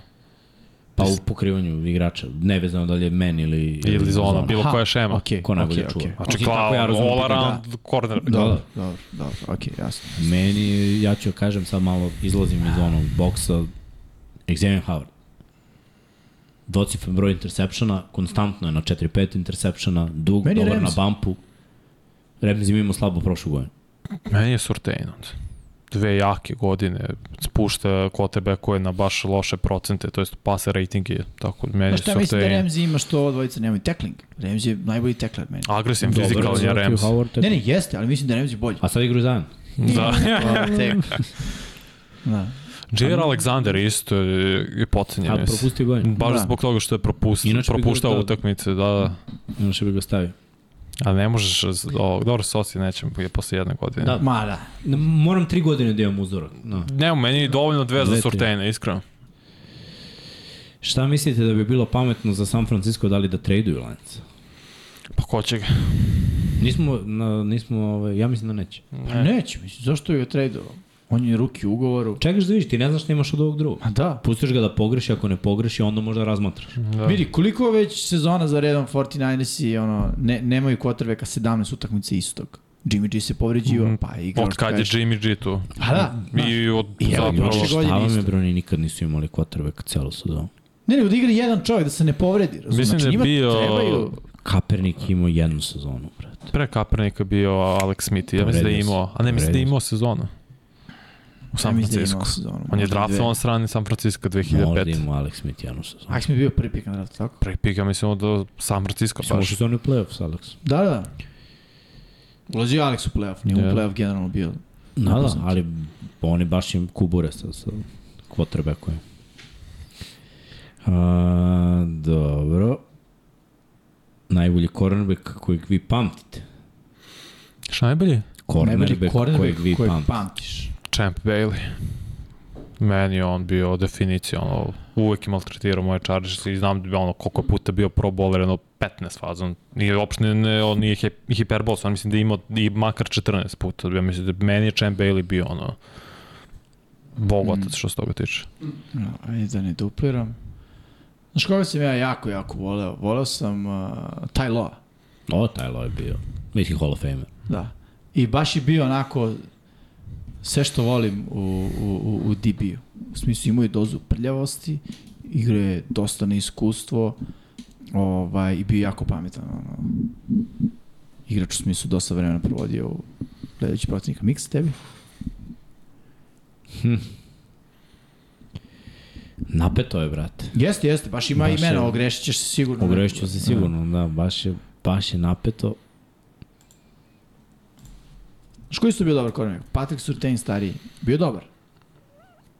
A: Pa u pokrivanju igrača, nevezano da li je men ili...
D: Ili zona, bilo koja šema.
B: Okay,
A: Ko najbolje
B: okay,
A: čuva.
B: Okay.
D: Znači,
A: Znači,
D: kao
A: tako ja
D: ja
A: razumem
D: all
A: pitanje.
D: around corner.
A: Da,
B: Dobro,
A: da.
B: dobro, dobro, okej, jasno.
A: Meni, ja ću kažem sad malo, izlazim iz onog boksa, Xavier Howard. docifren broj intersepšana, konstantno je na 4-5 intersepšana, dug,
B: Meni je
A: dobar
B: Remzi.
A: na bampu. Remzi mi imamo slabo prošlu godinu.
D: Meni je Surtain onda. Dve jake godine, spušta kotebe koje na baš loše procente, to jest pase rating je, tako da meni
B: Pa
D: je
B: šta mislim da
D: Surtain.
B: Remzi ima što ovo dvojica nemaju tekling? Remzi je najbolji teklar meni.
D: Agresivan
A: Dobar
D: fizikalan je Rams.
B: Ne, ne, jeste, ali mislim da je Remzi bolji.
A: A sad igru zajedno.
D: Da.
B: Tek. Da.
D: J.R. Alexander isto je je
A: A
D: pocenjen. mislim.
A: propustio godinu.
D: Baš
B: Da.
D: zbog toga što je propust,
A: Inače bi ga
D: propuštao
A: da-
D: utakmice, da, da.
A: Inače bi ga stavio.
D: A ne možeš, z- o, dobro, Sosi nećem, je posle jedne godine.
A: Da.
B: Ma da.
A: Ne, Moram tri godine da imam uzorak. No.
D: Ne, meni je dovoljno
A: Dve,
D: dve za
A: tri.
D: Surtain, iskreno.
A: Šta mislite da bi bilo pametno za San Francisco da li da traduju Lenca?
D: Pa ko će ga?
A: Nismo, na, nismo ovaj, ja mislim da neće.
D: E.
B: Pa neće, mislim, zašto je ga tradeo? On je ruki u ugovoru.
A: Čekaš da vidiš, ti ne znaš šta imaš od ovog drugog.
B: Ma da.
A: Pustiš ga da pogreši, ako ne pogreši, onda možda razmatraš.
D: Da.
B: Vidi, koliko već sezona za redom 49ersi, ono, ne, nemaju kvotrbeka 17 utakmice istog. Jimmy G se povređio,
D: Mhm.
B: mm. pa igra.
D: Od kad je Jimmy G tu?
B: Pa da, da.
D: I od
B: I evo,
D: zapravo...
B: prošle godine
A: Šta vam je,
B: isto.
A: bro, oni nikad nisu imali kvotrbek celu sezonu.
B: Ne, ne, odigra jedan čovjek da se ne povredi. Razum?
D: Mislim
B: znači,
D: da je
B: njima
D: bio-
B: Trebaju...
A: Kapernik je imao jednu sezonu, brate.
D: Pre Kaepernika bio Alex Smith, ja mislim da je
A: Povredio se.
D: imao, a ne mislim da
A: Povredio
D: je
A: se.
D: imao sezonu. U
B: Ja
D: San
B: mislim da
D: Francisco.
B: imao sezonu,
D: On je
B: možda i dve.
D: draftovan strani San Francisco
A: Možda
D: 2005.
A: imao Alex Smith jednu sezonu.
B: Alex mi je bio prvi pik na draftu, tako?
D: Pre pika mislim od San Francisco
A: Samo
D: baš.
A: što su oni u playoffs, Alex.
B: Da, da. Ulazio je Alex u playoff, nije
D: Da.
B: u playoff generalno bio.
A: Da, da,
B: Upoznat.
A: ali oni baš im kubure sa, sa kvotrbekovima. A, dobro. Najbolji cornerback kojeg vi pamtite.
D: Šta najbolje?
A: Cornerback,
B: cornerback
A: kojeg vi
B: kojeg
A: pamtite.
B: pamtiš.
D: Champ Bailey. Meni je on bio definicija, ono, uvek je maltretirao moje čariš i znam da bi ono, koliko je puta bio pro bowler, ono, 15 fazom. Nije uopšte, ne, on nije hip, hiperboss, on mislim da je imao i makar 14 puta. Ja mislim da meni je Champ Bailey bio, ono, bogotac što se toga tiče.
B: No, ajde da ne dupliram. Znaš koga sam ja jako, jako voleo? Voleo sam uh, Ty Loa,
A: O, taj Lo je bio. Mislim, Hall of Famer.
B: da. I baš je bio onako sve što volim u, u, u, u DB-u. U smislu imao je dozu prljavosti, igrao je dosta na iskustvo ovaj, i bio je jako pametan. Ono. Igrač u smislu dosta vremena provodio u gledajući protivnika. Miks tebi?
A: Napeto je, brate.
B: Jeste, jeste, baš ima
A: Baš
B: baš imena,
A: je-
B: ogrešit ćeš Da se sigurno.
A: Ogrešću se sigurno, da, baš je, baš je napeto.
B: Znaš koji su bio dobar kornerback? Patrick Surtain stariji. Bio je dobar.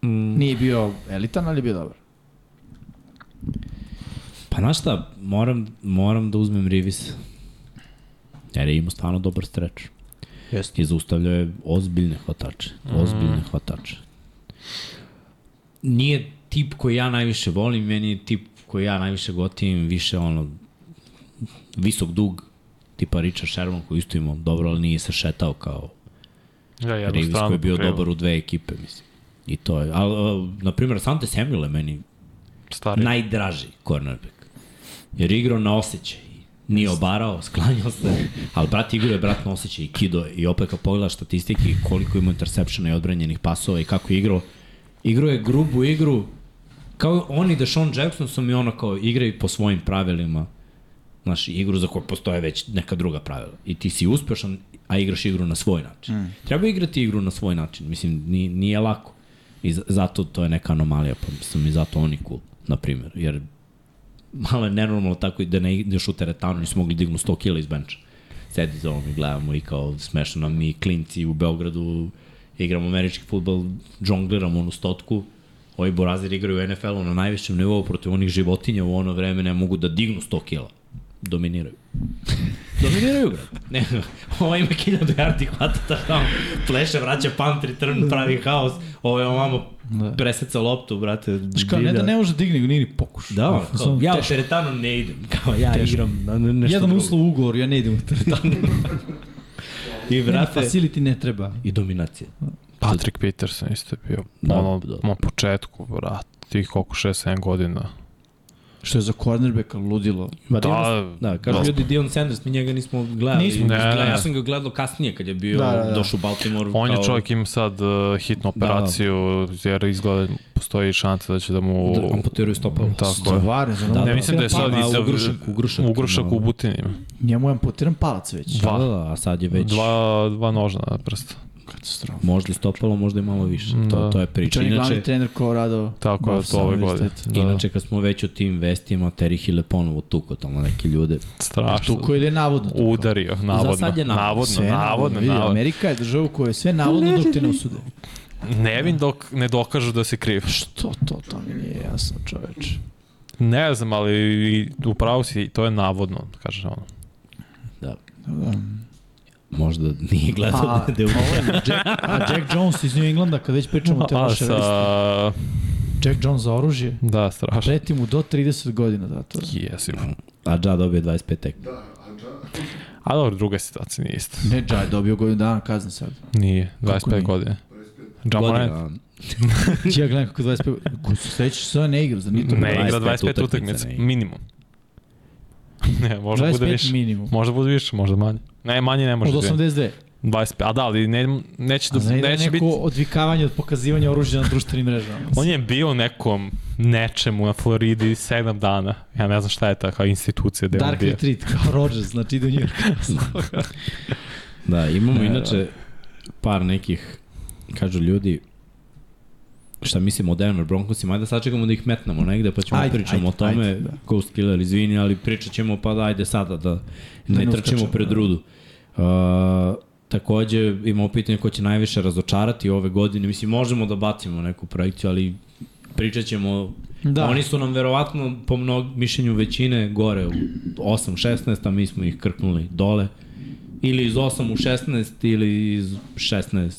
A: Mm,
B: Nije bio elitan, ali je bio dobar.
A: pa znaš šta, moram, moram da uzmem Rivis. Jer je imao stvarno dobar streč. Jeste. I zaustavljao je ozbiljne hvatače. Ozbiljne mm. hvatače. Nije tip koji ja najviše volim, meni je tip koji ja najviše gotivim, više ono, visok dug, tipa Richard Sherman koji isto imao dobro, ali nije se šetao kao
D: Ja, jednu
A: Reeves
D: stranu
A: koji je bio
D: pokrivo.
A: dobar u dve ekipe, mislim. I to je. Ali, a, na primjer, Sante Samuel je meni
D: Stari.
A: najdraži cornerback. Jer igrao na osjećaj. Nije obarao, sklanjao se. Ali brat igrao je brat na osjećaj i kido. je. I opet kad pogledaš statistike i koliko ima intersepšena i odbranjenih pasova i kako je igrao. Igrao je grubu igru. Kao oni Deshaun Jackson su mi ono kao igraju po svojim pravilima. Znaš, igru za koju postoje već neka druga pravila. I ti si uspešan, a igraš igru na svoj način. Mm. Treba igrati igru na svoj način. Mislim, nije, nije lako. I za- zato to je neka anomalija, pa sam i zato oni cool, na primjer. Jer malo je nenormalno tako i da ne ideš u teretanu, nisu mogli dignu 100 kila iz benča. Sedi za ovom i gledamo i kao smešno nam i klinci u Beogradu igramo američki futbol, džongliramo onu stotku, ovi borazir igraju u NFL-u na najvišem nivou protiv onih životinja u ono vreme ne mogu da dignu 100 kila. Dominiraju. Dominiraju, brate. Ne, ovo ima 1000 yardi hvatata tamo, pleše, vraća punt, return, pravi haos, ovo je ovamo preseca loptu, brate.
B: Da. Znaš kao, ne da
A: divlja.
B: ne može digne, nego ni pokuša.
A: Da, ono, kao,
B: Samo
A: ja u
B: teško.
A: teretanu ne idem, kao ja teško. igram na na nešto
B: Jedan
A: drugo.
B: uslov u ugovor, ja ne idem u teretanu.
A: I
B: Vrate.
A: vrate.
B: Facility ne treba.
A: I dominacija.
D: Patrick Peterson isto je bio.
A: Da, Pa
D: Da, ono,
A: da.
D: na početku, vrat, tih koliko 6-7 godina.
C: Što je za cornerbacka ludilo.
B: Pa
A: Ma,
D: Da,
A: Dion, da, kažu ljudi Dion Sanders, mi njega nismo gledali.
B: Nismo.
A: Nismo,
D: Ne,
A: ne,
D: ne.
A: ja sam ga gledao kasnije kad je bio,
B: Da,
A: da,
B: da, da.
A: da, da. došao u Baltimore.
D: On je
A: kao-
D: čovjek im sad uh, hitnu
A: Da.
D: operaciju, da. jer izgleda postoji šansa da će da mu...
A: Da, amputiraju stopalo.
D: Tako je.
C: Stvarno, za
A: Da,
D: Ne mislim da je sad
A: Ma,
D: iz-
A: u Grušaku, u Grušaku.
D: u Grušaku u Butini.
B: Njemu je amputiran palac već.
A: Da, da, da, a sad je već...
D: Dva, dva nožna prsta.
C: katastrofa.
A: Možda i stopalo, možda i malo više.
D: Da.
A: To, to je priča.
B: Čan je glavni
A: Inače,
B: trener Colorado.
D: Tako je
B: Buffs
D: to ove godine.
B: univerziteta.
D: Da,
A: inače kad smo već o tim vestima, Terry Hill je ponovo tuko tamo neke ljude.
D: strašno.
B: Tuko ili je navodno tuko?
D: Udario, navodno.
A: sad je navodno.
D: navodno, navodno,
B: vidi,
D: navodno.
B: Amerika je država u kojoj je sve navodno dok te ne usude.
D: Nevin dok ne dokažu da si kriv.
B: Što to, to mi nije jasno, čoveč.
D: Ne znam, ali i upravo si, to je navodno, kažeš ono.
B: Da,
A: Možda nije gledao
B: A,
A: da je u...
B: ovo Pa, je Jack, a Jack Jones iz New Englanda, kad već pričamo o te
D: A,
B: loše vesti.
D: sa...
B: Jack Jones za oružje.
D: Da, strašno.
B: Preti mu do 30 godina zatvora.
D: Jesi.
A: A Ja dobio 25 tek.
E: Da, a da,
D: A dobro, druga situacija nije isto.
B: Ne, Jai dobio godinu dana kazne sad.
D: Nije, 25
B: nije?
D: godine. Jamorant
B: Ja gledam kako 25... Ko se sećaš, sve ne igra, za nije to
D: ne
B: bilo.
D: igra
A: 25
D: 25
A: utakmica,
D: utakmica,
A: ne igra.
D: minimum. ne, možda da bude
B: 25
D: više.
B: minimum.
D: Možda bude više, možda manje. Ne, manje ne može.
B: Od
D: dvije.
B: 82.
D: 25, a da, ali ne, neće,
B: A
D: da,
B: za njega je
D: neće
B: neko
D: biti...
B: odvikavanje od pokazivanja oružja na društvenim mrežama.
D: On je bio u nekom nečemu na Floridi 7 dana. Ja ne znam šta je ta kao institucija gde je on
B: Dark
D: bio.
B: Retreat, kao Rodgers, znači ide u New York.
A: Da, imamo inače
B: da.
A: par nekih, kažu ljudi, šta mislim o Denver Broncosima, ajde sačekamo da ih metnemo negde, pa ćemo
B: Ajde,
A: ajde, pričamo
B: ajde,
A: o tome,
B: ajde,
A: ajde,
B: da.
A: da. Ghost Killer, izvini, ali pričat ćemo, pa da, ajde sada da
B: ne
A: ne, trčimo
B: uskačemo,
A: pred
B: da.
A: rudu. Uh, takođe, imamo pitanje ko će najviše razočarati ove godine, mislim, možemo da bacimo neku projekciju, ali pričat ćemo
B: Da.
A: Da. Oni su nam verovatno po mnog mišljenju većine gore u 8-16, a mi smo ih krknuli dole. Ili iz 8 u 16 ili iz 16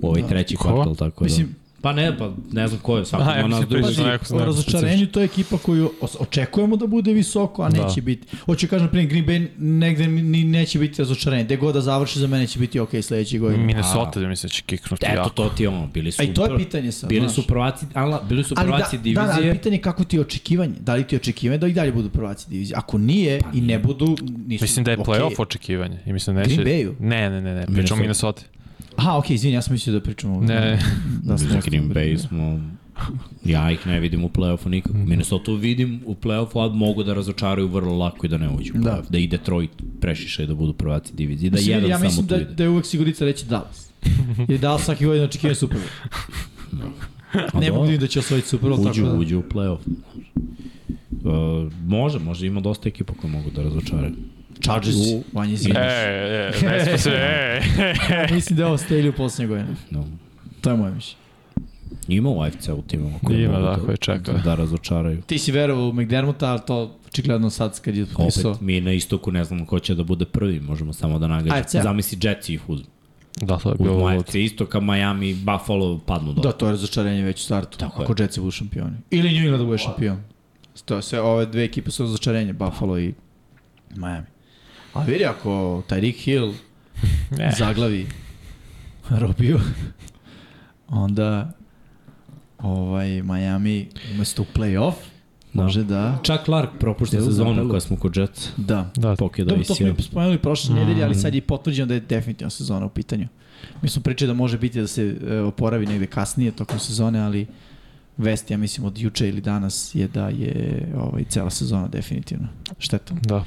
A: u ovaj da. treći
D: Ko?
A: kvartal, tako
B: Mislim-
A: da. Pa ne, pa ne znam ko je, svako
D: A,
A: ima
D: ja
A: nas
D: mislim
A: drugi.
D: pričaš
B: Pazi,
D: Za neko
B: o
D: znam
B: razočarenju to je ekipa koju os- očekujemo da bude visoko, a neće
D: Da.
B: biti. Hoće kažem, na primjer, Green Bay negde ni, neće biti razočarenje. Gde god da završi za mene će biti ok sledeći godin.
D: Minnesota, da mislim, će kiknuti
A: Eto,
D: jako.
A: to ti je ono, bili su...
B: A i to je
A: prv-
B: pitanje sad,
A: Bili
B: znaš.
A: su prvaci, ala, bili su
B: Ali da,
A: prvaci
B: da, da, ali
A: divizije.
B: pitanje je kako ti je očekivanje. Da li ti je očekivanje da i dalje budu prvaci divizije? Ako nije pa, i ne budu, nisu
D: Mislim da je
B: ok.
D: playoff očekivanje. I mislim da neće...
B: Green Bayu?
D: Ne, ne, ne, ne, pričamo
A: Minnesota.
D: o Minnesota.
B: Aha, okej, izvini, ja sam mislio da pričamo. o-
D: Ne,
B: Da,
A: Za Green Bay smo... Ja ih ne vidim u play-offu nikako.
D: Mhm.
A: Minnesota vidim u play-offu, ali mogu da razočaraju vrlo lako i da ne uđu. u
B: Da.
A: play-off. da i Detroit prešiše da budu prvaci divizije. Da
B: Da mislim,
A: jedan
B: ja
A: samo
B: mislim
A: tu
B: da,
A: ide.
B: da je uvek sigurica reći Dallas. Da. Jer Dallas svaki godin očekivanje Super Bowl.
A: A
B: Ne mogu
A: dobro,
B: vidim da će osvojiti Super Bowl.
A: uđu,
B: tako da.
A: uđu u play-off. Uh, može, može, ima dosta ekipa koje mogu da razočaraju.
B: Chargers,
A: U-
B: manje
D: e,
B: izvini.
D: e, ne smo se, e.
B: Mislim da je ovo stelju poslednje godine.
A: No.
B: To je moje mišljenje.
A: Ima u AFC u timu koji
D: Ima,
A: mogu
D: da, koje čeka.
A: da razočaraju.
B: Ti si verovao u McDermotta, ali to očigledno sad kad je
A: Opet,
B: potpisao.
A: mi na istoku ne znamo ko će da bude prvi, možemo samo da
B: AFC.
A: nagađamo. Zamisli Jetsi ih uzmu.
D: Da, to je
A: Uzmu
D: bilo...
A: AFC istoka, Miami, Buffalo padnu dole.
B: Da, to je razočarenje već u startu. Tako
A: Tako
B: ako Jetsi budu šampioni. Ili New England da bude šampion. To sve, ove dve ekipe su razočarenje, Buffalo i Miami. A vidi, ako Tyreek Hill
A: Eh.
D: Ne.
B: zaglavi Robiju, onda ovaj Miami umesto u play-off
A: Da.
B: može da...
A: Čak Clark propušta
B: Evo, zapelo.
A: sezonu koja smo kod Jetsa.
B: Da.
D: Da,
A: Pokida
B: Dobro,
A: i
B: to smo
A: sjeo.
B: i spomenuli prošle nedelje, ali sad je potvrđeno da je definitivno sezona u pitanju. Mi smo pričali da može biti da se e, oporavi negde kasnije tokom sezone, ali vest, ja mislim, od juče ili danas je da je ovaj, cela sezona definitivno. Šteta.
D: da.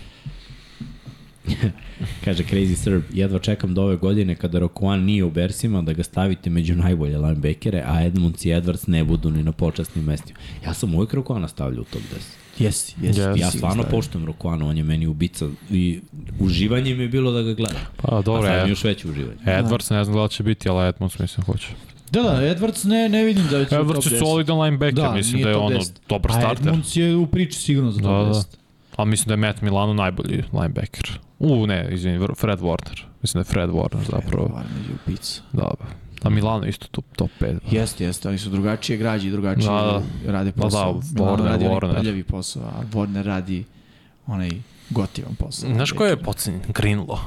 A: Kaže Crazy Serb, jedva čekam do ove godine kada Rokuan nije u Bersima da ga stavite među najbolje linebackere, a Edmunds i Edwards ne budu ni na počasnim mestima. Ja sam uvijek Rokuana stavljao u top 10.
B: Jesi, jesi.
D: Yes.
B: jesi
A: Ja stvarno
D: da.
B: stavio.
A: poštujem Rokuana, on je meni ubica i uživanje mi je bilo da ga gledam.
D: Pa
A: A
D: dobro,
A: sad mi
D: e,
A: je još veće uživanje.
D: Edwards, ne znam da li će biti, ali Edmunds mislim hoće.
B: Da, da, Edwards ne, ne vidim da će u top
D: Edwards
B: 10.
D: je solidan linebacker,
B: Da,
D: da, mislim
B: nije
D: da je
B: top
D: ono
B: 10.
D: dobar
B: A
D: starter.
B: Edmunds je u priči sigurno za
D: Da,
B: top
D: da.
B: 10.
D: A mislim da je Matt Milano najbolji linebacker. U, ne, izvini, Vr- Fred Warner. Mislim da je Fred Warner zapravo.
B: Varno je u picu.
D: Da, a Milano je isto tu top da. 5.
B: Jeste, jeste, ali su drugačije građe i drugačije
D: Da,
B: rade
D: da,
B: posao.
D: Warner,
B: Milano radi onaj
D: Warner.
B: prljavi posao, a Warner radi onaj gotivan posao.
D: Znaš ko je pocenjen? Greenlaw.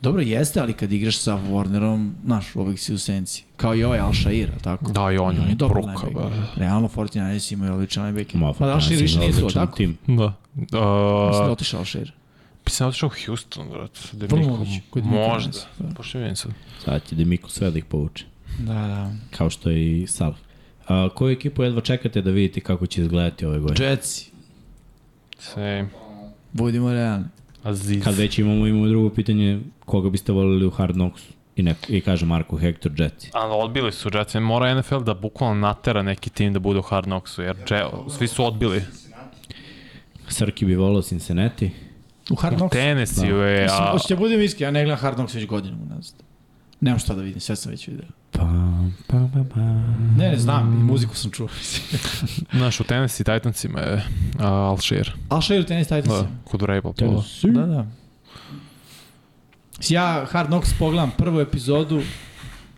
B: Dobro jeste, ali kad igraš sa Warnerom, znaš, uvek si u senci. Kao i ovaj Al Shair, al tako?
D: Da, i on
B: On je
D: je
B: dobar
D: pruka,
B: linebacker.
D: ba.
B: Realno, 49ers imaju odličan linebacker.
A: Ma,
B: Pa da Al Shair više nije igrao,
A: odličan
B: tako?
A: tim.
D: Da.
B: Mislim da
D: Uh,
B: otišao Al Shair.
D: Mislim da otišao u Houston, brat. Da je
B: Vrlo
D: Miko-
B: moguće, kod Mika
D: Možda.
B: Ransa, da.
D: Pošto vidim sad.
A: Sad će Demiko sve da ih povuče.
B: Da, da.
A: Kao što je i Salah. A, koju ekipu jedva čekate da vidite kako će izgledati ove
B: da.
A: godine?
B: Jetsi,
D: Same.
B: budimo realni.
D: Aziz.
A: Kad već imamo, imamo drugo pitanje, koga biste volili u Hard Knocksu? I, neko, i kaže Marko Hector Jetsi.
D: Ali odbili su Jetsi. Mora NFL da bukvalno natera neki tim da bude u Hard Knocksu, jer Jet, svi su odbili.
A: Srki bi volao Cincinnati.
B: U Hard Knocks.
D: Tennessee da. je,
B: Mislim,
D: a...
B: hoćete da budem iskren, ja ne gledam Hard Knocks već godinu unazad. Nemam šta da vidim, sve sam već video.
A: Pam, pam, pam, pam.
B: Ne, ne znam, i muziku sam čuo.
D: Znaš, u Tennessee Titansima je a, Alshir.
B: Al Shair, Tennis Titans.
D: Da, kod Rabel.
A: Tennessee.
B: Da, da. Mislim, Ja Hard Knocks pogledam prvu epizodu,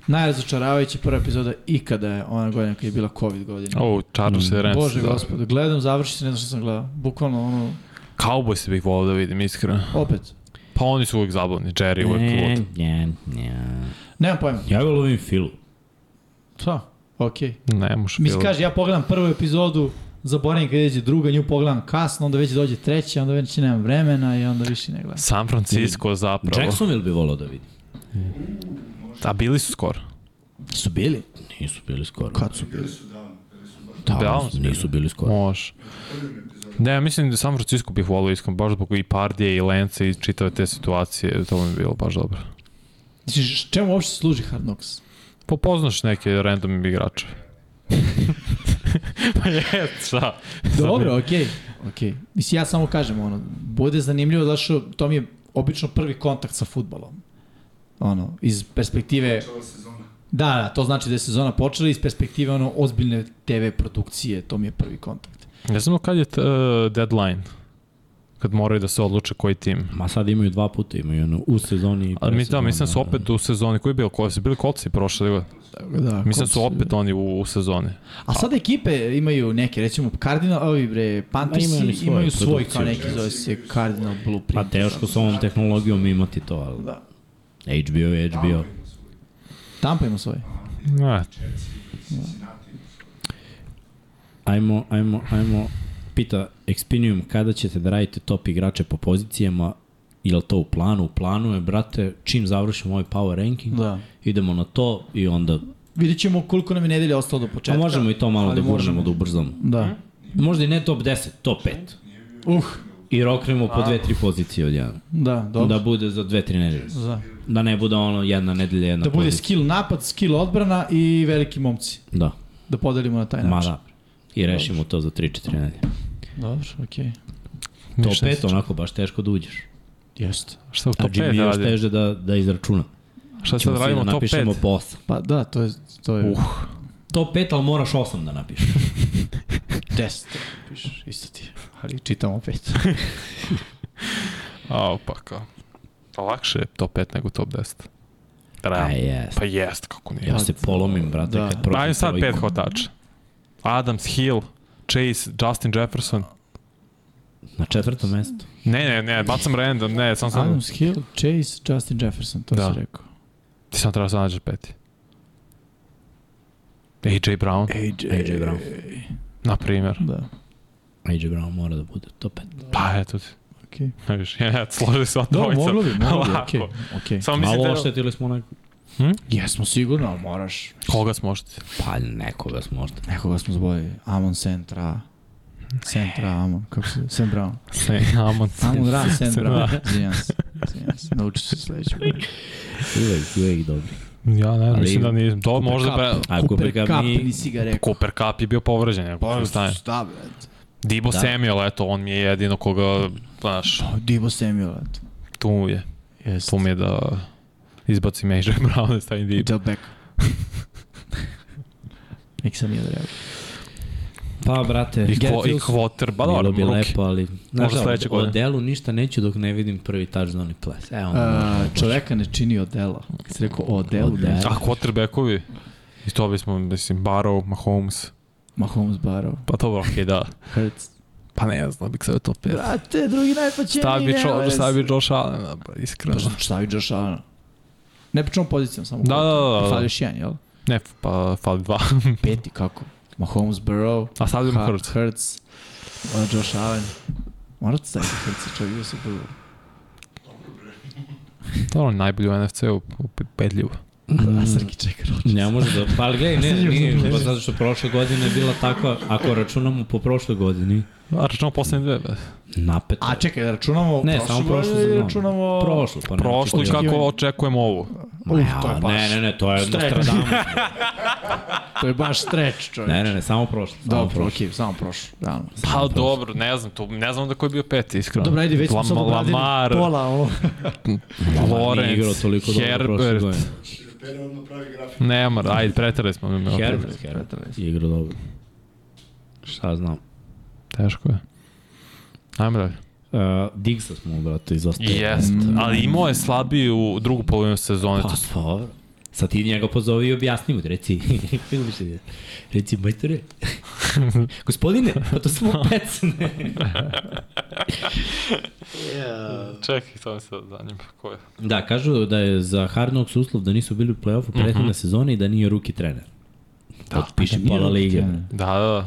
B: najrazočaravajuća prva epizoda ikada je ona godina kad je bila COVID godina.
D: O, Chargers i Rams.
B: Bože
D: da.
B: gospode, gledam, završi se, ne znam što sam gledao. Bukvalno ono,
D: Cowboys bih volao da vidim, iskreno.
B: opet.
D: Pa oni su uvijek zabavni, Jerry uvijek
A: Ne,
D: lud.
A: ne, ne.
B: Nemam pojma.
A: Ja ga lovim Filu.
B: Šta? Okej.
D: Ne može
B: Mislim,
D: bilo.
B: kaže, ja pogledam prvu epizodu, zaboravim kad dođe druga, nju pogledam kasno, onda već dođe treća, onda već nemam vremena i onda više ne gledam.
D: San Francisco zapravo.
A: Jacksonville bi volao da vidim.
D: A bili su skoro.
B: Su bili?
A: Nisu bili skoro.
B: Kad su bili?
A: Da,
D: Downs
A: nisu- nisu bili skoro.
D: Može. Ne, ja mislim da San Francisco bih volio iskreno, baš zbog i Pardije i Lence i čitave te situacije, to mi je bilo baš dobro.
B: Znači, š- čemu uopšte služi Hard Knocks?
D: Popoznaš neke random igrače. pa je, šta?
B: Dobro, okej. Okay. Okay. Mislim, ja samo kažem, ono, bude zanimljivo zato što to mi je obično prvi kontakt sa futbalom. Ono, iz perspektive...
E: Čela sezona.
B: Da, da, to znači da je sezona počela iz perspektive ono, ozbiljne TV produkcije, to mi je prvi kontakt.
D: Ne znamo kad je t, uh, deadline. Kad moraju da se odluče koji tim.
A: Ma sad imaju dva puta, imaju ono u sezoni i
D: A mi da,
A: presezoni,
D: mislim da su opet u sezoni, koji je bio, koji su bili kolci prošle godine?
B: Da,
D: Mislim da su opet oni u, u sezoni.
B: A sad ekipe imaju neke, recimo Cardinal, ovi bre, Panthersi
A: imaju
B: imaju,
A: oni svoje
B: imaju svoj kao
A: produkcije.
B: neki, zove se Cardinal
A: Pa
B: Blueprint.
A: teško sa ovom tehnologijom imati to, ali
B: Da.
A: HBO je HBO.
B: Tampa ima svoje.
D: Ne,
A: Ajmo, ajmo, ajmo, pita Expinium, kada ćete da radite top igrače po pozicijama, ili to u planu? U planu je, brate, čim završimo ovaj power ranking,
B: Da.
A: idemo na to i onda...
B: Vidjet ćemo koliko nam je nedelja ostalo do
A: A
B: početka.
A: možemo i to malo
B: ali
A: da gurnemo,
B: možemo.
A: da ubrzamo.
B: Da.
A: Možda i ne top 10, top 5.
B: Uh,
A: I roknemo po dve, tri pozicije od jedan.
B: da, dobro.
A: Da bude za dve, tri nedelje.
B: Da, da.
A: Da ne bude ono jedna nedelja, jedna
B: da bude
A: pozicija.
B: skill napad, skill odbrana i veliki momci.
A: Da,
B: Da podelimo na taj
A: ma
B: način.
A: da. I rešimo to za 3-4 nedelje.
B: Dobro, okej.
A: Top
D: ništa.
A: 5 onako baš teško da uđeš.
B: Jeste.
D: Šta u
A: A
D: top
A: Jimmy
D: 5
A: još
D: radi?
A: teže da, da izračuna.
D: Šta
A: Ćemo
D: sad
A: svi
D: radimo
A: da
D: top 5?
A: napišemo po 8.
B: Pa da, to je... To je
D: Uh.
A: Top 5, ali moraš 8 da napišeš.
B: 10. Piš, isto ti je. Ali čitam opet.
D: A, pa kao. Pa lakše je top 5 nego top 10.
A: A
D: Realno.
A: jest.
D: Pa jest, kako nije.
A: Ja se polomim, brate,
B: Da.
A: kad
D: Pa,
A: prođem
D: Ajde sad
A: trojku.
D: pet hvatača. Adams, Hill, Chase, Justin Jefferson.
A: Na četvrtom mestu.
D: Ne, ne, ne, bacam random, ne, sam sam...
B: Adams Hill, Chase, Justin Jefferson, to
D: Da.
B: si rekao.
D: Ti sam treba sad nađeš peti. AJ Brown,
B: AJ.
A: AJ Brown.
D: na primjer.
B: Da.
A: AJ Brown mora da bude top 5.
D: Pa, eto ti.
B: Okej.
D: Ne viš, ja, ja, složi se od
B: Da,
D: dvojica.
B: moglo bi, moglo bi,
D: Lako.
B: okej. okej.
D: Samo mislim
A: Malo
D: da...
A: oštetili smo neko.
B: Jesmo sigurno, ali moraš.
D: Koga smožete?
A: Pa nekoga smo možda.
B: Nekoga smo zbojili. Amon Sentra. Sentra, Amon, kako se... Sam Brown.
D: Ne, Amon.
B: Amon Ra, Sam
D: Da.
B: Brown. Izvinjam se. Izvinjam se. Naučit ću se sledeću.
A: Uvek, uvek dobri.
D: Ja ne,
A: Ali-
D: mislim da nije. Do,
B: Cooper
D: možda
B: Cup.
D: be...
A: A Cooper Cup nije-
B: nisi ga rekao.
D: E, Cooper Cup je bio povređen. ja,
B: Pa,
D: šta je?
B: šta, brad?
D: Debo
A: Da.
D: Samuel, eto, on mi je jedino koga, znaš,
B: Dibo Samuel, eto.
D: tu mu je.
B: Jeste.
D: Tu mi je da izbacim AJ Brown da stavim Debo.
B: Del Beckham. Nik sam nije da reaguje.
A: Pa, brate,
D: I,
A: Garrett
D: kvo, i
A: Wilson.
D: kvoter, ba
A: Bilo
D: Pa, dobro,
A: bi
D: ruki.
A: lepo, ali... Znaš, da,
D: sledeće
A: o, o
D: godine.
A: delu ništa neću dok ne vidim prvi touchdown i ples. E, onda.
B: A, čoveka ne čini od dela. Kad si rekao o delu,
A: Od dela.
B: da.
D: A quarterbackovi, i to bismo, mislim, Barrow, Mahomes,
B: Mahomes Barrow,
D: pa to bro, okej, da.
B: Hurts.
D: Pa ne znam, bih sad to pet.
B: Da, Brate, drugi najplaćeniji,
D: Stavi
B: nema
D: Joe,
B: veze.
D: stavi da. Josh Allen, da, iskreno.
B: Stavi Josh Allen. Ne pričamo o pozicijama samo.
D: Da, da, da, da.
B: Fali još jedan, jel?
D: Ne, pa fali dva.
B: Peti, kako? Mahomes, Burrow,
D: A stavljamo
B: Ha-
D: Hurts.
B: Hurts, onda Josh Allen. Morate staviti Hurts, čovjek da je super.
D: To je on najbolji u NFC-u, upedljivo.
B: Da, Srki čeka rođe.
A: Ne može da, pa ali gledaj, ne, nije, pa zato što prošle godine je bila takva, ako računamo po prošloj godini,
D: A računamo poslednje dve. be.
A: napet.
B: A čekaj, računamo
A: Ne,
B: prošlu
A: samo prošlu
B: godinu ili
A: sezonu.
B: računamo...
A: prošlo, pa ne.
D: Prošlo i
A: očekivano.
D: kako očekujemo ovu.
A: Ma
B: Uf,
A: ja,
B: to je baš...
A: Ne, ne, ne, to je
B: Stretch.
A: Nostradamus.
B: To je baš streč, čovjek.
A: Ne, ne, ne, samo prošlo. Samo
B: Dobro,
A: prošlo.
B: okej, samo prošlo. Realno.
D: Pa dobro, ne znam, tu, ne znam da koji je bio peti, iskreno.
B: Dobro, ajde, već smo
D: Lam-
B: sad obradili
D: Lamar,
B: pola ovo.
A: Lamar nije igrao
D: Lawrence,
A: toliko dobro prošle
D: Herbert.
A: godine.
E: Pere odmah pravi grafik.
D: Ne, mora, ajde, preterali smo. mi malo
A: Herbert, Herbert je igrao dobro. Šta znam.
D: preterali. Teško je. Ajmo dalje.
A: Uh, Diggsa smo, brate, izostavili.
D: Jest,
B: Mm.
D: ali imao je slabiju u drugu polovinu sezone.
A: Pa,
D: to
A: dobro. Sad ti njega pozovi i objasni mu, reci, filmiš, reci, majstore, gospodine, pa to samo pecne.
D: Čekaj, to mi se zanima ko je.
A: Da, kažu da je za Hard Knocks uslov da nisu bili u play-offu prethodne
D: Mhm.
A: mm -hmm. sezone i da nije ruki trener. Da, Otpiše da pola lige.
D: Da, da, da.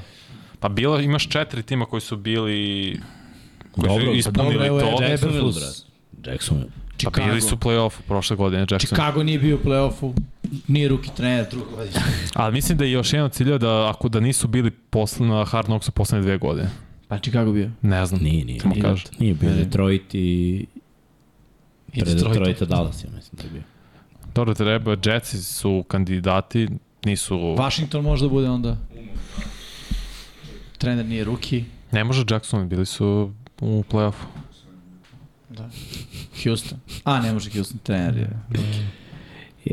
D: Pa bilo, imaš četiri tima koji su bili pa koji
A: Dobro,
D: su
A: pa da.
D: ispunili
B: dobro, evo je
D: to.
B: Jacksonville,
A: Jacksonville,
B: brate.
A: brate. Jacksonville.
D: Pa bili su u play-offu prošle godine, Jackson.
B: Chicago nije bio u play-offu, nije ruki trener drugo godinu.
D: Ali mislim da je još jedan cilj da ako da nisu bili posle, na Hard Knocksu poslednje dve godine.
B: Pa Chicago bio.
D: Ne znam.
A: Nije, nije.
D: Samo
A: Nije,
D: kaže.
A: Nije bio Detroit i...
D: I
A: Pre
D: Detroit.
A: Detroita Dallas, ja mislim da je bio.
D: Dobro, treba, Jetsi su kandidati, nisu...
B: Washington možda bude onda. Trener nije ruki.
D: Ne može Jackson, bili su u play-offu.
B: Houston. A, ne može Houston, trener je.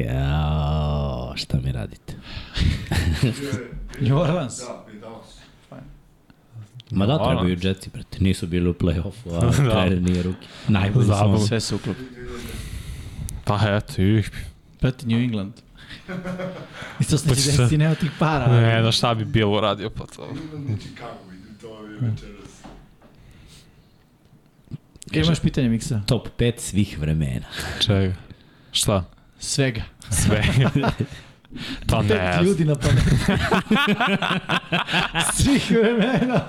A: Jao, šta mi radite?
E: Bio je-
B: New Orleans.
E: Da, i Dallas.
A: Ma da,
D: Ono.
A: trebaju Jetsi, brate. Nisu bili u play-offu, a trener nije ruki. Najbolji su
D: Da. Zabavno.
A: oni.
B: Sve se uklopi.
D: Pa eto, ih,
B: Prati New England. I to se
D: Pa
B: neće
D: šta?
B: desiti, nema tih para.
D: ne, da šta bi bilo radio pa to.
E: Cleveland i Chicago, vidim to je večeras.
B: Kaj imaš pitanje, Miksa?
A: Top 5 svih vremena.
D: Čega? Šta?
B: Svega.
D: Sve. pa ne.
B: Pet ljudi na planetu. Svih vremena.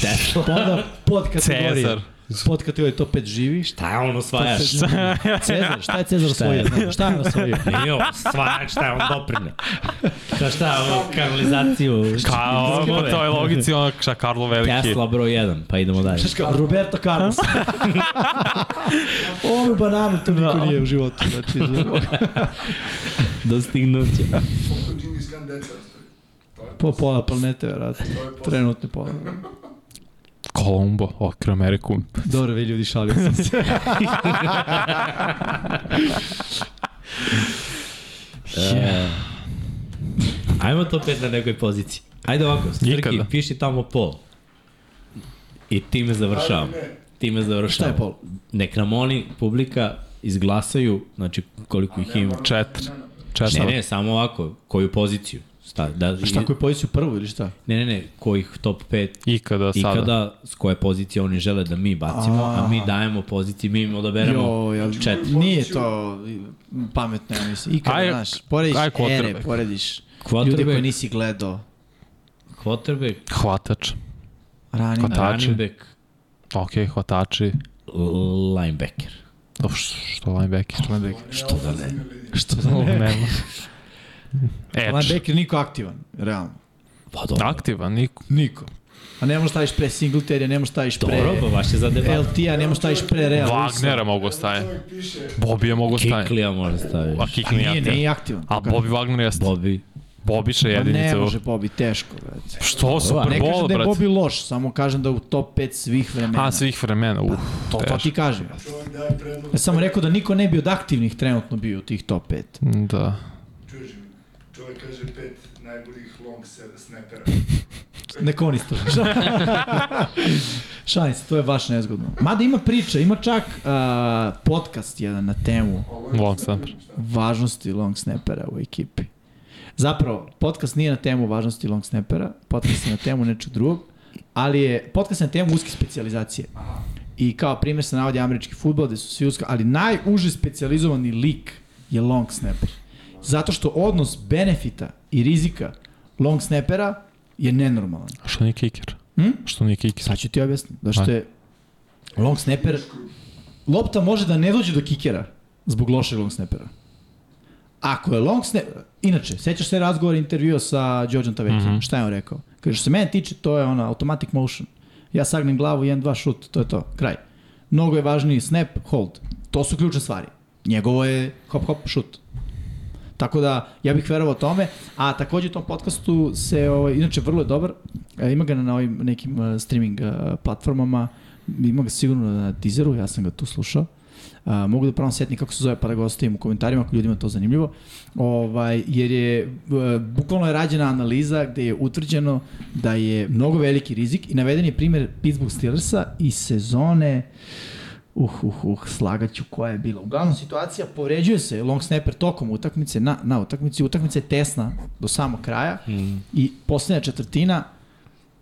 A: Tesla.
B: Onda pod kategorije.
D: Cezar.
B: Pod kategorije top 5 živi. Šta
A: Šta je on osvajaš?
B: Cezar, šta je Cezar osvojio? znam, Šta je osvojio?
A: Nije on osvajač, šta je on doprinio? Šta šta, ono, kanalizaciju?
D: Kao, po toj logici, ono, šta Karlo Veliki.
A: Tesla broj 1, pa idemo dalje.
B: Znaš kao, Roberto Carlos. Ovu bananu to niko nije u životu. Znači,
A: Dostignuće.
E: Koliko Džingis Khan deca ostavi? To je-
B: po pola planete, verovatno.
E: to je posao.
B: Trenutno pola.
D: Kolumbo, okre Ameriku.
B: Dobro, vi ljudi, šalio sam se.
A: E, ajmo to opet na nekoj poziciji. Ajde ovako, Srki,
D: Nikada.
A: piši tamo pol. I time završavamo.
E: Ali ne.
A: Time završavamo.
B: Šta je pol?
A: Nek nam oni, publika, izglasaju, znači koliko ih ima.
D: Četiri.
A: Ne,
D: Četiri.
A: ne, samo ovako, koju poziciju. Sta, da,
B: Šta, koju poziciju prvu ili šta?
A: Ne, ne, ne, kojih top 5
D: Ikada, sada.
A: ikada, s koje pozicije oni žele da mi bacimo, a, mi dajemo pozicije, mi im odaberemo.
B: Jo, ja,
A: četiri.
B: Nije to pametno, ja mislim. Ikada,
D: Aj-
B: znaš, porediš
D: aj
B: ere,
D: quarterback.
B: porediš ljude koje
A: Quarterback,
B: nisi gledao.
A: quarterback,
D: Hvatač.
B: Ranim.
D: Kod- Hvatači.
A: running back,
D: Ok, hvatači.
A: linebacker.
D: Of, što linebacker? Linebacker.
A: Što da ne?
B: Što da ne?
D: Nema. Edge.
B: Linebacker niko aktivan, realno.
A: Pa dobro.
D: Aktivan, niko.
B: Niko. A ne možeš staviš pre Singletarya, ne možeš staviš pre
A: Dobro, pa baš je za debat.
B: LT-a, ne možeš staviš pre Real.
D: Wagnera mogu staviti.
E: Čovjek piše,
D: Bobija mogu staviti.
A: Kiklija može
D: A
A: staviti.
D: Kikli
B: Nije,
D: nije.
B: nije aktivan.
D: A
B: Kako?
D: Bobby Wagner jeste.
A: Bobby.
D: Bobby će
B: Pa ne
D: jedinice. u-
B: može Bobby, teško. Brate.
D: Što
B: Ne
D: Super
B: kažem
D: Bowl,
B: da je
D: brate?
B: Bobby loš, samo kažem da je u top 5 svih vremena.
D: A, svih vremena, uf,
B: Pa, To, to ti kažem.
E: čovjek daje predlog.
B: Ja sam mu rekao da niko ne bi od aktivnih trenutno bio u tih top 5.
D: Da.
E: Čuješ mi? Čovjek kaže pet najboljih long se- snapera.
B: Neka on istraži. Šalim se, to je baš nezgodno. Mada ima priča, ima čak uh, podcast jedan na temu
E: Ovo je
D: Long
E: snapper,
D: snapper.
E: šta?
B: važnosti long snappera u ekipi. Zapravo, podcast nije na temu važnosti long snappera, podcast je na temu nečeg drugog, ali je podcast na temu uske specijalizacije. I kao primjer se navodi američki futbol, gde su svi uska, ali najuži specijalizovani lik je long snapper. Zato što odnos benefita i rizika long snappera je nenormalan.
D: A Što nije kiker?
B: Hm?
D: Što nije kiker?
B: Sad ću ti objasniti. Zašto je long snapper... Lopta može da ne dođe do kikera zbog lošeg long snappera. Ako je long snapper... Inače, sećaš se razgovor intervjua sa Đorđom Tavekijem.
D: Mhm.
B: Šta je on rekao? Kaže, što se mene tiče, to je ona automatic motion. Ja sagnem glavu, 1-2 šut, to je to. Kraj. Mnogo je važniji snap, hold. To su ključne stvari. Njegovo je hop hop šut. Tako da, ja bih verovao tome, a takođe u tom podcastu se, ovaj, inače, vrlo je dobar, E, ima ga na ovim nekim uh, streaming uh, platformama, ima ga sigurno na Deezeru, ja sam ga tu slušao. A, mogu da pravom setni kako se zove, pa da ga ostavim u komentarima ako ljudima to zanimljivo. Ovaj, jer je, e, bukvalno je rađena analiza gde je utvrđeno da je mnogo veliki rizik i naveden je primjer Pittsburgh Steelersa i sezone uh, uh, uh, slagaću koja je bila. Uglavnom, situacija povređuje se long snapper tokom utakmice, na, na utakmici. Utakmica je tesna do samog kraja mm. i posljednja četvrtina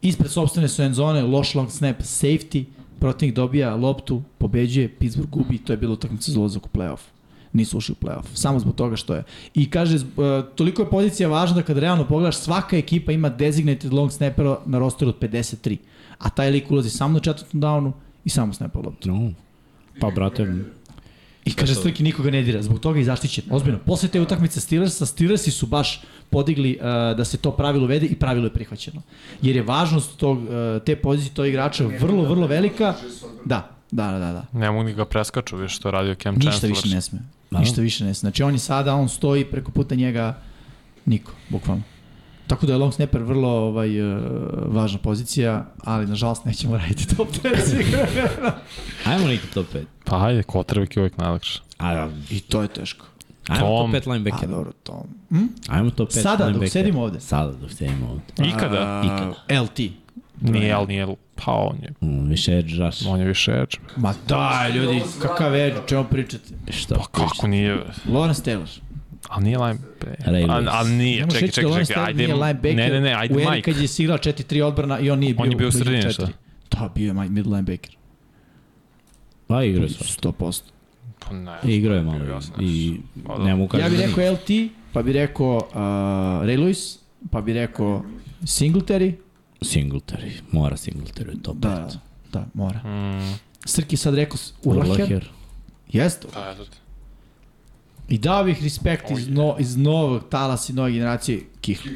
B: ispred sobstvene su end zone, loš long snap, safety, protivnik dobija loptu, pobeđuje, Pittsburgh gubi i to je bila utakmica za ulazak u playoff. Nisu ušli u playoff, samo zbog toga što je. I kaže, zb- e, toliko je pozicija važna da kad realno pogledaš, svaka ekipa ima designated long snappera na rosteru od 53, a taj lik ulazi samo na četvrtom downu i samo snapa loptu.
A: No. Pa, brate,
B: I kaže Stojki nikoga ne dira, zbog toga je i zaštićen. Ozbiljno, posle te utakmice Steelersa, Steelersi su baš podigli uh, da se to pravilo uvede i pravilo je prihvaćeno. Jer je važnost tog, uh, te pozicije tog igrača vrlo, vrlo velika. Da, da, da, da. da.
D: Ne mogu ni ga preskaču, viš što je radio Cam
B: Ništa
D: Chancellor.
B: više ne sme. Ništa više ne sme. Znači on je sada, on stoji preko puta njega niko, bukvalno. Tako da je long snapper vrlo ovaj, uh, važna pozicija, ali nažalost nećemo raditi top 10.
A: ajmo neki top 5.
D: Pa ajde, kotrbek je uvijek najlakše.
A: A,
B: I to je teško.
A: ajmo
D: Tom.
A: top 5
B: A
A: linebacker.
B: dobro, to... Hm?
A: Ajmo top 5
B: Sada, dok
A: linebacker.
B: sedimo ovde.
A: Sada dok sedimo ovde.
D: Ikada?
A: Ikada.
B: LT.
D: Nije, ali nije, pa on je,
A: Mm, više edge rush.
D: on je više edge.
B: Ma da, ljudi, kakav edge, o čemu pričate?
A: Šta?
D: Pa kako nije,
B: Lawrence Taylor.
D: Ali nije lime...
A: Ray
D: A,
A: Lewis.
D: a nije,
B: da
D: čekaj, čekaj, čekaj, ajde. Ne, ne, ne, ajde
B: u eri
D: Mike.
B: kad je se igrao 4-3 odbrana i on nije bio,
D: On je bio u
B: među
D: sredini,
B: četiri.
D: šta?
B: Da, bio je Mike middle linebacker.
A: Pa igra je svašta.
B: 100%.
D: Pa ne.
A: Igra je malo.
D: Jasno.
A: I
D: Pa da.
A: nemam
B: Ja
A: ukažem.
B: bih rekao LT, pa bih rekao uh, Ray Lewis, pa bih rekao Singletary.
A: Singletary. Mora Singletary u top 5.
B: Da, da, mora.
D: Mm,
B: Srki sad rekao s- Urlacher.
A: Urlacher.
B: Jeste.
D: pa eto ti.
B: I dao bih respekt iz, no, iz novog talasa i nove generacije Kihli.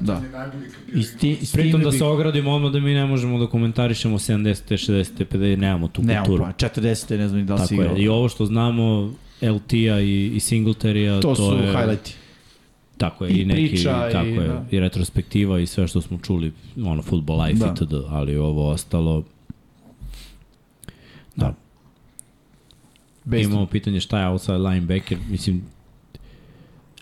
B: Da.
E: je najbolji kad bio
B: I s ti, i s
A: Pritom
B: time
A: da
B: bih-
A: se ogradimo odmah da mi ne možemo da komentarišemo 70. 60. 50. nemamo tu
B: Nemam
A: kulturu.
B: pojma, 40. ne znam ni da li si
A: Tako
B: igrao.
A: je. I ovo što znamo LT-a i, i Singletary-a,
B: To,
A: to,
B: su
A: je,
B: highlighti.
A: Tako je,
B: I
A: i, neki,
B: priča i-
A: tako je,
B: da.
A: i retrospektiva i sve što smo čuli, ono, football life
B: Da.
A: da. itd., ali ovo ostalo, da.
B: Based
A: Imamo pitanje šta je outside linebacker, mislim,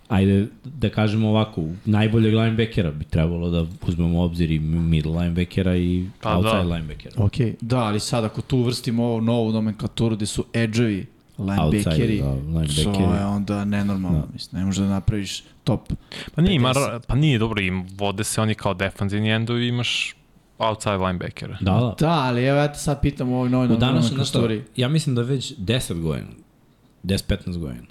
A: ajde da kažemo ovako, najboljeg linebackera bi trebalo da uzmemo u obzir i middle linebackera i
D: Pa
A: pa outside
D: da.
A: da. linebackera.
B: Ok, da, ali sad ako tu uvrstimo ovu novu nomenklaturu gde su edge-evi, linebackeri,
A: Outside, da, linebackeri.
B: to je onda nenormalno, da. mislim, ne možeš da napraviš top.
D: Pa nije, ima, ra- pa nije dobro, im vode se oni kao defanzivni endovi, imaš outside linebackera.
A: Da, da.
B: Da, ali evo ja te sad pitam u ovoj novoj
A: U današnjoj, znaš šta,
B: nomenklaturi.
A: ja mislim da već 10 godina, 10-15 godina,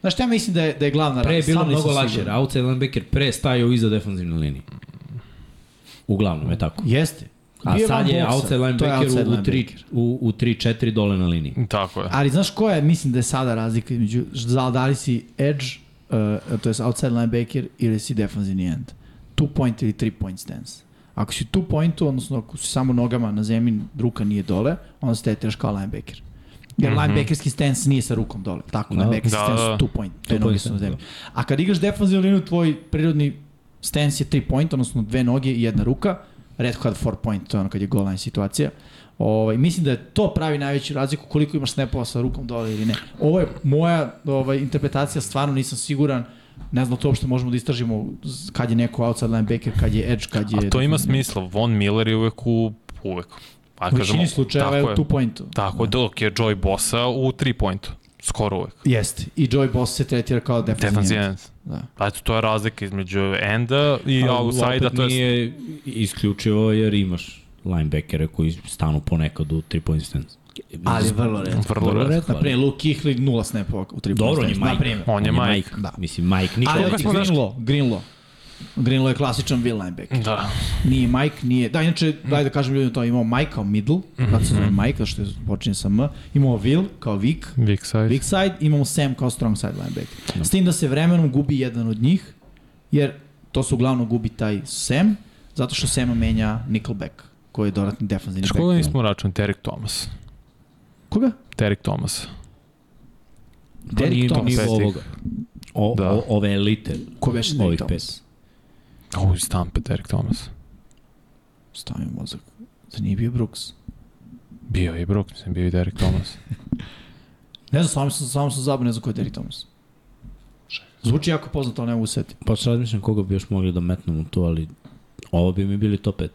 B: Znaš šta ja mislim da je, da je glavna
A: Pre je bilo
B: Sam nisam
A: mnogo lakše.
B: siguran.
A: Outside linebacker pre stajao iza defanzivne linije. Uglavnom je tako.
B: Jeste.
A: A
B: Bio
A: sad
B: van
A: je
B: boksa,
A: outside
B: to
A: linebacker
B: outside
A: u, u, tri,
B: linebacker.
A: u, u 3-4 dole na liniji.
D: Tako je.
B: Ali znaš koja je, mislim da je sada razlika između, da da li si edge, uh, to je outside linebacker ili si defensivni end. Two point ili three point stance. Ako si two pointu, odnosno ako si samo nogama na zemlji, ruka nije dole, onda se tretiraš kao linebacker. Jer mm -hmm. linebackerski stance nije sa rukom dole. Tako,
A: Da.
B: linebackerski
D: Mhm. Da,
B: stance
D: da, da.
B: su two point. Dve
A: Two
B: noge
A: point
B: su na
A: stance,
B: zemlji. A kad igraš defensivnu liniju, tvoj prirodni stance je 3 point, odnosno dve noge i jedna ruka. Redko kad 4 point, to je ono kad je goal line situacija. Ovaj, mislim da je to pravi najveću razliku koliko imaš snapova sa rukom dole ili ne. Ovo je moja ovaj, interpretacija, stvarno nisam siguran. Ne znam da to uopšte možemo da istražimo z- kad je neko outside linebacker, kad je edge, kad je...
D: A to ima smisla, Von Miller je uvek u... Uvek. A
B: U većini slučajeva je u
D: je,
B: two pointu.
D: Tako je, dok je Joy Bosa u 3 pointu. Skoro uvek.
B: Jeste. I Joy Boss se tretira kao defensivni.
D: Defensive
B: end.
D: end.
B: Da.
D: Pa eto, to je razlika između enda i
A: Ali
D: outside-a,
A: opet
D: to je
A: Nije isključivo jer imaš linebackere koji stanu ponekad u three point stance.
B: Ali vrlo redko.
D: Vrlo redko.
B: Na primjer, Luke Kihli nula snapova u tri
A: Dobro, on je
B: Na
A: Mike.
B: primjer.
D: On je Mike.
A: Da.
B: Da.
A: Mislim, Mike nikad.
B: Ali
A: Ali,
B: opet Greenlaw, Greenlaw. Greenlaw je klasičan will linebacker.
D: Da.
B: Nije Mike, nije... Da, inače, daj da kažem ljudima to, imao Mike kao middle,
D: Mhm.
B: zato se zove Mike, zato što je počinje sa M, imao Will kao Vic,
D: Big side.
B: Big side, imamo Sam kao strong side linebacker. S tim da se vremenom gubi jedan od njih, jer to se uglavnom gubi taj Sam, zato što Sama menja Nickelback, koji je dodatni defensivni
D: Znaš koga
B: back.
D: nismo račun? Derek Thomas.
B: Koga?
D: Derek Thomas.
A: Derek
B: Derek
A: nije
B: Thomas.
A: nivo
D: Petih.
A: ovoga. O,
D: Da.
A: o, ove elite,
B: Ko beše Derek
A: ovih
B: Thomas?
A: pet.
D: O, iz Tampe, Derek Thomas.
B: Stavim mozak. Da nije bio Brooks.
D: Bio je i Brook, mislim, bio je i Derek Thomas.
B: Ne znam, samo sam, samo sam zabavio, ne znam ko je Derek Thomas. Zvuči jako poznato, ali ne mogu da se setiti.
A: Pa sad razmišljam koga bi još mogli da metnemo tu, ali ovo bi mi bili top 5.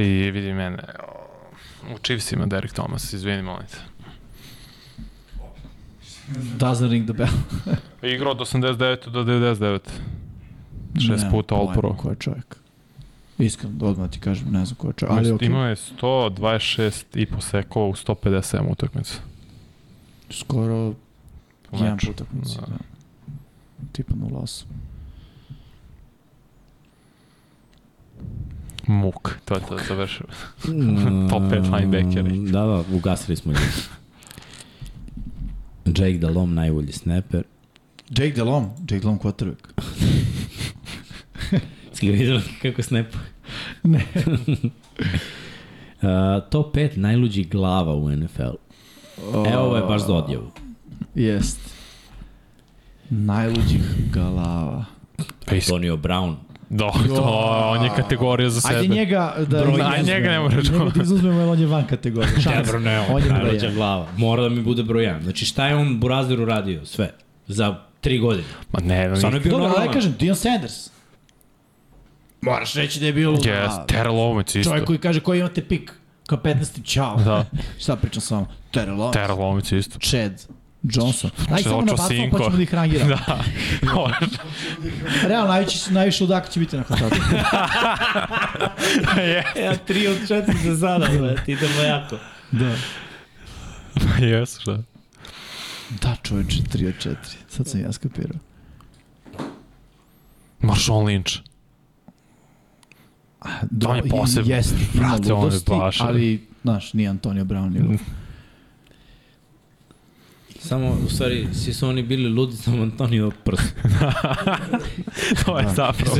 D: I vidi mene, o, u Chiefsima Derek Thomas, izvini, molim te.
B: Doesn't ring the bell.
D: Igrao od 89. do 99. Šest
B: Nemam
D: puta All
B: pojma
D: Pro.
B: Ko je čovjek? Iskreno, odmah ti kažem, ne znam ko je čovjek. Ali
D: Ali,
B: okej,
D: Imao je 126 i posekao u 157 utakmica.
B: skoro
D: Po
B: jedan
D: meču.
B: putak mislim.
D: Da.
B: Da. Tipa 0-8.
D: Muk, to je to završio. Top pet
A: Mm,
D: linebackeri.
A: Da, da, ugasili smo njih. Jake Delhomme, najbolji sneper.
B: Jake Delom, Jake Delom quarterback.
A: Skli vidjeli kako snepa?
B: Ne.
A: Uh, top 5 najluđih glava u NFL. Evo E, ovo je baš za odjavu.
B: Jest. Najluđih galava.
D: Pa is-
A: Antonio Brown.
D: Da, to, on je kategorija za sebe.
B: Ajde njega da...
D: Broj
B: da-
D: jedan. Njega ne možeš
B: Njega ti izuzmemo, jer on je van kategorije. Šans. On je broj
A: najluđa
B: jedan.
A: glava. Mora da mi bude broj 1. Znači šta je on Burazeru radio? Sve. Za 3 godine.
D: Ma ne, no,
A: Stvarno je bio
B: Dobro,
A: normalan.
B: ali ja kažem, Dion Sanders. Moraš reći da je bio...
D: Yes, Terrell Owens isto.
B: Čovjek koji kaže koji imate pik kao 15. čao.
D: Da.
B: Šta pričam sa vama? Terrell Owens,
D: Terrell Owens isto.
B: Chad Johnson. Aj samo
D: Očo
B: nabacamo
D: Sinko.
B: pa ćemo da ih rangiramo.
D: Da.
B: Realno najviše, najviše udaka će biti nakon toga.
A: Ja 3 od 4 za sada, bre. Ti idemo jako.
B: da.
D: Pa Jesu, šta?
B: Da čoveče, 3 od 4. Sad sam ja skapirao.
D: Marshawn Lynch.
B: Do,
D: On je posebno.
B: Jeste, ima
D: Brate, on je
B: ludosti,
D: baš-
B: ali, znaš, nije Antonio Brown. Ili...
A: Samo, u stvari, svi su oni bili ludi, samo Antonio prst.
D: to
B: Da.
D: je zapravo.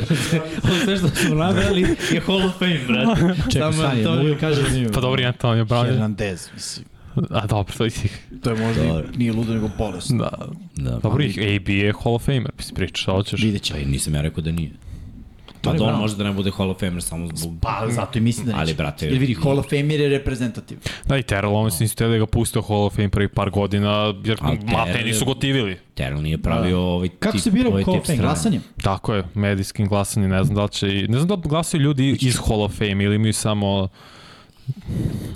A: Ovo sve što smo nabrali je Hall of Fame, brate.
B: Čekaj,
A: Samo
B: stani, mogu
A: Antonio
B: da kažem da nije.
D: Pa dobro, Antonio Brown. je-
B: Hernandez, mislim.
D: A dobro, to ih.
B: To je možda i, nije ludo nego bolest.
D: Da.
B: Pa
A: Da.
D: Dobro, ih AB je Hall of Famer. Mislim, pričaš, šta Da, hoćeš?
B: Vidjet će.
A: Pa i nisam ja rekao da nije. Pa
B: je
A: da on
B: Brown.
A: može da ne bude Hall of Famer samo zbog...
B: Pa, zato i mislim da neće.
A: Ali, brate,
B: Jer vidi, Hall of Fame je reprezentativ.
D: Da, i Terrell Owens nisu htjeli da ga puste u Hall of Fame prvi par godina, jer
A: Ali
D: mate
A: Terrell-
D: nisu gotivili.
A: Terrell nije pravio ovaj tip...
B: Da. Kako se bira u
A: ovaj
B: Hall
A: tip
B: of Fame?
A: strane.
B: Glasanjem?
D: Tako je, medijskim glasanjem, ne znam da li će, i- ne znam da li glasaju ljudi iz Hall of Fame ili imaju samo,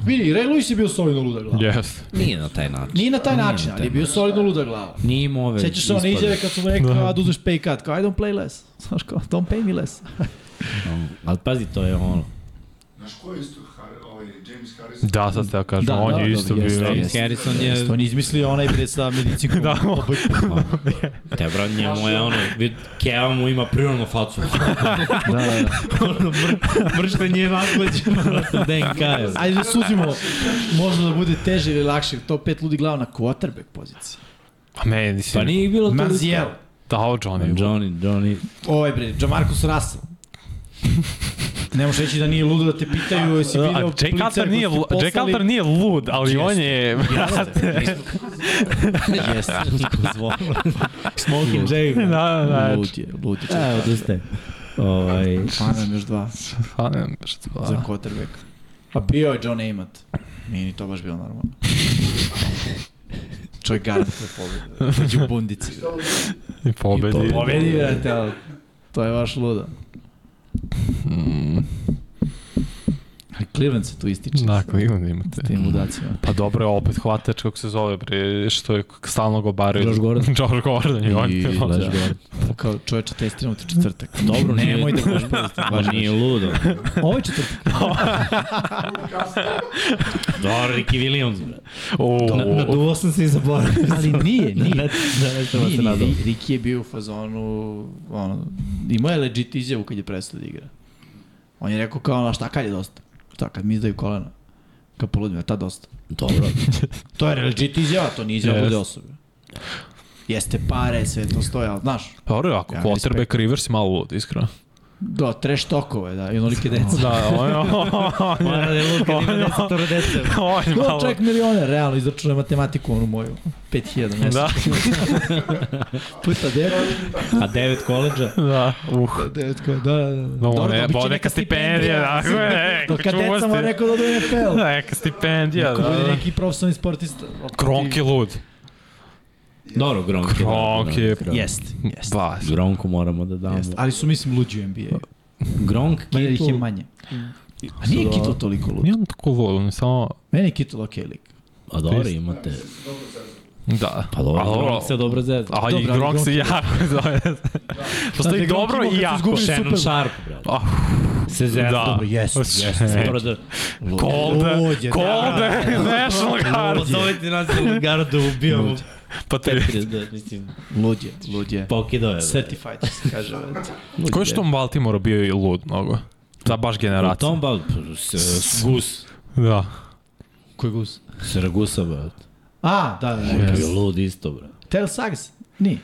B: Vidi, Ray Lewis je bio solidno luda glava.
D: yes.
A: Nije na taj način.
B: Nije na taj
A: Nije
B: način,
A: na taj
B: ali je bio solidno luda glava.
A: Nije imao ove
B: Sećaš se one
A: ispade.
B: izjave kad su mu rekao da. da uzmeš pay cut, kao I don't play less. Znaš kao, don't pay me less.
A: Ono, Ali pazi, to je ono...
E: Znaš ko je isto Har- ovaj, James Harrison?
D: Da, sad te ja kažem,
B: Da,
D: on
B: da,
D: je
B: da,
D: isto
B: jeste, jeste.
D: bio.
A: James Harrison je...
B: Yes. On je izmislio onaj bre sa medicinkom. da.
A: Te bro, Pa, njemu je ono... vid- Keva mu ima prirodnu facu.
B: da, da.
A: Ono, mr- Mrštanje je vakleđeno. DNK je.
B: Ajde da suzimo, možda da bude teže ili lakše. Top 5 ludi glava na quarterback poziciji.
D: A meni si,
A: Pa nije ih bilo toliko.
B: Manziel.
D: da, o, Johnny.
A: Johnny, Johnny,
B: Ovaj bre, Jamarcus Russell. Ne možeš reći da nije ludo da te pitaju jesi
D: A
B: video
D: Jake Cutler nije, lu- Jake Cutler nije lud, ali on je,
B: Jeste, dozvolio.
A: Smoking Jay.
D: da,
A: Da.
D: da, da,
B: Lud je, lud je.
A: Evo, tu ste. Ovaj,
B: Fanem još dva
D: Pa ne znam šta
B: pa. za quarterback. Pa bio je John Amat. Nije ni to baš bilo normalno. Čovjek garantuje pobjede. Među bundici.
D: I pobedi.
A: I pobedi.
B: Pobedi, brate, ali to je baš ludo. Ali Cleveland se tu ističe.
D: Da, Cleveland imate.
B: S tim ludacima.
D: Pa dobro, opet hvatač, kako se zove, bre, što je stalno go baraju.
A: Josh Gordon.
D: Josh Gordon, i on
A: I
D: je.
A: Flash
D: Da.
A: Gordon.
B: to kao čoveče testiramo te četvrtak.
A: Dobro, nije,
B: nemoj da baš
A: Pa nije ludo.
B: Ovo je četvrtak.
A: Dobro, Ricky Williams, brate.
D: O,
B: Naduo sam se i zaboravio. Ali nije, nije.
A: Da nešto
B: Nije, nije, Ri- Riki je bio u fazonu, ono, imao je legit izjavu kad je prestao da igra. On je rekao kao, ono, šta kad je dosta? Šta kad mi izdaju kolena? Kad poludim, ta dosta.
A: Dobro.
B: To je legit izjava, to nije izjava
D: Jest.
B: bude osobe. Jeste pare, sve to stoje, ali znaš,
D: Pa dobro, ako
B: Ja,
D: quarterback Rivers je malo lud, iskreno.
B: do, trash tokove, da, i onolike deca.
D: Da, on je... On je,
A: Mora da je Luka, ima desetoro dece.
D: on je
B: Ko
D: malo...
B: čovjek milione, realno, izračuna matematiku, onu moju, 5000 mesečno.
D: Da,
B: Puta 9,
A: A devet koleđa?
D: da, uh.
B: 9 koja, da, da, da.
D: No,
B: Dobro,
D: ne,
B: dobit će
D: bo neka stipendija, tako je,
B: Dok
D: neka
B: kad deca mu
D: čuvosti.
B: rekao da dođe NFL.
D: Neka stipendija, da,
B: Ako bude
D: da.
B: neki profesionalni sportista. opet
D: Gronk
B: ti-
D: je lud.
A: Dobro, Gronk je.
D: Gronk je...
B: Jeste, jeste.
D: Ba,
A: Gronku moramo da damo.
B: Jeste. Ali su, mislim, luđi u NBA.
A: Gronk,
D: Pa,
B: Mene ih je
A: Kittle,
B: manje. A
D: da.
B: nije Kittle toliko lud.
D: nije on tako lud, on je samo...
B: Meni je Kittle okej lik.
A: a dobro imate.
D: Da.
A: Pa dobro,
D: A dobro.
A: Gronk se dobro zezda.
D: A
B: Dobro,
D: i
B: ali
D: Gronk
B: Gronk
D: se jako zove.
B: Znate,
D: Postoji
B: Gronk
D: dobro
B: imao kad
D: i
B: su
D: jako.
B: izgubili
A: Shannon
B: Super-
A: Sharp, brate.
D: Ah,
A: Se zezda.
D: da. e,
A: Dobro,
B: Jeste,
A: jeste. Dobro da...
D: Cold,
B: Lud je,
D: cold National Guard.
A: Pozovite nas u Gardu, ubijamo.
D: Pa te...
A: Da, mislim,
B: Lud je, lud je.
D: Da,
A: pokidao je. brate.
B: pa, Certified, što se kaže. već. Lud
D: Ko je
B: je.
D: što u Baltimore bio i lud mnogo? Da, baš
A: Pa
D: generacija.
A: Tom Bal, p- s- s- Gus,
D: Da.
B: Koji gus?
A: Saragusa, brate.
B: A, da, da, da.
A: Bio lud isto, brate.
B: Terrell Suggs? Nije.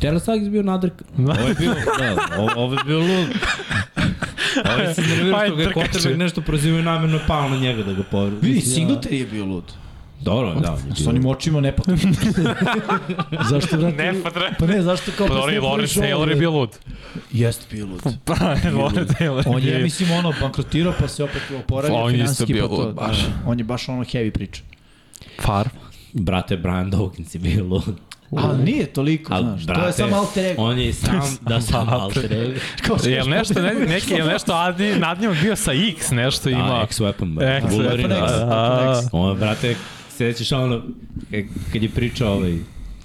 A: Terrell Suggs bio nadrk. Ovo je bio, da, ovo- ovo je bio lud. Ovo je se
B: Pa
A: nervirao što
D: Ajde,
A: ga je
D: trkače.
A: Kotrbek nešto prozivio namjerno pao na njega da ga povrdu.
B: Vidi, Singletary je bio lud.
A: Dobro, da. on je
B: S
A: bio-
B: onim očima nepotrebno. zašto vrati?
D: Ne, pa treba.
B: Pa ne, zašto kao...
D: Pa dobro, i
B: posle
D: Lawrence
B: prvi žol,
D: Taylor je
B: brate?
D: bio lud.
B: Jeste bio lud.
D: Pa, Lawrence Taylor
B: On je,
D: bio-
B: ja mislim, ono, bankrotirao pa se opet oporavio.
D: Pa on je isto
B: finansijski,
D: bio
B: pa to-
D: lud, baš.
B: da, On je baš ono heavy priča.
D: Far.
A: Brate, Brian Dawkins je bio lud.
B: Ali nije toliko,
A: Al,
B: znaš.
A: brate,
B: to je samo alter ego.
A: On je i sam, da sam
D: Alter
A: alter ego.
B: Kao što
D: Jel nešto, ne, neki, jel nešto Adi, nad njom bio sa X, nešto
A: Da,
D: ima.
A: X-Weapon, brate.
D: X,
A: Wolverine,
B: Weapon X.
A: da.
D: da.
A: Ovo, brate, sećaš ono, e, kad je pričao ovaj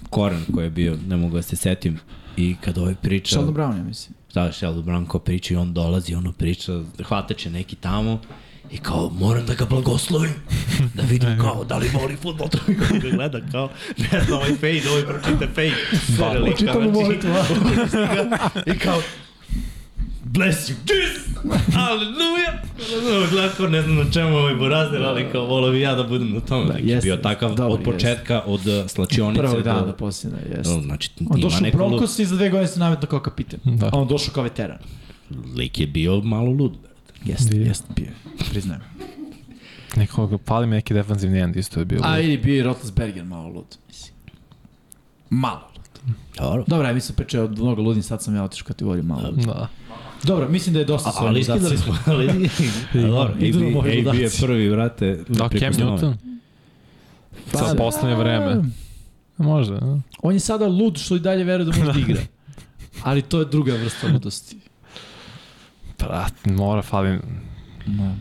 A: Koran koji je bio, ne mogu da se setim, i kad ovaj priča...
B: Sheldon Brown, ja mislim.
A: da Sheldon Brown kao priča i on dolazi, ono priča, hvata će neki tamo i kao moram da ga blagoslovim da vidim kao da li voli futbol to mi ga gleda kao ne znam ovaj fade, ovaj pročita fade sve relika,
B: Čitavu
A: znači,
B: molitvu. a?
A: i kao bless you Jesus hallelujah gledako ne znam na čemu ovaj burazir ali kao volao bi ja da budem na tome da,
B: jeste,
A: bio
B: jeste.
A: takav
B: Dobro,
A: od početka od uh, slačionice
B: Prvog dana
A: do,
B: da posljedna,
A: No,
B: jeste.
A: znači
B: On
A: ima
B: došao u
A: neko
B: Broncos i za dve godine se nametno kao kapitan.
D: Da.
B: A on došao kao veteran.
A: lud- lik je bio malo lud brate.
B: Jeste,
D: Je.
B: jeste, bio je, priznajem.
D: Nekog, pali mi neki defensivni end isto je bio.
B: A ili bio i Rotlesberger malo lud, mislim. Malo lud.
A: dobro
B: Dobro, ja mislim pričao od mnogo ludin, sad sam ja otišao u kategoriju malo lud.
D: Da.
B: Dobro, mislim da je dosta
A: Ali
B: svojim
A: iskidali smo, ali Dobro,
B: Idu nam
A: AB,
B: ovi
A: AB je
B: ludaci.
A: prvi, vrate.
D: Da, Cam Newton.
B: Pa, da.
D: Sa poslednje vreme. Možda, da.
B: On je sada lud što i dalje veruje da može da igra. Ali to je druga vrsta ludosti.
D: Brat, mora fali...
B: No.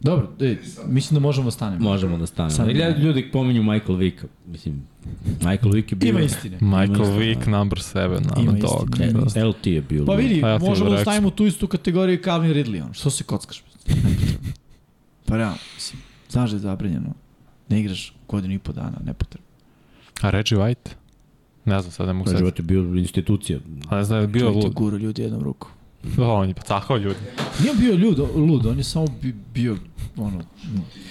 B: Dobro, e, mislim da možemo da stanemo.
A: Možemo da stanemo.
B: Sad
A: Ili
B: ne.
A: ljudi pominju Michael Vicka. Mislim, Michael Vick je bio...
B: Ima istine.
D: Michael
A: isto,
D: Vick, number 7,
B: Ima
D: I'm a
B: isto,
D: dog.
A: Ne,
D: Da.
A: LT je bio.
B: Pa vidi,
D: Pa ja ti
B: možemo da
D: odrekao.
B: stavimo u tu istu kategoriju i Calvin Ridley. On. Što se kockaš? pa realno, mislim, znaš da je zabranjeno. Ne igraš godinu i po dana, nepotrebno.
D: A Reggie White? Ne znam, sad ne mogu
A: Kaže,
D: sad.
A: život je bio institucija.
D: A ne znam, je bio
B: Čovjek je
D: lud.
B: guru ljudi jednom ruku.
D: Da, on je pa tako ljudi.
B: Nije bio ljud, lud, on je samo bi, bio ono,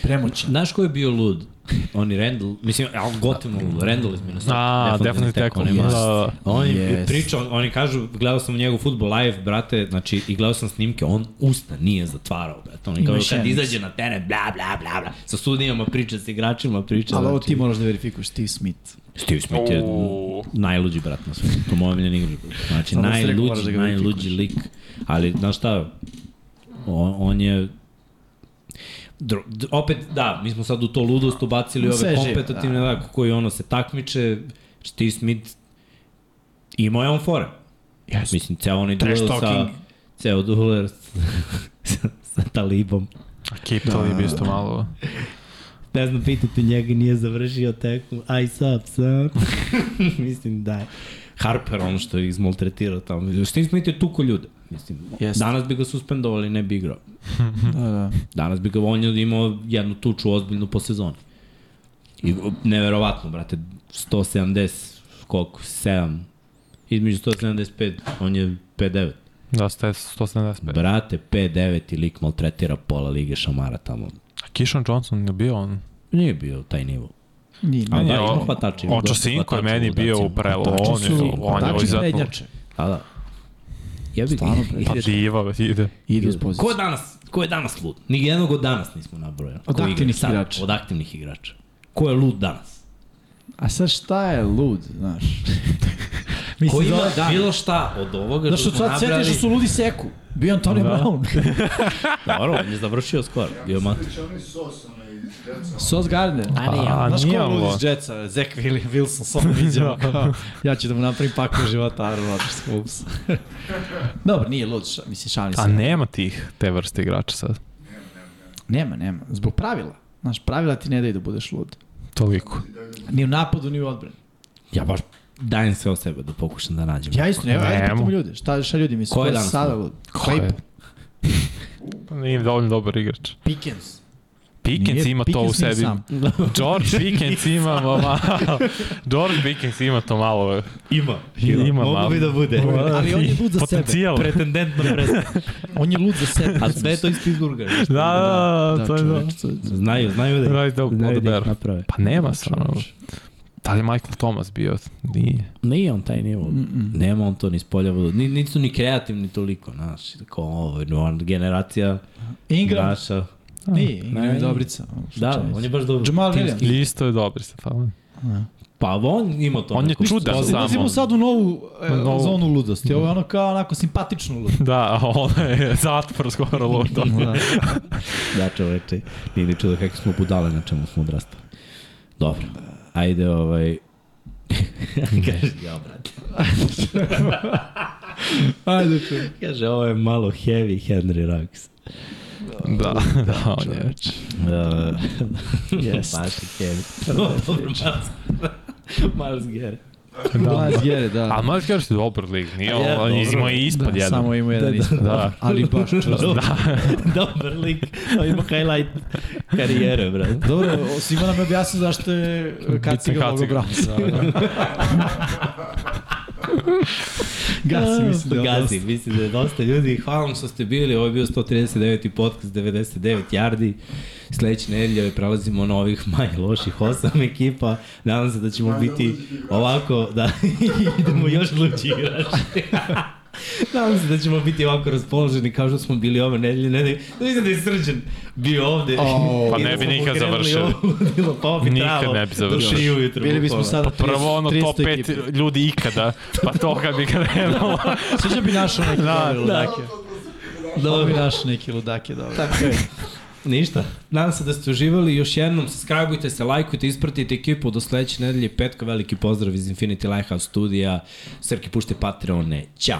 B: premoćan.
A: Znaš ko je bio lud? Oni Randall, mislim, al gotivno lud, Randall iz Minnesota.
D: A, defensivni tackle.
A: on je
D: Da,
A: mas-
D: da.
A: On je
B: Yes.
A: pričao, oni kažu, gledao sam njegov futbol live, brate, znači, i gledao sam snimke, on usta nije zatvarao, brate. On je
B: Ima
A: kao
B: još
A: kad
B: jedan.
A: izađe na teren, bla, bla, bla, bla, sa sudijama priča, sa igračima priča.
B: Ali ovo
A: znači-
B: ti moraš da verifikuješ, Steve Smith.
A: Steve Smith je
D: Uuu.
A: najluđi brat na svetu. To moj omiljen igrač. Znači,
B: Samo si rekao,
A: najluđi,
B: moraš da
A: da
B: ga
A: najluđi lik. Ali, znaš šta, on, on je Dro, d- opet, da, mi smo sad u to ludost ubacili
B: Sve
A: ove
B: žive,
A: kompetitivne, da. koji ono se takmiče, Steve Smith imao je on fore. Yes. Mislim, ceo onaj duel
D: Trash
A: sa,
D: talking.
A: ceo duel sa, sa Talibom.
D: A Kip to
A: Da,
D: je bio isto malo.
A: Ne znam, pitajte njega, nije završio tekmu. I sup, sup. Mislim da je. Harper, ono što je izmaltretirao tamo. Što izmenite tuko ljude? Mislim,
C: Jeste.
A: danas bi ga suspendovali, ne bi igrao.
D: Hm.
C: Da, da.
A: Danas bi ga on je imao jednu tuču ozbiljnu po sezoni. I o, neverovatno, brate, 170, koliko, 7, između 175, on je 59.
D: Da, ste 175.
A: Brate, 5-9 i lik maltretira pola lige šamara tamo.
D: A Kishon Johnson je bio on?
A: Nije bio taj nivo.
B: Nije,
A: A
B: meni
A: da,
B: je-
A: ima hvatači. ima dosta
D: Očasinko je
A: hvatača
D: meni
A: u
D: bio
A: udacima.
D: upravo,
B: Tačno
D: on je,
B: su-
D: on je
B: tačno
D: ovo
B: su
D: izapravo.
B: prednjače.
A: Da, da. Ja bih
C: Stvarno,
D: Pa
A: ideš-
D: diva, ide.
C: Ide uz poziciju.
A: Ko je danas, ko je danas lud? Ni jednog od danas nismo nabrojali.
B: Od
A: Ko igra
B: aktivnih
A: sad?
B: igrača.
A: Od aktivnih igrača. Ko je lud danas?
C: A sad šta je lud, znaš?
A: Ko
B: Mislim,
A: ima
B: zove dan.
A: bilo šta od ovoga
B: Znaš,
A: što
B: od
A: smo
B: sad sjetiš da
A: nabrali?
B: su ludi seku. Bio Antonio
D: Da.
B: Brown.
A: Dobro, on je završio skoro. Bio mat.
E: Već onaj sos, onaj iz Jetsa.
B: Sos Gardner. Pa,
A: A ne, ja.
D: A
B: Znaš
D: nije
B: ko
D: on
B: ludi
D: loš.
B: iz Jetsa? Zach Willi- Wilson, samo viđamo kao, ja ću da mu napravim pakao života Aaron Rodgers. Ups. Dobro, nije lud, ša, mislim, šalim se.
D: A
A: da.
D: nema tih, te vrste igrača sad.
B: Nema, nema. Zbog pravila. Znaš, pravila ti ne daju da budeš lud.
D: Toliko.
B: Ni u napadu, ni u odbrani.
A: ja baš dajem sve od sebe da pokušam da nađem.
B: Ja isto, evo, ajde
D: Nemo.
B: pitamo ljude. Šta, šta ljudi misle?
A: Ko
B: Ko
A: je
B: je
A: danas
B: sada
A: lud?
B: lud?
D: Ko je? Pa Nije dovoljno dobar igrač.
B: Pickens.
D: Pickens
B: Nije-
D: ima to u
B: Pickens nije
D: sebi.
B: sam. Da,
D: George Pickens ima malo. George Pickens ima to malo.
A: Ima.
D: Ima
A: Mogu
D: malo.
A: bi da bude.
B: Ali on je lud za sebe.
D: Potencijal.
A: Pretendent na prezme.
B: On je lud za sebe.
A: A sve je to iz Pittsburgha.
D: Da, da, da,
B: Da,
D: to je da.
B: čoveč, to je-
A: Znaju, znaju da
D: Right dog,
A: znaju
D: not
A: da ih
D: bear.
A: naprave.
D: Pa nema stvarno. Da li je Michael Thomas bio? Nije.
A: Nije on taj nivo. Mm -mm. Nema on to ni spoljavo. Ni, niti su ni kreativni toliko, znaš. Kao ovo, no, on generacija
D: Da.
B: Ingram.
A: naša.
B: Nije, Ingram
A: Ne,
B: je
A: ne.
B: Dobrica.
A: Da, on je baš dobro.
B: Jamal
A: timski.
B: Williams.
D: Isto je dobar sa tamo.
A: Pa on ima to.
D: On je
A: neko
D: čudan
A: što-
D: sam.
B: Ulazimo
D: Samo-
B: sad u novu, e,
D: Novu.
B: zonu ludosti. Ovo je ono kao onako simpatičnu ludost.
D: Da, ono je zatvor skoro ludo.
A: Da, čoveče. Nije ni čudo kako smo budale na čemu smo odrastali. Dobro. Ajde, ovaj... Kaže, ja, brate.
B: Ajde, čuj.
A: Kaže, ovo je malo heavy Henry Ruggs.
D: Da, da, on je.
A: Uh,
B: Yes.
A: Baš je heavy. Dobro, Miles Garrett.
D: Da.
B: Miles Garrett, da.
D: A Miles Garrett je dobar lig, nije
A: Ja,
D: on, on je
A: dobro.
D: imao i ispod
B: da,
D: jedan.
B: samo ima jedan
A: Da,
B: da, da.
D: Da.
B: Ali baš čudo.
A: Dobar lik. On ima highlight karijere, brate.
B: Dobro, Sima nam je objasnio zašto je e, Kaciga
D: Bitne
B: mogo
D: kacige.
B: brati.
D: Da, da.
B: Gasi, mislim da je ono
A: Gazi, mislim da je dosta ljudi. Hvala vam što ste bili. Ovo je bio 139. podcast, 99 yardi. Sledeće nedelje prelazimo na ovih manje loših osam ekipa. Nadam se da ćemo biti ovako, da idemo još luđi igrači. Nadam se da ćemo biti ovako raspoloženi kao što smo bili ove nedelje. Nedelje. Da mislim da je srđan bio ovde.
B: O,
D: Pa
A: I da
D: ne bi
A: smo
D: nikad
A: krenuli
D: završili.
A: ovo ludilo, Pa ovo bi
D: Nikad
A: trajalo
D: ne bi
A: do
D: završili.
A: tri ujutru,
B: Bili bismo
A: bukvalno.
B: sada
D: Pa prvo ono top
B: 300
D: 5
B: ekipa.
D: ljudi ikada, pa toga bi krenulo.
B: Sviđa bi našao neke
D: Da,
B: da, ludake. Dobro bi našao neke ludake, dobro.
A: Tako je. Ništa. Nadam se da ste uživali. Još jednom, subscribeujte se, lajkujte, ispratite ekipu do sledeće nedelje. Petka, veliki pozdrav iz Infinity Lighthouse studija. Srki, pušte Patreone. Ćao!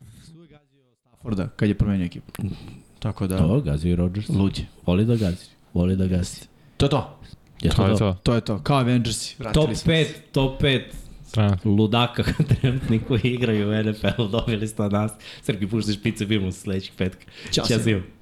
B: Maxu je gazio Stafforda kad je promenio ekipu. Tako da,
A: To, gazi i Rodgers.
B: luđ.
A: Voli da gazi. Voli da gazi.
B: To je to.
A: Jeste
D: To je to.
B: To je to. Kao Avengersi. Vratili
A: Top
B: smo se.
A: 5, top 5
D: Trenutno.
A: ludaka trenutni koji igraju u NFL, dobili ste od nas. Srki, puštaš pice, bimo se sledećeg petka. Ćao
B: Ćao svima.
A: svima.